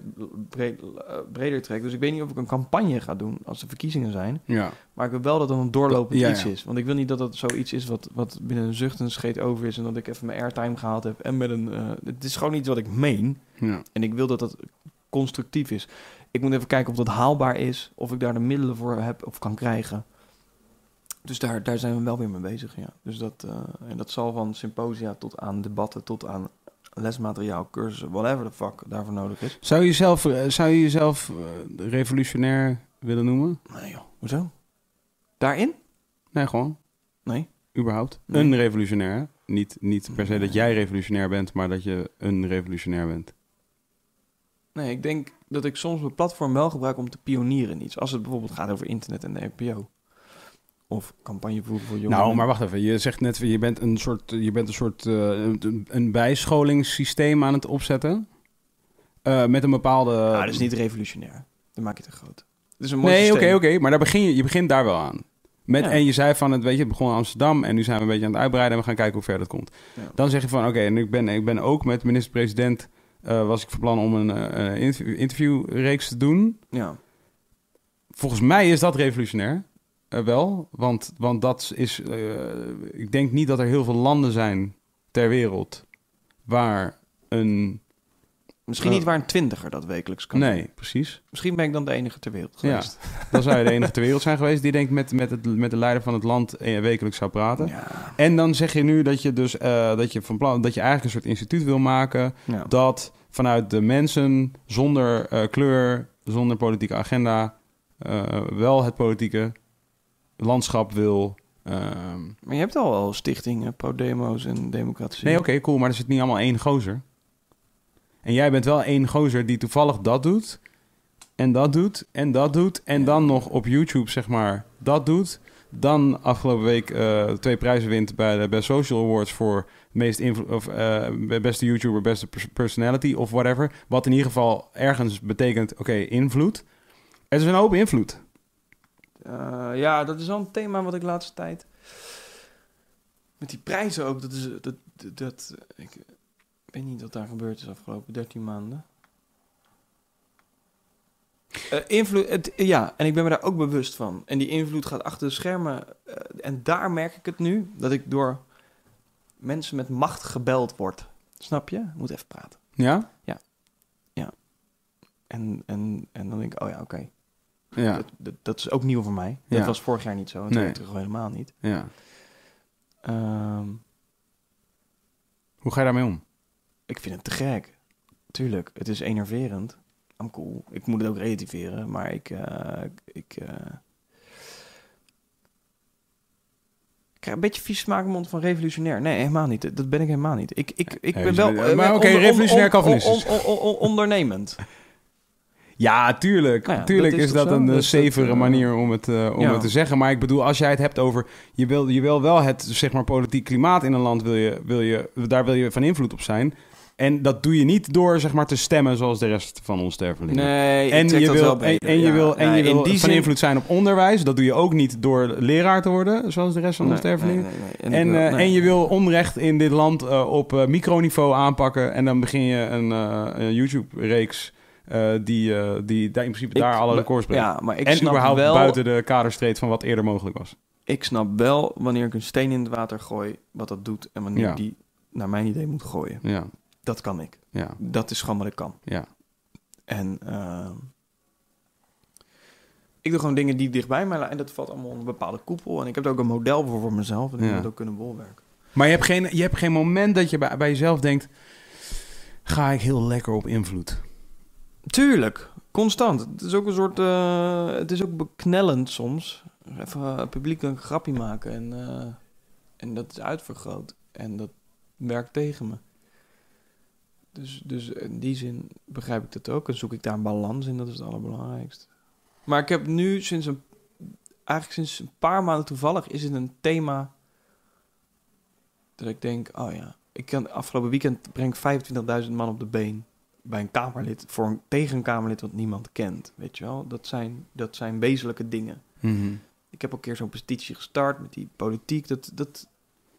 S3: breed- eh, breder trek. Dus ik weet niet of ik een campagne ga doen als de verkiezingen zijn.
S1: Ja.
S3: Maar ik wil wel dat er een doorlopend
S1: Ja,
S3: iets
S1: ja.
S3: is. Want ik wil niet dat dat zoiets is wat, wat binnen een zucht en een scheet over is. En dat ik even mijn airtime gehaald heb. En met een. eh, het is gewoon niet wat ik meen.
S1: ja.
S3: En ik wil dat dat constructief is. Ik moet even kijken of dat haalbaar is. Of ik daar de middelen voor heb of kan krijgen. Dus daar, daar zijn we wel weer mee bezig, ja. Dus dat, eh, en dat zal van symposia tot aan debatten, tot aan lesmateriaal, cursussen, whatever the fuck daarvoor nodig is.
S1: Zou je jezelf, eh, zou je jezelf eh, revolutionair willen noemen?
S3: Nee joh, hoezo? Daarin?
S1: Nee, gewoon.
S3: Nee.
S1: Überhaupt.
S3: Nee.
S1: Een revolutionair. hè? Niet, niet per se dat
S3: Nee.
S1: jij revolutionair bent, maar dat je een revolutionair bent.
S3: Nee, ik denk dat ik soms mijn platform wel gebruik om te pionieren in iets. Als het bijvoorbeeld gaat over internet en de RPO. Of campagnevoering voor jongeren.
S1: Nou, maar wacht even. Je zegt net, je bent een soort, je bent een, soort eh, een, een bijscholingssysteem aan het opzetten. Eh, met een bepaalde...
S3: Ah, dat is niet revolutionair. Dan maak je het te groot. Het is een mooi
S1: Nee, oké,
S3: systeem.
S1: oké. maar daar begin je, je begint daar wel aan. Met,
S3: Ja.
S1: En je zei van, het, weet je, het begon in Amsterdam en nu zijn we een beetje aan het uitbreiden en we gaan kijken hoe ver dat komt.
S3: Ja.
S1: Dan zeg je van, oké, en ik ben, ik ben ook met minister-president, eh, was ik van plan om een eh, eh, interview- interviewreeks te doen.
S3: Ja.
S1: Volgens mij is dat revolutionair. eh, wel, want, want dat is, eh, ik denk niet dat er heel veel landen zijn ter wereld waar een,
S3: Misschien
S1: Eh,
S3: niet waar een twintiger dat wekelijks kan.
S1: nee, precies.
S3: Misschien ben ik dan de enige ter wereld
S1: Ja.
S3: geweest.
S1: Dan zou je de enige ter wereld zijn geweest die denkt met, met, het, met de leider van het land eh, wekelijks zou praten.
S3: Ja.
S1: En dan zeg je nu dat je dus eh, dat je van plan dat je eigenlijk een soort instituut wil maken
S3: Ja.
S1: dat vanuit de mensen zonder eh, kleur, zonder politieke agenda, eh, wel het politieke landschap wil. ehm.
S3: Maar je hebt al wel stichtingen, pro-demo's en democratie.
S1: Nee, oké, cool, maar er zit niet allemaal één gozer. En jij bent wel één gozer die toevallig dat doet en dat doet en dat doet en
S3: Ja.
S1: dan nog op YouTube zeg maar dat doet. Dan afgelopen week eh, twee prijzen wint bij de Best Social Awards voor meest invlo- of, eh, beste YouTuber, beste pers- personality of whatever. Wat in ieder geval ergens betekent, oké, invloed. Het is een hoop invloed.
S3: Eh, ja, dat is wel een thema wat ik laatste tijd... Met die prijzen ook, dat is... Dat, dat, dat- ik weet niet wat daar gebeurd is afgelopen 13 maanden. Eh, invloed, het, ja, en ik ben me daar ook bewust van. En die invloed gaat achter de schermen. eh, en daar merk ik het nu, dat ik door mensen met macht gebeld word. Snap je? Ik Moet even praten.
S1: Ja?
S3: En, en, en dan denk ik, oh ja, oké.
S1: Ja.
S3: Dat, dat, dat is ook nieuw voor mij.
S1: Ja.
S3: Dat was vorig jaar niet zo. En toen
S1: Nee.
S3: nee. terug gewoon helemaal niet.
S1: ja.
S3: Ehm,
S1: Hoe ga je daarmee om?
S3: ik vind het te gek. Tuurlijk, het is enerverend. I'm cool. Ik moet het ook relativeren, maar ik... eh, ik eh, ik krijg een beetje vies smaak in mijn mond van revolutionair. Nee, helemaal niet. Dat- Dat ben ik helemaal niet. Ik, ik, ik ben wel...
S1: Maar
S3: eh,
S1: oké,
S3: onder- on-
S1: revolutionair
S3: on-
S1: Calvinistisch.
S3: on- on- on- ondernemend.
S1: Ja, tuurlijk.
S3: Nou ja,
S1: tuurlijk
S3: dat
S1: is,
S3: is toch
S1: dat
S3: zo?
S1: een
S3: Dus
S1: eh,
S3: dat,
S1: zevere
S3: eh,
S1: manier om, het, eh, om
S3: ja.
S1: het te zeggen. Maar ik bedoel, als jij het hebt over... Je wil, je wil wel het zeg maar, politiek klimaat in een land... Wil je, wil je, daar wil je van invloed op zijn. En dat doe je niet door zeg maar, te stemmen zoals de rest van ons stervelingen.
S3: <laughs> Nee, ik
S1: En
S3: trek
S1: je,
S3: dat wel
S1: wil, en,
S3: breder,
S1: en je
S3: ja.
S1: wil, en
S3: Nee,
S1: je wil
S3: in die
S1: van
S3: zin-
S1: invloed zijn op onderwijs. Dat doe je ook niet door leraar te worden, zoals de rest van ons
S3: Nee, nee,
S1: stervelingen.
S3: nee, nee. ik
S1: En,
S3: wil-
S1: eh,
S3: nee.
S1: en je wil onrecht in dit land eh, op eh, microniveau aanpakken. En dan begin je een, eh, een YouTube-reeks eh, die, eh, die daar in principe
S3: Ik-
S1: daar alle
S3: maar-
S1: records breekt.
S3: Ja, maar ik
S1: en
S3: snap
S1: überhaupt
S3: wel...
S1: buiten de kaderstreet van wat eerder mogelijk was.
S3: Ik snap wel wanneer ik een steen in het water gooi, wat dat doet en wanneer
S1: Ja.
S3: ik die naar mijn idee moet gooien.
S1: Ja,
S3: Dat kan ik.
S1: ja,
S3: Dat is gewoon wat ik kan.
S1: ja.
S3: En ehm, ik doe gewoon dingen die dichtbij mij liggen. En dat valt allemaal onder een bepaalde koepel. En ik heb er ook een model voor voor mezelf. En ik
S1: Ja.
S3: moet ook kunnen bolwerken.
S1: Maar je hebt geen, je hebt geen moment dat je bij, bij jezelf denkt... ga ik heel lekker op invloed?
S3: Tuurlijk, constant. Het is ook een soort... eh, het is ook beknellend soms. Even eh, publiek een grapje maken en... eh, En dat is uitvergroot. En dat werkt tegen me. Dus, dus in die zin begrijp ik dat ook. En zoek ik daar een balans in. Dat is het allerbelangrijkste. Maar ik heb nu sinds een... Eigenlijk sinds een paar maanden toevallig is het een thema... Dat ik denk, oh ja... Ik kan, afgelopen weekend breng ik 25.000 man op de been. Bij een kamerlid. Voor een, tegen een kamerlid wat niemand kent. Weet je wel? Dat zijn, dat zijn wezenlijke dingen.
S1: Mhm.
S3: Ik heb al een keer zo'n petitie gestart met die politiek. Dat, dat,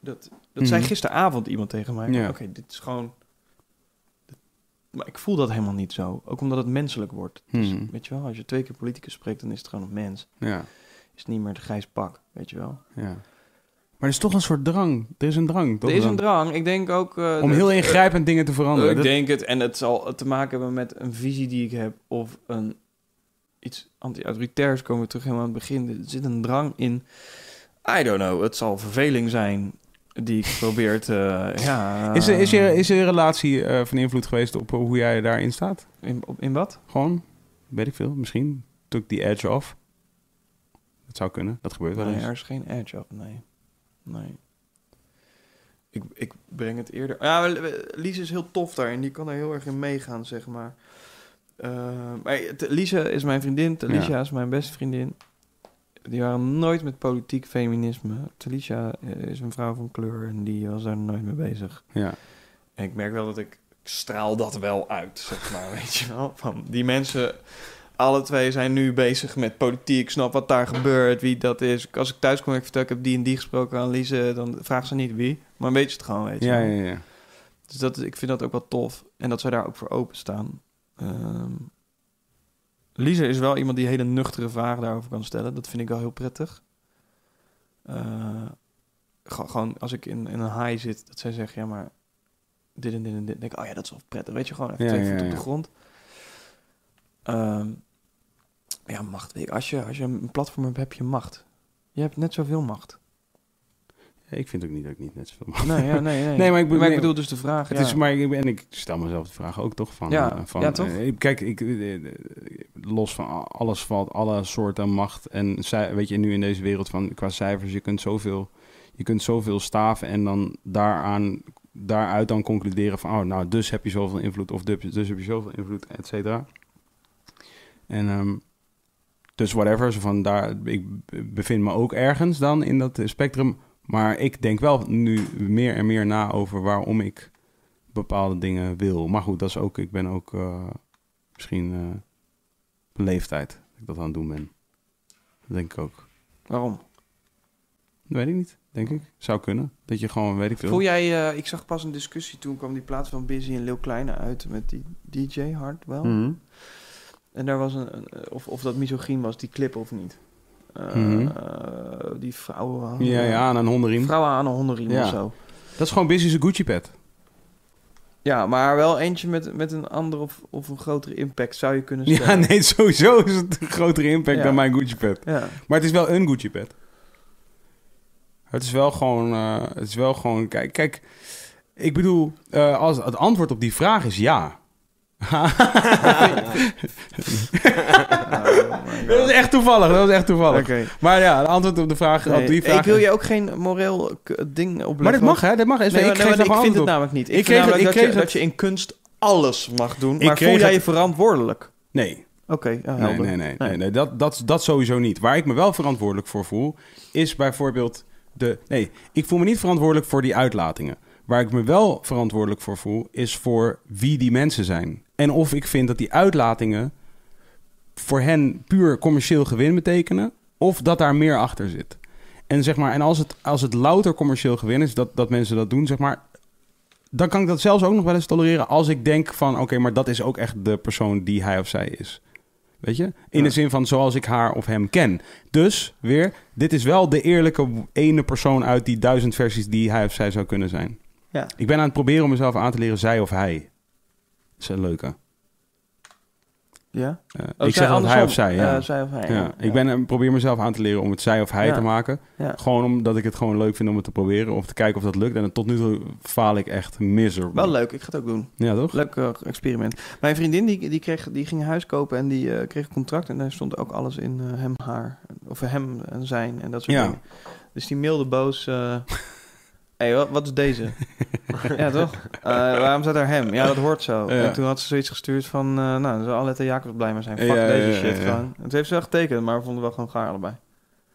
S3: dat, dat
S1: Mhm.
S3: zei gisteravond iemand tegen mij.
S1: Ja.
S3: Oké, dit is gewoon... dit- Maar ik voel dat helemaal niet zo. Ook omdat het menselijk wordt. Dus,
S1: Mhm.
S3: Weet je wel, als je twee keer politicus spreekt, dan is het gewoon een mens.
S1: Ja,
S3: Is het niet meer de grijs pak, weet je wel.
S1: ja. Maar er is toch een soort drang. Er is een drang. Toch
S3: er is een
S1: dan?
S3: drang. Ik denk ook... eh,
S1: Om
S3: dat-
S1: heel ingrijpend dingen te veranderen.
S3: Ik
S1: Oh, Dat-
S3: denk het. En het zal te maken hebben met een visie die ik heb. Of een iets anti-autoritairs. Komen we terug helemaal aan het begin. Er zit een drang in. I don't know. Het zal verveling zijn. Die ik probeer te... ja,
S1: Is, er- is,
S3: Ehm.
S1: je, is je relatie eh, van invloed geweest op hoe jij daarin staat?
S3: In, op- in wat?
S1: Gewoon, weet ik veel, misschien took die edge off. Dat zou kunnen, dat gebeurt wel
S3: Nee,
S1: eens.
S3: er is geen edge op. Nee. Nee. Ik, ik breng het eerder... Ja, Lise is heel tof daarin. Die kan er heel erg in meegaan, zeg maar. Eh, maar het- Lise is mijn vriendin. Talisha is mijn beste vriendin. Die waren nooit met politiek feminisme. Talisha eh, is een vrouw van kleur en die was daar nooit mee bezig.
S1: Ja.
S3: En ik merk wel dat ik, ik straal dat wel uit, zeg
S1: <laughs>
S3: maar, weet je wel. Van die mensen, alle twee zijn nu bezig met politiek. Ik snap wat daar gebeurt, wie dat is. Als ik thuis kom en ik vertel, ik heb die en die gesproken aan Lise, dan vraagt ze niet wie. Maar weet je het gewoon, weet je
S1: Ja,
S3: wel.
S1: ja, ja.
S3: Dus dat, is- ik vind dat ook wel tof. En dat zij daar ook voor openstaan. Ehm Lisa is wel iemand die hele nuchtere vragen daarover kan stellen. Dat vind ik wel heel prettig. Eh, ge- gewoon als ik in, in een high zit, dat zij zegt, ja maar dit en dit en dit. Dan denk ik, oh ja, dat is wel prettig. Weet je, gewoon even
S1: Ja,
S3: twee
S1: ja,
S3: voeten op
S1: ja.
S3: de grond. Ehm, ja, macht. weet ik. Als je, als je een platform hebt, heb je macht. Je hebt net zoveel macht.
S1: Ik vind ook niet dat ik niet net zoveel mag.
S3: Nee, ja, nee, nee.
S1: <laughs> Nee, maar ik bedoel-
S3: bedoel dus de vraag.
S1: Het
S3: ja.
S1: is, maar ik, en ik stel mezelf de vraag ook toch van...
S3: Ja,
S1: eh, van
S3: ja, toch?
S1: eh, kijk, ik, eh, eh, los van a- alles valt, alle soorten macht. En ci- weet je, nu in deze wereld van qua cijfers, je kunt zoveel, je kunt zoveel staven en dan daaraan, daaruit dan concluderen van... Oh, nou, dus heb je zoveel invloed of dus, dus heb je zoveel invloed, et cetera. En ehm, dus whatever, zo van daar, ik be- bevind me ook ergens dan in dat eh, spectrum. Maar ik denk wel nu meer en meer na over waarom ik bepaalde dingen wil. Maar goed, dat is ook, ik ben ook eh, misschien eh, op een leeftijd dat ik dat aan het doen ben. Dat denk ik ook.
S3: Waarom?
S1: Dat weet ik niet, denk ik. Zou kunnen. Dat je gewoon, weet ik veel.
S3: Voel jij, eh, ik zag pas een discussie toen kwam die plaats van Busy en Leeuw Kleine uit met die DJ Hardwell.
S1: Mhm.
S3: En daar was een, een- of, of dat misogyn was, die clip of niet. Eh,
S1: Mhm.
S3: eh, die vrouwen aan,
S1: Ja, ja, aan een hondenriem.
S3: vrouwen aan een hondenriem
S1: Ja.
S3: of zo.
S1: Dat is gewoon business Gucci pet.
S3: Ja, maar wel eentje met, met een andere of, of een grotere impact zou je
S1: <laughs>
S3: kunnen
S1: Ja,
S3: stellen.
S1: nee, sowieso is het een grotere impact
S3: Ja.
S1: dan mijn Gucci pet.
S3: Ja.
S1: Maar het is wel een Gucci pet. Het is wel gewoon, eh, het is wel gewoon, kijk, kijk, ik bedoel, eh, als het antwoord op die vraag is ja. <laughs> <laughs>
S3: Oh my
S1: Dat
S3: God.
S1: is echt toevallig, dat is echt toevallig.
S3: Oké.
S1: Maar ja, het antwoord op de vraag, op die
S3: Nee,
S1: vraag.
S3: ik wil je ook geen moreel k- ding opleggen.
S1: maar dit mag, hè? Dit mag.
S3: Nee,
S1: ik
S3: maar-
S1: geef
S3: nee,
S1: daar
S3: maar ik
S1: gewoon
S3: vind het
S1: antwoord op.
S3: namelijk niet.
S1: Ik
S3: Ik, vind
S1: kreeg het-
S3: namelijk
S1: ik
S3: dat, je,
S1: kreeg
S3: dat je in kunst alles mag doen.
S1: Ik
S3: Maar voel
S1: kreeg
S3: jij
S1: het-
S3: je verantwoordelijk?
S1: Nee,
S3: Oké, ja,
S1: nee,
S3: eh, helder.
S1: nee, nee, nee, nee, dat, dat, dat sowieso niet. Waar ik me wel verantwoordelijk voor voel, is bijvoorbeeld de... Nee, ik voel me niet verantwoordelijk voor die uitlatingen. Waar ik me wel verantwoordelijk voor voel, is voor wie die mensen zijn. En of ik vind dat die uitlatingen voor hen puur commercieel gewin betekenen... of dat daar meer achter zit. En, zeg maar, en als, het, als het louter commercieel gewin is, dat, dat mensen dat doen, zeg maar... dan kan ik dat zelfs ook nog wel eens tolereren als ik denk van... oké, maar dat is ook echt de persoon die hij of zij is. Weet je? In
S3: Ja.
S1: de zin van zoals ik haar of hem ken. Dus, weer, dit is wel de eerlijke ene persoon uit die duizend versies die hij of zij zou kunnen zijn.
S3: Ja.
S1: Ik ben aan het proberen om mezelf aan te leren zij of hij. Dat is een leuke.
S3: Ja?
S1: Eh,
S3: Oh,
S1: ik
S3: zij
S1: zeg dat hij
S3: andersom.
S1: of zij, ja.
S3: Eh, zij of hij.
S1: Ja, ik ben, eh, probeer mezelf aan te leren om het zij of hij
S3: Ja.
S1: te maken.
S3: Ja.
S1: Gewoon omdat ik het gewoon leuk vind om het te proberen. Of te kijken of dat lukt. En tot nu toe faal ik echt miserable.
S3: Wel leuk, ik ga het ook doen.
S1: Ja, toch?
S3: Leuk eh, experiment. Mijn vriendin die, die, kreeg, die ging een huis kopen en die eh, kreeg een contract. En daar stond ook alles in eh, hem, haar. Of hem en zijn en dat soort
S1: Ja. <laughs>
S3: dingen. Dus die mailde boos. eh, hey, wat, wat is deze? ja, toch? Eh, waarom staat daar hem? Ja, dat hoort zo.
S1: Ja.
S3: En toen had ze zoiets gestuurd van, eh, nou, daar zou Alette en Jacobs blij mee zijn. Fuck
S1: Ja,
S3: deze
S1: ja, ja,
S3: shit
S1: ja.
S3: gewoon. Het heeft ze wel getekend, maar we vonden het wel gewoon gaar allebei.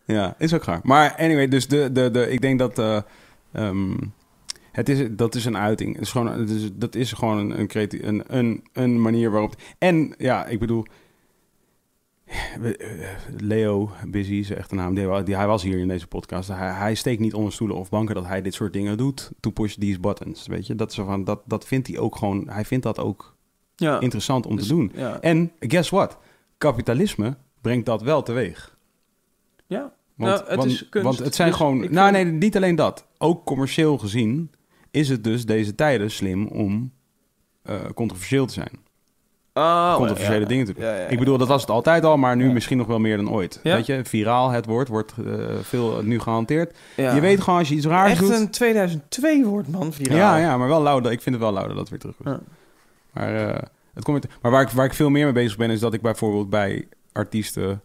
S1: Ja, is ook gaar. Maar anyway, dus de, de, de, ik denk dat... eh, ehm, het is, dat is een uiting. Het is gewoon, het is- dat is gewoon een, een, creati- een, een, een manier waarop... En ja, ik bedoel... we- eh, Leo Busy is echt een naam. Die, die- hij was hier in deze podcast. Hij, hij steekt niet onder stoelen of banken dat hij dit soort dingen doet. To push these buttons, weet je. Dat, is zo van, dat, dat vindt hij ook gewoon... Hij vindt dat ook
S3: Ja.
S1: interessant om
S3: Dus-
S1: te doen.
S3: Ja.
S1: En guess what? Kapitalisme brengt dat wel teweeg.
S3: ja.
S1: Want,
S3: Nou, het
S1: want,
S3: is kunst.
S1: want het zijn
S3: Dus
S1: gewoon.
S3: ik
S1: Nou,
S3: vind-
S1: nee, niet alleen dat. Ook commercieel gezien is het dus deze tijden slim om eh, controversieel te zijn.
S3: Oh,
S1: Controversiële
S3: ja.
S1: dingen te doen.
S3: Ja, ja, ja.
S1: Ik bedoel, dat was het altijd al, maar nu
S3: Ja.
S1: misschien nog wel meer dan ooit.
S3: Ja.
S1: Weet je, viraal het woord wordt eh, veel nu gehanteerd.
S3: Ja.
S1: Je weet gewoon als je iets raars
S3: Echt
S1: doet.
S3: een 2002 woord, man. nou? viraal.
S1: Ja, ja, maar wel louder. Ik vind het wel louder dat het weer terug is.
S3: Ja.
S1: Maar, eh, het komt, maar waar, ik, waar ik veel meer mee bezig ben, is dat ik bijvoorbeeld bij artiesten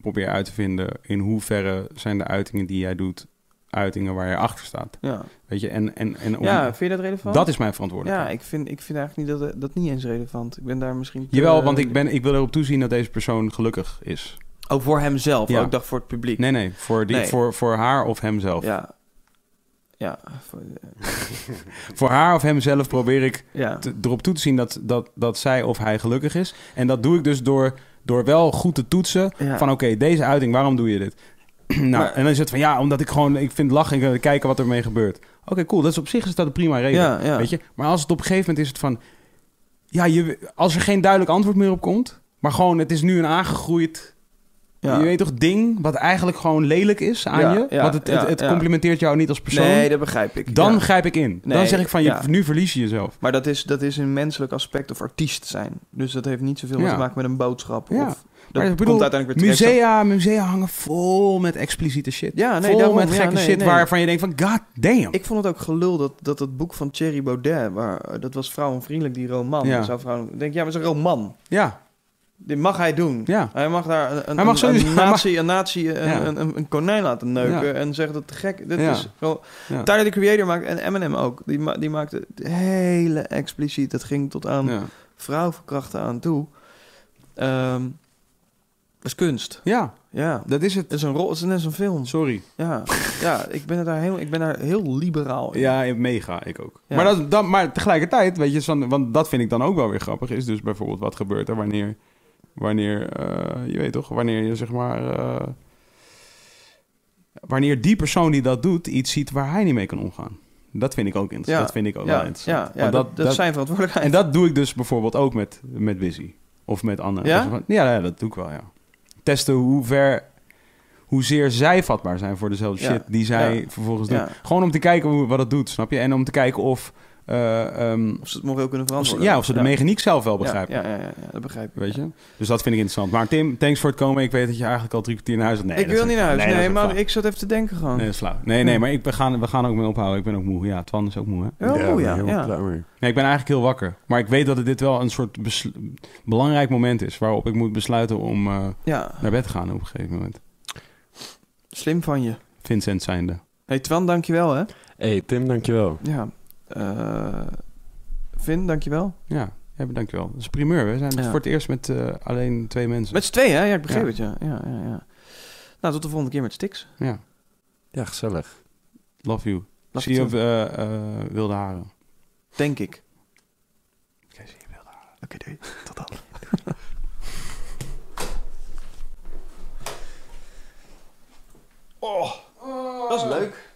S1: probeer uit te vinden in hoeverre zijn de uitingen die jij doet, uitingen waar je achter staat.
S3: Ja.
S1: Weet je, en, en, en om-
S3: ja, vind je dat relevant?
S1: dat is mijn verantwoordelijkheid.
S3: Ja, ik vind, ik vind eigenlijk niet dat, dat niet eens relevant. Ik eh, ben daar misschien... te-
S1: Jawel, want ik, ben, ik wil erop toezien dat deze persoon gelukkig is.
S3: Ook Oh, voor hemzelf,
S1: Ja.
S3: ook ik dacht voor het publiek.
S1: Nee, nee, voor, die,
S3: Nee.
S1: Voor, voor haar of hemzelf.
S3: Ja. Ja. voor- eh,
S1: Voor haar of hemzelf probeer ik
S3: ja.
S1: te- erop toe te zien dat, dat, dat zij of hij gelukkig is. En dat doe ik dus door, door wel goed te toetsen
S3: Ja.
S1: van oké, deze uiting, waarom doe je dit? <clears throat> nou,
S3: Maar-
S1: en dan is het van ja, omdat ik gewoon, ik vind lachen, ik wil kijken wat ermee gebeurt. Oké, cool, dat is op zich is dat een prima reden,
S3: Ja, ja.
S1: weet je. Maar als het op een gegeven moment is het van, ja, je, als er geen duidelijk antwoord meer op komt, maar gewoon het is nu een aangegroeid,
S3: ja.
S1: je weet toch, ding wat eigenlijk gewoon lelijk is aan
S3: Ja,
S1: je.
S3: ja,
S1: want het,
S3: ja,
S1: het, het
S3: ja.
S1: complimenteert jou niet als persoon.
S3: Nee, dat begrijp ik.
S1: dan
S3: Ja.
S1: grijp ik in. dan
S3: Nee,
S1: zeg ik van, je,
S3: ja.
S1: nu verlies je jezelf.
S3: Maar dat is, dat is een menselijk aspect of artiest zijn. Dus dat heeft niet zoveel
S1: Ja.
S3: te maken met een boodschap.
S1: Ja.
S3: Of, dat
S1: Maar ik bedoel,
S3: komt uiteindelijk weer terecht.
S1: Musea, musea hangen vol met expliciete shit.
S3: Ja, nee,
S1: vol
S3: daarom,
S1: met
S3: ja,
S1: gekke
S3: nee,
S1: shit
S3: nee.
S1: waarvan je denkt van god damn.
S3: Ik vond het ook gelul dat dat, dat boek van Thierry Baudet, waar, dat was vrouwenvriendelijk, die roman.
S1: Ja.
S3: Ja. Zou vrouwen, ik denk, ja, maar het is een roman.
S1: ja,
S3: Dit mag hij doen.
S1: ja.
S3: Hij mag daar een, een,
S1: Hij mag
S3: een,
S1: sowieso-
S3: een
S1: hij
S3: nazi, een, nazi een,
S1: Ja.
S3: een, een, een konijn laten neuken
S1: Ja.
S3: en zeggen dat het gek dit
S1: Ja.
S3: is. Gewoon,
S1: Ja.
S3: Tyler, de creator, maakt, en Eminem ook, die, ma- die maakte het hele expliciet. Dat ging tot aan
S1: Ja.
S3: vrouwverkrachten aan toe. Ehm, dat is kunst.
S1: ja,
S3: Ja.
S1: dat is het.
S3: Het is een rol, het is net zo'n film.
S1: Sorry.
S3: Ja, ja ik, ben het daar heel, ik ben daar heel liberaal in.
S1: Ja, mega, ik ook.
S3: Ja.
S1: Maar, dat, dat, maar tegelijkertijd, weet je, zo'n- want dat vind ik dan ook wel weer grappig, is dus bijvoorbeeld wat gebeurt er wanneer, wanneer eh, je weet toch, wanneer je zeg maar, eh, wanneer die persoon die dat doet iets ziet waar hij niet mee kan omgaan. Dat vind ik ook interessant.
S3: Ja.
S1: Dat vind ik ook wel
S3: ja,
S1: interessant.
S3: ja, ja
S1: Want
S3: dat, dat is zijn verantwoordelijkheid.
S1: En dat doe ik dus bijvoorbeeld ook met, met Busy. Of met Anne.
S3: Ja?
S1: Dus van- Ja, ja, dat doe ik wel, ja. Testen hoe ver... Hoezeer zij vatbaar zijn voor dezelfde
S3: Ja.
S1: shit die zij
S3: Ja.
S1: vervolgens doen.
S3: Ja.
S1: Gewoon om te kijken hoe, wat het doet, snap je? En om te kijken of... eh, ehm,
S3: Of ze het moreel
S1: of
S3: kunnen
S1: ze-
S3: verantwoorden.
S1: ja, of ze de mechaniek zelf wel begrijpen.
S3: Ja, ja, ja, ja, dat begrijp ik.
S1: Weet je? Dus dat vind ik interessant. Maar Tim, thanks voor het komen. Ik weet dat je eigenlijk al drie kwartier naar huis had. Nee,
S3: ik
S1: dat
S3: wil
S1: is-
S3: niet naar huis. Nee,
S1: dat is ook
S3: maar
S1: flauw.
S3: ik zat even te denken gewoon.
S1: Nee, dat is flauw. Nee, nee, maar ik, we, gaan, we gaan ook mee ophouden. Ik ben ook moe. Ja, Twan is ook moe, hè?
S3: Wel moe, Oh, ja.
S2: ben
S3: ja.
S2: helemaal klaar mee.
S1: Nee, ik ben eigenlijk heel wakker. Maar ik weet dat dit wel een soort besl- belangrijk moment is... waarop ik moet besluiten om eh,
S3: Ja,
S1: naar bed te gaan op een gegeven moment.
S3: slim van je.
S1: Vincent zijnde.
S3: hey, Twan, dankjewel hè.
S2: hey, Tim, dankjewel.
S3: Ja. Eh Vin, dankjewel.
S1: Ja, ja dankjewel. Dat is een primeur. We zijn
S3: Ja.
S1: voor het eerst met eh, alleen twee mensen.
S3: Met z'n tweeën hè? Ja, ik begreep
S1: Ja.
S3: het. Ja. Ja, ja, ja. Nou, tot de volgende keer met Stix.
S1: Ja,
S2: Ja, gezellig.
S1: love you.
S3: Love
S1: zie je
S3: you
S1: op eh, eh, Wilde Haren.
S3: Denk ik.
S1: Oké, zie je Wilde Haren.
S3: Oké, <laughs> doei. Tot dan. Oh, dat is leuk.